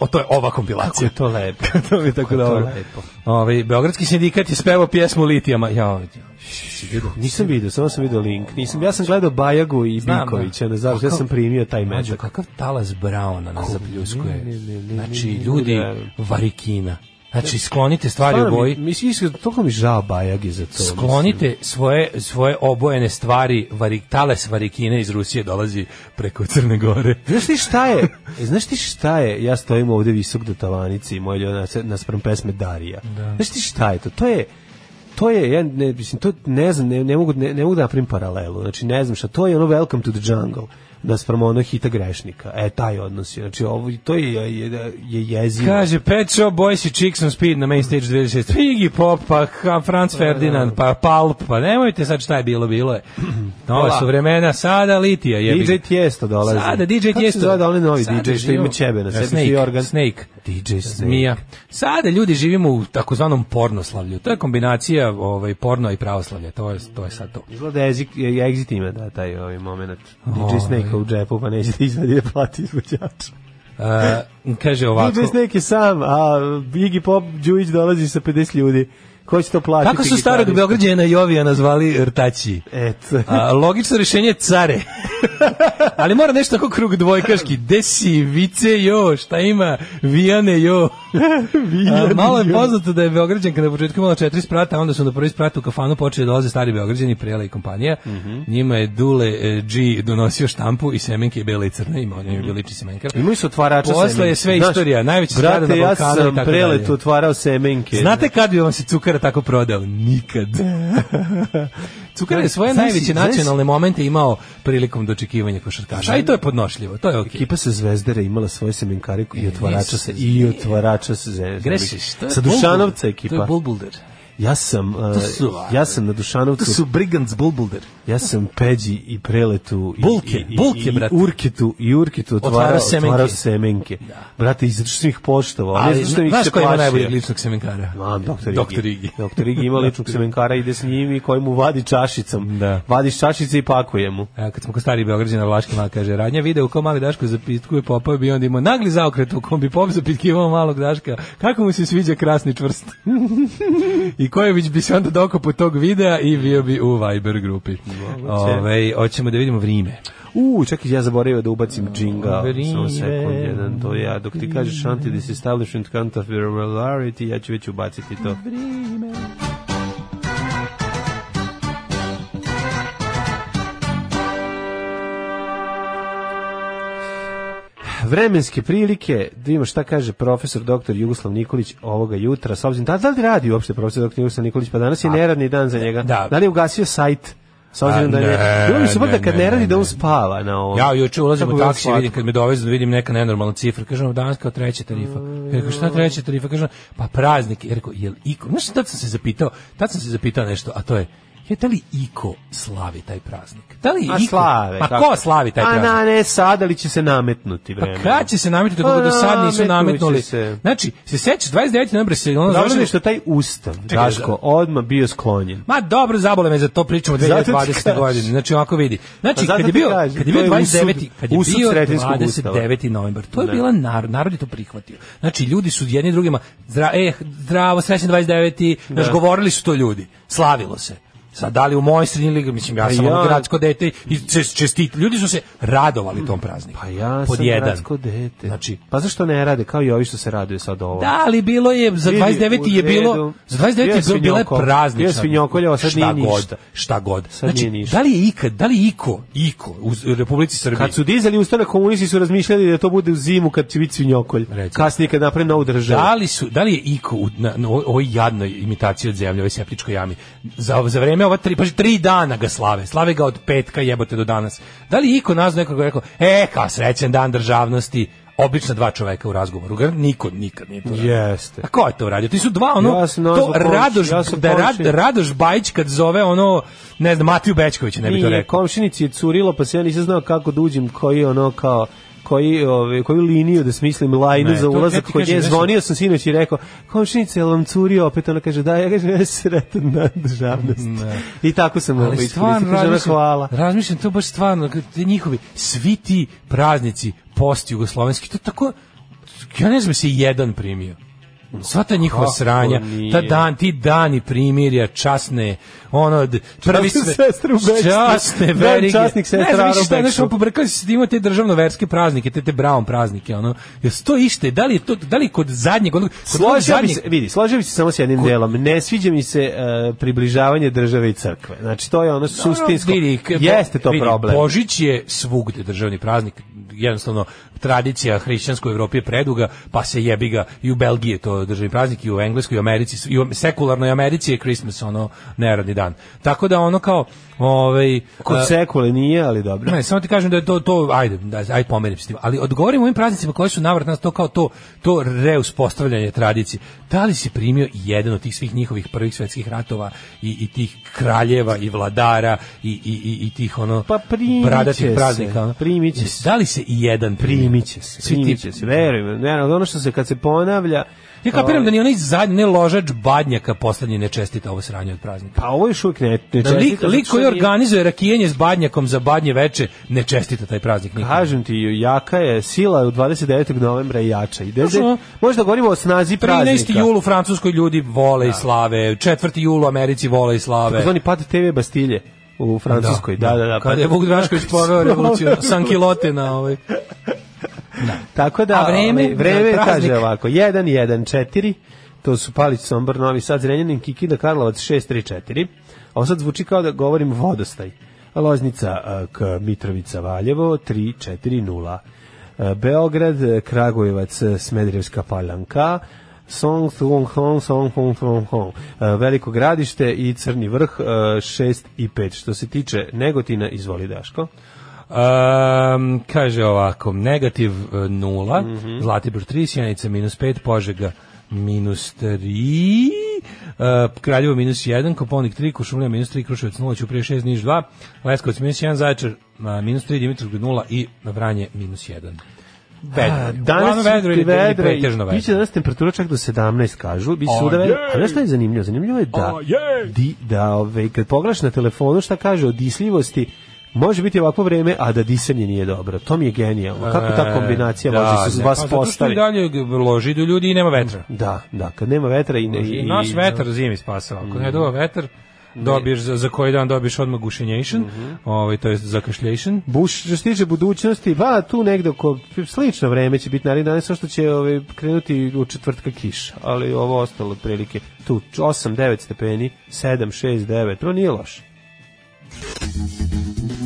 [SPEAKER 6] o, to je ova kompilacija.
[SPEAKER 5] Kako je (laughs) to lepo.
[SPEAKER 6] to mi je
[SPEAKER 5] Kako
[SPEAKER 6] tako
[SPEAKER 5] je to
[SPEAKER 6] dobro.
[SPEAKER 5] lepo.
[SPEAKER 6] Ovaj, Beogradski sindikat je spevao pjesmu Litijama. Ja, ovaj,
[SPEAKER 5] Nisam vidio, samo sam vidio link. Nisam, ja sam gledao Bajagu i
[SPEAKER 6] Znam, da.
[SPEAKER 5] Bikovića, ne znam, ja
[SPEAKER 6] Kakav-
[SPEAKER 5] sam primio taj meč.
[SPEAKER 6] Mađo, kakav talas Brauna nas zapljuskuje.
[SPEAKER 5] ne, ne, ne,
[SPEAKER 6] Znači,
[SPEAKER 5] ne, ne, ne,
[SPEAKER 6] ljudi,
[SPEAKER 5] ne, ne.
[SPEAKER 6] varikina. Znači, sklonite stvari u
[SPEAKER 5] Stvarno
[SPEAKER 6] boji.
[SPEAKER 5] mi, mislim, iskreno, toliko mi žao Bajage za to. mislim.
[SPEAKER 6] Sklonite svoje svoje obojene stvari, varik, talas varikine iz Rusije dolazi preko Crne Gore.
[SPEAKER 5] Znaš ti šta je? E, Znaš ti šta je? Ja stojim ovde visok do tavanice i moj ljona naspram pesme Darija. Znaš ti šta je to? To je to je ja ne mislim to ne znam ne, ne mogu ne, ne mogu da napravim paralelu. Znači ne znam šta to je ono Welcome to the Jungle naspram ono hita grešnika. E taj odnos je. Znači ovo to je je, je, je jezivo.
[SPEAKER 6] Kaže, Pet Shop Boys i Chicks on Speed na main stage 26. Iggy Pop, pa Ka- Franz Ferdinand, pa Palp, pa nemojte sad šta je bilo, bilo je. Nova su vremena, sada Litija je.
[SPEAKER 5] DJ Tiesto dolazi.
[SPEAKER 6] Sada DJ
[SPEAKER 5] Kako
[SPEAKER 6] Tiesto.
[SPEAKER 5] se zove da onaj novi
[SPEAKER 6] Sada
[SPEAKER 5] DJ što ima
[SPEAKER 6] živimo-
[SPEAKER 5] ćebe na sebi
[SPEAKER 6] Snake,
[SPEAKER 5] i organ?
[SPEAKER 6] Snake.
[SPEAKER 5] DJ Snake.
[SPEAKER 6] Mija. Sada ljudi živimo u takozvanom pornoslavlju. To je kombinacija ovaj, porno i pravoslavlja. To je, to je sad to.
[SPEAKER 5] Izgleda Exit, exit ima da, taj ovaj moment. DJ Snake u džepu, pa nećete izdati da plati izvođača.
[SPEAKER 6] Uh, kaže ovako.
[SPEAKER 5] DJ Snake je sam, a Iggy Pop Đujić dolazi sa 50 ljudi. Ko će to platiti?
[SPEAKER 6] Kako su starog
[SPEAKER 5] gitaristu?
[SPEAKER 6] Beograđana Jovija nazvali rtači?
[SPEAKER 5] Eto. (laughs)
[SPEAKER 6] A, logično rješenje je care. (laughs) Ali mora nešto kao krug dvojkaški. Desi, vice, jo, šta ima? Vijane,
[SPEAKER 5] (laughs)
[SPEAKER 6] jo. A, malo je poznato da je Beograđanka na početku imala četiri sprata, a onda su na prvi sprat u kafanu počeli da dolaze stari Beograđani, Prijela i kompanija.
[SPEAKER 5] Mhm.
[SPEAKER 6] Njima je Dule e, G donosio štampu i semenke bele i crne. Ima,
[SPEAKER 5] Mhm.
[SPEAKER 6] on je bio lični semenkar.
[SPEAKER 5] Imaju su otvarača
[SPEAKER 6] Posle
[SPEAKER 5] semenki.
[SPEAKER 6] je sve
[SPEAKER 5] Znaš,
[SPEAKER 6] istorija, najveća zgrada
[SPEAKER 5] Brate,
[SPEAKER 6] na
[SPEAKER 5] ja
[SPEAKER 6] Balkanu i
[SPEAKER 5] sam
[SPEAKER 6] tako
[SPEAKER 5] preletu
[SPEAKER 6] dalje.
[SPEAKER 5] otvarao semenke.
[SPEAKER 6] Znate kad bi vam se Cukara tako prodao?
[SPEAKER 5] (laughs)
[SPEAKER 6] Nikad. Cukara je svoje
[SPEAKER 5] Znaš si-
[SPEAKER 6] najveće
[SPEAKER 5] znaš si-
[SPEAKER 6] nacionalne momente imao prilikom dočekivanja košarkaša. A i to je podnošljivo, to je okej.
[SPEAKER 5] Ekipa sa Zvezdere imala svoje semenkare i
[SPEAKER 6] E,
[SPEAKER 5] otvarača
[SPEAKER 6] Isus,
[SPEAKER 5] se i otvarača se Zvezdere.
[SPEAKER 6] Grešiš, to je
[SPEAKER 5] Sa
[SPEAKER 6] Bulbul.
[SPEAKER 5] Dušanovca
[SPEAKER 6] To
[SPEAKER 5] ekipa.
[SPEAKER 6] je Bulbulder.
[SPEAKER 5] Ja sam uh,
[SPEAKER 6] su,
[SPEAKER 5] ja sam na Dušanovcu.
[SPEAKER 6] To su Brigands Bulbulder.
[SPEAKER 5] Ja sam Peđi i Preletu i,
[SPEAKER 6] Bulke,
[SPEAKER 5] i, i,
[SPEAKER 6] bulke, brate.
[SPEAKER 5] i Urkitu i Urkitu otvarao,
[SPEAKER 6] Otvarao
[SPEAKER 5] otvarao
[SPEAKER 6] semenke.
[SPEAKER 5] semenke. Brate, iz svih poštova. Ali,
[SPEAKER 6] Ali,
[SPEAKER 5] ne znam što ih
[SPEAKER 6] znaš
[SPEAKER 5] se
[SPEAKER 6] ko ima
[SPEAKER 5] plašio.
[SPEAKER 6] najboljeg ličnog semenkara?
[SPEAKER 5] Ma, doktor Igi.
[SPEAKER 6] Doktor Igi.
[SPEAKER 5] Doktor Igi ima ličnog semenkara, ide s njim i koji mu vadi čašicom.
[SPEAKER 6] Da.
[SPEAKER 5] Vadiš čašice i pakuje mu.
[SPEAKER 6] Evo, kad smo kod stari Beograđana Vlaški mal kaže, radnja video u kom mali Daško zapitkuje popa bi onda imao nagli zaokret u kom bi pop zapitkivao malog Daška. Kako mu se sviđa krasni čvrst? (laughs) I Kojević bi se onda dokopo tog videa i bio bi u Viber grupi. Ove, hoćemo da vidimo vrime.
[SPEAKER 5] U, čekaj, ja zaboravio da
[SPEAKER 6] Mm,
[SPEAKER 5] ubacim džinga. Samo
[SPEAKER 6] Vrijeme.
[SPEAKER 5] sekund, jedan, to ja. Dok ti kažeš anti-disestablishment count of irregularity, ja ću već ubaciti to. vremenske prilike, da vidimo šta kaže profesor doktor Jugoslav Nikolić ovoga jutra, s obzirom, da, da li radi uopšte profesor doktor Jugoslav Nikolić, pa danas je neradni dan za njega,
[SPEAKER 6] Da.
[SPEAKER 5] da, li je ugasio sajt, s obzirom
[SPEAKER 6] A,
[SPEAKER 5] da je,
[SPEAKER 6] ne,
[SPEAKER 5] bilo mi super
[SPEAKER 6] ne,
[SPEAKER 5] da kad
[SPEAKER 6] ne,
[SPEAKER 5] ne radi
[SPEAKER 6] ne,
[SPEAKER 5] da on
[SPEAKER 6] ne.
[SPEAKER 5] spava na ovom.
[SPEAKER 6] Ja juče ulazim
[SPEAKER 5] Kako
[SPEAKER 6] u
[SPEAKER 5] bi on
[SPEAKER 6] taksi,
[SPEAKER 5] slatko?
[SPEAKER 6] vidim kad me dovezu, vidim neka nenormalna cifra. Kažem, danas kao treća tarifa.
[SPEAKER 5] Mm.
[SPEAKER 6] Ja rekao, šta treća tarifa? Kažem, pa praznik. Ja rekao, jel iko? Znaš, tad sam se zapitao, tad sam se zapitao nešto, a to je, Je, da li Iko slavi taj praznik? Da li
[SPEAKER 5] A
[SPEAKER 6] Iko?
[SPEAKER 5] slave.
[SPEAKER 6] Pa
[SPEAKER 5] kako?
[SPEAKER 6] ko slavi taj
[SPEAKER 5] A
[SPEAKER 6] praznik?
[SPEAKER 5] na ne sad, ali će se nametnuti vreme.
[SPEAKER 6] Pa kad će se nametiti
[SPEAKER 5] Pa
[SPEAKER 6] kako do sad nisu
[SPEAKER 5] nametnuće
[SPEAKER 6] nametnuli?
[SPEAKER 5] se.
[SPEAKER 6] Znači, se sećaš 29. novembra se ono
[SPEAKER 5] Dobro je
[SPEAKER 6] završeno
[SPEAKER 5] što je taj ustav, Daško, odmah bio sklonjen.
[SPEAKER 6] Ma dobro, zabole me za to pričamo
[SPEAKER 5] Zato ti
[SPEAKER 6] 2020.
[SPEAKER 5] kažem.
[SPEAKER 6] godine. Znači ovako vidi. Znači
[SPEAKER 5] Pa zato
[SPEAKER 6] kad je
[SPEAKER 5] ti
[SPEAKER 6] bio
[SPEAKER 5] kažem,
[SPEAKER 6] kad je bio
[SPEAKER 5] to je usud-
[SPEAKER 6] 29. kad je
[SPEAKER 5] usud
[SPEAKER 6] bio
[SPEAKER 5] Sretenskog ustava.
[SPEAKER 6] 29. novembar. To je
[SPEAKER 5] Da.
[SPEAKER 6] bila nar, narod je to prihvatio. Znači ljudi su jedni drugima zdra, eh, zdravo, srećan 29. Znači govorili su to ljudi. Slavilo se. Sad da li u mojoj sredini ili mislim ja
[SPEAKER 5] Pa
[SPEAKER 6] sam
[SPEAKER 5] ja-
[SPEAKER 6] ono gradsko dete i čestit. Ljudi su se radovali tom prazniku.
[SPEAKER 5] Pa ja
[SPEAKER 6] Pod
[SPEAKER 5] sam
[SPEAKER 6] jedan.
[SPEAKER 5] gradsko dete.
[SPEAKER 6] Znači
[SPEAKER 5] pa zašto ne rade, kao i ovi što se raduje sad ovo?
[SPEAKER 6] Da, ali bilo je za
[SPEAKER 5] Vidi,
[SPEAKER 6] 29. je
[SPEAKER 5] u redu.
[SPEAKER 6] bilo za 29. je
[SPEAKER 5] Bio
[SPEAKER 6] bilo
[SPEAKER 5] je
[SPEAKER 6] bile
[SPEAKER 5] svinjokolj.
[SPEAKER 6] praznična.
[SPEAKER 5] Bio je svinjokolj, a sad
[SPEAKER 6] Šta
[SPEAKER 5] nije
[SPEAKER 6] god,
[SPEAKER 5] ništa.
[SPEAKER 6] Šta god.
[SPEAKER 5] Sad
[SPEAKER 6] znači,
[SPEAKER 5] nije ništa.
[SPEAKER 6] da li je ikad, da li je iko, iko u Republici Srbiji?
[SPEAKER 5] Kad su dizali ustanak komunisti su razmišljali da to bude u zimu kad će biti svinjokolj.
[SPEAKER 6] Recimo.
[SPEAKER 5] Kasnije kad naprave novu državu.
[SPEAKER 6] Da li su, da li je iko u na, na ovoj- ovoj jadnoj imitaciji od zemlje, ovoj septičkoj jami, za, za vreme ova tri, pa tri dana ga slave, slave ga od petka jebote do danas. Da li je iko nas nekako rekao, e, kao srećen dan državnosti, obična dva čoveka u razgovoru, Gar- niko nikad nije to radio.
[SPEAKER 5] Jeste.
[SPEAKER 6] A ko je to uradio? Ti su dva ono
[SPEAKER 5] Ja sam nazvao
[SPEAKER 6] to Radoš
[SPEAKER 5] komšiju, ja sam
[SPEAKER 6] da je rad,
[SPEAKER 5] komšiju.
[SPEAKER 6] Radoš Bajić kad zove ono ne znam Matiju Bećković ne bi to
[SPEAKER 5] Nije,
[SPEAKER 6] rekao.
[SPEAKER 5] komšinici je curilo, pa se ja nisam znao kako da uđem, koji ono kao koji ove koju liniju da smislim lajnu
[SPEAKER 6] Ne,
[SPEAKER 5] za
[SPEAKER 6] to ja
[SPEAKER 5] ulazak
[SPEAKER 6] ti
[SPEAKER 5] kod
[SPEAKER 6] kažem,
[SPEAKER 5] nje
[SPEAKER 6] znaš-
[SPEAKER 5] zvonio sam sinoć i rekao komšinice jel vam curio opet ona kaže da ja kažem ja sretan dan državnosti i tako sam ovo
[SPEAKER 6] Ali stvarno
[SPEAKER 5] iskoristio kaže ona
[SPEAKER 6] razmišljam,
[SPEAKER 5] hvala
[SPEAKER 6] razmišljam to baš stvarno kad ti njihovi svi ti praznici post jugoslovenski to tako ja ne znam se i jedan primio. Sva ta njihova
[SPEAKER 5] Kako
[SPEAKER 6] sranja,
[SPEAKER 5] nije?
[SPEAKER 6] ta dan, ti dani primirja, časne, ono, d- prvi
[SPEAKER 5] Časne
[SPEAKER 6] sve,
[SPEAKER 5] sestre u bekstvu.
[SPEAKER 6] časne
[SPEAKER 5] Dan
[SPEAKER 6] verige.
[SPEAKER 5] časnih sestara
[SPEAKER 6] ne znam više
[SPEAKER 5] u
[SPEAKER 6] šta, znaš,
[SPEAKER 5] bekstvu.
[SPEAKER 6] ono, pobrkali se, imamo te državno-verske praznike, te te brown praznike, ono, jel to ište, da li je to, da li je kod zadnjeg, ono, kod onog
[SPEAKER 5] Složio bi
[SPEAKER 6] zadnjeg-
[SPEAKER 5] se, vidi, složio bi se samo s jednim delom. Ne sviđa mi se e, približavanje države i crkve. Znači, to je ono suštinsko.
[SPEAKER 6] Vidi, k-
[SPEAKER 5] Jeste to
[SPEAKER 6] vidi,
[SPEAKER 5] problem.
[SPEAKER 6] Božić je svugde državni praznik, jednostavno tradicija hrišćanskoj Evropi je preduga, pa se jebi ga i u Belgiji je to državni praznik i u Engleskoj i u Americi, i u sekularnoj Americi je Christmas ono neradni dan. Tako da ono kao ovaj a-
[SPEAKER 5] Kod sekule nije, ali dobro.
[SPEAKER 6] ne, samo ti kažem da je to, to ajde, da, aj pomerim se s tim. Ali odgovorim ovim praznicima koji su navrat nas to kao to, to reuspostavljanje tradicije. Da li si primio jedan od tih svih njihovih prvih svetskih ratova i, i tih kraljeva i vladara i, i, i, i tih ono
[SPEAKER 5] Pa primit će
[SPEAKER 6] bradatih
[SPEAKER 5] se,
[SPEAKER 6] praznika? ono?
[SPEAKER 5] primit će se.
[SPEAKER 6] Da li se i jedan primio?
[SPEAKER 5] Primiće se,
[SPEAKER 6] Svi ti-
[SPEAKER 5] primiće se, verujem. Ne, ali ono što se kad se ponavlja... ovaj,
[SPEAKER 6] Ja kapiram da ni onaj zadnji ne ložač badnjaka poslednji ne čestita ovo sranje od praznika.
[SPEAKER 5] Pa ovo još uvijek ne, ne
[SPEAKER 6] Da lik,
[SPEAKER 5] čestita,
[SPEAKER 6] lik
[SPEAKER 5] zato što
[SPEAKER 6] koji
[SPEAKER 5] nije-
[SPEAKER 6] organizuje rakijenje s badnjakom za badnje veče ne čestita taj praznik nikom.
[SPEAKER 5] Kažem ti, jaka je sila u 29. novembra je jača. I
[SPEAKER 6] Znaš
[SPEAKER 5] dede,
[SPEAKER 6] ono-
[SPEAKER 5] možda govorimo o snazi
[SPEAKER 6] 13.
[SPEAKER 5] praznika.
[SPEAKER 6] julu u Francuskoj ljudi vole i slave, 4. julu u Americi vole i slave.
[SPEAKER 5] Zvoni pad TV Bastilje u Francuskoj. Da, da, da. pa-
[SPEAKER 6] Kada je Vuk (laughs) Drašković
[SPEAKER 5] (laughs)
[SPEAKER 6] poveo revoluciju, sankilote na ovaj.
[SPEAKER 5] Tako da,
[SPEAKER 6] A vreme?
[SPEAKER 5] ovaj, vreme
[SPEAKER 6] Praznik.
[SPEAKER 5] kaže ovako, 1-1-4, to su Palić, Sombor, Novi Sad, Zrenjanin, Kikinda, Karlovac, 6-3-4. Ovo sad zvuči kao da govorim vodostaj. Loznica, eh, K- Mitrovica, Valjevo, 3-4-0. Eh, Beograd, eh, Kragujevac, eh, Smederevska palanka, Song, Song, Song, Song, Song, Song, Song. Eh, Veliko gradište i Crni vrh, 6 i 5. Što se tiče Negotina, izvoli Daško.
[SPEAKER 6] Um, kaže ovako, negativ 0, Zlatibor 3, Sjenica minus 5, Požega minus 3, uh, Kraljevo minus 1, Koponik 3, Košumlja minus 3, Kruševac 0, Ćuprije 6, Niš 2, Leskovac minus 1, Zaječar uh, minus 3, Dimitrovgrad 0 i Vranje minus 1. Vedro.
[SPEAKER 5] A,
[SPEAKER 6] je. Uglavnom
[SPEAKER 5] Danas
[SPEAKER 6] vedro ili, ili
[SPEAKER 5] vedro i
[SPEAKER 6] pretežno vedro.
[SPEAKER 5] biće danas temperatura čak do 17 kažu, biće
[SPEAKER 6] A
[SPEAKER 5] svuda vedro.
[SPEAKER 6] jej!
[SPEAKER 5] A znaš šta je zanimljivo? Zanimljivo je da
[SPEAKER 6] A jej!
[SPEAKER 5] di, da ovaj kad pogledaš na telefonu šta kaže o disljivosti Može biti ovako vreme, a da disanje nije dobro. To mi je genijalno. Kako ta
[SPEAKER 6] E,
[SPEAKER 5] kombinacija
[SPEAKER 6] da,
[SPEAKER 5] može se
[SPEAKER 6] ne,
[SPEAKER 5] vas
[SPEAKER 6] pa zato što i
[SPEAKER 5] postaviti?
[SPEAKER 6] dalje g- loži do ljudi i nema vetra.
[SPEAKER 5] Da, da, kad nema vetra i... ne-
[SPEAKER 6] I,
[SPEAKER 5] i- Mhm.
[SPEAKER 6] naš vetar zimi spasava. Ako ne doba vetar, dobiješ za, za koji dan dobiješ odmah gušenjation,
[SPEAKER 5] Mhm.
[SPEAKER 6] ovaj, to je zakašljation.
[SPEAKER 5] Buš, što se tiče budućnosti, ba, tu negde oko slično vreme će biti narednih dana, samo što će ovaj, krenuti u četvrtka kiša, ali ovo ostalo otprilike tu 8, 9 stepeni, 7, 6, 9, to nije loše.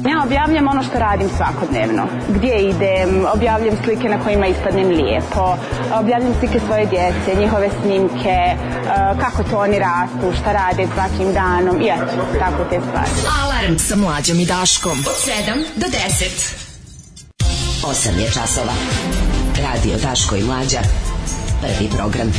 [SPEAKER 9] Ja objavljam ono što radim svakodnevno. Gdje idem, objavljam slike na kojima ispadnem lijepo, objavljam slike svoje djece, njihove snimke, eh, kako to oni rastu, šta rade svakim danom i eto, tako te stvari.
[SPEAKER 4] Alarm sa mlađom i Daškom. Od 7 do 10.
[SPEAKER 10] 8 je časova. Radio Daško i Mlađa. Prvi program.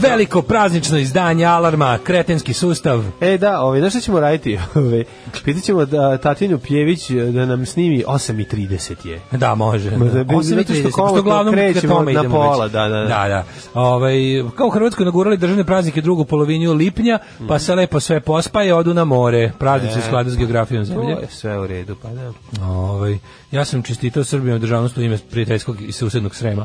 [SPEAKER 6] Veliko praznično izdanje Alarma, kretenski sustav.
[SPEAKER 5] E da, ovaj, znaš šta ćemo raditi? (laughs) Ovaj, Pitaćemo da Tatjanu Pjević eh, da nam snimi 8.30 je.
[SPEAKER 6] Da, može.
[SPEAKER 5] Ma da
[SPEAKER 6] Da,
[SPEAKER 5] bi-
[SPEAKER 6] 8 i
[SPEAKER 5] zato što
[SPEAKER 6] 30,
[SPEAKER 5] kao
[SPEAKER 6] pošto uglavnom ka
[SPEAKER 5] krećemo
[SPEAKER 6] tome
[SPEAKER 5] na
[SPEAKER 6] idemo
[SPEAKER 5] pola,
[SPEAKER 6] već.
[SPEAKER 5] da, da, da.
[SPEAKER 6] da, da. Ovaj, kao u Hrvatskoj nagurali državne praznike drugu polovinu lipnja,
[SPEAKER 5] Mhm.
[SPEAKER 6] pa se lepo sve pospaje, odu na more. Praznici u skladu s geografijom zemlje.
[SPEAKER 5] E. To je sve u redu, pa da.
[SPEAKER 6] Ovaj, ja sam čestitao Srbijom državnost u ime prijateljskog i susednog
[SPEAKER 5] (laughs)
[SPEAKER 6] Srema.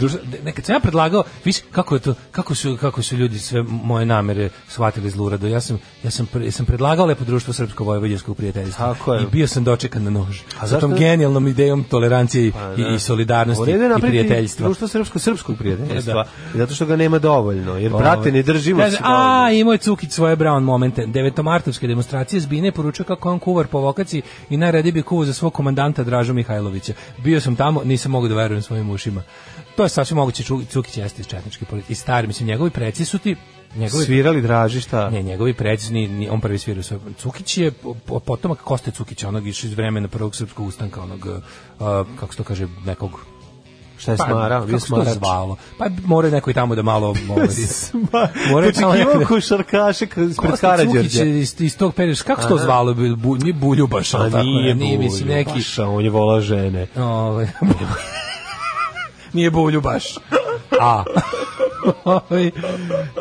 [SPEAKER 6] Druž- nekad sam ja predlagao, viš kako je to, kako su, kako su ljudi sve moje namere shvatili zlurado. Ja sam, ja sam, pre- sam predlagao lepo društvo srpsko-vojvođanskog prijateljstva.
[SPEAKER 5] Tako je.
[SPEAKER 6] I bio sam dočekan na nož. A sa
[SPEAKER 5] zašto- Pa
[SPEAKER 6] tom genijalnom idejom tolerancije i,
[SPEAKER 5] da.
[SPEAKER 6] i, i solidarnosti
[SPEAKER 5] Uredo je
[SPEAKER 6] i
[SPEAKER 5] napraviti
[SPEAKER 6] prijateljstva.
[SPEAKER 5] Društvo srpsko-srpskog prijateljstva.
[SPEAKER 6] Da. Ovaj.
[SPEAKER 5] Zato što ga nema dovoljno. Jer, brate, ne držimo
[SPEAKER 6] Kaže,
[SPEAKER 5] se
[SPEAKER 6] A, imao je Cukić svoje brown momente. Devetomartovske demonstracije zbine je poručio kako je on kuvar po vokaciji i najradije bi kuvu za svog komandanta Dražu Mihajlovića. Bio sam tamo, nisam mogu da verujem svojim ušima. To je sasvim moguće, Ču- Cukić jeste iz četničke politike. I stari, mislim, njegovi preci su ti... Njegovi,
[SPEAKER 5] Svirali draži šta?
[SPEAKER 6] Ne, njegovi preci, ni, ni- on prvi svirao svoj. Cukić je po- po- potomak Koste Cukića, onog iš iz vremena prvog srpskog ustanka, onog, a, kako se to kaže, nekog
[SPEAKER 5] Šta je smara?
[SPEAKER 6] Pa, kako
[SPEAKER 5] Bio
[SPEAKER 6] se to
[SPEAKER 5] smarač.
[SPEAKER 6] zvalo? Pa mora neko i tamo da
[SPEAKER 5] (laughs)
[SPEAKER 6] malo... ovaj, Moraju tamo
[SPEAKER 5] Očekivao
[SPEAKER 6] neko-
[SPEAKER 5] košarkaše kroz pred
[SPEAKER 6] Kosta Cukić
[SPEAKER 5] Karadžorđe.
[SPEAKER 6] je iz, iz tog perioda, kako se to
[SPEAKER 5] Aha.
[SPEAKER 6] zvalo, Bil- bu, nije Buljubaš, ali tako ne, nije,
[SPEAKER 5] Bulju,
[SPEAKER 6] mislim, neki...
[SPEAKER 5] Paša, on je volao žene.
[SPEAKER 6] Ovaj, (laughs) nije Buljubaš. A. Ovaj,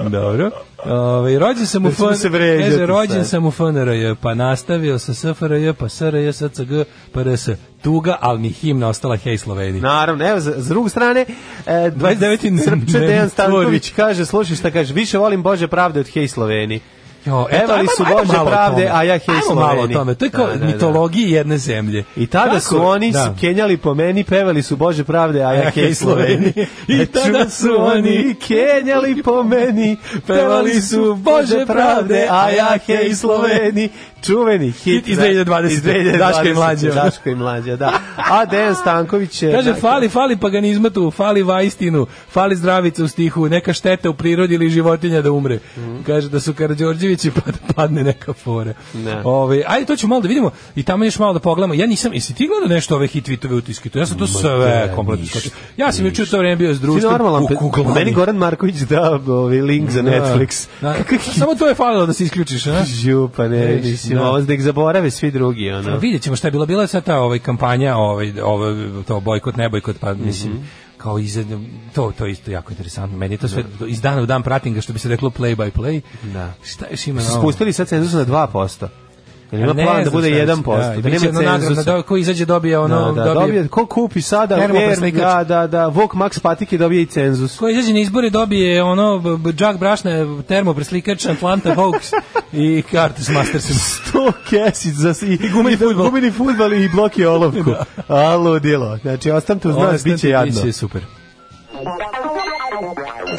[SPEAKER 6] Dobro. Ovaj rođen sam u
[SPEAKER 5] Nećemo
[SPEAKER 6] FNR,
[SPEAKER 5] se vređati
[SPEAKER 6] kaže, rođen
[SPEAKER 5] sad.
[SPEAKER 6] sam u FNRJ, pa nastavio sa SFRJ, pa SRJ, SCG, pa RS. Tuga, ali mi himna ostala Hej Sloveni.
[SPEAKER 5] Naravno, evo, za- s druge strane, e,
[SPEAKER 6] 29.
[SPEAKER 5] Srpče
[SPEAKER 6] Nemcović.
[SPEAKER 5] Dejan Stanković kaže, slušaj šta kaže, više volim Bože pravde od Hej Sloveni.
[SPEAKER 6] Jo,
[SPEAKER 5] Evo li su Bože
[SPEAKER 6] malo o
[SPEAKER 5] E, pravde,
[SPEAKER 6] tome.
[SPEAKER 5] a ja Hej
[SPEAKER 6] Ajmo malo o
[SPEAKER 5] Sloveni.
[SPEAKER 6] tome. To je kao
[SPEAKER 5] Da, da, da.
[SPEAKER 6] mitologiji jedne zemlje.
[SPEAKER 5] I tada
[SPEAKER 6] Kako-
[SPEAKER 5] su oni
[SPEAKER 6] da.
[SPEAKER 5] kenjali po meni, pevali su Bože pravde, a ja Hej Sloveni. (laughs)
[SPEAKER 6] I
[SPEAKER 5] E,
[SPEAKER 6] tada su oni
[SPEAKER 5] kenjali po meni, pevali su Bože pravde, a ja Hej Sloveni. Čuveni hit.
[SPEAKER 6] Hit iz
[SPEAKER 5] da,
[SPEAKER 6] 2020.
[SPEAKER 5] iz 2020.
[SPEAKER 6] Daško i mlađe.
[SPEAKER 5] Daško i mlađe, da. A Dejan Stanković je... Dakle,
[SPEAKER 6] Kaže,
[SPEAKER 5] da,
[SPEAKER 6] fali, fali paganizmatu, fali vajstinu, fali zdravica u stihu, neka šteta u prirodi ili životinja da umre.
[SPEAKER 5] Mhm.
[SPEAKER 6] Kaže da su (laughs) Karadžorđevići pa da padne neka fora.
[SPEAKER 5] Ne.
[SPEAKER 6] Ovaj, ajde, to ćemo malo da vidimo i tamo još malo da pogledamo. Ja nisam, jesi ti gledao nešto ove hit tweetove u tiskitu? Ja sam to sve kompletno skočio. Ja sam juče u to vreme bio s
[SPEAKER 5] Ti
[SPEAKER 6] društvom.
[SPEAKER 5] normalan,
[SPEAKER 6] u kuglani.
[SPEAKER 5] meni Goran Marković da ovaj link za Netflix. (laughs)
[SPEAKER 6] Da, da. Samo to je falilo da se isključiš, a?
[SPEAKER 5] Žu, pa ne,
[SPEAKER 6] Vidiš,
[SPEAKER 5] mislim,
[SPEAKER 6] da.
[SPEAKER 5] ovo da ih zaborave svi drugi, ono.
[SPEAKER 6] Vidjet ćemo šta je bilo. Bila je sad ta ovaj, kampanja, ovaj, ovaj, to bojkot, ne bojkot, pa
[SPEAKER 5] Mhm.
[SPEAKER 6] mislim, kao iz, to, to je isto jako interesantno. Meni je to sve, iz dana u dan pratim ga, što bi se reklo play by play.
[SPEAKER 5] Da.
[SPEAKER 6] Šta još ima na ovom?
[SPEAKER 5] Spustili sad cenzus na 2%. Jel ima
[SPEAKER 6] Ne
[SPEAKER 5] plan da
[SPEAKER 6] znam
[SPEAKER 5] bude
[SPEAKER 6] šta će-
[SPEAKER 5] 1%,
[SPEAKER 6] i
[SPEAKER 5] da,
[SPEAKER 6] bit će ono
[SPEAKER 5] nema
[SPEAKER 6] nagradno,
[SPEAKER 5] cenzusa.
[SPEAKER 6] da, ko izađe dobije ono,
[SPEAKER 5] da, da,
[SPEAKER 6] dobije,
[SPEAKER 5] dobije, ko kupi sada,
[SPEAKER 6] Termo
[SPEAKER 5] ver,
[SPEAKER 6] preslikač.
[SPEAKER 5] da, da, da, Vuk Max Patike dobije i cenzus. (laughs)
[SPEAKER 6] ko izađe na izbore dobije ono, b- b- džak brašne, termo, preslikač, Atlanta
[SPEAKER 5] (laughs)
[SPEAKER 6] Hawks i kartu s Mastersom.
[SPEAKER 5] 100 kesić za i, I
[SPEAKER 6] gumeni fudbal.
[SPEAKER 5] gumeni fudbal i blok
[SPEAKER 6] (laughs)
[SPEAKER 5] i olovku. Alo, djelo. Znači, ostam tu uz nas, bit će jadno.
[SPEAKER 6] Biće super.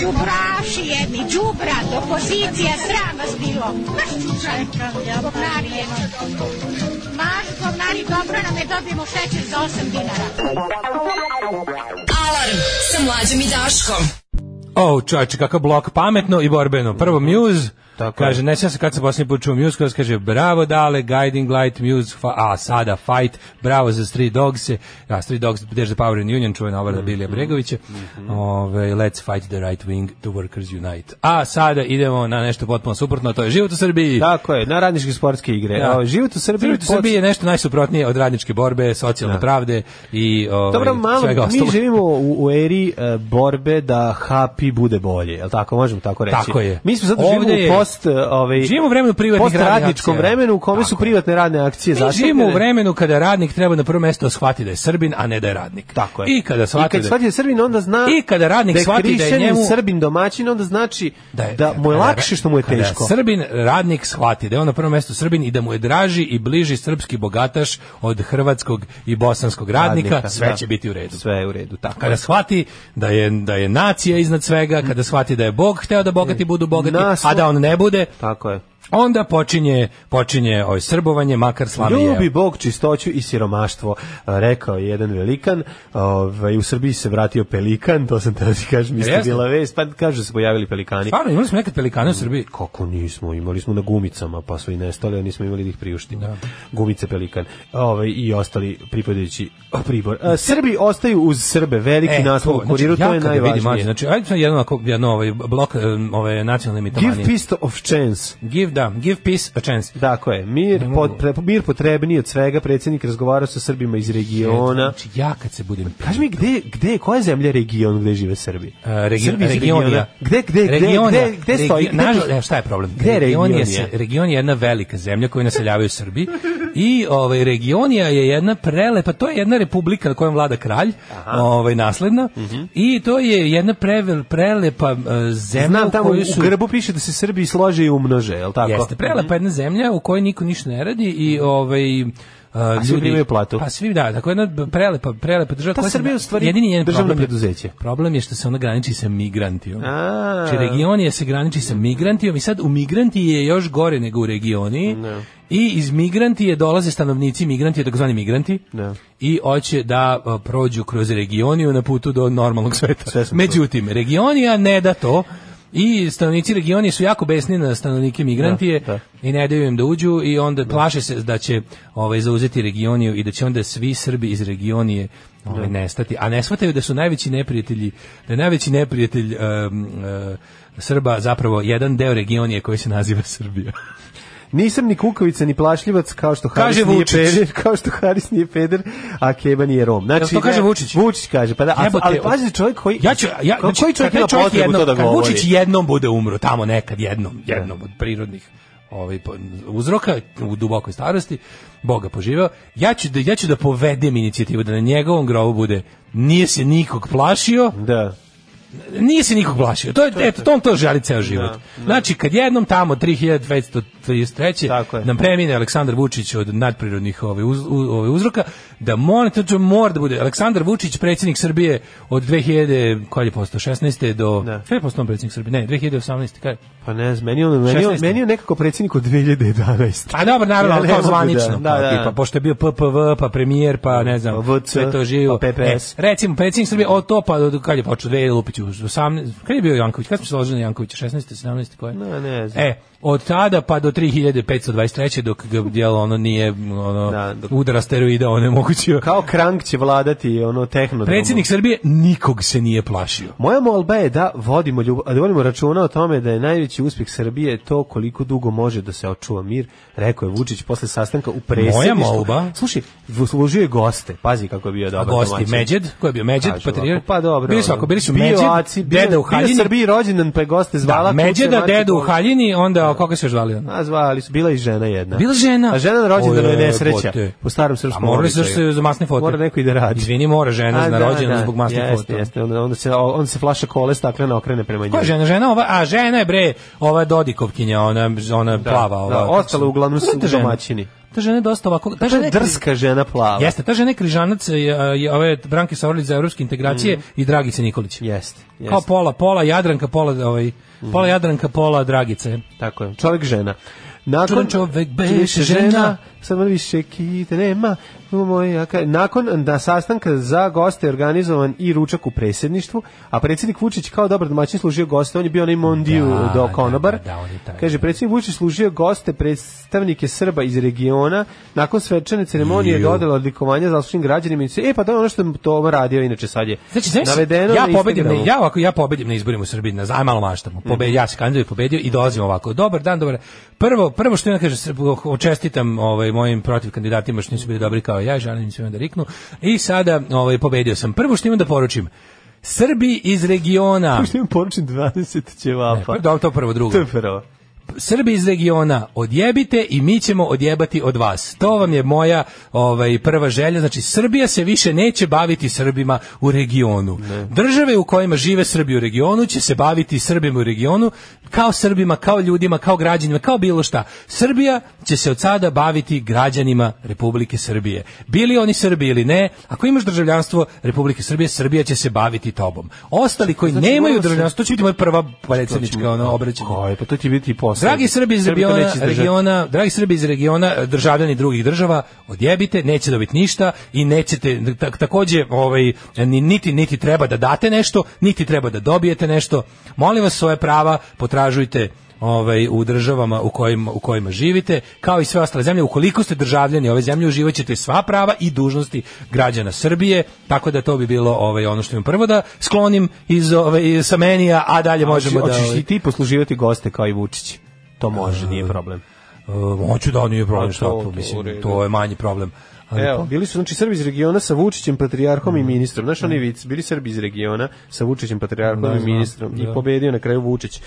[SPEAKER 2] Đubraši jedni, đubra, opozicija, sram vas bilo. Maš čekam, ja govnari jedno dobro. Maš govnari dobro nam je dobijemo šećer za 8 dinara.
[SPEAKER 4] Alarm sa mlađom i Daškom.
[SPEAKER 6] O, Oh, čovječe, kakav blok, pametno i borbeno. Prvo Muse,
[SPEAKER 5] Tako je.
[SPEAKER 6] kaže, ne sjećam se kad sam posljednji put čuo Muse, koja kaže, bravo dale, Guiding Light, Muse, fa- a sada Fight, bravo za Street Dogs, a Street Dogs, There's the Power in Union, čuvena obrada
[SPEAKER 5] Mhm,
[SPEAKER 6] Bilija Bregovića, Ove, Let's Fight the Right Wing, The Workers Unite. A sada idemo na nešto potpuno suprotno, a to je život u Srbiji.
[SPEAKER 5] Tako je, na radničke sportske igre.
[SPEAKER 6] Da.
[SPEAKER 5] Ovo, Život u Srbiji.
[SPEAKER 6] Život u
[SPEAKER 5] počinje-
[SPEAKER 6] Srbiji je nešto najsuprotnije od radničke borbe, socijalne pravde i ove,
[SPEAKER 5] Dobro, malo,
[SPEAKER 6] Ovaj, svega
[SPEAKER 5] mi
[SPEAKER 6] ostalog.
[SPEAKER 5] živimo u, u eri e, borbe da happy bude bolje, je tako? Možemo tako reći.
[SPEAKER 6] Tako je.
[SPEAKER 5] Mi smo sad
[SPEAKER 6] Ovde
[SPEAKER 5] živimo
[SPEAKER 6] je-
[SPEAKER 5] u post, e, ovaj,
[SPEAKER 6] Živimo u vremenu privatnih
[SPEAKER 5] post
[SPEAKER 6] radnih
[SPEAKER 5] radničkom
[SPEAKER 6] akcija.
[SPEAKER 5] vremenu u kome su
[SPEAKER 6] Tako je.
[SPEAKER 5] privatne radne akcije.
[SPEAKER 6] Mi
[SPEAKER 5] zaštitene.
[SPEAKER 6] živimo u vremenu kada radnik treba na prvo mesto shvati da je Srbin, a ne da je radnik.
[SPEAKER 5] Tako je.
[SPEAKER 6] I kada
[SPEAKER 5] I
[SPEAKER 6] shvati
[SPEAKER 5] kad
[SPEAKER 6] da
[SPEAKER 5] shvati da je Srbin, onda zna
[SPEAKER 6] I kada radnik
[SPEAKER 5] da je
[SPEAKER 6] shvati da je
[SPEAKER 5] hrišćanin,
[SPEAKER 6] njemu-
[SPEAKER 5] Srbin domaćin, onda znači da,
[SPEAKER 6] je-
[SPEAKER 5] mu je
[SPEAKER 6] kada-
[SPEAKER 5] lakše što mu je
[SPEAKER 6] kada
[SPEAKER 5] teško.
[SPEAKER 6] Srbin radnik shvati da je on na prvom mestu Srbin i da mu je draži i bliži srpski bogataš od hrvatskog i bosanskog radnika,
[SPEAKER 5] Radnika,
[SPEAKER 6] sve
[SPEAKER 5] da.
[SPEAKER 6] će biti u redu.
[SPEAKER 5] Sve je u redu, tako.
[SPEAKER 6] Kada shvati da je, da je nacija iznad svega, kada shvati da je Bog hteo da bogati budu bogati,
[SPEAKER 5] Naslov-
[SPEAKER 6] a da on ne bude,
[SPEAKER 5] Tako je.
[SPEAKER 6] Onda počinje, počinje ovaj srbovanje, makar slavi jeo.
[SPEAKER 5] Ljubi Bog čistoću i siromaštvo, a, rekao je jedan velikan. Ovaj, u Srbiji se vratio pelikan, to sam tada ti kažem, isto
[SPEAKER 6] Jeste?
[SPEAKER 5] bila vest, pa kažu da se pojavili pelikani.
[SPEAKER 6] E, Stvarno, imali smo nekad pelikane u Srbiji.
[SPEAKER 5] Kako nismo, imali smo na gumicama, pa su i nestali, a nismo imali da ih priuštimo. Gumice pelikan ovaj, i ostali pripadajući o, pribor. A, Srbi ostaju uz Srbe, veliki
[SPEAKER 6] E,
[SPEAKER 5] naslov u
[SPEAKER 6] znači,
[SPEAKER 5] kuriru, to
[SPEAKER 6] jako
[SPEAKER 5] je
[SPEAKER 6] da vidim, mlađe,
[SPEAKER 5] najvažnije.
[SPEAKER 6] znači, ajde sad jedno, ovako, jedno ovaj blok em, ove nacionalne
[SPEAKER 5] Give
[SPEAKER 6] mitomanije.
[SPEAKER 5] pisto of chance.
[SPEAKER 6] Give, da, give peace pa a chance.
[SPEAKER 5] Tako je, mir, pod, pre, mir potrebniji od svega, predsjednik razgovara sa Srbima iz regiona.
[SPEAKER 6] Znači, ja kad se budem...
[SPEAKER 5] Kaži mi, gde, gde, koja je zemlja region gde žive Srbi?
[SPEAKER 6] E, regio-
[SPEAKER 5] Srbi iz
[SPEAKER 6] regionija.
[SPEAKER 5] Gde, gde, gde,
[SPEAKER 6] Regionija.
[SPEAKER 5] gde, gde stoji?
[SPEAKER 6] Regio-
[SPEAKER 5] gde-
[SPEAKER 6] nažal- evo, šta je problem?
[SPEAKER 5] Gde je
[SPEAKER 6] Regionija
[SPEAKER 5] regionija?
[SPEAKER 6] se- region je jedna velika zemlja koju naseljavaju
[SPEAKER 5] (laughs)
[SPEAKER 6] Srbi i ovaj, regionija je jedna prelepa, to je jedna republika na kojom vlada kralj, ovaj, nasledna,
[SPEAKER 5] Mhm.
[SPEAKER 6] i to je jedna prevel, prelepa eh, zemlja
[SPEAKER 5] Znam,
[SPEAKER 6] u
[SPEAKER 5] tamo u,
[SPEAKER 6] kojoj su...
[SPEAKER 5] grbu piše da se Srbi slože i umnože, je li tako?
[SPEAKER 6] Jeste, prelepa jedna zemlja u kojoj niko ništa ne radi i ovaj uh,
[SPEAKER 5] Mhm. svi primaju platu.
[SPEAKER 6] Pa svi, da, tako jedna b- prelepa, prelepa država.
[SPEAKER 5] Ta
[SPEAKER 6] koja se
[SPEAKER 5] Srbija je
[SPEAKER 6] na-
[SPEAKER 5] u stvari
[SPEAKER 6] jedini njen
[SPEAKER 5] državno
[SPEAKER 6] problem je-
[SPEAKER 5] preduzeće.
[SPEAKER 6] Problem je što se ona graniči sa migrantijom.
[SPEAKER 5] A.
[SPEAKER 6] Znači, regionija se graniči sa migrantijom i sad u migranti je još gore nego u regioniji. I iz migranti je dolaze stanovnici migranti, takozvani migranti,
[SPEAKER 5] Da.
[SPEAKER 6] i hoće da a, prođu kroz regioniju na putu do normalnog sveta.
[SPEAKER 5] Sve sam
[SPEAKER 6] Međutim, regionija ne da to i stanovnici regionije su jako besni na stanovnike migrantije
[SPEAKER 5] Da, da.
[SPEAKER 6] i ne daju im da uđu i onda plaše se da će ovaj zauzeti regioniju i da će onda svi Srbi iz regionije ovaj nestati, a ne shvataju da su najveći neprijatelji, da je najveći neprijatelj em, eh, Srba zapravo jedan deo regionije koji se naziva Srbija.
[SPEAKER 5] Nisam ni kukavica, ni plašljivac, kao što Haris
[SPEAKER 6] Kaže
[SPEAKER 5] nije
[SPEAKER 6] Vučić.
[SPEAKER 5] peder, (laughs) kao što Haris nije peder, a Keba nije Rom. Znači,
[SPEAKER 6] Jel to kaže
[SPEAKER 5] ne,
[SPEAKER 6] Vučić?
[SPEAKER 5] Vučić kaže, pa da, a,
[SPEAKER 6] Jebote,
[SPEAKER 5] ali pazi čovjek koji...
[SPEAKER 6] Ja ću, ja,
[SPEAKER 5] koji
[SPEAKER 6] znači,
[SPEAKER 5] čovjek
[SPEAKER 6] kad
[SPEAKER 5] ima
[SPEAKER 6] čovjek
[SPEAKER 5] potrebu
[SPEAKER 6] jednom,
[SPEAKER 5] to da
[SPEAKER 6] kad
[SPEAKER 5] govori?
[SPEAKER 6] Vučić jednom bude umro, tamo nekad jednom, jednom od prirodnih ovaj, po- uzroka u dubokoj starosti, Boga poživeo, ja ću da, ja ću da povedem inicijativu da na njegovom grobu bude nije se nikog plašio,
[SPEAKER 5] Da.
[SPEAKER 6] nije se nikog plašio. To je eto to on to želi ceo život. Znači kad jednom tamo 3533
[SPEAKER 5] Tako je.
[SPEAKER 6] nam premine Aleksandar Vučić od nadprirodnih ovaj uz, u- ovaj uzroka da mora to će- mora da bude Aleksandar Vučić predsjednik Srbije od 2000 koji je postao 16 do
[SPEAKER 5] Da.
[SPEAKER 6] sve postao on predsjednik Srbije. Ne, 2018 kaj?
[SPEAKER 5] Pa ne znam, meni je on, meni, je on,
[SPEAKER 6] 16.
[SPEAKER 5] meni je on nekako predsjednik od 2011.
[SPEAKER 6] Pa dobro, naravno,
[SPEAKER 5] Ja
[SPEAKER 6] ali
[SPEAKER 5] ne
[SPEAKER 6] kao
[SPEAKER 5] mogu da-
[SPEAKER 6] zvanično.
[SPEAKER 5] da,
[SPEAKER 6] kao
[SPEAKER 5] da.
[SPEAKER 6] tipa, pošto je bio PPV, pa premijer, pa ne znam,
[SPEAKER 5] Pa VC,
[SPEAKER 6] sve to živo.
[SPEAKER 5] pa PPS.
[SPEAKER 6] E, recimo, predsjednik Srbije, od to, pa do, kad je počeo, 2000 Lupić, 18, kad je bio Janković, kad smo se složili na Jankovića, 16. 17. koje?
[SPEAKER 5] Ne, ne znam.
[SPEAKER 6] E, od tada pa do 3523 dok ga djelo ono nije ono
[SPEAKER 5] Da, dok-
[SPEAKER 6] udara steroida onemogućio.
[SPEAKER 5] Kao krank će vladati ono tehnodromom.
[SPEAKER 6] Predsjednik Srbije nikog se nije plašio.
[SPEAKER 5] Moja molba je da vodimo, ljubav, da vodimo računa o tome da je najveći uspjeh Srbije to koliko dugo može da se očuva mir, rekao je Vučić posle sastanka u predsjedništvu.
[SPEAKER 6] molba?
[SPEAKER 5] Slušaj, služio je goste, pazi kako je bio dobar
[SPEAKER 6] Gosti
[SPEAKER 5] domaćin.
[SPEAKER 6] Međed, ko je bio Međed,
[SPEAKER 5] Kažu
[SPEAKER 6] patrijarh.
[SPEAKER 5] ovako, Pa dobro.
[SPEAKER 6] Bili su
[SPEAKER 5] ono,
[SPEAKER 6] ako bili su
[SPEAKER 5] bio
[SPEAKER 6] Međed,
[SPEAKER 5] Aci, bio-
[SPEAKER 6] deda u
[SPEAKER 5] bio
[SPEAKER 6] haljini.
[SPEAKER 5] Srbiji rođendan, pa je goste zvala.
[SPEAKER 6] Da,
[SPEAKER 5] kuće,
[SPEAKER 6] Međeda,
[SPEAKER 5] mači,
[SPEAKER 6] deda u
[SPEAKER 5] kolo.
[SPEAKER 6] haljini, onda kako se još zvali on?
[SPEAKER 5] A zvali su, bila je i žena jedna.
[SPEAKER 6] Bila žena.
[SPEAKER 5] A žena na rođendanu je
[SPEAKER 6] O,
[SPEAKER 5] nesreća.
[SPEAKER 6] jebote.
[SPEAKER 5] Po starom
[SPEAKER 6] A
[SPEAKER 5] srpskom
[SPEAKER 6] morali su da
[SPEAKER 5] običaju.
[SPEAKER 6] se za masne fote.
[SPEAKER 5] Mora neko i da radi.
[SPEAKER 6] Izvini, mora žena
[SPEAKER 5] A,
[SPEAKER 6] na
[SPEAKER 5] da,
[SPEAKER 6] rođendan
[SPEAKER 5] da,
[SPEAKER 6] zbog masnih
[SPEAKER 5] jeste,
[SPEAKER 6] fota.
[SPEAKER 5] Jeste, onda, onda se, onda se flaša kole staklena okrene prema njoj.
[SPEAKER 6] Ko je žena? Žena ova, a žena je bre, ova Dodikovkinja, ona, ona plava. Ova,
[SPEAKER 5] da, ostale uglavnom su
[SPEAKER 6] Znate ženu?
[SPEAKER 5] domaćini.
[SPEAKER 6] Ta žena je dosta ovako... Ta
[SPEAKER 5] To
[SPEAKER 6] žena
[SPEAKER 5] je
[SPEAKER 6] je
[SPEAKER 5] drska žena plava.
[SPEAKER 6] Jeste, ta žena je križanac, je, je, ove Branke Savrlić za evropske integracije i Dragice Nikolić.
[SPEAKER 5] Jeste. Mm. jeste. Mm.
[SPEAKER 6] Kao pola, pola Jadranka, pola, ovaj, pola Jadranka, pola Dragice.
[SPEAKER 5] Tako je. Čovjek žena. Nakon
[SPEAKER 6] Čudan čovek beše žena.
[SPEAKER 5] sad mora više kite nema. u moj jaka- Nakon da sastanka za goste je organizovan i ručak u predsjedništvu, a predsjednik Vučić kao dobar domaćin služio goste, on je bio onaj mondiju
[SPEAKER 6] Da,
[SPEAKER 5] do
[SPEAKER 6] da,
[SPEAKER 5] konobar.
[SPEAKER 6] da, da, on je taj.
[SPEAKER 5] Kaže, predsjednik Vučić služio goste predstavnike Srba iz regiona, nakon svečane ceremonije
[SPEAKER 6] Ju.
[SPEAKER 5] dodala odlikovanja za građanima i se, e pa to je ono što je to radio inače sad je.
[SPEAKER 6] Znači, znaš,
[SPEAKER 5] navedeno
[SPEAKER 6] ja
[SPEAKER 5] na
[SPEAKER 6] pobedim, ne,
[SPEAKER 5] Instagramu. Mhm.
[SPEAKER 6] ja ovako, ja pobedim na izborima u Srbiji, na aj malo maštamo. Pobe, ja se kandidujem, pobedio i dolazim ovako. Dobar dan, dobar. Prvo, prvo što ja kažem, Srbo, čestitam ovaj mojim protiv kandidatima što nisu bili dobri kao ja, želim im svima da riknu. I sada, ovaj pobedio sam. Prvo što imam da poručim. Srbi iz regiona.
[SPEAKER 5] Što im poručim 20 ćevapa.
[SPEAKER 6] Pa, dobro, to prvo, drugo.
[SPEAKER 5] To je prvo.
[SPEAKER 6] Srbi iz regiona odjebite i mi ćemo odjebati od vas. To vam je moja ovaj prva želja, znači Srbija se više neće baviti Srbima u regionu. Države u kojima žive Srbi u regionu će se baviti Srbima u regionu kao Srbima, kao ljudima, kao građanima, kao bilo šta. Srbija će se od sada baviti građanima Republike Srbije. Bili oni Srbi ili ne, ako imaš državljanstvo Republike Srbije, Srbija će se baviti tobom. Ostali koji
[SPEAKER 5] Znači,
[SPEAKER 6] nemaju
[SPEAKER 5] moramo se-
[SPEAKER 6] državljanstvo, to će biti moja prva predsjednička ono obraćanje.
[SPEAKER 5] Oj, pa to će biti i posao.
[SPEAKER 6] Dragi Srbi iz
[SPEAKER 5] Srbi to
[SPEAKER 6] regiona,
[SPEAKER 5] neće izdržati.
[SPEAKER 6] regiona, dragi Srbi iz regiona, državljani drugih država, odjebite, neće dobiti ništa i nećete ta- takođe ovaj ni- niti niti treba da date nešto, niti treba da dobijete nešto. Molim vas svoje prava potražujte ovaj u državama u kojima u kojima živite, kao i sve ostale zemlje, ukoliko ste državljani ove zemlje, uživaćete sva prava i dužnosti građana Srbije, tako da to bi bilo ovaj ono što im prvo da sklonim iz ovaj sa menija, a dalje možemo da
[SPEAKER 5] Hoćeš
[SPEAKER 6] ovaj,
[SPEAKER 5] i ti posluživati goste kao i Vučić. To može, nije problem.
[SPEAKER 6] Uh, hoću da nije problem,
[SPEAKER 5] A
[SPEAKER 6] šta
[SPEAKER 5] to-
[SPEAKER 6] to,
[SPEAKER 5] to u
[SPEAKER 6] mislim,
[SPEAKER 5] redu.
[SPEAKER 6] to je manji problem. Ali
[SPEAKER 5] Evo,
[SPEAKER 6] po-
[SPEAKER 5] bili su znači Srbi iz regiona sa Vučićem, patrijarhom
[SPEAKER 6] Mm.
[SPEAKER 5] i ministrom. Znaš oni vic, bili Srbi iz regiona sa Vučićem, patrijarhom
[SPEAKER 6] Da,
[SPEAKER 5] i
[SPEAKER 6] znam,
[SPEAKER 5] ministrom
[SPEAKER 6] da.
[SPEAKER 5] i pobedio na kraju Vučić.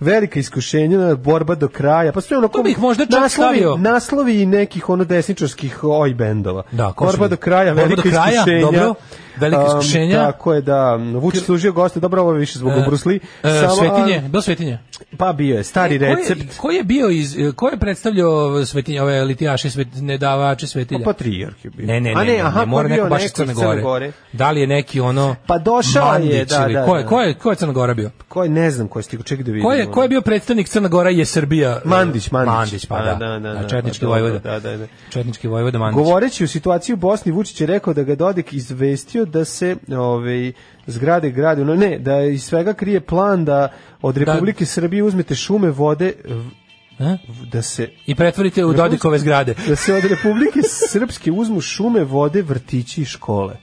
[SPEAKER 5] Velika iskušenja, borba do kraja. Pa sve ono
[SPEAKER 6] To bih možda čak
[SPEAKER 5] naslovi,
[SPEAKER 6] stavio.
[SPEAKER 5] naslovi nekih ono desničarskih oj bendova.
[SPEAKER 6] Da, ko
[SPEAKER 5] borba
[SPEAKER 6] su-
[SPEAKER 5] do kraja,
[SPEAKER 6] Borba do
[SPEAKER 5] velika
[SPEAKER 6] kraja,
[SPEAKER 5] iskušenja.
[SPEAKER 6] dobro. Velika
[SPEAKER 5] Am,
[SPEAKER 6] iskušenja.
[SPEAKER 5] tako je da Vučić služio goste, dobro ovo je više zbog
[SPEAKER 6] E,
[SPEAKER 5] Brusli.
[SPEAKER 6] e, svetinje, E, bilo svetinje.
[SPEAKER 5] Pa bio je stari
[SPEAKER 6] Ko je-
[SPEAKER 5] recept.
[SPEAKER 6] Ko je bio iz e, ko je predstavljao svetinje, ove litijaše, svet, nedavače
[SPEAKER 5] Pa
[SPEAKER 6] svetilja?
[SPEAKER 5] patrijarh je bio.
[SPEAKER 6] Ne, ne,
[SPEAKER 5] A
[SPEAKER 6] ne, ne,
[SPEAKER 5] aha,
[SPEAKER 6] ne, mora
[SPEAKER 5] pa bio
[SPEAKER 6] neko baš iz
[SPEAKER 5] neko
[SPEAKER 6] Crne Gore. Da li je neki ono
[SPEAKER 5] Pa došao je,
[SPEAKER 6] Mandić
[SPEAKER 5] da,
[SPEAKER 6] ili-
[SPEAKER 5] da,
[SPEAKER 6] Ko je,
[SPEAKER 5] da.
[SPEAKER 6] ko je, ko je Crna Gora bio?
[SPEAKER 5] Ko je, ne znam ko je stigao, čekaj da vidim.
[SPEAKER 6] Ko je, ko je bio predstavnik Crna Gora je Srbija? e,
[SPEAKER 5] Mandić, Mandić.
[SPEAKER 6] Mandić, pa da. da, da, četnički
[SPEAKER 5] pa dobro,
[SPEAKER 6] vojvoda.
[SPEAKER 5] Da, da, da.
[SPEAKER 6] Četnički vojvoda Mandić.
[SPEAKER 5] Govoreći o situaciji u Bosni, Vučić je rekao da ga je Dodik izvestio da se ovaj, zgrade grade, no ne, da iz svega krije plan da od Republike Srbije uzmete šume, vode,
[SPEAKER 6] E?
[SPEAKER 5] v- da se
[SPEAKER 6] I pretvorite u Dodikove zgrade.
[SPEAKER 5] da se od Republike Srpske uzmu šume, vode, vrtići i škole.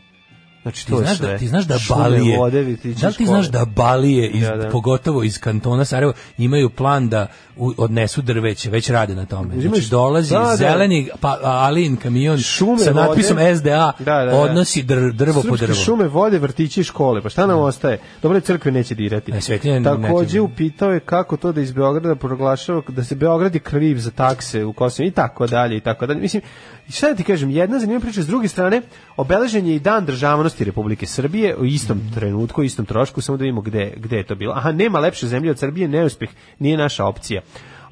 [SPEAKER 5] Znači,
[SPEAKER 6] Ti
[SPEAKER 5] to je
[SPEAKER 6] znaš,
[SPEAKER 5] sve.
[SPEAKER 6] da, ti znaš da
[SPEAKER 5] Šume,
[SPEAKER 6] Balije,
[SPEAKER 5] vode, vrtići i
[SPEAKER 6] da li ti
[SPEAKER 5] škole.
[SPEAKER 6] znaš da Balije, iz,
[SPEAKER 5] Da, da.
[SPEAKER 6] pogotovo iz kantona Sarajevo, imaju plan da u, odnesu drveće, već rade na tome.
[SPEAKER 5] Imaš-
[SPEAKER 6] Znači, dolazi
[SPEAKER 5] da, da.
[SPEAKER 6] zeleni pa, Alin kamion
[SPEAKER 5] Šume,
[SPEAKER 6] sa natpisom
[SPEAKER 5] vode.
[SPEAKER 6] SDA,
[SPEAKER 5] Da, da, da.
[SPEAKER 6] odnosi dr- drvo po drvo.
[SPEAKER 5] Srpske šume, vode, vrtići i škole. Pa šta nam ostaje? Dobre crkve neće dirati.
[SPEAKER 6] E, svetinje ne-
[SPEAKER 5] Takođe
[SPEAKER 6] neće.
[SPEAKER 5] upitao je kako to da iz Beograda proglašava da se Beograd je kriv za takse u Kosovo i tako dalje i tako dalje. Mislim, i šta da ti kažem, jedna zanimljiva priča s druge strane, obeležen je i dan državnosti Republike Srbije u istom
[SPEAKER 6] Mm.
[SPEAKER 5] trenutku, u istom trošku, samo da vidimo gde, gde je to bilo. Aha, nema lepše zemlje od Srbije, neuspeh nije naša opcija.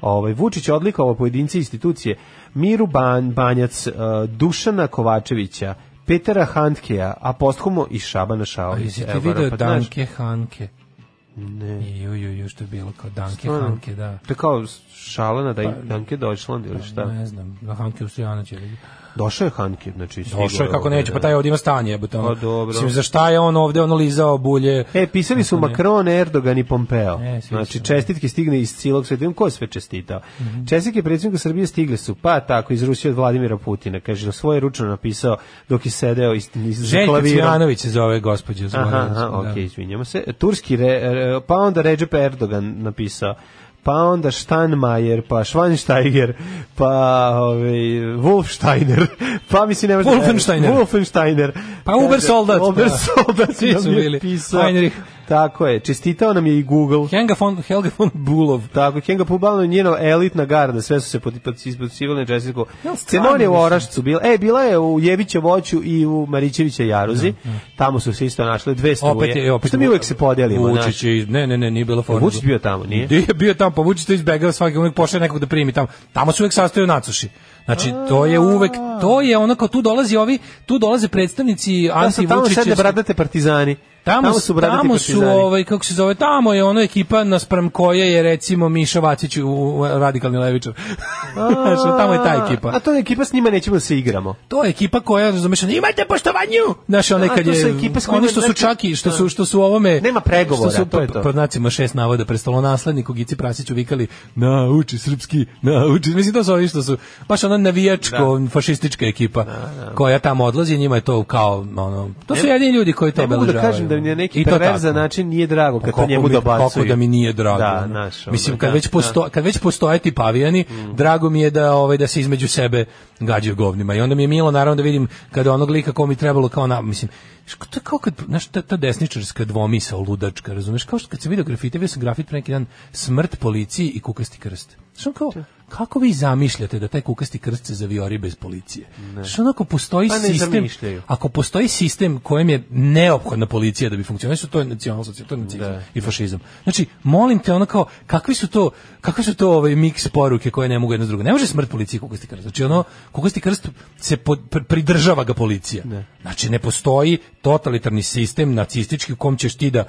[SPEAKER 5] Ovaj Vučić je odlikovao pojedince i institucije Miru Ban, Banjac, eh, Dušana Kovačevića, Petera Handkeja, a posthumo i Šabana
[SPEAKER 6] Ali
[SPEAKER 5] Šaovića.
[SPEAKER 6] si ti
[SPEAKER 5] Evo,
[SPEAKER 6] video
[SPEAKER 5] pa znaš,
[SPEAKER 6] Danke Hanke? Ne. Ju, ju, ju, što je bilo kao Danke
[SPEAKER 5] Stvarno?
[SPEAKER 6] Hanke, da.
[SPEAKER 5] To je kao šalena da je Danke Deutschland ili šta?
[SPEAKER 6] Pa, Ne znam, da Hanke Ustojanović je.
[SPEAKER 5] Došao je Hanke, znači sigurno.
[SPEAKER 6] Došao je kako
[SPEAKER 5] ovde,
[SPEAKER 6] neće,
[SPEAKER 5] da.
[SPEAKER 6] pa taj ovdje ima stanje, jebote. ono.
[SPEAKER 5] Pa dobro.
[SPEAKER 6] Mislim, za šta je on ovdje, ono lizao bulje?
[SPEAKER 5] E, pisali su Macron, Erdogan i Pompeo.
[SPEAKER 6] E, svi
[SPEAKER 5] znači,
[SPEAKER 6] su. Mhm.
[SPEAKER 5] čestitke stigne iz cijelog sveta. Vidim ko je sve čestitao. Čestitke predsjednika Srbije stigle su, pa tako, iz Rusije od Vladimira Putina. Kaže, na svoje ručno napisao dok je sedeo iz, iz za
[SPEAKER 6] Željka
[SPEAKER 5] klavirom.
[SPEAKER 6] Cvijanović se zove gospođa.
[SPEAKER 5] Aha,
[SPEAKER 6] zaboravio
[SPEAKER 5] aha,
[SPEAKER 6] sam, da.
[SPEAKER 5] ok, izvinjamo se. Turski, re, re- pa onda Recep Erdogan napisao, pa onda Steinmeier, pa Schweinsteiger, pa ovaj, Wolfsteiner, pa mislim ne možda...
[SPEAKER 6] Wolfensteiner.
[SPEAKER 5] Wolfensteiner.
[SPEAKER 6] Pa Ubersoldat,
[SPEAKER 5] Uber
[SPEAKER 6] pa.
[SPEAKER 5] Soldat
[SPEAKER 6] Svi su
[SPEAKER 5] nam je
[SPEAKER 6] bili.
[SPEAKER 5] Pisao.
[SPEAKER 6] Heinrich.
[SPEAKER 5] Tako je, čestitao nam je i Google.
[SPEAKER 6] Helga von, Helga von Bulov.
[SPEAKER 5] Tako, Kenga Pubalo i njena elitna garda, sve su se pod- pod- izbacivali na Česniku.
[SPEAKER 6] Jel stvarno,
[SPEAKER 5] Cenon je u
[SPEAKER 6] mislim?
[SPEAKER 5] Orašcu bila, e, bila je u Jevića voću i u Marićevića Jaruzi, tamo su se isto našle dve struje.
[SPEAKER 6] Opet je, opet
[SPEAKER 5] Što mi uvek se podelimo,
[SPEAKER 6] Vučić je, ne, ne, ne, nije bila forma.
[SPEAKER 5] Vučić bio tamo, nije?
[SPEAKER 6] Gde je bio tamo, pa Vučić to izbegava svaki, uvek pošle nekog da primi tamo. Tamo se uvek sastaju nacuši. Znači, to je uvek, to je ono kao tu dolazi ovi, tu dolaze predstavnici
[SPEAKER 5] Da su tamo
[SPEAKER 6] anti-Vučića.
[SPEAKER 5] sedne bradate partizani.
[SPEAKER 6] Tamo, tamo su,
[SPEAKER 5] su bradati
[SPEAKER 6] tamo su
[SPEAKER 5] partizani.
[SPEAKER 6] (laughs) ovaj, kako se zove, tamo je ono ekipa naspram koje je recimo Miša Vacić u, u radikalni levičar. (laughs) Znači, tamo je ta ekipa.
[SPEAKER 5] A to je ekipa s njima nećemo da se igramo.
[SPEAKER 6] To je ekipa koja razumeš, imajte poštovanju. Naš onaj
[SPEAKER 5] A,
[SPEAKER 6] kad
[SPEAKER 5] to su
[SPEAKER 6] je
[SPEAKER 5] ekipe s kojima
[SPEAKER 6] oni što su
[SPEAKER 5] znači-
[SPEAKER 6] čak i što
[SPEAKER 5] Da.
[SPEAKER 6] su što su u ovome
[SPEAKER 5] Nema pregovora,
[SPEAKER 6] što su,
[SPEAKER 5] to je to.
[SPEAKER 6] Pod znacima šest navoda pred stolonasledniku Gici Prasiću vikali nauči srpski, nauči. Mislim to su ovi što su baš ona navijačko fašistička ekipa koja tamo odlazi, njima je to kao ono. To su jedini ljudi koji to
[SPEAKER 5] Ne mogu da
[SPEAKER 6] obeležavaju.
[SPEAKER 5] kažem da mi je neki
[SPEAKER 6] ono.
[SPEAKER 5] znači,
[SPEAKER 6] I to
[SPEAKER 5] perverzan
[SPEAKER 6] tako.
[SPEAKER 5] način nije drago kad
[SPEAKER 6] Pa
[SPEAKER 5] to
[SPEAKER 6] Kako
[SPEAKER 5] njemu
[SPEAKER 6] mi-
[SPEAKER 5] dobacuju.
[SPEAKER 6] Kako da mi nije drago.
[SPEAKER 5] Da,
[SPEAKER 6] ono.
[SPEAKER 5] znaš, ono,
[SPEAKER 6] Mislim, kad,
[SPEAKER 5] da, Mm.
[SPEAKER 6] već posto, kad već postoje ti pavijani, drago mi je da, ovaj, da se između sebe gađaju govnima. I onda mi je milo, naravno, da vidim kada onog lika ko mi trebalo kao na... Mislim, šk- to je kao kad, znaš, ta, ta desničarska dvomisa, ludačka, razumeš? Kao što kad sam vidio grafite, vidio sam grafit pre neki dan, smrt policiji i kukasti krst. Znaš, on kao, kako vi zamišljate da taj kukasti krst se zaviori bez policije? Što onako postoji
[SPEAKER 5] Pa ne
[SPEAKER 6] sistem,
[SPEAKER 5] zamišljaju.
[SPEAKER 6] ako postoji sistem kojem je neophodna policija da bi funkcionisao, to je nacionalsocijal, to je nacizam
[SPEAKER 5] Da.
[SPEAKER 6] i fašizam. Znači, molim te, ono kao, kakvi su to, kakvi su to ovaj miks poruke koje ne mogu jedno s drugo? Ne može smrt policije kukasti krst. Znači, ono, kukasti krst se pod- pr- pridržava ga policija. Znači, ne postoji totalitarni sistem nacistički u kom ćeš ti da,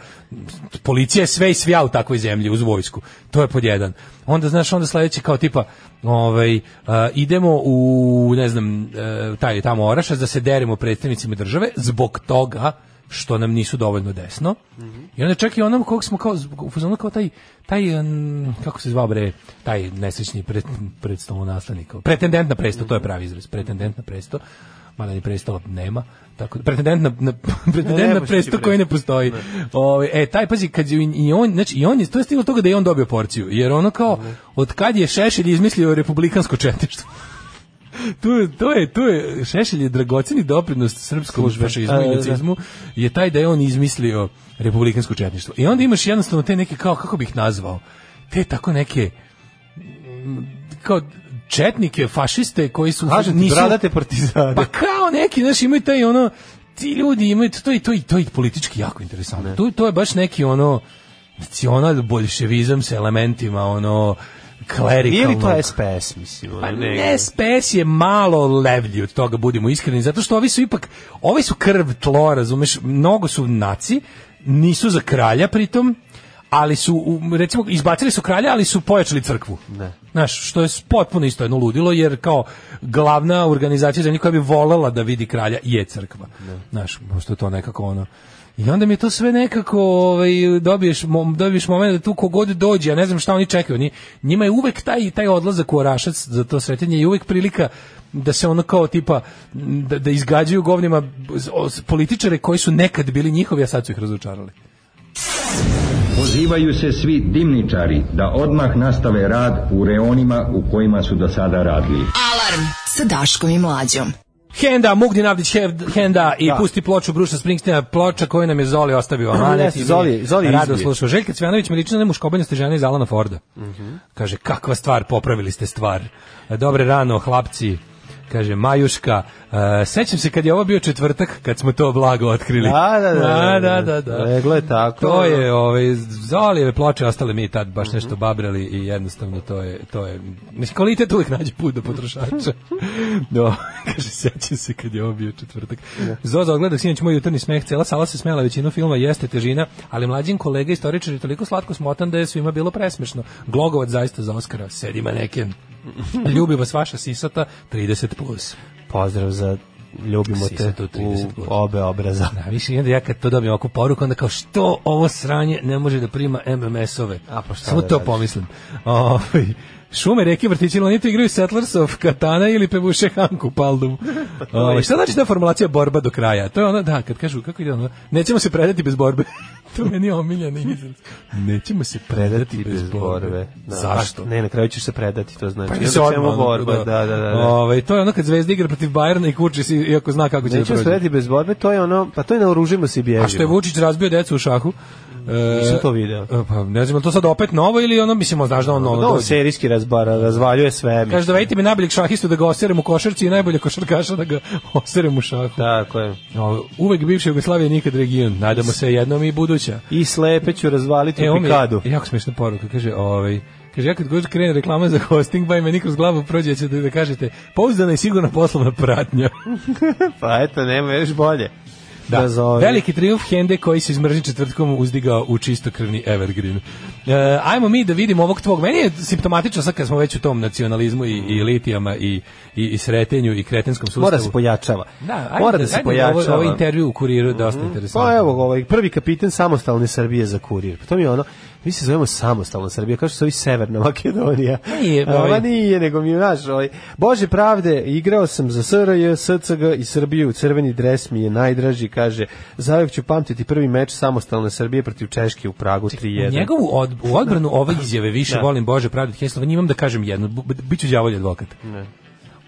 [SPEAKER 6] policija je sve i svija u takvoj zemlji uz vojsku. To je pod jedan. Onda, znaš, onda sledeće kao tipa, ovaj, a, idemo u, ne znam, e, taj i tamo Orašac da se derimo predstavnicima države zbog toga što nam nisu dovoljno desno.
[SPEAKER 5] Mhm.
[SPEAKER 6] I onda čak i onom kog smo kao zbog- u fazonu kao taj taj em, kako se zvao bre taj nesrećni pred predstavo Pretendent na presto, to je pravi izraz. Pretendent na presto. Mada ni prestola nema. Tako da, pretendent na, (laughs) na pretendent
[SPEAKER 5] Ne, ne
[SPEAKER 6] na
[SPEAKER 5] može
[SPEAKER 6] presto
[SPEAKER 5] biti
[SPEAKER 6] koji ne postoji. Ovaj, e taj pazi kad je i- i on znači i on je to je stiglo do toga da je on dobio porciju jer ono kao od kad je Šešelj izmislio republikansko četništvo. tu, je- to je, to je, Šešelj je dragoceni doprinos srpskom fašizmu
[SPEAKER 5] A, da.
[SPEAKER 6] i nacizmu, je taj da je on izmislio republikansko četništvo. I onda imaš jednostavno te neke, kao, kako bih ih nazvao, te tako neke, mm, kao, četnike, fašiste koji su...
[SPEAKER 5] Kažem ti,
[SPEAKER 6] nisu-
[SPEAKER 5] bradate partizane.
[SPEAKER 6] pa kao neki, znaš, imaju taj ono ti ljudi imaju to i to i to je politički jako interesantno. To to je baš neki ono nacional boljševizam sa elementima ono
[SPEAKER 5] Nije
[SPEAKER 6] klerikalnog.
[SPEAKER 5] li to SPS, mislim?
[SPEAKER 6] Pa
[SPEAKER 5] ono,
[SPEAKER 6] ne, SPS je malo levlji od toga, budimo iskreni, zato što ovi su ipak, ovi su krv tlo, razumeš, mnogo su naci, nisu za kralja pritom, ali su, u- recimo, izbacili su kralja, ali su pojačali crkvu. Ne. Znaš, što je potpuno isto jedno ludilo, jer kao glavna organizacija zemlje koja bi volela da vidi kralja je crkva. Znaš, pošto je to nekako ono... I onda mi je to sve nekako ovaj, dobiješ, mom, dobiješ moment da tu kogod dođe, ja ne znam šta oni čekaju. Oni, njima je uvek taj, taj odlazak u Orašac za to sretanje i uvek prilika da se ono kao tipa m, da, da izgađaju govnima z- o- s- političare koji su nekad bili njihovi, a sad su ih razočarali.
[SPEAKER 11] Pozivaju se svi dimničari da odmah nastave rad u reonima u kojima su do sada radili.
[SPEAKER 4] Alarm sa Daškom i Mlađom.
[SPEAKER 6] Henda, Mugdin Avdić Hev- Henda i
[SPEAKER 5] Da.
[SPEAKER 6] pusti ploču Bruša Springsteena, ploča koju nam je Zoli ostavio. Amanet
[SPEAKER 5] Jeste,
[SPEAKER 6] i mi
[SPEAKER 5] Zoli- Zoli je
[SPEAKER 6] rado
[SPEAKER 5] izbio.
[SPEAKER 6] slušao. Željka Cvjanović mi lično na muškobanjaste žene iz Alana Forda.
[SPEAKER 5] Mhm.
[SPEAKER 6] Kaže, kakva stvar, popravili ste stvar. E, Dobre rano, hlapci. Kaže, Majuška, e, sećam se kad je ovo bio četvrtak, kad smo to blago otkrili.
[SPEAKER 5] Da, da, da,
[SPEAKER 6] (laughs)
[SPEAKER 5] E,
[SPEAKER 6] da, da, da.
[SPEAKER 5] Leglo je tako.
[SPEAKER 6] To je, ovaj, Zolijeve ploče ostale mi tad baš nešto babrali i jednostavno to je, to je, mislim, kvalitet uvijek nađe put do potrošača. No, (laughs) kaže, sjećam se kad je ovo bio četvrtak. Zoza ogledak, sinoć moj jutarnji smeh, cela sala se smela većinu filma, jeste težina, ali mlađin kolega istoričar je toliko slatko smotan da je svima bilo presmešno. Glogovac zaista za Oskara, sedi maneken. Ljubi vas vaša sisata, 30+. plus.
[SPEAKER 5] Pozdrav za ljubimo te
[SPEAKER 6] Sisatu 30
[SPEAKER 5] u
[SPEAKER 6] godina.
[SPEAKER 5] obe
[SPEAKER 6] (laughs)
[SPEAKER 5] obraza.
[SPEAKER 6] Da, više i onda ja kad to dobijem ovakvu poruku, onda kao što ovo sranje ne može da prima MMS-ove.
[SPEAKER 5] A, pa šta
[SPEAKER 6] Samo
[SPEAKER 5] da
[SPEAKER 6] to
[SPEAKER 5] radiš?
[SPEAKER 6] pomislim. Ovaj, šume, reke, vrtići, lonito igraju Settlers of Katana ili Pevuše Hanku
[SPEAKER 5] (laughs)
[SPEAKER 6] Paldum. Ovaj, šta znači ta formulacija borba do kraja? To je ono, da, kad kažu, kako ide ono, nećemo se predati bez borbe. (laughs) to meni je omiljeni izraz. Nećemo se predati
[SPEAKER 5] Predati
[SPEAKER 6] bez borbe.
[SPEAKER 5] Da.
[SPEAKER 6] Zašto?
[SPEAKER 5] A, Ne, na kraju ćeš se predati, to znači.
[SPEAKER 6] Pa
[SPEAKER 5] Pa
[SPEAKER 6] se odmah, ono,
[SPEAKER 5] borba, da, da, da. da.
[SPEAKER 6] Ovaj, to je ono kad Zvezda igra protiv Bajerna i kuči se iako zna kako će da
[SPEAKER 5] Nećemo
[SPEAKER 6] prođe.
[SPEAKER 5] se predati bez borbe, to je ono, pa to je naoružimo se i bježimo.
[SPEAKER 6] A što je Vučić razbio decu u šahu? E,
[SPEAKER 5] Nisam to Pa video.
[SPEAKER 6] e, Pa ne znam, je li to sad opet novo ili ono, mislim, znaš da on ono
[SPEAKER 5] Da, on
[SPEAKER 6] dođe?
[SPEAKER 5] serijski razbara, razvaljuje sve.
[SPEAKER 6] Kaže, dovedite mi najboljeg šahistu da ga oserem u košarci i najbolje košarkaša da ga (laughs) oserem u šahu.
[SPEAKER 5] Tako je.
[SPEAKER 6] O, Uvek bivša Jugoslavija, nikad region. Nadamo se jednom i buduća.
[SPEAKER 5] I slepe ću razvaliti u
[SPEAKER 6] ovo E, mi je
[SPEAKER 5] pikadu.
[SPEAKER 6] jako smiješna poruka. Kaže, ovaj, kaže, ja kad god krene reklama za hosting, ba i meni kroz glavu prođe će da, da kažete pouzdana i sigurna poslovna pratnja.
[SPEAKER 5] Pa eto, nema još bolje. Da, zove.
[SPEAKER 6] Veliki triumf Hende koji se izmržni četvrtkom uzdigao u čistokrvni Evergreen. E, ajmo mi da vidimo ovog tvog. Meni je simptomatično sad kad smo već u tom nacionalizmu i, i litijama i, i, i sretenju i kretenskom sustavu.
[SPEAKER 5] Mora se pojačava.
[SPEAKER 6] Da, ajde,
[SPEAKER 5] Mora da se
[SPEAKER 6] ajde Ovo,
[SPEAKER 5] pojačava.
[SPEAKER 6] ovo intervju u kuriru je dosta interesantno.
[SPEAKER 5] Pa evo ga, ovaj prvi kapitan samostalne Srbije za kurir. Pa to mi je ono, mi se zovemo samostalna Srbija, kao što se ovi Severna Makedonija.
[SPEAKER 6] Nije,
[SPEAKER 5] A,
[SPEAKER 6] ovaj.
[SPEAKER 5] Ma nije, nego mi je, znaš, ovaj, Bože pravde, igrao sam za SRJ, SCG i Srbiju, crveni dres mi je najdraži, kaže, zauvek ću pamtiti prvi meč samostalne Srbije protiv Češke u Pragu 3-1.
[SPEAKER 6] U njegovu od, u odbranu ove izjave više volim Bože pravdu od Hesloveni, imam da kažem jedno, bu- bu- biću đavolji advokat.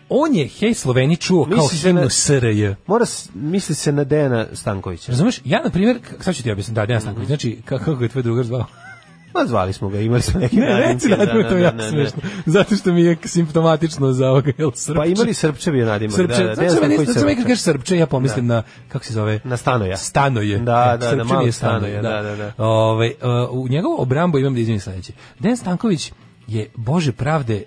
[SPEAKER 6] On je Hesloveni čuo kao
[SPEAKER 5] Misli se
[SPEAKER 6] himnu
[SPEAKER 5] na-
[SPEAKER 6] SRJ.
[SPEAKER 5] Mora, s- misli se na Dejana Stankovića. Mhm.
[SPEAKER 6] Razumeš? Ja, na primjer, k- sad ću ti objasniti, da, Dejan Stanković, znači, ka- kako ga je tvoj drugar zvao?
[SPEAKER 5] Ma zvali smo ga, imali smo neke
[SPEAKER 6] Ne, reci
[SPEAKER 5] nadimke,
[SPEAKER 6] nadimak, to je jako smešno. Zato što mi je simptomatično za ovoga, jel srpče?
[SPEAKER 5] Pa imali srpčevi nadimak,
[SPEAKER 6] Srpče,
[SPEAKER 5] da, da,
[SPEAKER 6] znači,
[SPEAKER 5] ne znam
[SPEAKER 6] meni-
[SPEAKER 5] koji
[SPEAKER 6] znači, meni kad
[SPEAKER 5] srpče.
[SPEAKER 6] kažeš srpče, ja pomislim na, kako se zove?
[SPEAKER 5] Na stanoja.
[SPEAKER 6] Stanoje.
[SPEAKER 5] Da,
[SPEAKER 6] E,
[SPEAKER 5] da, na
[SPEAKER 6] Srpče mi
[SPEAKER 5] malo
[SPEAKER 6] je
[SPEAKER 5] Stanoje, da, da, da.
[SPEAKER 6] Ovaj, e, u njegovu obrambu imam da izvinim sledeće. Dejan Stanković je, Bože pravde,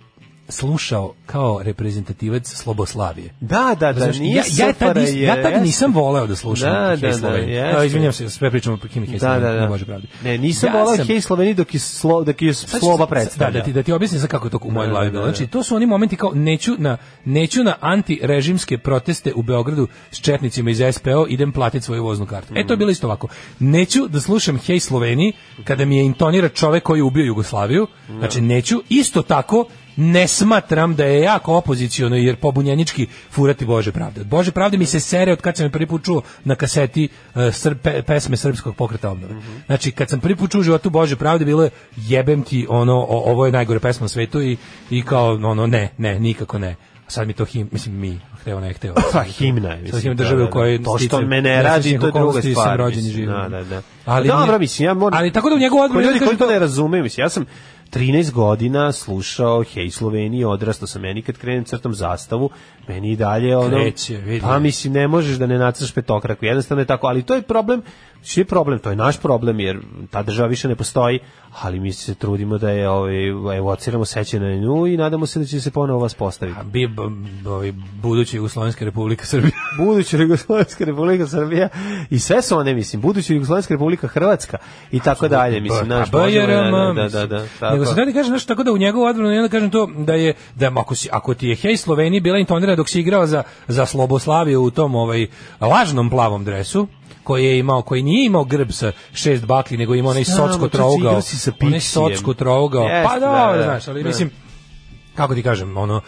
[SPEAKER 6] slušao kao reprezentativac Sloboslavije.
[SPEAKER 5] Da, da, da,
[SPEAKER 6] Znaš,
[SPEAKER 5] nije
[SPEAKER 6] ja, ja, tad,
[SPEAKER 5] Sofara
[SPEAKER 6] nis- ja
[SPEAKER 5] je-
[SPEAKER 6] tad
[SPEAKER 5] jeste.
[SPEAKER 6] nisam voleo da slušam da,
[SPEAKER 5] Da, da, da, jeste.
[SPEAKER 6] izvinjam se, sve pričamo po Kimi Hej
[SPEAKER 5] Da, da,
[SPEAKER 6] Sloveni, ne
[SPEAKER 5] da.
[SPEAKER 6] Bože pravde.
[SPEAKER 5] Ne, nisam
[SPEAKER 6] Ja
[SPEAKER 5] volao
[SPEAKER 6] sam- Pa
[SPEAKER 5] Hej Sloveni dok je, slo, dok je
[SPEAKER 6] Sad ću-
[SPEAKER 5] slova predstavlja.
[SPEAKER 6] Da, da ti da ti objasnim sad kako je to u mojoj
[SPEAKER 5] Da,
[SPEAKER 6] glavi
[SPEAKER 5] da,
[SPEAKER 6] bilo.
[SPEAKER 5] da.
[SPEAKER 6] Znači, to su oni momenti kao neću na neću na antirežimske proteste u Beogradu s četnicima iz SPO, idem platiti svoju voznu kartu. E to
[SPEAKER 5] Mm.
[SPEAKER 6] je bilo isto ovako. Neću da slušam Hej Sloveniji kada mi je intonira čovek koji je ubio Jugoslaviju. Znači, neću isto tako ne smatram da je jako opoziciono jer pobunjenički furati Bože pravde. Od Bože pravde mi se sere od kad sam je prvi put čuo na kaseti e, srp- pe- pesme srpskog pokreta obnove. Znači kad sam prvi put čuo u životu Bože pravde bilo je jebem ti ono o- ovo je najgore pesma na svetu i, i kao ono ne, ne, nikako ne. A sad mi to him, mislim mi, hteo ne hteo.
[SPEAKER 5] (laughs) Pa himna je,
[SPEAKER 6] Sad himna
[SPEAKER 5] mislim.
[SPEAKER 6] države u kojoj
[SPEAKER 5] To što
[SPEAKER 6] sticajem
[SPEAKER 5] me ne radi,
[SPEAKER 6] nesrećnih
[SPEAKER 5] to je druga
[SPEAKER 6] okolnosti sam
[SPEAKER 5] stvar.
[SPEAKER 6] rođen i
[SPEAKER 5] mislim,
[SPEAKER 6] živim.
[SPEAKER 5] Da, da, da.
[SPEAKER 6] Ali
[SPEAKER 5] Ali, Dobro,
[SPEAKER 6] nije-
[SPEAKER 5] mislim, ja moram...
[SPEAKER 6] ali tako da u njegovu
[SPEAKER 5] Koji
[SPEAKER 6] odbranu
[SPEAKER 5] Ljudi
[SPEAKER 6] ja
[SPEAKER 5] koji
[SPEAKER 6] kažem
[SPEAKER 5] to
[SPEAKER 6] to-
[SPEAKER 5] ne razumeju, mislim, ja sam 13 godina slušao Hej Slovenije, odrastao sam meni kad krenem crtom zastavu, meni i dalje ono...
[SPEAKER 6] Kreće, vidi.
[SPEAKER 5] Pa mislim, ne možeš da ne nacrš petokraku, jednostavno je tako, ali to je problem, što je problem, to je naš problem, jer ta država više ne postoji, ali mi se trudimo da je, ovaj, evociramo seće na nju i nadamo se da će se ponovo vas postaviti.
[SPEAKER 6] A bi, b, b, ovaj, buduća Jugoslovenska republika Srbija.
[SPEAKER 5] buduća Jugoslovenska republika Srbija i sve su one, mislim, buduća Jugoslovenska republika Hrvatska i tako dalje, mislim, naš
[SPEAKER 6] Pa
[SPEAKER 5] možemo,
[SPEAKER 6] BRM,
[SPEAKER 5] da, da, da,
[SPEAKER 6] mislim.
[SPEAKER 5] da,
[SPEAKER 6] Nego se
[SPEAKER 5] tako.
[SPEAKER 6] radi kaže nešto tako da u njegovu odbranu ja da kažem to da je da ako si ako ti je Hej Sloveniji bila intonirana dok si igrao za za Sloboslaviju u tom ovaj lažnom plavom dresu koji je imao koji nije imao grb sa šest bakli nego ima onaj
[SPEAKER 5] Znam,
[SPEAKER 6] socsko
[SPEAKER 5] čoveče,
[SPEAKER 6] trougao
[SPEAKER 5] igrao si sa
[SPEAKER 6] onaj
[SPEAKER 5] Pixijem.
[SPEAKER 6] socsko trougao
[SPEAKER 5] Jeste,
[SPEAKER 6] pa
[SPEAKER 5] da,
[SPEAKER 6] dobro
[SPEAKER 5] da,
[SPEAKER 6] znaš ali
[SPEAKER 5] da.
[SPEAKER 6] mislim kako ti kažem ono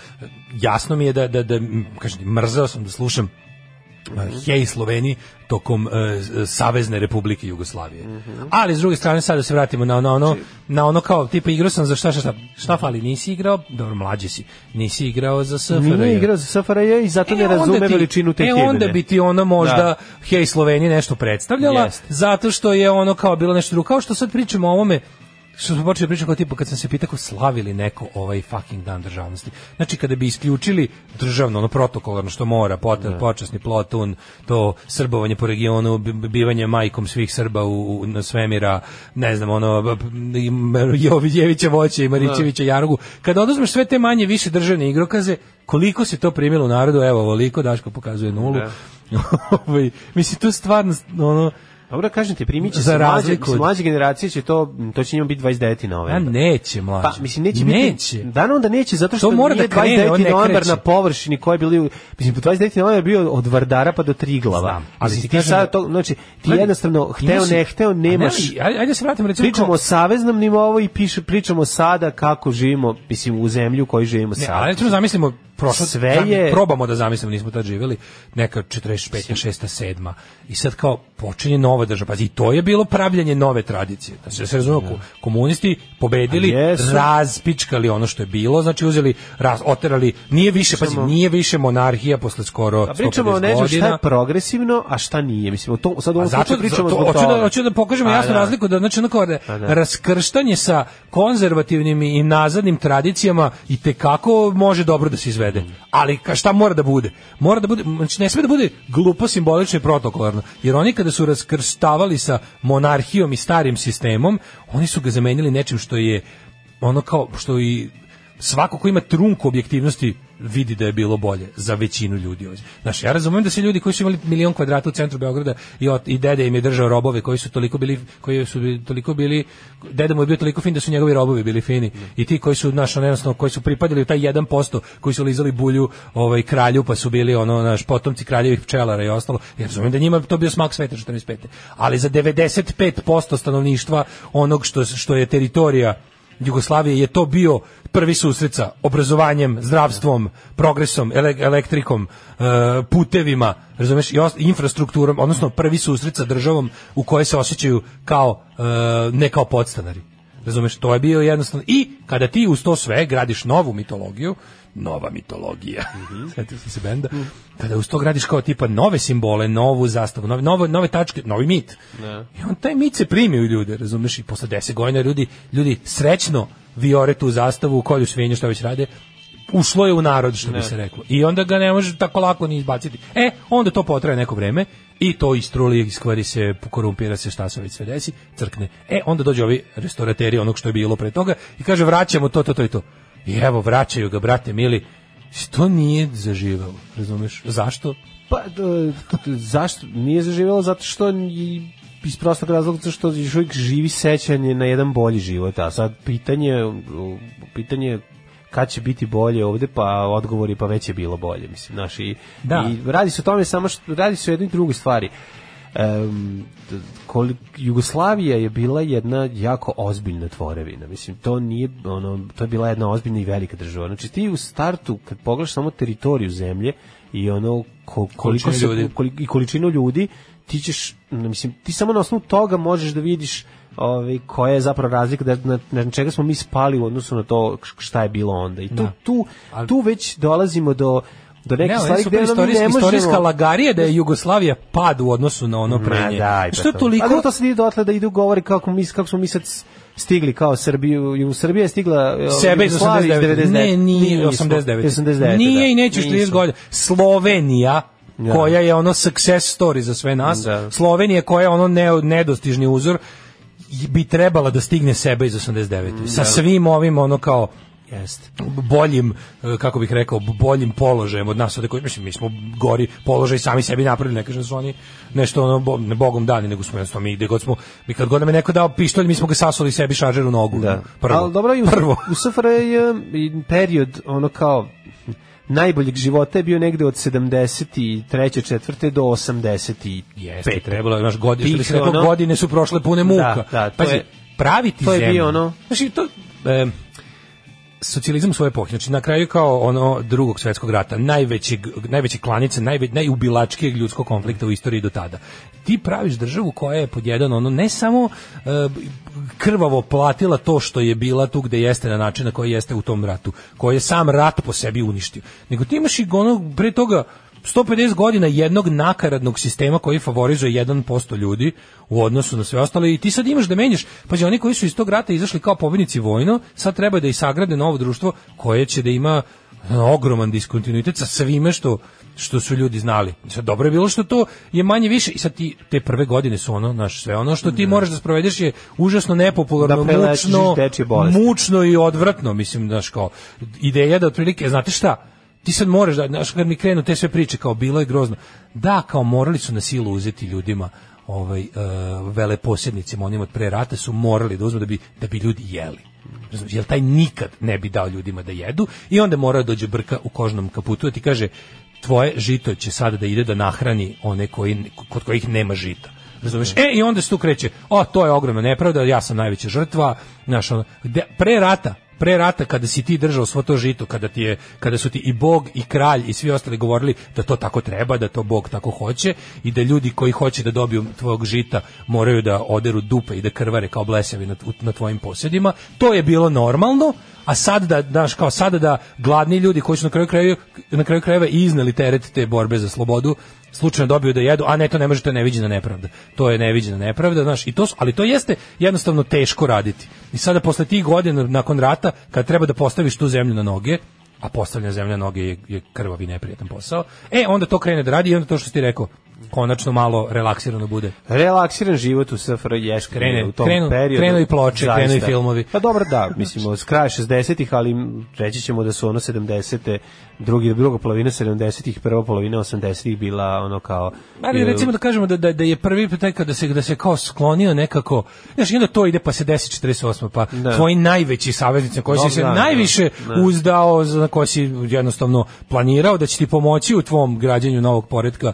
[SPEAKER 6] jasno mi je da da da m, kažem ti, mrzeo sam da slušam eh, Hej Sloveni tokom eh, s- eh, Savezne Republike Jugoslavije. Ali s druge strane sad da se vratimo na ono, ono na ono kao tipa igrao sam za šta šta šta, šta fali nisi igrao, dobro mlađi si. Nifsi igrao za SFRJ.
[SPEAKER 5] Nije igrao za SFRJ i zato
[SPEAKER 6] E,
[SPEAKER 5] ne
[SPEAKER 6] onda
[SPEAKER 5] razume
[SPEAKER 6] ti-
[SPEAKER 5] veličinu te
[SPEAKER 6] e,
[SPEAKER 5] himne.
[SPEAKER 6] onda bi ti ona možda
[SPEAKER 5] Da.
[SPEAKER 6] Hej Slovenije nešto predstavljala,
[SPEAKER 5] Jeste.
[SPEAKER 6] zato što je ono kao bilo nešto drugo. Kao što sad pričamo o ovome, što smo počeli pričati kao tipa kad sam se pitao kao slavi li neko ovaj fucking dan državnosti. Znači kada bi isključili državno, ono protokolarno što mora, poter, počasni plotun, to srbovanje po regionu, bi- bi- bivanje majkom svih Srba u, u na svemira, ne znam, ono b- b- i Mar- Jovićevića voće i Marićevića Jarugu. Kada oduzmeš sve te manje više državne igrokaze, koliko se to primilo u narodu, evo, ovoliko, Daško pokazuje nulu. (laughs) Ovaj, mislim, to stvarno, ono,
[SPEAKER 5] Dobro, kažem ti, primit će
[SPEAKER 6] Za
[SPEAKER 5] se mlađe,
[SPEAKER 6] razliku
[SPEAKER 5] mislim,
[SPEAKER 6] od-
[SPEAKER 5] mlađe generacije će to, to će njima biti 29.
[SPEAKER 6] a
[SPEAKER 5] novembra.
[SPEAKER 6] neće, mlađe.
[SPEAKER 5] ovaj Pa, mislim, neće,
[SPEAKER 6] Neće.
[SPEAKER 5] biti... Dano onda neće, zato što
[SPEAKER 6] To mora
[SPEAKER 5] nije
[SPEAKER 6] da krene, on
[SPEAKER 5] 29.
[SPEAKER 6] ne
[SPEAKER 5] novembar
[SPEAKER 6] kreće.
[SPEAKER 5] na površini koji je bili... u- Mislim, 29. novembar je bio od Vardara pa do Triglava.
[SPEAKER 6] Znam, ali
[SPEAKER 5] Mislim,
[SPEAKER 6] ti kažem da-
[SPEAKER 5] sad to, znači, ti
[SPEAKER 6] Gledaj,
[SPEAKER 5] jednostavno,
[SPEAKER 6] ima
[SPEAKER 5] hteo,
[SPEAKER 6] si-
[SPEAKER 5] ne hteo,
[SPEAKER 6] A ne,
[SPEAKER 5] nemaš...
[SPEAKER 6] ali, Ajde, ajde se vratim, recimo,
[SPEAKER 5] pričamo
[SPEAKER 6] kao-
[SPEAKER 5] o saveznom nivou i piše pričamo sada kako živimo mislim u zemlju u kojoj živimo
[SPEAKER 6] Ne,
[SPEAKER 5] sada.
[SPEAKER 6] ali recimo zamislimo prošlo
[SPEAKER 5] Sve
[SPEAKER 6] zam-
[SPEAKER 5] je-
[SPEAKER 6] probamo da zamislimo nismo tad živeli neka 45. 6. 7. i sad kao počinje nova država pazi i to je bilo pravljenje nove tradicije da se da se razume ko- komunisti pobedili
[SPEAKER 5] A jesu.
[SPEAKER 6] raspičkali ono što je bilo znači uzeli raz, oterali nije više pazi nije više monarhija posle skoro
[SPEAKER 5] A Pa pričamo o
[SPEAKER 6] 150
[SPEAKER 5] nečemu šta
[SPEAKER 6] godina.
[SPEAKER 5] je progresivno, a šta nije. Mislim, o to, sad u
[SPEAKER 6] A
[SPEAKER 5] ovom
[SPEAKER 6] zato
[SPEAKER 5] slučaju pričamo
[SPEAKER 6] zato-
[SPEAKER 5] zbog
[SPEAKER 6] hoću da
[SPEAKER 5] toga.
[SPEAKER 6] hoću da pokažemo
[SPEAKER 5] A,
[SPEAKER 6] jasnu
[SPEAKER 5] da.
[SPEAKER 6] razliku da znači ono kao da,
[SPEAKER 5] A, da.
[SPEAKER 6] raskrštanje sa konzervativnim i nazadnim tradicijama i te kako može dobro da se izvede. Ali ka, šta mora da bude? Mora da bude znači ne sme da bude glupo simbolično i protokolarno. Jer oni kada su raskrštavali sa monarhijom i starim sistemom, oni su ga zamenili nečim što je ono kao što i svako ko ima trunku objektivnosti vidi da je bilo bolje za većinu ljudi ovdje. Znaš, ja razumijem da se ljudi koji su imali milion kvadrata u centru Beograda i, od, i dede im je držao robove koji su toliko bili, koji su bi- toliko bili, deda mu je bio toliko fin da su njegovi robovi bili fini. I ti koji su, znaš, ono jednostavno, koji su pripadali u taj 1% koji su lizali bulju ovaj, kralju pa su bili ono, naš, potomci kraljevih pčelara i ostalo. Ja razumijem da njima to bio smak sveta 45. Ali za 95% stanovništva onog što, što je teritorija Jugoslavije je to bio prvi susret sa obrazovanjem, zdravstvom, progresom, ele- elektrikom, e, putevima, razumeš, i os- infrastrukturom, odnosno prvi susret sa državom u kojoj se osjećaju kao e, ne kao podstanari. Razumeš, to je bio jednostavno. I kada ti uz to sve gradiš novu mitologiju, nova mitologija. Mhm. Sjetio sam se benda. Kada uz to gradiš kao tipa nove simbole, novu zastavu, nove, nove, nove tačke, novi mit.
[SPEAKER 5] Da.
[SPEAKER 6] I on taj mit se primi u ljude, razumeš? I posle 10 godina ljudi, ljudi srećno vijore tu zastavu, kolju svinju, što već rade, ušlo je u narod, što bi se reklo. I onda ga ne može tako lako ni izbaciti. E, onda to potraje neko vreme i to istruli, iskvari se, korumpira se, šta se već sve desi, crkne. E, onda dođu ovi restaurateri onog što je bilo pre toga i kaže vraćamo to, to, to i to. I evo, vraćaju ga, brate mili, to nije zaživelo, razumeš? Zašto?
[SPEAKER 5] Pa, d- d- zašto? Nije zaživjelo zato što i- iz prostog razloga zato što još uvijek živi sećanje na jedan bolji život, a sad pitanje, u- pitanje je kad će biti bolje ovde, pa odgovori pa već je bilo bolje, mislim, znaš, i,
[SPEAKER 6] Da.
[SPEAKER 5] i radi se o tome samo što, radi se o jednoj drugoj stvari. Em, t- koli- Jugoslavija je bila jedna jako ozbiljna tvorevina. Mislim to nije ono to je bila jedna ozbiljna i velika država. Znači ti u startu kad pogledaš samo teritoriju zemlje i ono ko, koliko
[SPEAKER 6] Količinu
[SPEAKER 5] se
[SPEAKER 6] ljudi.
[SPEAKER 5] koli- i količinu ljudi ti ćeš no, mislim ti samo na osnovu toga možeš da vidiš ovaj koja je zapravo razlika da na, na čega smo mi spali u odnosu na to š- šta je bilo onda. I tu
[SPEAKER 6] Da.
[SPEAKER 5] tu tu već dolazimo do do nekih
[SPEAKER 6] Ne,
[SPEAKER 5] stvari
[SPEAKER 6] oni su
[SPEAKER 5] gde ono mi
[SPEAKER 6] istorijska,
[SPEAKER 5] ne možemo-
[SPEAKER 6] istorijska lagarija da je Jugoslavija pad u odnosu na ono pre
[SPEAKER 5] Ma
[SPEAKER 6] nje.
[SPEAKER 5] daj, pa
[SPEAKER 6] Što je
[SPEAKER 5] to.
[SPEAKER 6] toliko...
[SPEAKER 5] Ali to se nije dotle da idu govori kako mi kako smo mi sad s- stigli kao Srbiju i u Srbiji je stigla e,
[SPEAKER 6] Sebe iz
[SPEAKER 5] Jugoslavija
[SPEAKER 6] 89. Ne, nije
[SPEAKER 5] nismo.
[SPEAKER 6] 89.
[SPEAKER 5] 89. da.
[SPEAKER 6] Nije i neće još 30
[SPEAKER 5] Nismo.
[SPEAKER 6] godina. Slovenija
[SPEAKER 5] Da.
[SPEAKER 6] koja je ono success story za sve nas.
[SPEAKER 5] Da.
[SPEAKER 6] Slovenija koja je ono ne, nedostižni uzor i- bi trebala da stigne sebe iz 89.
[SPEAKER 5] Mm,
[SPEAKER 6] Sa svim ovim ono kao
[SPEAKER 5] Jeste.
[SPEAKER 6] boljim, e, kako bih rekao, boljim položajem od nas, od koji, mislim, mi smo gori položaj sami sebi napravili, ne kažem da su oni nešto ono, bo- ne bogom dani, nego smo jednostavno mi, gde god smo, mi kad god nam je neko dao pištolj, mi smo ga sasuli sebi šaržer u nogu.
[SPEAKER 5] Da.
[SPEAKER 6] Prvo.
[SPEAKER 5] Ali dobro i u,
[SPEAKER 6] Prvo.
[SPEAKER 5] u SFRJ je i period ono kao najboljeg života je bio negde od 73. četvrte do 85.
[SPEAKER 6] Jeste, trebalo je, znaš, godine, što bi se
[SPEAKER 5] Pik,
[SPEAKER 6] reklo,
[SPEAKER 5] ono-
[SPEAKER 6] godine su prošle pune muka.
[SPEAKER 5] Da, da, to
[SPEAKER 6] Pazi,
[SPEAKER 5] je-
[SPEAKER 6] praviti
[SPEAKER 5] to je
[SPEAKER 6] zemlju.
[SPEAKER 5] bio ono-
[SPEAKER 6] Znaš, to, e, socijalizam u svojoj epohi, znači na kraju kao ono drugog svetskog rata, najvećeg, najveće klanice, najve, najubilačkijeg ljudskog konflikta u istoriji do tada. Ti praviš državu koja je pod jedan, ono, ne samo e, krvavo platila to što je bila tu gde jeste na način na koji jeste u tom ratu, koji je sam rat po sebi uništio, nego ti imaš i ono, pre toga, 150 godina jednog nakaradnog sistema koji favorizuje 1% ljudi u odnosu na sve ostale i ti sad imaš da menjaš. Pazi, oni koji su iz tog rata izašli kao pobednici vojno, sad treba da i sagrade novo društvo koje će da ima ono, ogroman diskontinuitet sa svime što što su ljudi znali. Sad dobro je bilo što to je manje više i sad ti te prve godine su ono naš sve ono što ti moraš da sprovedeš je užasno nepopularno,
[SPEAKER 5] Da prelečiš
[SPEAKER 6] mučno,
[SPEAKER 5] dečije bolesti.
[SPEAKER 6] mučno i odvratno, mislim, znaš, kao, ideja da otprilike, znate šta, ti sad moraš da, znaš, kad mi krenu te sve priče, kao, bilo je grozno, da, kao, morali su na silu uzeti ljudima, ovaj, e, veleposjednicima, onima od pre rata su morali da uzmu da bi, da bi ljudi jeli. Razumiješ, jer taj nikad ne bi dao ljudima da jedu i onda mora dođe brka u kožnom kaputu da ti kaže, tvoje žito će sada da ide da nahrani one koji, kod kojih nema žita. Razumeš? E, i onda se tu kreće, o, to je ogromna nepravda, ja sam najveća žrtva, znaš, ono, gde- pre rata, pre rata kada si ti držao svo to žito, kada, ti je, kada su ti i Bog i kralj i svi ostali govorili da to tako treba, da to Bog tako hoće i da ljudi koji hoće da dobiju tvog žita moraju da oderu dupe i da krvare kao blesevi na, tv- na tvojim posjedima, to je bilo normalno, a sad da, znaš, kao sada da gladni ljudi koji su na kraju, kraju, na kraju krajeva i izneli teret te borbe za slobodu, slučajno dobiju da jedu, a ne, to ne može, to je neviđena nepravda. To je neviđena nepravda, znaš, i to, su- ali to jeste jednostavno teško raditi. I sada posle tih godina nakon rata, kad treba da postaviš tu zemlju na noge, a postavljanje zemlje na noge je, je krvavi neprijetan posao, e, onda to krene da radi i onda to što si ti rekao, konačno malo relaksirano bude.
[SPEAKER 5] Relaksiran život u SFRJ ješ krene
[SPEAKER 6] Krene-
[SPEAKER 5] u tom
[SPEAKER 6] krenu-
[SPEAKER 5] periodu.
[SPEAKER 6] krenu i ploče,
[SPEAKER 5] Zaista.
[SPEAKER 6] krenu i filmovi.
[SPEAKER 5] Pa dobro, da, mislim, od kraja 60-ih, ali reći ćemo da su ono 70-te, drugi, druga polovina 70-ih, prva polovina 80-ih bila ono kao...
[SPEAKER 6] Ali recimo da kažemo da, da, da je prvi taj kada se da se kao sklonio nekako. Znaš, i onda to ide pa se 10 48 pa
[SPEAKER 5] Da.
[SPEAKER 6] tvoji najveći saveznici na koji si
[SPEAKER 5] Dobro,
[SPEAKER 6] se
[SPEAKER 5] da, da,
[SPEAKER 6] najviše
[SPEAKER 5] da.
[SPEAKER 6] uzdao za na koji si jednostavno planirao da će ti pomoći u tvom građenju novog poretka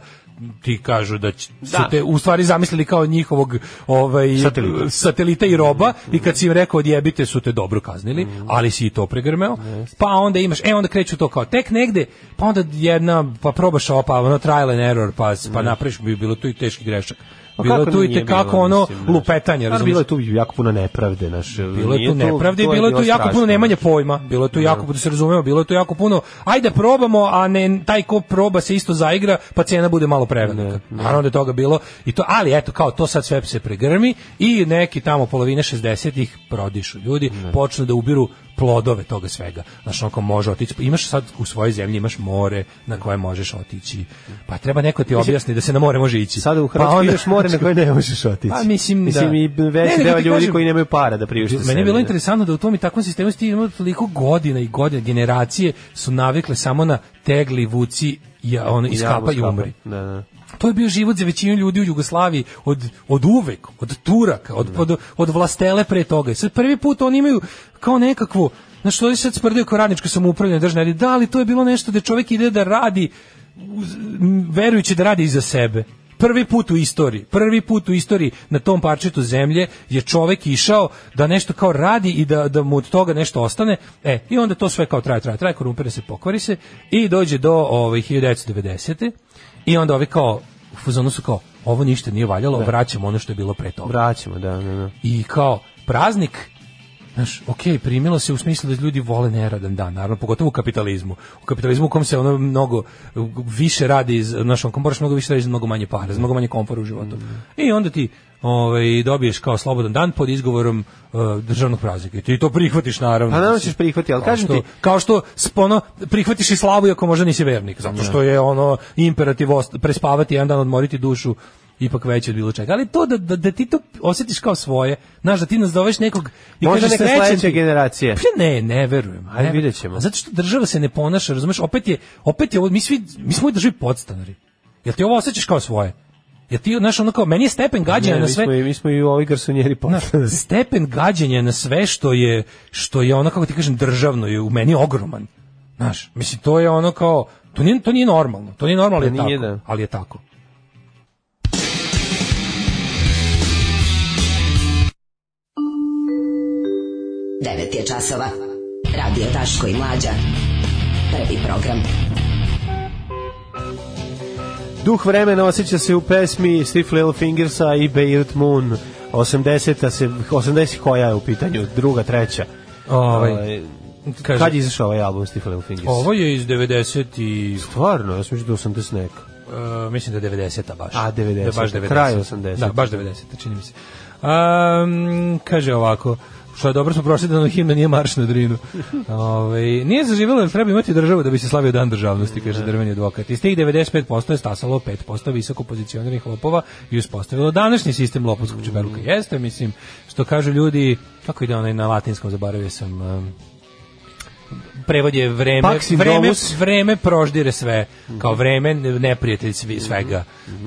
[SPEAKER 6] ti kažu da, će, su
[SPEAKER 5] Da.
[SPEAKER 6] te u stvari zamislili kao njihovog ovaj
[SPEAKER 5] Satelita.
[SPEAKER 6] satelita i roba i kad si im rekao odjebite su te dobro kaznili, ali si i to pregrmeo. Pa onda imaš, e onda kreću to kao tek negde, pa onda jedna, pa probaš opa, ono trial and error, pa, pa napraviš bi bilo tu i teški grešak. bilo je tu i
[SPEAKER 5] nije
[SPEAKER 6] te kako
[SPEAKER 5] bilo,
[SPEAKER 6] ono
[SPEAKER 5] mislim, znaš.
[SPEAKER 6] lupetanje,
[SPEAKER 5] Stvarno,
[SPEAKER 6] razumiješ?
[SPEAKER 5] Bilo je tu jako puno nepravde, znaš.
[SPEAKER 6] Bilo je
[SPEAKER 5] nije
[SPEAKER 6] tu nepravde,
[SPEAKER 5] to
[SPEAKER 6] bilo je tu jako
[SPEAKER 5] strašno.
[SPEAKER 6] puno nemanje pojma, bilo je tu jako, da se razumemo, bilo je tu jako puno, ajde probamo, a ne, taj ko proba se isto zaigra, pa cena bude malo prevelika. Naravno da je toga bilo, i to, ali eto, kao to sad sve se pregrmi i neki tamo polovine 60-ih prodišu ljudi, počnu da ubiru plodove toga svega. Znaš, onako može otići, pa imaš sad u svojoj zemlji, imaš more na koje možeš otići, pa treba neko ti objasni da se na more može ići.
[SPEAKER 5] Sada u Hrvatskoj
[SPEAKER 6] Pa onda-
[SPEAKER 5] ideš more na koje ne možeš otići.
[SPEAKER 6] Pa mislim, da.
[SPEAKER 5] Mislim, i
[SPEAKER 6] Ne,
[SPEAKER 5] veći
[SPEAKER 6] nego
[SPEAKER 5] deo
[SPEAKER 6] ti
[SPEAKER 5] ljudi
[SPEAKER 6] kažem-
[SPEAKER 5] koji nemaju para da priušte
[SPEAKER 6] Meni je bilo
[SPEAKER 5] sebi, ne.
[SPEAKER 6] interesantno da u tom i takvom sistemu ste imali toliko godina i godina, generacije su navikle samo na tegli, vuci, ja, ono, iskapa i
[SPEAKER 5] Javno
[SPEAKER 6] umri.
[SPEAKER 5] Da, da.
[SPEAKER 6] To je bio život za većinu ljudi u Jugoslaviji od, od uvek, od Turaka, od, od, od vlastele pre toga. I sad prvi put oni imaju kao nekakvu, znaš, što sad sprdaju kao radničko samoupravljanje državne, ali da, ali to je bilo nešto da čovjek ide da radi, uz- m, verujući da radi i za sebe. Prvi put u istoriji, prvi put u istoriji na tom parčetu zemlje je čovek išao da nešto kao radi i da, da mu od toga nešto ostane. E, i onda to sve kao traje, traje, traje, korumpira se, pokvari se i dođe do ovaj, 1990. I onda ovi kao, u fazonu su kao, ovo ništa nije valjalo, vraćamo ono što je bilo pre toga.
[SPEAKER 5] Vraćamo, da, da, da.
[SPEAKER 6] I kao, praznik, znaš, ok, primilo se u smislu da ljudi vole neradan dan, naravno, pogotovo u kapitalizmu. U kapitalizmu u kom se ono mnogo uh, više radi, iz- znaš, on kom moraš mnogo više raditi za mnogo manje para, za mnogo manje komfora u
[SPEAKER 5] Mm.
[SPEAKER 6] životu. I onda ti ovaj, dobiješ kao slobodan dan pod izgovorom uh, državnog praznika. I ti to prihvatiš, naravno.
[SPEAKER 5] Pa naravno
[SPEAKER 6] Mislim,
[SPEAKER 5] ćeš prihvatiti, ali
[SPEAKER 6] kao
[SPEAKER 5] kažem
[SPEAKER 6] što-
[SPEAKER 5] ti-
[SPEAKER 6] kao što spono prihvatiš i slavu iako možda nisi vernik, zato što je ono imperativ ost- prespavati jedan dan odmoriti dušu ipak veće od bilo čega. Ali to da, da, da ti to osjetiš kao svoje, znaš da ti nazoveš nekog i
[SPEAKER 5] Možda
[SPEAKER 6] kažeš
[SPEAKER 5] neka
[SPEAKER 6] srećan
[SPEAKER 5] sledeća
[SPEAKER 6] ti.
[SPEAKER 5] generacija.
[SPEAKER 6] Pa ne, ne verujem.
[SPEAKER 5] Ajde,
[SPEAKER 6] Ne verujem.
[SPEAKER 5] vidjet ćemo.
[SPEAKER 6] A Zato što država se ne ponaša, razumeš, opet je, opet je, ovo- mi, svi, mi smo u državi podstanari. Jel ti ovo osjećaš kao svoje? Jel ti, znaš, ono kao, meni je stepen gađanja
[SPEAKER 5] Pa Ne,
[SPEAKER 6] na
[SPEAKER 5] mi,
[SPEAKER 6] sve...
[SPEAKER 5] smo, i- mi smo i u ovoj garsonjeri
[SPEAKER 6] Znaš,
[SPEAKER 5] poslali.
[SPEAKER 6] stepen gađenja na sve što je što je ono kako ti kažem državno je u meni ogroman. Znaš, mislim to je ono kao to nije to nije normalno. To nije normalno, ali
[SPEAKER 5] Pa
[SPEAKER 6] je
[SPEAKER 5] nije,
[SPEAKER 6] tako.
[SPEAKER 5] da.
[SPEAKER 6] Ali je tako.
[SPEAKER 10] Devet je časova. Radio Daško i Mlađa. Prvi program.
[SPEAKER 5] Duh vremena osjeća se u pesmi Stiff Little Fingersa i Beirut Moon. 80 se 80 koja je u pitanju, druga, treća.
[SPEAKER 6] Ovaj kaže,
[SPEAKER 5] Kad je izašao ovaj album Stiff Little Fingers?
[SPEAKER 6] ovo je iz 90 i
[SPEAKER 5] Stvarno, ja sam mislio da 80 neka.
[SPEAKER 6] e, mislim da je 90 baš.
[SPEAKER 5] A, 90-a,
[SPEAKER 6] Da baš 90.
[SPEAKER 5] kraj 80.
[SPEAKER 6] Da, baš 90, čini mi se. Um, kaže ovako, što je dobro smo prošli da nam himna nije marš na drinu. Ove, nije zaživjelo jer treba imati državu da bi se slavio dan državnosti, kaže drveni advokat. Iz tih 95% je stasalo 5% visoko pozicioniranih lopova i uspostavilo današnji sistem lopovskog čeberuka.
[SPEAKER 5] Mm.
[SPEAKER 6] Jeste, mislim, što kažu ljudi, kako ide onaj na latinskom, zaboravio sam... um, prevod je vreme,
[SPEAKER 5] Pax in
[SPEAKER 6] vreme,
[SPEAKER 5] domus.
[SPEAKER 6] vreme proždire sve, kao vreme neprijatelj svi- svega,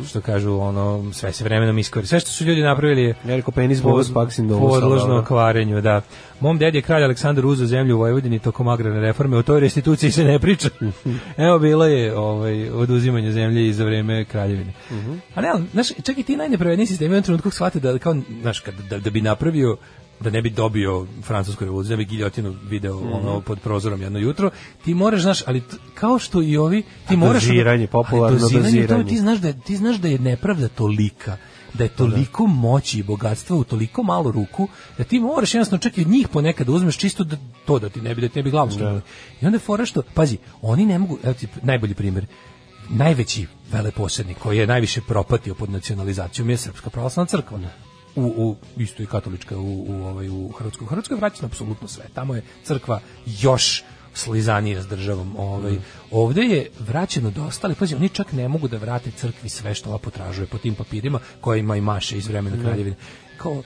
[SPEAKER 6] što kažu ono, sve se vremenom iskori. Sve što su ljudi napravili je
[SPEAKER 5] Ja rekao penis bolus pax in domus. ali ono
[SPEAKER 6] podložno
[SPEAKER 5] dobro.
[SPEAKER 6] kvarenju, da. Mom ded je kralj Aleksandar uzeo zemlju u Vojvodini tokom agrarne reforme, o toj restituciji se ne
[SPEAKER 5] (laughs)
[SPEAKER 6] priča. Evo bilo je ovaj, oduzimanje zemlje i za vreme kraljevine.
[SPEAKER 5] Mhm.
[SPEAKER 6] A ne, ali, znaš, čak i ti najnepravedniji sistemi u jednom trenutku shvate da, kao, znaš, kad, da, da bi napravio da ne bi dobio francusku revoluciju, da bi giljotinu video
[SPEAKER 5] Mhm.
[SPEAKER 6] ono pod prozorom jedno jutro, ti moraš, znaš, ali t- kao što i ovi, ti moraš...
[SPEAKER 5] doziranje,
[SPEAKER 6] Ali
[SPEAKER 5] popularno
[SPEAKER 6] doziranje, to je-
[SPEAKER 5] doziranje.
[SPEAKER 6] ti ti znaš da je, ti znaš da je nepravda tolika da je toliko moći i bogatstva u toliko malo ruku da ti moraš jednostavno čak i od njih ponekad da uzmeš čisto da, to da ti ne bi da ti ne bi glavu slomili. I onda je fora što, pazi, oni ne mogu, evo ti najbolji primjer, najveći veleposednik koji je najviše propatio pod nacionalizacijom je Srpska pravoslavna crkva. U, u isto i katolička u, u, ovaj, u Hrvatskoj. U Hrvatskoj je vraćeno apsolutno sve. Tamo je crkva još slizanije s državom. Ovaj.
[SPEAKER 5] Mm.
[SPEAKER 6] Ovde je vraćeno dosta, ali pazi, oni čak ne mogu da vrate crkvi sve što ova potražuje po tim papirima kojima i maše iz vremena
[SPEAKER 5] Mm.
[SPEAKER 6] kraljevine. Kao,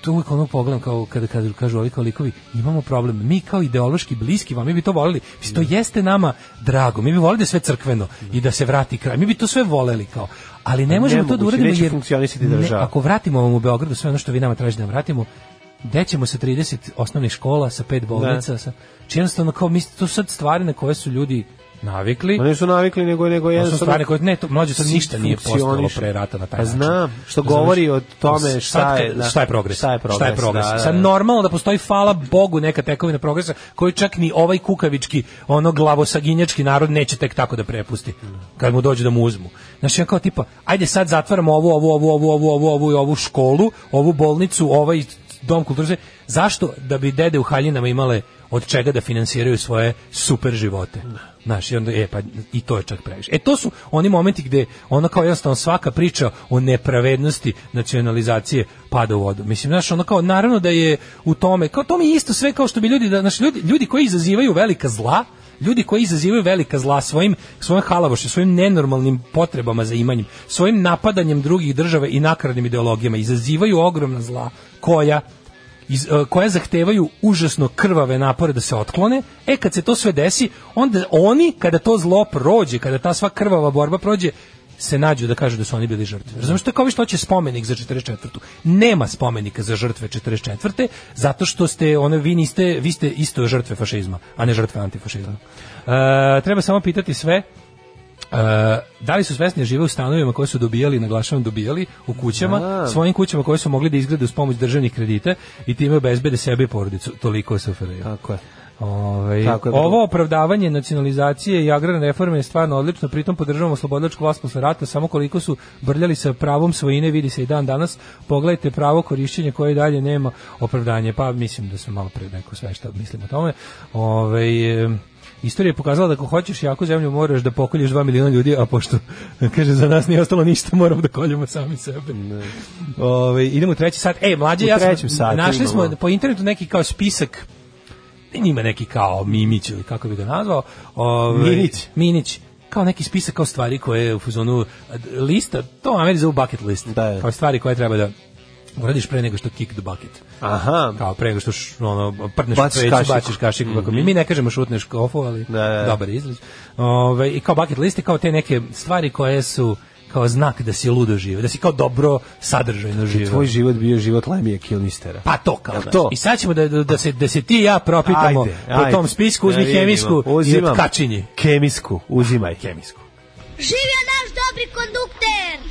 [SPEAKER 6] to uvijek ono pogledam kao kada, kada kažu ovi kao likovi, imamo problem, mi kao ideološki bliski vam, mi bi to voleli, Mislim,
[SPEAKER 5] Mm.
[SPEAKER 6] to jeste nama drago, mi bi voleli da je sve crkveno i da se vrati kraj, mi bi to sve voleli kao, ali ne možemo to da
[SPEAKER 5] Pa Nemoguće,
[SPEAKER 6] uradimo
[SPEAKER 5] neće
[SPEAKER 6] jer
[SPEAKER 5] funkcionisati
[SPEAKER 6] ne,
[SPEAKER 5] država.
[SPEAKER 6] ako vratimo vam u Beogradu sve ono što vi nama tražite da vam vratimo, dećemo sa 30 osnovnih škola, sa pet bolnica, sa, či jednostavno kao, mislim, to su sad stvari na koje su ljudi navikli.
[SPEAKER 5] Oni su navikli nego nego
[SPEAKER 6] To su
[SPEAKER 5] jednostavno
[SPEAKER 6] stvari koje ne, to mlađe sad
[SPEAKER 5] svi
[SPEAKER 6] ništa nije postalo
[SPEAKER 5] funkcionišu.
[SPEAKER 6] pre rata na taj
[SPEAKER 5] Pa
[SPEAKER 6] način.
[SPEAKER 5] znam, što
[SPEAKER 6] Razumeš?
[SPEAKER 5] govori o tome
[SPEAKER 6] Sad
[SPEAKER 5] šta je,
[SPEAKER 6] kad-
[SPEAKER 5] da.
[SPEAKER 6] šta je progres.
[SPEAKER 5] Šta je
[SPEAKER 6] Šta je
[SPEAKER 5] progres,
[SPEAKER 6] progres?
[SPEAKER 5] da, da,
[SPEAKER 6] Sad
[SPEAKER 5] da.
[SPEAKER 6] normalno da postoji hvala Bogu neka tekovina progresa koju čak ni ovaj kukavički, ono glavosaginjački narod neće tek tako da prepusti. Kad mu dođe da mu uzmu. Znači ja kao tipa, ajde sad zatvaramo ovu, ovu, ovu, ovu, ovu, ovu, ovu, i ovu školu, ovu bolnicu, ovaj dom kulture. Zašto da bi dede u haljinama imale od čega da finansiraju svoje super živote. Znaš, i onda, e, pa i to je čak previše. E, to su oni momenti gde ono kao jednostavno svaka priča o nepravednosti nacionalizacije pada u vodu. Mislim, znaš, ono kao, naravno da je u tome, kao to mi je isto sve kao što bi ljudi, da, znaš, ljudi, ljudi koji izazivaju velika zla, ljudi koji izazivaju velika zla svojim svojim halavošem, svojim nenormalnim potrebama za imanjem, svojim napadanjem drugih država i nakaradnim ideologijama izazivaju ogromna zla koja iz, e, koja zahtevaju užasno krvave napore da se otklone, e kad se to sve desi, onda oni, kada to zlo prođe, kada ta sva krvava borba prođe, se nađu da kažu da su oni bili žrtve. Razumeš, to je kao ovi što će spomenik za 44. Nema spomenika za žrtve 44. zato što ste, ono, vi niste, vi ste isto žrtve fašizma, a ne žrtve antifašizma. E, treba samo pitati sve, E, da li su svesni da žive u stanovima koje su dobijali, naglašavam dobijali, u kućama,
[SPEAKER 5] Da.
[SPEAKER 6] svojim kućama koje su mogli da izgrade uz pomoć državnih kredita i time obezbede sebe i porodicu. Toliko se
[SPEAKER 5] Tako je.
[SPEAKER 6] Ovaj,
[SPEAKER 5] Tako je bilo.
[SPEAKER 6] ovo opravdavanje nacionalizacije i agrarne reforme je stvarno odlično, pritom podržavamo slobodilačku vlast posle rata, samo koliko su brljali sa pravom svojine, vidi se i dan danas, pogledajte pravo korišćenje koje i dalje nema opravdanje, pa mislim da sam malo pre neko sve šta mislim o tome. Ovaj, em, Istorija je pokazala da ako hoćeš jaku zemlju moraš da pokolješ 2 miliona ljudi, a pošto kaže za nas nije ostalo ništa, moramo da koljemo sami sebe. Ovaj, idemo u treći sat. E, mlađe,
[SPEAKER 5] U
[SPEAKER 6] ja sam-
[SPEAKER 5] trećem satu
[SPEAKER 6] našli smo
[SPEAKER 5] imamo.
[SPEAKER 6] po internetu neki kao spisak ima neki kao Mimić ili kako bi ga nazvao. Ovaj,
[SPEAKER 5] Minić.
[SPEAKER 6] Minić. Kao neki spisak kao stvari koje je u fuzonu lista, to Ameri zovu bucket list.
[SPEAKER 5] Da, da.
[SPEAKER 6] Kao stvari koje treba da uradiš pre nego što kick the bucket.
[SPEAKER 5] Aha.
[SPEAKER 6] Kao pre nego što š, ono, prdneš baciš sveću,
[SPEAKER 5] Baciš kašiku.
[SPEAKER 6] baciš kašiku. kako mi- Mi ne kažemo šutneš kofu, ali
[SPEAKER 5] Da, da, da.
[SPEAKER 6] dobar je izraz. Ovaj, I kao bucket list je kao te neke stvari koje su kao znak da si ludo živ, da si kao dobro sadržajno živ.
[SPEAKER 5] Tvoj život bio život Lemija Kilmistera.
[SPEAKER 6] Pa to kao.
[SPEAKER 5] Jel
[SPEAKER 6] znaš.
[SPEAKER 5] to?
[SPEAKER 6] I sad ćemo da, da, da se, da se ti i ja propitamo
[SPEAKER 5] Ajde,
[SPEAKER 6] po
[SPEAKER 5] ajde.
[SPEAKER 6] tom spisku, uzmi
[SPEAKER 5] Da vidimo.
[SPEAKER 6] hemijsku i
[SPEAKER 5] Uzimam.
[SPEAKER 6] otkačinji.
[SPEAKER 5] Kemijsku, uzimaj. Kemijsku.
[SPEAKER 12] Živio naš dobri kondukter!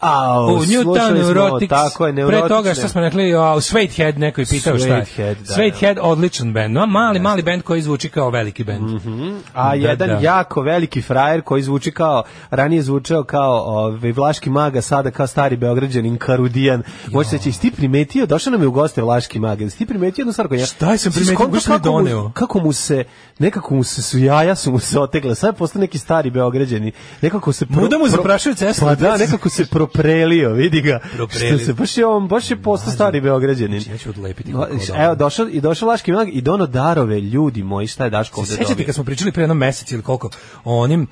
[SPEAKER 5] A,
[SPEAKER 6] U Newton Neurotics,
[SPEAKER 5] tako je, neurotične.
[SPEAKER 6] pre toga što smo rekli, a, u Sweathead neko je pitao šta je.
[SPEAKER 5] Sweathead, da,
[SPEAKER 6] Sweathead, odličan band, no, mali, mali band koji zvuči kao veliki band.
[SPEAKER 5] Mhm. A
[SPEAKER 6] Da,
[SPEAKER 5] jedan
[SPEAKER 6] da.
[SPEAKER 5] jako veliki frajer koji zvuči kao, ranije zvučao kao ovaj, Vlaški maga, sada kao stari beograđanin Karudijan. Može se će, ti primetio, došao nam je u goste Vlaški maga, jesi ti primetio jednu stvar koja ja...
[SPEAKER 6] Šta sam
[SPEAKER 5] Si
[SPEAKER 6] primetio?
[SPEAKER 5] skonto
[SPEAKER 6] Baš mi je
[SPEAKER 5] kako mu-
[SPEAKER 6] doneo.
[SPEAKER 5] Kako mu se, nekako mu se su jaja su mu se otegle, sad postoje neki stari beograđani, nekako se... pro-
[SPEAKER 6] Muda mu
[SPEAKER 5] pro-
[SPEAKER 6] zaprašuju cestu.
[SPEAKER 5] Pa da, nekako se proprelio, vidi ga.
[SPEAKER 6] E, Proprelio.
[SPEAKER 5] Što se, baš je on, baš je postao stari beograđanin.
[SPEAKER 6] Znači, ja ću odlepiti
[SPEAKER 5] No,
[SPEAKER 6] kako ono. dobro.
[SPEAKER 5] Evo, došao, i došao Vlaški mag i dono darove, ljudi moji, šta je Daško ovde
[SPEAKER 6] Se sećate
[SPEAKER 5] dobio?
[SPEAKER 6] kad smo pričali pre jednom mesec ili koliko o onim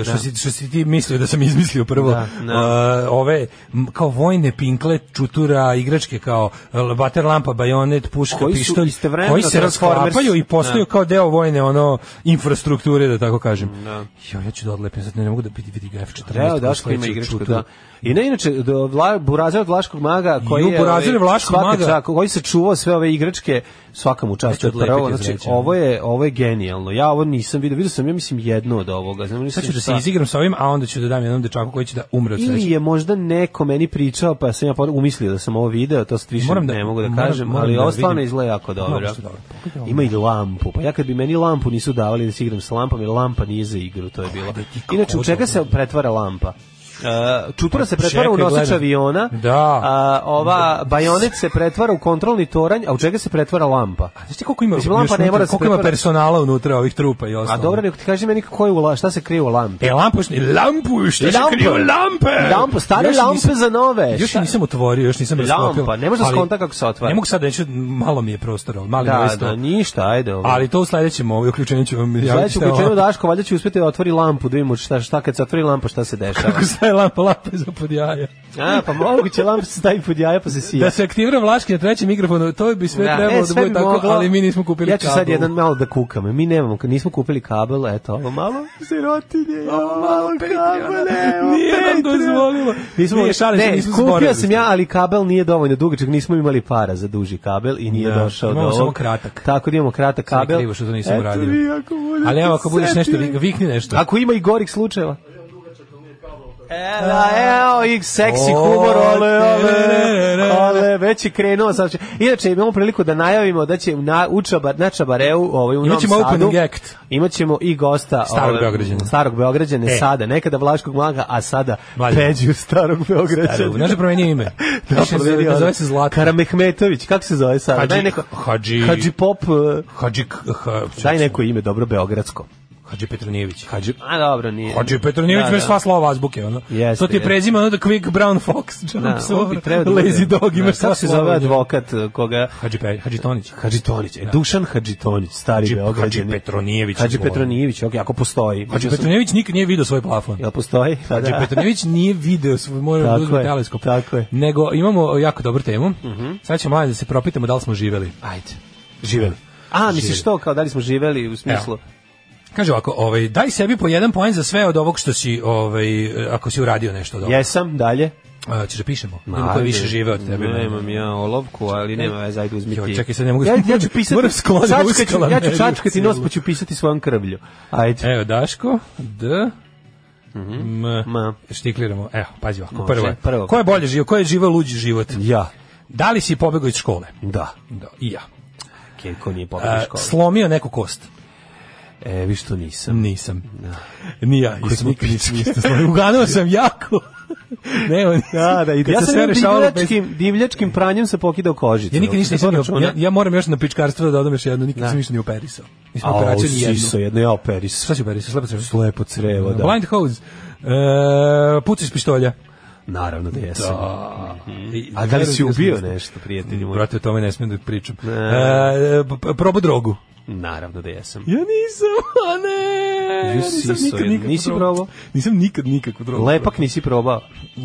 [SPEAKER 6] e, što, si, što si ti mislio da sam izmislio prvo
[SPEAKER 5] Da, da.
[SPEAKER 6] e, ove m, kao vojne pinkle, čutura, igračke kao e, vater lampa, bajonet, puška,
[SPEAKER 5] Koji su
[SPEAKER 6] pištolj,
[SPEAKER 5] istovremeno
[SPEAKER 6] koji se
[SPEAKER 5] Transformers.
[SPEAKER 6] rasklapaju i postaju
[SPEAKER 5] Da.
[SPEAKER 6] kao deo vojne ono infrastrukture da tako kažem. Jo, ja ću da odlepim, sad ne mogu da vidi, vidi ga F14.
[SPEAKER 5] Evo, Daško ima
[SPEAKER 6] sledeću
[SPEAKER 5] igračku,
[SPEAKER 6] čuturu.
[SPEAKER 5] da. I ne, inače, do vla, Burazir od Vlaškog maga, koji
[SPEAKER 6] Ju,
[SPEAKER 5] je...
[SPEAKER 6] Burazir
[SPEAKER 5] ovaj,
[SPEAKER 6] Vlaškog
[SPEAKER 5] svaka
[SPEAKER 6] maga.
[SPEAKER 5] čak- koji se čuvao sve ove igračke, svaka mu čast.
[SPEAKER 6] Neću
[SPEAKER 5] to je prvo,
[SPEAKER 6] odlepiti,
[SPEAKER 5] znači,
[SPEAKER 6] izreći.
[SPEAKER 5] ovo je, ovo je genijalno. Ja ovo nisam vidio, vidio sam, ja mislim, jedno od ovoga. Znam,
[SPEAKER 6] Sad
[SPEAKER 5] nisam
[SPEAKER 6] ću da se
[SPEAKER 5] šta.
[SPEAKER 6] izigram sa ovim, a onda ću da dam jednom dečaku koji će da umre od sreće.
[SPEAKER 5] Ili je možda neko meni pričao, pa sam ja pod- umislio da sam ovo video, to sad više
[SPEAKER 6] Moram da-
[SPEAKER 5] ne mogu da
[SPEAKER 6] moram-
[SPEAKER 5] kažem,
[SPEAKER 6] moram
[SPEAKER 5] ali
[SPEAKER 6] da
[SPEAKER 5] ovo
[SPEAKER 6] vidim.
[SPEAKER 5] stvarno izgleda jako
[SPEAKER 6] Mnogo
[SPEAKER 5] dobro.
[SPEAKER 6] su dobro. Pogledaj ovo.
[SPEAKER 5] Ima i lampu. Pa ja kad bi meni lampu nisu davali da se igram sa lampom, jer lampa nije za igru, to je bilo.
[SPEAKER 6] ti kako
[SPEAKER 5] Inače, u čega se
[SPEAKER 6] dobro.
[SPEAKER 5] pretvara lampa? Uh, čutura se
[SPEAKER 6] Pa
[SPEAKER 5] pretvara u
[SPEAKER 6] čekaj,
[SPEAKER 5] nosič
[SPEAKER 6] gledam.
[SPEAKER 5] aviona,
[SPEAKER 6] Da.
[SPEAKER 5] a, ova bajonet se pretvara u kontrolni toranj, a u čega se pretvara lampa?
[SPEAKER 6] A znaš ti koliko ima,
[SPEAKER 5] Mislim, lampa
[SPEAKER 6] još
[SPEAKER 5] ne
[SPEAKER 6] unutra,
[SPEAKER 5] mora da se
[SPEAKER 6] koliko ima
[SPEAKER 5] pretvara-
[SPEAKER 6] personala unutra ovih trupa i
[SPEAKER 5] A
[SPEAKER 6] ostalo?
[SPEAKER 5] dobro, nego ti kaži meni kako je u la- šta se krije u lampi.
[SPEAKER 6] E, lampušni, lampušni,
[SPEAKER 5] Lampu.
[SPEAKER 6] lampu, lampe!
[SPEAKER 5] Lampu, stare
[SPEAKER 6] Još
[SPEAKER 5] lampe
[SPEAKER 6] nisam-
[SPEAKER 5] za nove.
[SPEAKER 6] Još
[SPEAKER 5] Šta?
[SPEAKER 6] je nisam otvorio, još nisam
[SPEAKER 5] Lampa,
[SPEAKER 6] rasklopio.
[SPEAKER 5] ne možeš da
[SPEAKER 6] ali-
[SPEAKER 5] skonta kako se otvara.
[SPEAKER 6] Ne mogu sad, neću, malo mi je prostora, mali mi je
[SPEAKER 5] Da,
[SPEAKER 6] isto.
[SPEAKER 5] da, ništa, ajde. Ovo.
[SPEAKER 6] Ali to u sledećem ovaj uključenju ću vam javiti.
[SPEAKER 5] Sledeću
[SPEAKER 6] šta je
[SPEAKER 5] uključenju
[SPEAKER 6] ovo.
[SPEAKER 5] Daško, valjda će uspeti da otvori lampu, da vidimo šta, šta kad se otvori lampa, šta se dešava.
[SPEAKER 6] Kako se staje lampa, lampa za pod jaja.
[SPEAKER 5] A, pa moguće lampa se stavi pod jaja pa se sija.
[SPEAKER 6] Da se aktivira Vlaški na trećem mikrofonu, to bi sve
[SPEAKER 5] Da,
[SPEAKER 6] trebalo
[SPEAKER 5] e,
[SPEAKER 6] da
[SPEAKER 5] sve
[SPEAKER 6] bude
[SPEAKER 5] bi
[SPEAKER 6] tako,
[SPEAKER 5] moglo.
[SPEAKER 6] ali mi nismo kupili
[SPEAKER 5] Ja ću sad
[SPEAKER 6] kabel.
[SPEAKER 5] jedan malo da kukam. Mi nemamo, nismo kupili kabel, eto, ovo malo sirotinje, ovo malo ono. kabele, ovo
[SPEAKER 6] Nije nam
[SPEAKER 5] Patreon.
[SPEAKER 6] dozvolilo.
[SPEAKER 5] Nismo,
[SPEAKER 6] Nije, šalim se,
[SPEAKER 5] ne,
[SPEAKER 6] nismo
[SPEAKER 5] kupio
[SPEAKER 6] zaboravili.
[SPEAKER 5] sam ja, ali kabel nije dovoljno dugačak, nismo imali para za duži kabel i nije
[SPEAKER 6] Da,
[SPEAKER 5] došao do
[SPEAKER 6] imamo
[SPEAKER 5] ovog.
[SPEAKER 6] samo kratak.
[SPEAKER 5] Tako da imamo kratak
[SPEAKER 6] Sve mi je
[SPEAKER 5] kabel.
[SPEAKER 6] krivo što to nisam
[SPEAKER 5] Eto,
[SPEAKER 6] uradio.
[SPEAKER 5] vi ako budete
[SPEAKER 6] Ali evo, ako budeš nešto,
[SPEAKER 5] setili.
[SPEAKER 6] vik- vikni nešto.
[SPEAKER 5] Ako ima i gorih slučajeva. E, da, evo, i seksi humor, ole, ole, ole, već je krenuo. Sad će. Inače, imamo priliku da najavimo da će na, u, Čaba, na Čabareu, ovaj, u
[SPEAKER 6] Imaćemo
[SPEAKER 5] Novom Sadu,
[SPEAKER 6] opening act.
[SPEAKER 5] imaćemo i gosta
[SPEAKER 6] Starog
[SPEAKER 5] ovaj,
[SPEAKER 6] Beograđana.
[SPEAKER 5] starog Beograđana,
[SPEAKER 6] E.
[SPEAKER 5] sada, nekada Vlaškog mlaga, a sada
[SPEAKER 6] Mlađe.
[SPEAKER 5] Peđu starog Beograđana.
[SPEAKER 6] Starog, znaš da promenio ime?
[SPEAKER 5] Da,
[SPEAKER 6] Više se-
[SPEAKER 5] promenio,
[SPEAKER 6] da zove
[SPEAKER 5] ono,
[SPEAKER 6] se Zlatan.
[SPEAKER 5] Karamehmetović, kako se zove sada?
[SPEAKER 6] Hadži-
[SPEAKER 5] Daj neko,
[SPEAKER 6] Hadži-
[SPEAKER 5] Hadži Pop, eh,
[SPEAKER 6] Hadži, ha,
[SPEAKER 5] daj neko ime, dobro, Beogradsko.
[SPEAKER 6] Hadži Petronijević. Hadži,
[SPEAKER 5] A dobro, nije.
[SPEAKER 6] Hadži Petronijević
[SPEAKER 5] Da,
[SPEAKER 6] bez
[SPEAKER 5] da.
[SPEAKER 6] sva slova azbuke, ono.
[SPEAKER 5] Jeste,
[SPEAKER 6] to ti je
[SPEAKER 5] jeste.
[SPEAKER 6] prezime, ono da Quick Brown Fox, Jump
[SPEAKER 5] Da, ovo
[SPEAKER 6] Sober,
[SPEAKER 5] bi trebao da bude.
[SPEAKER 6] Lazy Dog,
[SPEAKER 5] Da,
[SPEAKER 6] imaš sva
[SPEAKER 5] kako se
[SPEAKER 6] slova.
[SPEAKER 5] zove
[SPEAKER 6] u njemu.
[SPEAKER 5] advokat eh, koga
[SPEAKER 6] Hadži, Pe, Hadži Tonić.
[SPEAKER 5] Hadžitonić, e, Dušan Hadžitonić, stari
[SPEAKER 6] Hadži-
[SPEAKER 5] Beograđanin.
[SPEAKER 6] Hadži Petronijević.
[SPEAKER 5] Hadži Petronijević, ok, ako postoji.
[SPEAKER 6] Hadži
[SPEAKER 5] Mislio sam-
[SPEAKER 6] Petronijević nikad nije video svoj plafon.
[SPEAKER 5] Jel postoji? Pa
[SPEAKER 6] Hadži Petronijević nije video svoj, moram da
[SPEAKER 5] Tako
[SPEAKER 6] uzmem
[SPEAKER 5] je,
[SPEAKER 6] teleskop.
[SPEAKER 5] tako je. Mhm.
[SPEAKER 6] Nego imamo jako dobru temu. Sad ćemo mlađe da se propitamo da li smo živeli.
[SPEAKER 5] Ajde. Živeli. A, misliš
[SPEAKER 6] Živeli.
[SPEAKER 5] to, kao da li smo živeli u smislu?
[SPEAKER 6] Kaže ovako, ovaj, daj sebi po jedan poen za sve od ovog što si, ovaj, eh, ako si uradio nešto od ovog.
[SPEAKER 5] Jesam, dalje.
[SPEAKER 6] A, ćeš da pišemo? Ima koji više žive od tebe.
[SPEAKER 5] Nemam ja olovku, ali nema veze, ajde uzmi
[SPEAKER 6] Joj,
[SPEAKER 5] ti.
[SPEAKER 6] čekaj, sad ne mogu-
[SPEAKER 5] Ja, ja ću pisati.
[SPEAKER 6] Moram skloniti
[SPEAKER 5] Čačkaću-
[SPEAKER 6] uskala,
[SPEAKER 5] Ja ću
[SPEAKER 6] ne,
[SPEAKER 5] čačkati
[SPEAKER 6] u
[SPEAKER 5] nos,
[SPEAKER 6] celu.
[SPEAKER 5] pa ću pisati svojom krvlju. Ajde.
[SPEAKER 6] Evo Daško, D, M,
[SPEAKER 5] Ma.
[SPEAKER 6] štikliramo. Evo, pazi ovako,
[SPEAKER 5] Može,
[SPEAKER 6] prvo je.
[SPEAKER 5] prvo.
[SPEAKER 6] Ko je bolje živo? Ko je živo luđi život?
[SPEAKER 5] Ja.
[SPEAKER 6] Da li si pobegao iz škole?
[SPEAKER 5] Da.
[SPEAKER 6] Da, i ja.
[SPEAKER 5] Keko nije
[SPEAKER 6] A,
[SPEAKER 5] pobjeda škola.
[SPEAKER 6] slomio neku kost?
[SPEAKER 5] E, vi što nisam.
[SPEAKER 6] Nisam. Ni ja.
[SPEAKER 5] smo
[SPEAKER 6] Nisam nikad nisam isto slomio. Uganuo sam jako. ne, on,
[SPEAKER 5] (laughs) Da, da, i
[SPEAKER 6] kad
[SPEAKER 5] ja
[SPEAKER 6] se
[SPEAKER 5] sam
[SPEAKER 6] sve
[SPEAKER 5] jednim
[SPEAKER 6] rešavalo bez-
[SPEAKER 5] divljačkim, divljačkim pranjem se pokidao kožicu.
[SPEAKER 6] Ja nikad ništa
[SPEAKER 5] Jel to
[SPEAKER 6] nisam, ni-
[SPEAKER 5] računa?
[SPEAKER 6] ja, ja moram još na pičkarstvo da dodam još jedno, nikad nisam ništa ni operisao. Nisam
[SPEAKER 5] A,
[SPEAKER 6] operaciju ni jednu.
[SPEAKER 5] siso, jedno ja operis.
[SPEAKER 6] Šta si operisao? Slepo crevo?
[SPEAKER 5] Slepo crevo, da.
[SPEAKER 6] Blind hose. E, pucaš iz pištolja.
[SPEAKER 5] Naravno da jesam.
[SPEAKER 6] Da.
[SPEAKER 5] A da li si ubio nešto, prijatelji moji?
[SPEAKER 6] Brate, o tome ne smijem da pričam.
[SPEAKER 5] Ne.
[SPEAKER 6] E, p- p- probao drogu.
[SPEAKER 5] Naravno da jesam.
[SPEAKER 6] Ja nisam, a ne.
[SPEAKER 5] Ju, siso je, nisi probao?
[SPEAKER 6] Nisam nikad nikakvu drogu.
[SPEAKER 5] Lepak nisi probao.
[SPEAKER 6] E,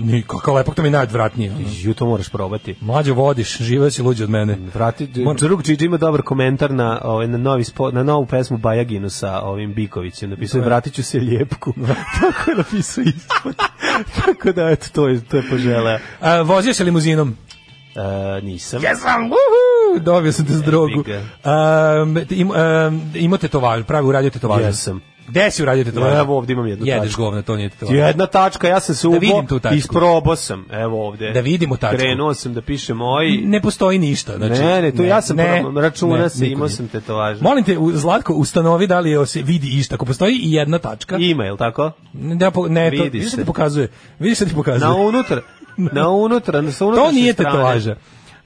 [SPEAKER 6] ni, kakav lepak, to mi je najodvratnije. ono.
[SPEAKER 5] Ju, to moraš probati.
[SPEAKER 6] Mlađo vodiš, živeo si luđi od mene.
[SPEAKER 5] Vrati,
[SPEAKER 6] Moram-
[SPEAKER 5] Đuruk Điđi ima dobar komentar na, ovaj, na, novi spo, na novu pesmu Bajaginu sa ovim Bikovićem. Napisao je Vratit ću se ljepku. (laughs) Tako je napisao ispod. Tako da, eto, to je, to je poželeo.
[SPEAKER 6] A, E, vozio se limuzinom.
[SPEAKER 5] E, nisam.
[SPEAKER 6] Jesam, uhu, dobio sam te
[SPEAKER 5] E,
[SPEAKER 6] s drogu.
[SPEAKER 5] Epic,
[SPEAKER 6] Um, im, um, imao tetovažu, pravi uradio tetovažu.
[SPEAKER 5] Jesam.
[SPEAKER 6] Gde si uradio tetovažu?
[SPEAKER 5] Evo ovdje imam jednu
[SPEAKER 6] Jedeš
[SPEAKER 5] tačku.
[SPEAKER 6] govna, to nije tetovažu.
[SPEAKER 5] Jedna tačka, ja sam se ubo,
[SPEAKER 6] vidim tu tačku.
[SPEAKER 5] isprobao sam, evo ovde.
[SPEAKER 6] Da vidimo tačku.
[SPEAKER 5] Krenuo sam da pišem oji,
[SPEAKER 6] Ne postoji ništa. Znači,
[SPEAKER 5] ne, ne, to ja sam probao, računa
[SPEAKER 6] ne,
[SPEAKER 5] se,
[SPEAKER 6] niko
[SPEAKER 5] imao
[SPEAKER 6] nije.
[SPEAKER 5] sam tetovaže.
[SPEAKER 6] Molim te, u- Zlatko, ustanovi da li se vidi išta. Ako postoji i jedna tačka,
[SPEAKER 5] Ima, je li tako?
[SPEAKER 6] ne, da, po- ne, to,
[SPEAKER 5] Vidi
[SPEAKER 6] vidiš da
[SPEAKER 5] se.
[SPEAKER 6] ti pokazuje. Vidiš da ti pokazuje.
[SPEAKER 5] Na unutra, na unutra, na sa
[SPEAKER 6] to
[SPEAKER 5] unutrašnje
[SPEAKER 6] nije
[SPEAKER 5] strane.
[SPEAKER 6] tetovaža.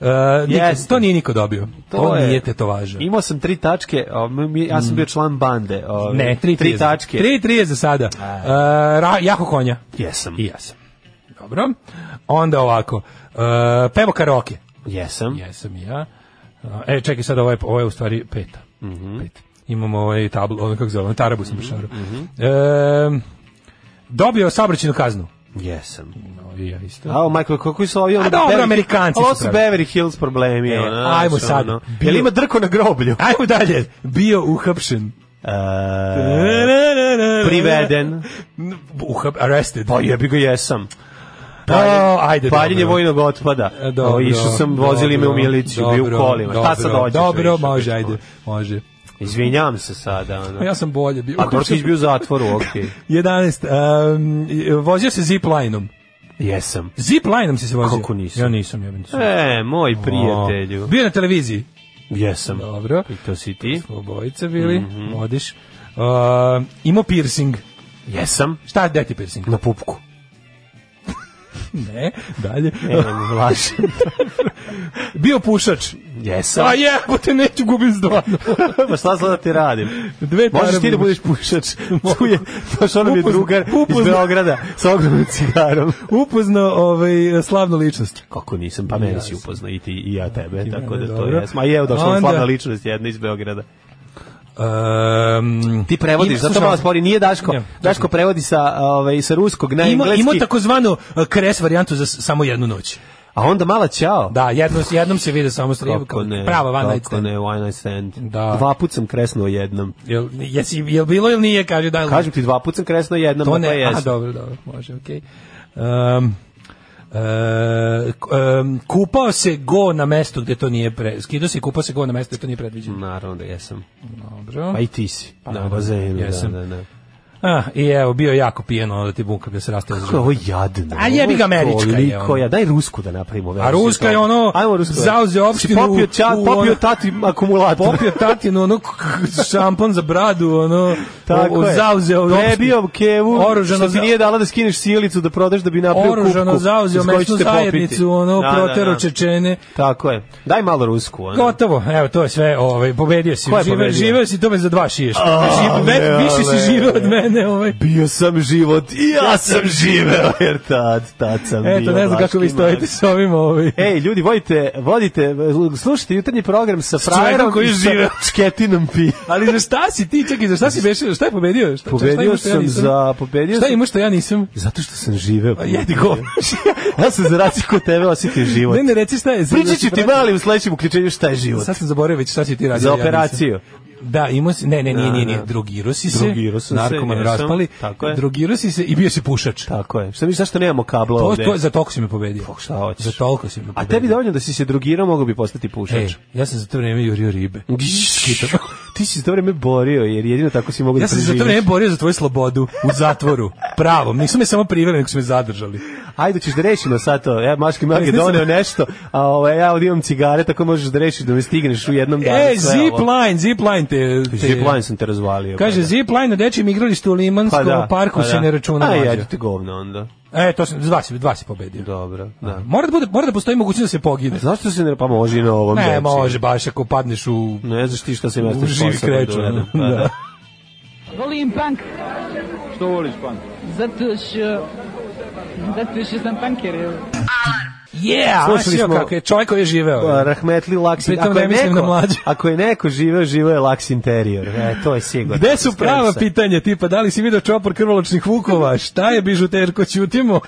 [SPEAKER 6] Uh, niko-
[SPEAKER 5] Jeste.
[SPEAKER 6] to nije niko dobio. To,
[SPEAKER 5] je-
[SPEAKER 6] nije tetovaža. Mm.
[SPEAKER 5] Imao sam tri tačke, a mi- mi- ja sam bio član bande. ovaj,
[SPEAKER 6] Ne, tri,
[SPEAKER 5] tri
[SPEAKER 6] je za-
[SPEAKER 5] tačke.
[SPEAKER 6] Tri, tri je za sada. Uh, ra, jako konja.
[SPEAKER 5] Jesam.
[SPEAKER 6] I ja sam. Dobro. Onda ovako. Uh, pevo karaoke.
[SPEAKER 5] Jesam.
[SPEAKER 6] Jesam i ja. Uh, e, čekaj sad, ovo je, ovo je u stvari peta.
[SPEAKER 5] Mhm.
[SPEAKER 6] Pet. Imamo ovaj tablo, ono kako zove, ono tarabu sam pošarao.
[SPEAKER 5] mhm.
[SPEAKER 6] E, dobio saobraćajnu kaznu.
[SPEAKER 5] Jesam.
[SPEAKER 6] No, i ja isto.
[SPEAKER 5] A, o, Michael, kako su ovi... ono,
[SPEAKER 6] A dobro,
[SPEAKER 5] Beverly-
[SPEAKER 6] Amerikanci
[SPEAKER 5] Ovo
[SPEAKER 6] su
[SPEAKER 5] su
[SPEAKER 6] pravi.
[SPEAKER 5] Beverly Hills problemi.
[SPEAKER 6] E,
[SPEAKER 5] ono,
[SPEAKER 6] ajmo
[SPEAKER 5] znaš,
[SPEAKER 6] sad.
[SPEAKER 5] ono.
[SPEAKER 6] Bio-
[SPEAKER 5] Jel ima drko na groblju?
[SPEAKER 6] Ajmo dalje. Bio uhapšen.
[SPEAKER 5] E,
[SPEAKER 6] (laughs)
[SPEAKER 5] priveden.
[SPEAKER 6] Uhap, arrested.
[SPEAKER 5] Pa jebi ga jesam.
[SPEAKER 6] O, ajde,
[SPEAKER 5] paljenje
[SPEAKER 6] dobro.
[SPEAKER 5] vojnog otpada.
[SPEAKER 6] E, Dobro,
[SPEAKER 5] O, išao sam, vozili me u miliciju, bio u kolima. Šta sad
[SPEAKER 6] dobro,
[SPEAKER 5] hoćeš?
[SPEAKER 6] Dobro,
[SPEAKER 5] više?
[SPEAKER 6] može, ajde, može.
[SPEAKER 5] Izvinjam se sada. Ono.
[SPEAKER 6] Pa Ja sam bolje bio.
[SPEAKER 5] A dobro ti izbio u zatvoru,
[SPEAKER 6] (laughs)
[SPEAKER 5] okej.
[SPEAKER 6] 11. Um, vozio se ziplinom.
[SPEAKER 5] Jesam.
[SPEAKER 6] Ziplinom si se vozio?
[SPEAKER 5] Kako nisam?
[SPEAKER 6] Ja nisam, ja nisam.
[SPEAKER 5] E, moj prijatelju.
[SPEAKER 6] Bio na televiziji.
[SPEAKER 5] Jesam.
[SPEAKER 6] Dobro.
[SPEAKER 5] I to si ti?
[SPEAKER 6] Smo obojica bili,
[SPEAKER 5] Mhm.
[SPEAKER 6] modiš. Uh, imao piercing.
[SPEAKER 5] Jesam.
[SPEAKER 6] Šta, gde ti
[SPEAKER 5] (laughs)
[SPEAKER 6] piercing?
[SPEAKER 5] Na pupku.
[SPEAKER 6] Ne, dalje.
[SPEAKER 5] E, vlašim.
[SPEAKER 6] Bio pušač.
[SPEAKER 5] (laughs) Jesam.
[SPEAKER 6] A
[SPEAKER 5] (laughs)
[SPEAKER 6] jebote, neću gubim s dva.
[SPEAKER 5] Pa šta sad da ti radim?
[SPEAKER 6] Dve
[SPEAKER 5] Možeš ti
[SPEAKER 6] tarabuše.
[SPEAKER 5] da budeš pušač. Tu je, baš ono mi je
[SPEAKER 6] Upozna-
[SPEAKER 5] drugar iz
[SPEAKER 6] upozna-
[SPEAKER 5] Beograda sa ogromnim cigarom.
[SPEAKER 6] Upoznao ovaj, slavnu ličnost.
[SPEAKER 5] Kako nisam, pa mene si upoznao i ti i ja tebe, tako
[SPEAKER 6] mene,
[SPEAKER 5] da to
[SPEAKER 6] dobro.
[SPEAKER 5] jesmo. A je, došla
[SPEAKER 6] Onda-
[SPEAKER 5] nam slavna ličnost jedna iz Beograda.
[SPEAKER 6] Uh, Um,
[SPEAKER 5] Ti prevodiš,
[SPEAKER 6] ima-
[SPEAKER 5] zato
[SPEAKER 6] slušaj,
[SPEAKER 5] malo spori, nije Daško.
[SPEAKER 6] Ja,
[SPEAKER 5] Daško prevodi sa, ovaj, sa ruskog na
[SPEAKER 6] ima,
[SPEAKER 5] engleski.
[SPEAKER 6] ima takozvanu uh, kres varijantu za s- samo jednu noć.
[SPEAKER 5] A onda mala ćao.
[SPEAKER 6] Da, jednom, jednom se vide samo strijevi,
[SPEAKER 5] Kako ne,
[SPEAKER 6] prava van night
[SPEAKER 5] kako
[SPEAKER 6] stand.
[SPEAKER 5] ne, one night stand.
[SPEAKER 6] Da.
[SPEAKER 5] Dva put sam kresnuo jednom.
[SPEAKER 6] Jel, jesi, jel bilo ili nije, kaže da ili ne?
[SPEAKER 5] Kažem ti, dva put sam kresnuo jednom,
[SPEAKER 6] To
[SPEAKER 5] a
[SPEAKER 6] ne,
[SPEAKER 5] jesam.
[SPEAKER 6] a dobro, dobro, može, okej. Um, e, k- em, kupao se go na mestu gde to nije pre... Skidao se i kupao se go na mestu gde to nije predviđeno.
[SPEAKER 5] Naravno da jesam.
[SPEAKER 6] Dobro.
[SPEAKER 5] Pa i ti si.
[SPEAKER 6] Pa
[SPEAKER 5] na
[SPEAKER 6] naravno,
[SPEAKER 5] bazenu, da,
[SPEAKER 6] jesam.
[SPEAKER 5] da, da.
[SPEAKER 6] Ah, I evo, bio je jako pijen, ono da ti bunka bi se rastao za
[SPEAKER 5] Kako (laughs) je
[SPEAKER 6] život.
[SPEAKER 5] ovo jadno?
[SPEAKER 6] A jebi ga, američka je
[SPEAKER 5] Toliko
[SPEAKER 6] ono.
[SPEAKER 5] ja, daj rusku da napravimo.
[SPEAKER 6] A
[SPEAKER 5] verziju
[SPEAKER 6] Ruska je
[SPEAKER 5] toga.
[SPEAKER 6] ono,
[SPEAKER 5] Ajmo rusku.
[SPEAKER 6] zauze opštinu...
[SPEAKER 5] Si Popio, ča,
[SPEAKER 6] u
[SPEAKER 5] popio
[SPEAKER 6] ono-
[SPEAKER 5] tati akumulator.
[SPEAKER 6] popio tatinu, ono k- k- šampon za bradu, ono,
[SPEAKER 5] (laughs) Tako
[SPEAKER 6] o-
[SPEAKER 5] je.
[SPEAKER 6] zauzeo opštinu.
[SPEAKER 5] Prebio kevu,
[SPEAKER 6] Oružano
[SPEAKER 5] što ti
[SPEAKER 6] za-
[SPEAKER 5] nije dala da skineš silicu da prodaš da bi napravio kupku.
[SPEAKER 6] oružano zauzeo
[SPEAKER 5] iz koje
[SPEAKER 6] mesnu
[SPEAKER 5] ćete popiti.
[SPEAKER 6] zajednicu, ono,
[SPEAKER 5] Da, da,
[SPEAKER 6] protero
[SPEAKER 5] da.
[SPEAKER 6] Čečene.
[SPEAKER 5] Tako je. Daj malo rusku. Ono.
[SPEAKER 6] Gotovo, evo to je sve, ovaj, pobedio si.
[SPEAKER 5] Ko je
[SPEAKER 6] Žive-
[SPEAKER 5] pobedio?
[SPEAKER 6] Živeo si tome za dva šiješ.
[SPEAKER 5] A,
[SPEAKER 6] Žive- ve-
[SPEAKER 5] ne,
[SPEAKER 6] više
[SPEAKER 5] ne.
[SPEAKER 6] si živeo od mene, ovaj.
[SPEAKER 5] Bio sam život i ja sam živeo, (laughs) jer tad, tad sam bio
[SPEAKER 6] Eto, ne znam
[SPEAKER 5] Vlaški
[SPEAKER 6] kako vi stojite
[SPEAKER 5] Mark.
[SPEAKER 6] s ovim, ovaj.
[SPEAKER 5] Ej, ljudi, vodite, vodite, slušajte jutarnji program sa
[SPEAKER 6] čovekom
[SPEAKER 5] frajerom
[SPEAKER 6] koji
[SPEAKER 5] i
[SPEAKER 6] je
[SPEAKER 5] sa
[SPEAKER 6] živeo.
[SPEAKER 5] čketinom pi.
[SPEAKER 6] Ali za šta si ti, čekaj, za šta si bešao, šta je pobedio? Šta, šta
[SPEAKER 5] Pobedio
[SPEAKER 6] imaš što ja
[SPEAKER 5] sam
[SPEAKER 6] nisam?
[SPEAKER 5] za, pobedio
[SPEAKER 6] Šta
[SPEAKER 5] sam...
[SPEAKER 6] imaš što ja nisam?
[SPEAKER 5] Zato što sam živeo.
[SPEAKER 6] Pa jedi go.
[SPEAKER 5] ja sam za razliku od tebe osjetio život.
[SPEAKER 6] Ne, ne, reci šta je.
[SPEAKER 5] Pričat ću ti mali u sledećem uključenju šta je život.
[SPEAKER 6] Sad sam zaboravio već šta si ti radio.
[SPEAKER 5] Za operaciju.
[SPEAKER 6] Da, imao si, ne, ne, nije,
[SPEAKER 5] Da,
[SPEAKER 6] nije, nije,
[SPEAKER 5] da.
[SPEAKER 6] drogirao si se,
[SPEAKER 5] Drogirao sam se,
[SPEAKER 6] narkoman
[SPEAKER 5] jesam,
[SPEAKER 6] raspali,
[SPEAKER 5] tako je.
[SPEAKER 6] drogirao si se i bio si pušač.
[SPEAKER 5] Tako je. Šta misliš, zašto nemamo kabla
[SPEAKER 6] To,
[SPEAKER 5] ovde?
[SPEAKER 6] to, za toliko si me pobedio.
[SPEAKER 5] Pa šta hoćeš?
[SPEAKER 6] Za toliko si me pobedio.
[SPEAKER 5] A tebi dovoljno da si se drogirao, mogao bi postati
[SPEAKER 6] Ej,
[SPEAKER 5] pušač.
[SPEAKER 6] ja sam za to vreme jurio ribe.
[SPEAKER 5] Ti si se to vreme borio, jer jedino tako si mogao da
[SPEAKER 6] Ja sam se za to
[SPEAKER 5] preživiš.
[SPEAKER 6] vreme borio za tvoju slobodu u zatvoru. Pravom. Nisu me samo priveli, nego su me zadržali.
[SPEAKER 5] Ajde ćeš da rešimo sad to. Ja Maški Mag je
[SPEAKER 6] Mislim-
[SPEAKER 5] doneo nešto, a ovaj ja ovdje imam cigare, tako možeš da rešiš da me stigneš u jednom danu.
[SPEAKER 6] E,
[SPEAKER 5] sve ovo.
[SPEAKER 6] zipline, zipline te... te-
[SPEAKER 5] Zipline sam te razvalio.
[SPEAKER 6] Kaže,
[SPEAKER 5] brate.
[SPEAKER 6] zipline na dečjem igralištu u Limanskom parku
[SPEAKER 5] pa
[SPEAKER 6] se ne računa
[SPEAKER 5] Aj,
[SPEAKER 6] mlađe.
[SPEAKER 5] ajde ti govno onda.
[SPEAKER 6] E, to sam, dva si, dva si pobedio.
[SPEAKER 5] Dobro, da.
[SPEAKER 6] Mora da, bude, mora da postoji mogućnost da se pogine.
[SPEAKER 5] Zašto se ne pa može i na ovom
[SPEAKER 6] Ne,
[SPEAKER 5] deci.
[SPEAKER 6] može baš ako padneš u...
[SPEAKER 5] Ne znaš ti šta sam ja
[SPEAKER 6] U
[SPEAKER 5] stavio
[SPEAKER 6] živi
[SPEAKER 5] posebno
[SPEAKER 6] kreću,
[SPEAKER 5] uradim.
[SPEAKER 6] ono,
[SPEAKER 5] Pa,
[SPEAKER 6] (laughs) da.
[SPEAKER 13] Volim punk,
[SPEAKER 14] Što voliš punk?
[SPEAKER 13] zato što... Zato što sam punker, evo.
[SPEAKER 6] Yeah,
[SPEAKER 5] Slušali
[SPEAKER 6] Slušali smo...
[SPEAKER 5] smo-
[SPEAKER 6] kako je čovjek koji je živeo.
[SPEAKER 5] Pa, Rahmetli Laksin.
[SPEAKER 6] Pritom ne mislim na mlađe.
[SPEAKER 5] (laughs) ako je neko živeo, živeo je Laks interior. E, to je sigurno.
[SPEAKER 6] Gde su prava
[SPEAKER 5] Skrenuo sam.
[SPEAKER 6] pitanja, tipa da li si video čopor krvoločnih vukova, šta je bižuterko,
[SPEAKER 5] (laughs)
[SPEAKER 6] ćutimo?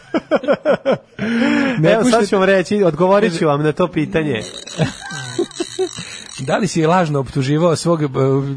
[SPEAKER 6] ne
[SPEAKER 5] Evo, sad
[SPEAKER 6] puštate-
[SPEAKER 5] ću vam reći, odgovorit ću vam na to pitanje.
[SPEAKER 6] Da li si lažno optuživao svog e,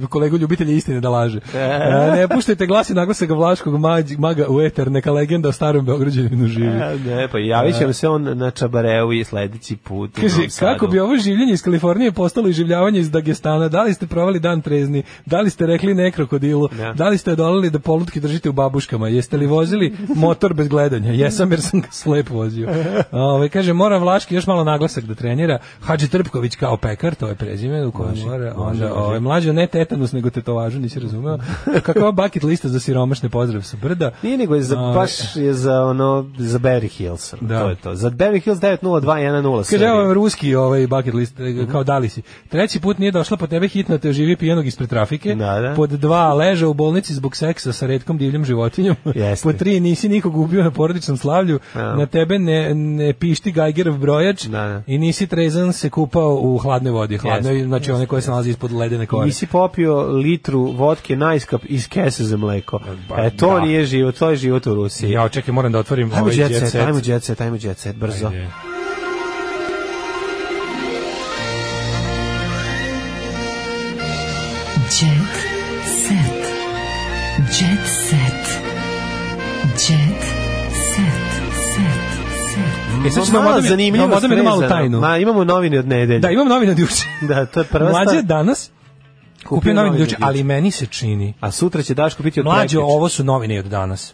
[SPEAKER 6] kolegu ljubitelja istine da laže? E, ne puštajte glasi naglasak vlaškog mađ- maga u eter, neka legenda o starom Beograđaninu živi.
[SPEAKER 5] E, Ne, pa javit će vam se on na Čabareu i sledeći put. u
[SPEAKER 6] Kaže,
[SPEAKER 5] Novom Sadu.
[SPEAKER 6] kako bi ovo življenje iz Kalifornije postalo i življavanje iz Dagestana? Da li ste provali dan trezni? Da li ste rekli ne krokodilu?
[SPEAKER 5] Da.
[SPEAKER 6] Da li ste odolali da polutke držite u babuškama? Jeste li vozili motor bez gledanja? Jesam jer sam ga slep vozio. Ove, kaže, mora Vlaški još malo naglasak da trenira. Hadži Trpković kao pekar, to je prezime u kojem mora. Onda, ove, mlađo ne tetanus, nego tetovažu, nisi razumeo. Kakva bucket lista za siromašne pozdrav sa brda? Ovaj,
[SPEAKER 5] Nije nego je za,
[SPEAKER 6] Ove,
[SPEAKER 5] baš je za ono, za Barry Hills.
[SPEAKER 6] e. Da.
[SPEAKER 5] To je to. Za Barry Hills 90210.
[SPEAKER 6] Kaže,
[SPEAKER 5] serija.
[SPEAKER 6] evo vam ruski ovaj bucket list,
[SPEAKER 5] Mhm.
[SPEAKER 6] kao dali si. Treći put nije došla po tebe hitno, te živi pijenog ispred trafike.
[SPEAKER 5] Da, da.
[SPEAKER 6] Pod dva, leža u bolnici zbog seksa sa redkom divljom životinjom.
[SPEAKER 5] Jeste.
[SPEAKER 6] Pod tri, nisi nikog ubio na porodičnom slavlju.
[SPEAKER 5] Da.
[SPEAKER 6] Na tebe ne, ne pišti Geigerov brojač.
[SPEAKER 5] Da, da.
[SPEAKER 6] I nisi trezan se kupao u hladnoj vodi. Hladnoj,
[SPEAKER 5] Jeste.
[SPEAKER 6] znači one koje se nalazi ispod ledene kore.
[SPEAKER 5] Nisi popio litru vodke najskap iz kese za mleko.
[SPEAKER 6] Ba,
[SPEAKER 5] E, to
[SPEAKER 6] da.
[SPEAKER 5] nije život, to je život u Rusiji.
[SPEAKER 6] Ja očekaj, moram da otvorim
[SPEAKER 5] Ajmo
[SPEAKER 6] ovaj
[SPEAKER 5] jet
[SPEAKER 6] jet
[SPEAKER 5] set,
[SPEAKER 6] set.
[SPEAKER 5] ajmo jet set, ajmo jet set, brzo.
[SPEAKER 6] Ajde.
[SPEAKER 4] Jet set. Jet set. Jet set. Set. Set.
[SPEAKER 6] E, sad ćemo
[SPEAKER 5] Malo
[SPEAKER 6] malo
[SPEAKER 5] zanimljivo
[SPEAKER 6] da mi malu
[SPEAKER 5] srezano.
[SPEAKER 6] tajnu.
[SPEAKER 5] Ma, imamo novine od nedelje.
[SPEAKER 6] Da, imam novine od juče.
[SPEAKER 5] Da, to je prva
[SPEAKER 6] Mlađe
[SPEAKER 5] stvar.
[SPEAKER 6] je danas kupio novine od juče, ali meni se čini
[SPEAKER 5] A sutra će Daško biti od
[SPEAKER 6] Mlađe,
[SPEAKER 5] prekjuče.
[SPEAKER 6] ovo su novine i od danas.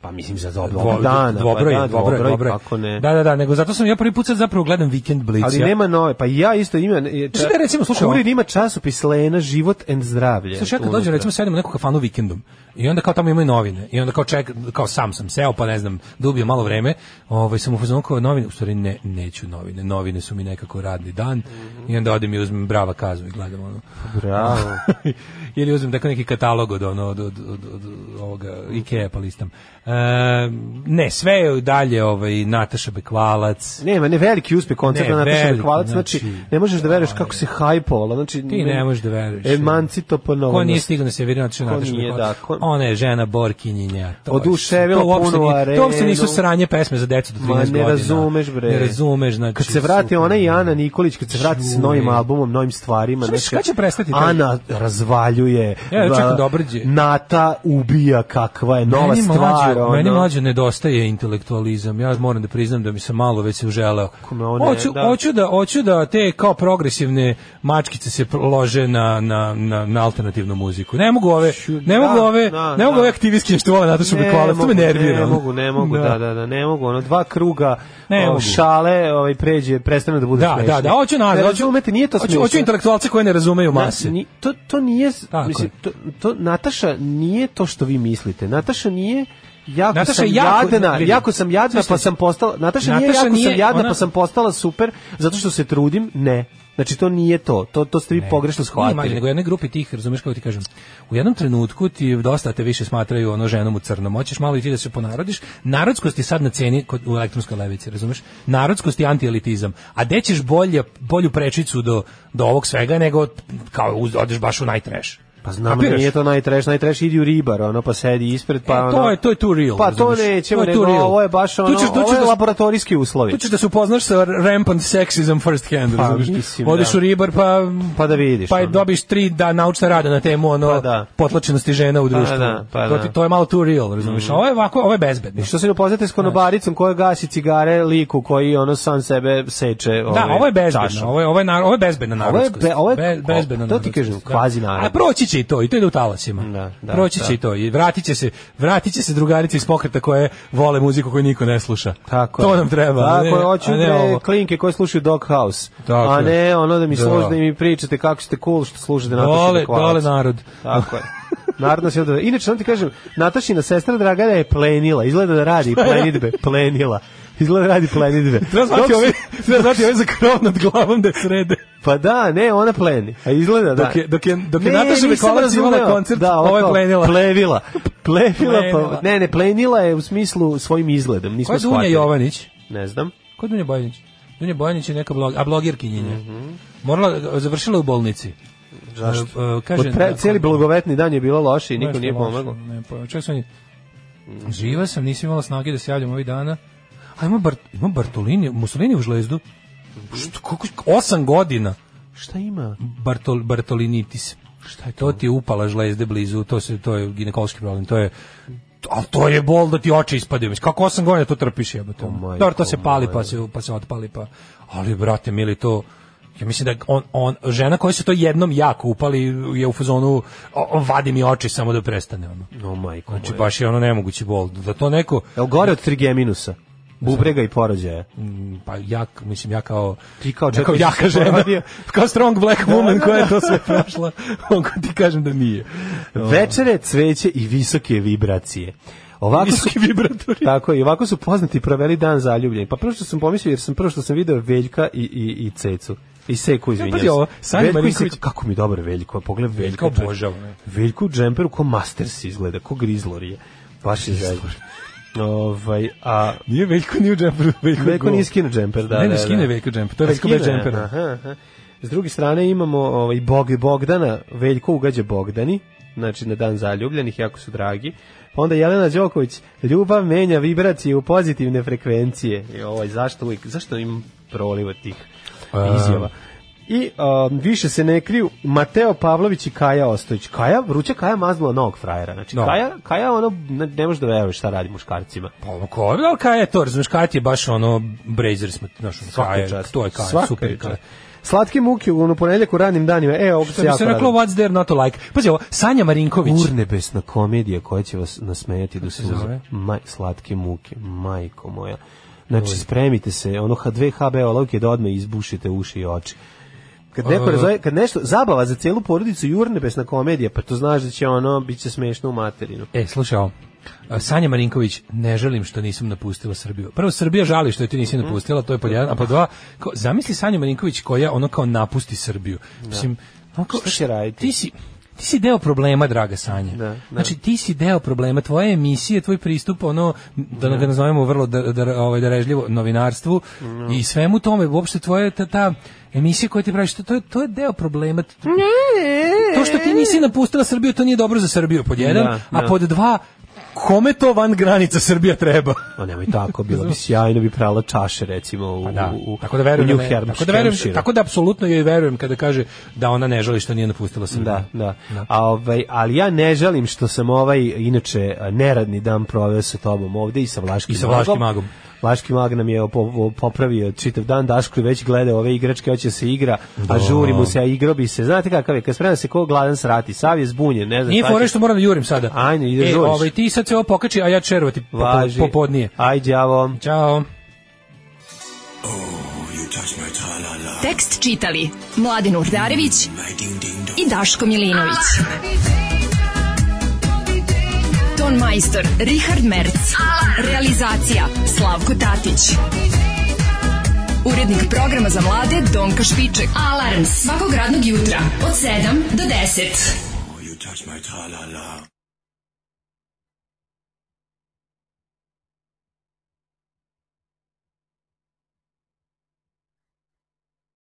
[SPEAKER 5] Pa mislim za dobro
[SPEAKER 6] Dvo,
[SPEAKER 5] dana.
[SPEAKER 6] dvobroj,
[SPEAKER 5] pa da,
[SPEAKER 6] dvobroj,
[SPEAKER 5] dvobroj,
[SPEAKER 6] dvobroj.
[SPEAKER 5] Kako ne.
[SPEAKER 6] Da, da, da, nego zato sam ja prvi put sad zapravo gledam Weekend Blitz.
[SPEAKER 5] ali nema nove, pa i ja isto imam... je,
[SPEAKER 6] Pa Šta da recimo, slušaj,
[SPEAKER 5] Kurir ima časopis Lena, život and zdravlje.
[SPEAKER 6] Slušaj, ja kad
[SPEAKER 5] unutra.
[SPEAKER 6] dođem, recimo, sedem u neku kafanu vikendom i onda kao tamo imaju novine i onda kao ček, kao sam sam seo, pa ne znam, dubio malo vreme, ovaj, sam u fazonu kao novine, u stvari ne, neću novine, novine su mi nekako radni dan i onda odem i uzmem brava kazu i gledam ono.
[SPEAKER 5] Bravo.
[SPEAKER 6] (laughs) Ili uzmem tako neki katalog od, ono, od, od, od, od ovoga Ikea pa listam. E, E, ne, sve je dalje ovaj, Nataša Bekvalac.
[SPEAKER 5] Nema, ne, veliki uspeh koncerta
[SPEAKER 6] Ne,
[SPEAKER 5] Nataša
[SPEAKER 6] veliki,
[SPEAKER 5] Bekvalac, znači, ne možeš da veruješ kako se hajpovala, znači...
[SPEAKER 6] Ti ne možeš da veruješ.
[SPEAKER 5] Emancito E, po novom.
[SPEAKER 6] Ko nije stigao na Severinu, otišao
[SPEAKER 5] Ko
[SPEAKER 6] na Natašu
[SPEAKER 5] nije,
[SPEAKER 6] Bekvalac. Ona je žena Borkinjinja. To je-
[SPEAKER 5] Oduševila
[SPEAKER 6] to uopšte
[SPEAKER 5] punu
[SPEAKER 6] nije- To uopšte
[SPEAKER 5] arenu.
[SPEAKER 6] nisu sranje pesme za decu do 13
[SPEAKER 5] Ma
[SPEAKER 6] godina.
[SPEAKER 5] ne razumeš bre.
[SPEAKER 6] Ne razumeš, znači.
[SPEAKER 5] Kad se vrati ona i Ana Nikolić, kad se vrati sa
[SPEAKER 6] Čuj.
[SPEAKER 5] novim albumom, novim stvarima,
[SPEAKER 6] Šta misliš, kad će prestati taj-
[SPEAKER 5] Ana razvaljuje.
[SPEAKER 6] Ja, ja čekam
[SPEAKER 5] va-
[SPEAKER 6] da obrđe.
[SPEAKER 5] Nata ubija kakva je nova
[SPEAKER 6] meni
[SPEAKER 5] stvar.
[SPEAKER 6] Mlađo,
[SPEAKER 5] ono.
[SPEAKER 6] Meni mlađo nedostaje intelektualizam. Ja moram da priznam da mi se malo već se uželeo.
[SPEAKER 5] ono je,
[SPEAKER 6] hoću,
[SPEAKER 5] da.
[SPEAKER 6] da. hoću, da, hoću da te kao progresivne mačkice se lože na, na, na, na alternativnu muziku. Ne mogu ove, ne
[SPEAKER 5] da,
[SPEAKER 6] mogu ove,
[SPEAKER 5] da,
[SPEAKER 6] ne mogu
[SPEAKER 5] da.
[SPEAKER 6] ove aktivistkinje što vole Natašu Bekvalac. To me
[SPEAKER 5] mogu,
[SPEAKER 6] nervira. ono.
[SPEAKER 5] Ne mogu, ne mogu, da, da, da, ne mogu, ono, dva kruga
[SPEAKER 6] Ne
[SPEAKER 5] o,
[SPEAKER 6] mogu.
[SPEAKER 5] šale, ovaj, pređe, prestane da bude
[SPEAKER 6] Da,
[SPEAKER 5] smešno.
[SPEAKER 6] da, da, hoću nazad,
[SPEAKER 5] Ne
[SPEAKER 6] hoću-
[SPEAKER 5] razumete, nije to
[SPEAKER 6] hoću-
[SPEAKER 5] smešno.
[SPEAKER 6] hoću intelektualce koji ne razumeju mase.
[SPEAKER 5] Na, ni- to, to nije,
[SPEAKER 6] Tako
[SPEAKER 5] mislim,
[SPEAKER 6] je.
[SPEAKER 5] to, to, Nataša nije to što vi mislite. Nataša nije Jako
[SPEAKER 6] Nataša
[SPEAKER 5] sam
[SPEAKER 6] je jako-
[SPEAKER 5] jadna,
[SPEAKER 6] vidi.
[SPEAKER 5] jako sam jadna pa sam postala, Nataša, nije
[SPEAKER 6] Nataša
[SPEAKER 5] jako
[SPEAKER 6] nije,
[SPEAKER 5] sam jadna
[SPEAKER 6] ona-
[SPEAKER 5] pa sam postala super zato što se trudim, ne. Znači to nije to, to, to ste vi pogrešno
[SPEAKER 6] Nije manje,
[SPEAKER 5] shvatili.
[SPEAKER 6] nego u jednoj grupi tih, razumeš kako ti kažem, u jednom trenutku ti dosta te više smatraju ono ženom u crnom, hoćeš malo i ti da se ponarodiš, narodskost je sad na ceni kod, u elektronskoj levici, razumeš? Narodskost je antielitizam, a gde ćeš bolje, bolju prečicu do, do ovog svega nego kao uz, odeš baš u najtreš.
[SPEAKER 5] Pa znam da nije to najtreš, najtreš idi u ribar, ono pa sedi ispred pa
[SPEAKER 6] Pa,
[SPEAKER 5] ono.
[SPEAKER 6] to je to je tu real.
[SPEAKER 5] Pa to
[SPEAKER 6] razumeš?
[SPEAKER 5] nećemo,
[SPEAKER 6] To je too
[SPEAKER 5] nego
[SPEAKER 6] real.
[SPEAKER 5] ovo je baš
[SPEAKER 6] Tu
[SPEAKER 5] ono,
[SPEAKER 6] ćeš- tu
[SPEAKER 5] ovo
[SPEAKER 6] ćeš
[SPEAKER 5] je
[SPEAKER 6] da-
[SPEAKER 5] laboratorijski uslovi.
[SPEAKER 6] Tu ćeš da se upoznaš sa rampant sexism first hand,
[SPEAKER 5] Pa,
[SPEAKER 6] razumiješ?
[SPEAKER 5] mislim,
[SPEAKER 6] Odeš
[SPEAKER 5] da.
[SPEAKER 6] u ribar pa...
[SPEAKER 5] Pa da vidiš,
[SPEAKER 6] Pa
[SPEAKER 5] ono.
[SPEAKER 6] dobiš tri da naučna rada na temu ono,
[SPEAKER 5] Pa da.
[SPEAKER 6] potlačenosti žena u
[SPEAKER 5] Pa
[SPEAKER 6] društvu.
[SPEAKER 5] da, pa
[SPEAKER 6] to,
[SPEAKER 5] da.
[SPEAKER 6] ti- to je malo too real, razumiješ?
[SPEAKER 5] Mhm.
[SPEAKER 6] A Ovo je ovako, ovo je bezbedno.
[SPEAKER 5] I što se ne upoznate s konobaricom koja gasi cigare liku koji ono sam sebe seče
[SPEAKER 6] Da,
[SPEAKER 5] ovaj,
[SPEAKER 6] ovo je bezbedno,
[SPEAKER 5] čašom.
[SPEAKER 6] ovo je, ovo je, nar, ovo je bezbedna
[SPEAKER 5] Ovo je,
[SPEAKER 6] narodskost.
[SPEAKER 5] be, ovo je
[SPEAKER 6] Be- bezbedna
[SPEAKER 5] to ti
[SPEAKER 6] narodskost,
[SPEAKER 5] kažem,
[SPEAKER 6] da.
[SPEAKER 5] kvazi narod.
[SPEAKER 6] A proći će i to, i to ide u talasima. Da,
[SPEAKER 5] da,
[SPEAKER 6] proći će
[SPEAKER 5] da.
[SPEAKER 6] i to, i vratit će se, vratit će se drugarice iz pokreta koje vole muziku koju niko ne sluša.
[SPEAKER 5] Tako
[SPEAKER 6] to
[SPEAKER 5] je.
[SPEAKER 6] nam treba. a ne-
[SPEAKER 5] Tako je, hoću
[SPEAKER 6] a ne
[SPEAKER 5] bre,
[SPEAKER 6] ovo.
[SPEAKER 5] klinke koje slušaju Doghouse.
[SPEAKER 6] Tako
[SPEAKER 5] a
[SPEAKER 6] je.
[SPEAKER 5] ne ono da mi
[SPEAKER 6] Da.
[SPEAKER 5] služi da mi pričate kako ste cool što slušate Natašu
[SPEAKER 6] Dole,
[SPEAKER 5] Bekvalac.
[SPEAKER 6] dole narod.
[SPEAKER 5] Tako je. Narod nas je odveo. Inače, sam ti kažem, Natašina sestra Dragana je plenila. Izgleda da radi plenidbe. Plenila. Izgleda da radi plenidbe.
[SPEAKER 6] Treba
[SPEAKER 5] Dok
[SPEAKER 6] zvati
[SPEAKER 5] su-
[SPEAKER 6] ove, treba zvati ove za krov nad glavom da je srede.
[SPEAKER 5] Pa da, ne, ona pleni. A izgleda da.
[SPEAKER 6] Dok je- dok je- dok je
[SPEAKER 5] Ne,
[SPEAKER 6] Nataša
[SPEAKER 5] nisam
[SPEAKER 6] Bekvalac imala
[SPEAKER 5] razumeo.
[SPEAKER 6] koncert,
[SPEAKER 5] da,
[SPEAKER 6] ova je
[SPEAKER 5] kao
[SPEAKER 6] plenila. (laughs)
[SPEAKER 5] Plevila. Plevila,
[SPEAKER 6] Plenila.
[SPEAKER 5] pa, ne, ne, plenila je u smislu svojim izgledom. Nismo
[SPEAKER 6] Ko je Dunja
[SPEAKER 5] shvatili.
[SPEAKER 6] Jovanić?
[SPEAKER 5] Ne znam.
[SPEAKER 6] Ko je Dunja Bojanić? Dunja Bojanić je neka blog, a blogirkinjenja.
[SPEAKER 5] Mhm.
[SPEAKER 6] Morala, završila je u bolnici.
[SPEAKER 5] Zašto?
[SPEAKER 6] E, e, kaže,
[SPEAKER 5] Od pre,
[SPEAKER 6] da,
[SPEAKER 5] cijeli blagovetni dan je bilo loše i niko
[SPEAKER 6] Nešto
[SPEAKER 5] nije
[SPEAKER 6] loše,
[SPEAKER 5] pomogao. Mhm.
[SPEAKER 6] Ne, pa, čak sam i- Živa sam, nisam imala snage da se javljam ovih dana. A ima, Bart, ima Bartolini, Mussolini u žlezdu.
[SPEAKER 5] Mhm.
[SPEAKER 6] Što, koliko, osam godina.
[SPEAKER 5] Šta ima?
[SPEAKER 6] Bartol, Bartolinitis. Šta je to? ti je upala žlezde blizu, to, se, to je ginekološki problem, to je ali to je bol da ti oči ispadaju. Mislim, kako osam godina to trpiš jebote. ono?
[SPEAKER 5] majko
[SPEAKER 6] Dobro, to se pali pa se, pa se otpali pa... Ali, brate, mili, to... Ja mislim da on, on, žena koja se to jednom jako upali je u fazonu o, o, vadi mi oči samo da prestane. Ono.
[SPEAKER 5] O majko
[SPEAKER 6] Znači,
[SPEAKER 5] moja.
[SPEAKER 6] baš je ono nemogući bol. Da to neko...
[SPEAKER 5] Jel gore od trigeminusa? Bubrega i porođaja.
[SPEAKER 6] Mm, Pa ja, mislim, ja kao...
[SPEAKER 5] Ti kao
[SPEAKER 6] ja
[SPEAKER 5] čekaj,
[SPEAKER 6] jaka
[SPEAKER 5] si
[SPEAKER 6] žena,
[SPEAKER 5] poradio.
[SPEAKER 6] kao strong black woman koja je to sve prošla, onko ti kažem da nije.
[SPEAKER 5] Večere, cveće i visoke vibracije. Ovako su,
[SPEAKER 6] Visoki vibratori.
[SPEAKER 5] tako je, i ovako su poznati proveli dan zaljubljenih. Pa prvo što sam pomislio, jer sam prvo što sam video Veljka i, i, i Cecu. I Seku, izvinjam
[SPEAKER 6] pazi ovo, Sanja
[SPEAKER 5] Veljko i
[SPEAKER 6] Marinković-
[SPEAKER 5] Seka, kako mi je dobro Veljko, pogledaj Veljko.
[SPEAKER 6] Veljka obožavam, ne.
[SPEAKER 5] Veljko u džemperu ko Masters izgleda, ko Grizzlor je. Baš je zajedno. Ovaj, a
[SPEAKER 6] Nije Veljko ni u džemperu, Veljko,
[SPEAKER 5] Veljko nije skinuo džemper, da.
[SPEAKER 6] Ne, ne,
[SPEAKER 5] da, da.
[SPEAKER 6] skine Veljko džemper, to je
[SPEAKER 5] A
[SPEAKER 6] Veljko bez
[SPEAKER 5] skine,
[SPEAKER 6] džempera.
[SPEAKER 5] Aha, aha. S druge strane imamo ovaj Bog Bogdana, Veljko ugađa Bogdani, znači na dan zaljubljenih, jako su dragi. Pa onda Jelena Đoković, ljubav menja vibracije u pozitivne frekvencije. I ovaj zašto uvijek, zašto im proliva tih izjava. I um, više se ne kriju Mateo Pavlović i Kaja Ostojić. Kaja, vruća Kaja maznula novog frajera. Znači,
[SPEAKER 6] Da.
[SPEAKER 5] Kaja, Kaja ono, ne, ne može da veruješ šta radi muškarcima.
[SPEAKER 6] Pa ono ko, ali kaj je to, razumiješ, kaj ti je baš ono, Brazers, smo, znaš, ono,
[SPEAKER 5] Svaka
[SPEAKER 6] kaj je,
[SPEAKER 5] čast.
[SPEAKER 6] to je kaj,
[SPEAKER 5] Svaka
[SPEAKER 6] super
[SPEAKER 5] čast.
[SPEAKER 6] kaj.
[SPEAKER 5] Slatke muke u ono, ponedeljak u ranim danima. E, ovo
[SPEAKER 6] Što
[SPEAKER 5] se
[SPEAKER 6] bi
[SPEAKER 5] jako
[SPEAKER 6] se reklo,
[SPEAKER 5] radilo.
[SPEAKER 6] what's there not to like? Pazi ovo, Sanja Marinković.
[SPEAKER 5] Urnebesna komedija koja će vas nasmejati do
[SPEAKER 6] se
[SPEAKER 5] suza.
[SPEAKER 6] zove?
[SPEAKER 5] Maj, slatke muke, majko moja. Znači, spremite se, ono H2 HB olovke da odme izbušite uši i oči. Kad neko
[SPEAKER 6] E.
[SPEAKER 5] razove, kad nešto, zabava za celu porodicu i urnebesna komedija, pa to znaš da će ono, bit će smešno u materinu.
[SPEAKER 6] E, slušaj ovo. A, Sanja Marinković, ne želim što nisam napustila Srbiju. Prvo, Srbija žali što je ti nisi napustila, to je pod jedan, a pod dva, kao, zamisli Sanja Marinković koja ono kao napusti Srbiju. Mislim, ono kao,
[SPEAKER 5] Šta će raditi?
[SPEAKER 6] Ti si, ti si deo problema, draga Sanja. Da, da. Znači, ti si deo problema, tvoje emisije, tvoj pristup, ono, da ga nazovemo vrlo da, da, ovaj, darežljivo, novinarstvu no. i svemu tome, uopšte tvoje, ta, ta emisija koju ti praviš, to, to, je, to je deo problema. To što ti nisi napustila Srbiju, to nije dobro za Srbiju, pod jedan, E. da, da. a pod dva, kome to van granica Srbija treba?
[SPEAKER 5] Ma nemoj tako, bilo
[SPEAKER 6] (laughs)
[SPEAKER 5] bi sjajno bi prala čaše recimo u,
[SPEAKER 6] pa da. u, tako da verujem,
[SPEAKER 5] u Hermš,
[SPEAKER 6] tako da verujem, tako da apsolutno joj verujem kada kaže da ona ne žali što nije napustila Srbiju.
[SPEAKER 5] Da, da. da. A ovaj ali ja ne žalim što sam ovaj inače neradni dan proveo sa tobom ovde i sa Vlaškim,
[SPEAKER 6] I sa Vlaškim magom.
[SPEAKER 5] Vlaški mag nam je popravio čitav dan, Daško je već gledao ove igračke, hoće se igra, a žuri mu se, a igro bi se. Znate kakav je, kad sprema se ko gladan srati, sav je zbunjen, ne znam.
[SPEAKER 6] Nije fore što moram da jurim sada.
[SPEAKER 5] Ajde, ide
[SPEAKER 6] e,
[SPEAKER 5] žuriš.
[SPEAKER 6] Ovaj, ti sad se ovo pokači, a ja červati Važi. popodnije.
[SPEAKER 5] Aj, đavo.
[SPEAKER 6] Ćao.
[SPEAKER 4] Tekst čitali Mladin Urdarević i Daško Milinović. Ton majstor Richard Merc. Realizacija Slavko Tatić. Urednik programa za mlade Donka Špiček. Alarms svakog radnog jutra od 7 do 10. Oh, you touch my -la -la.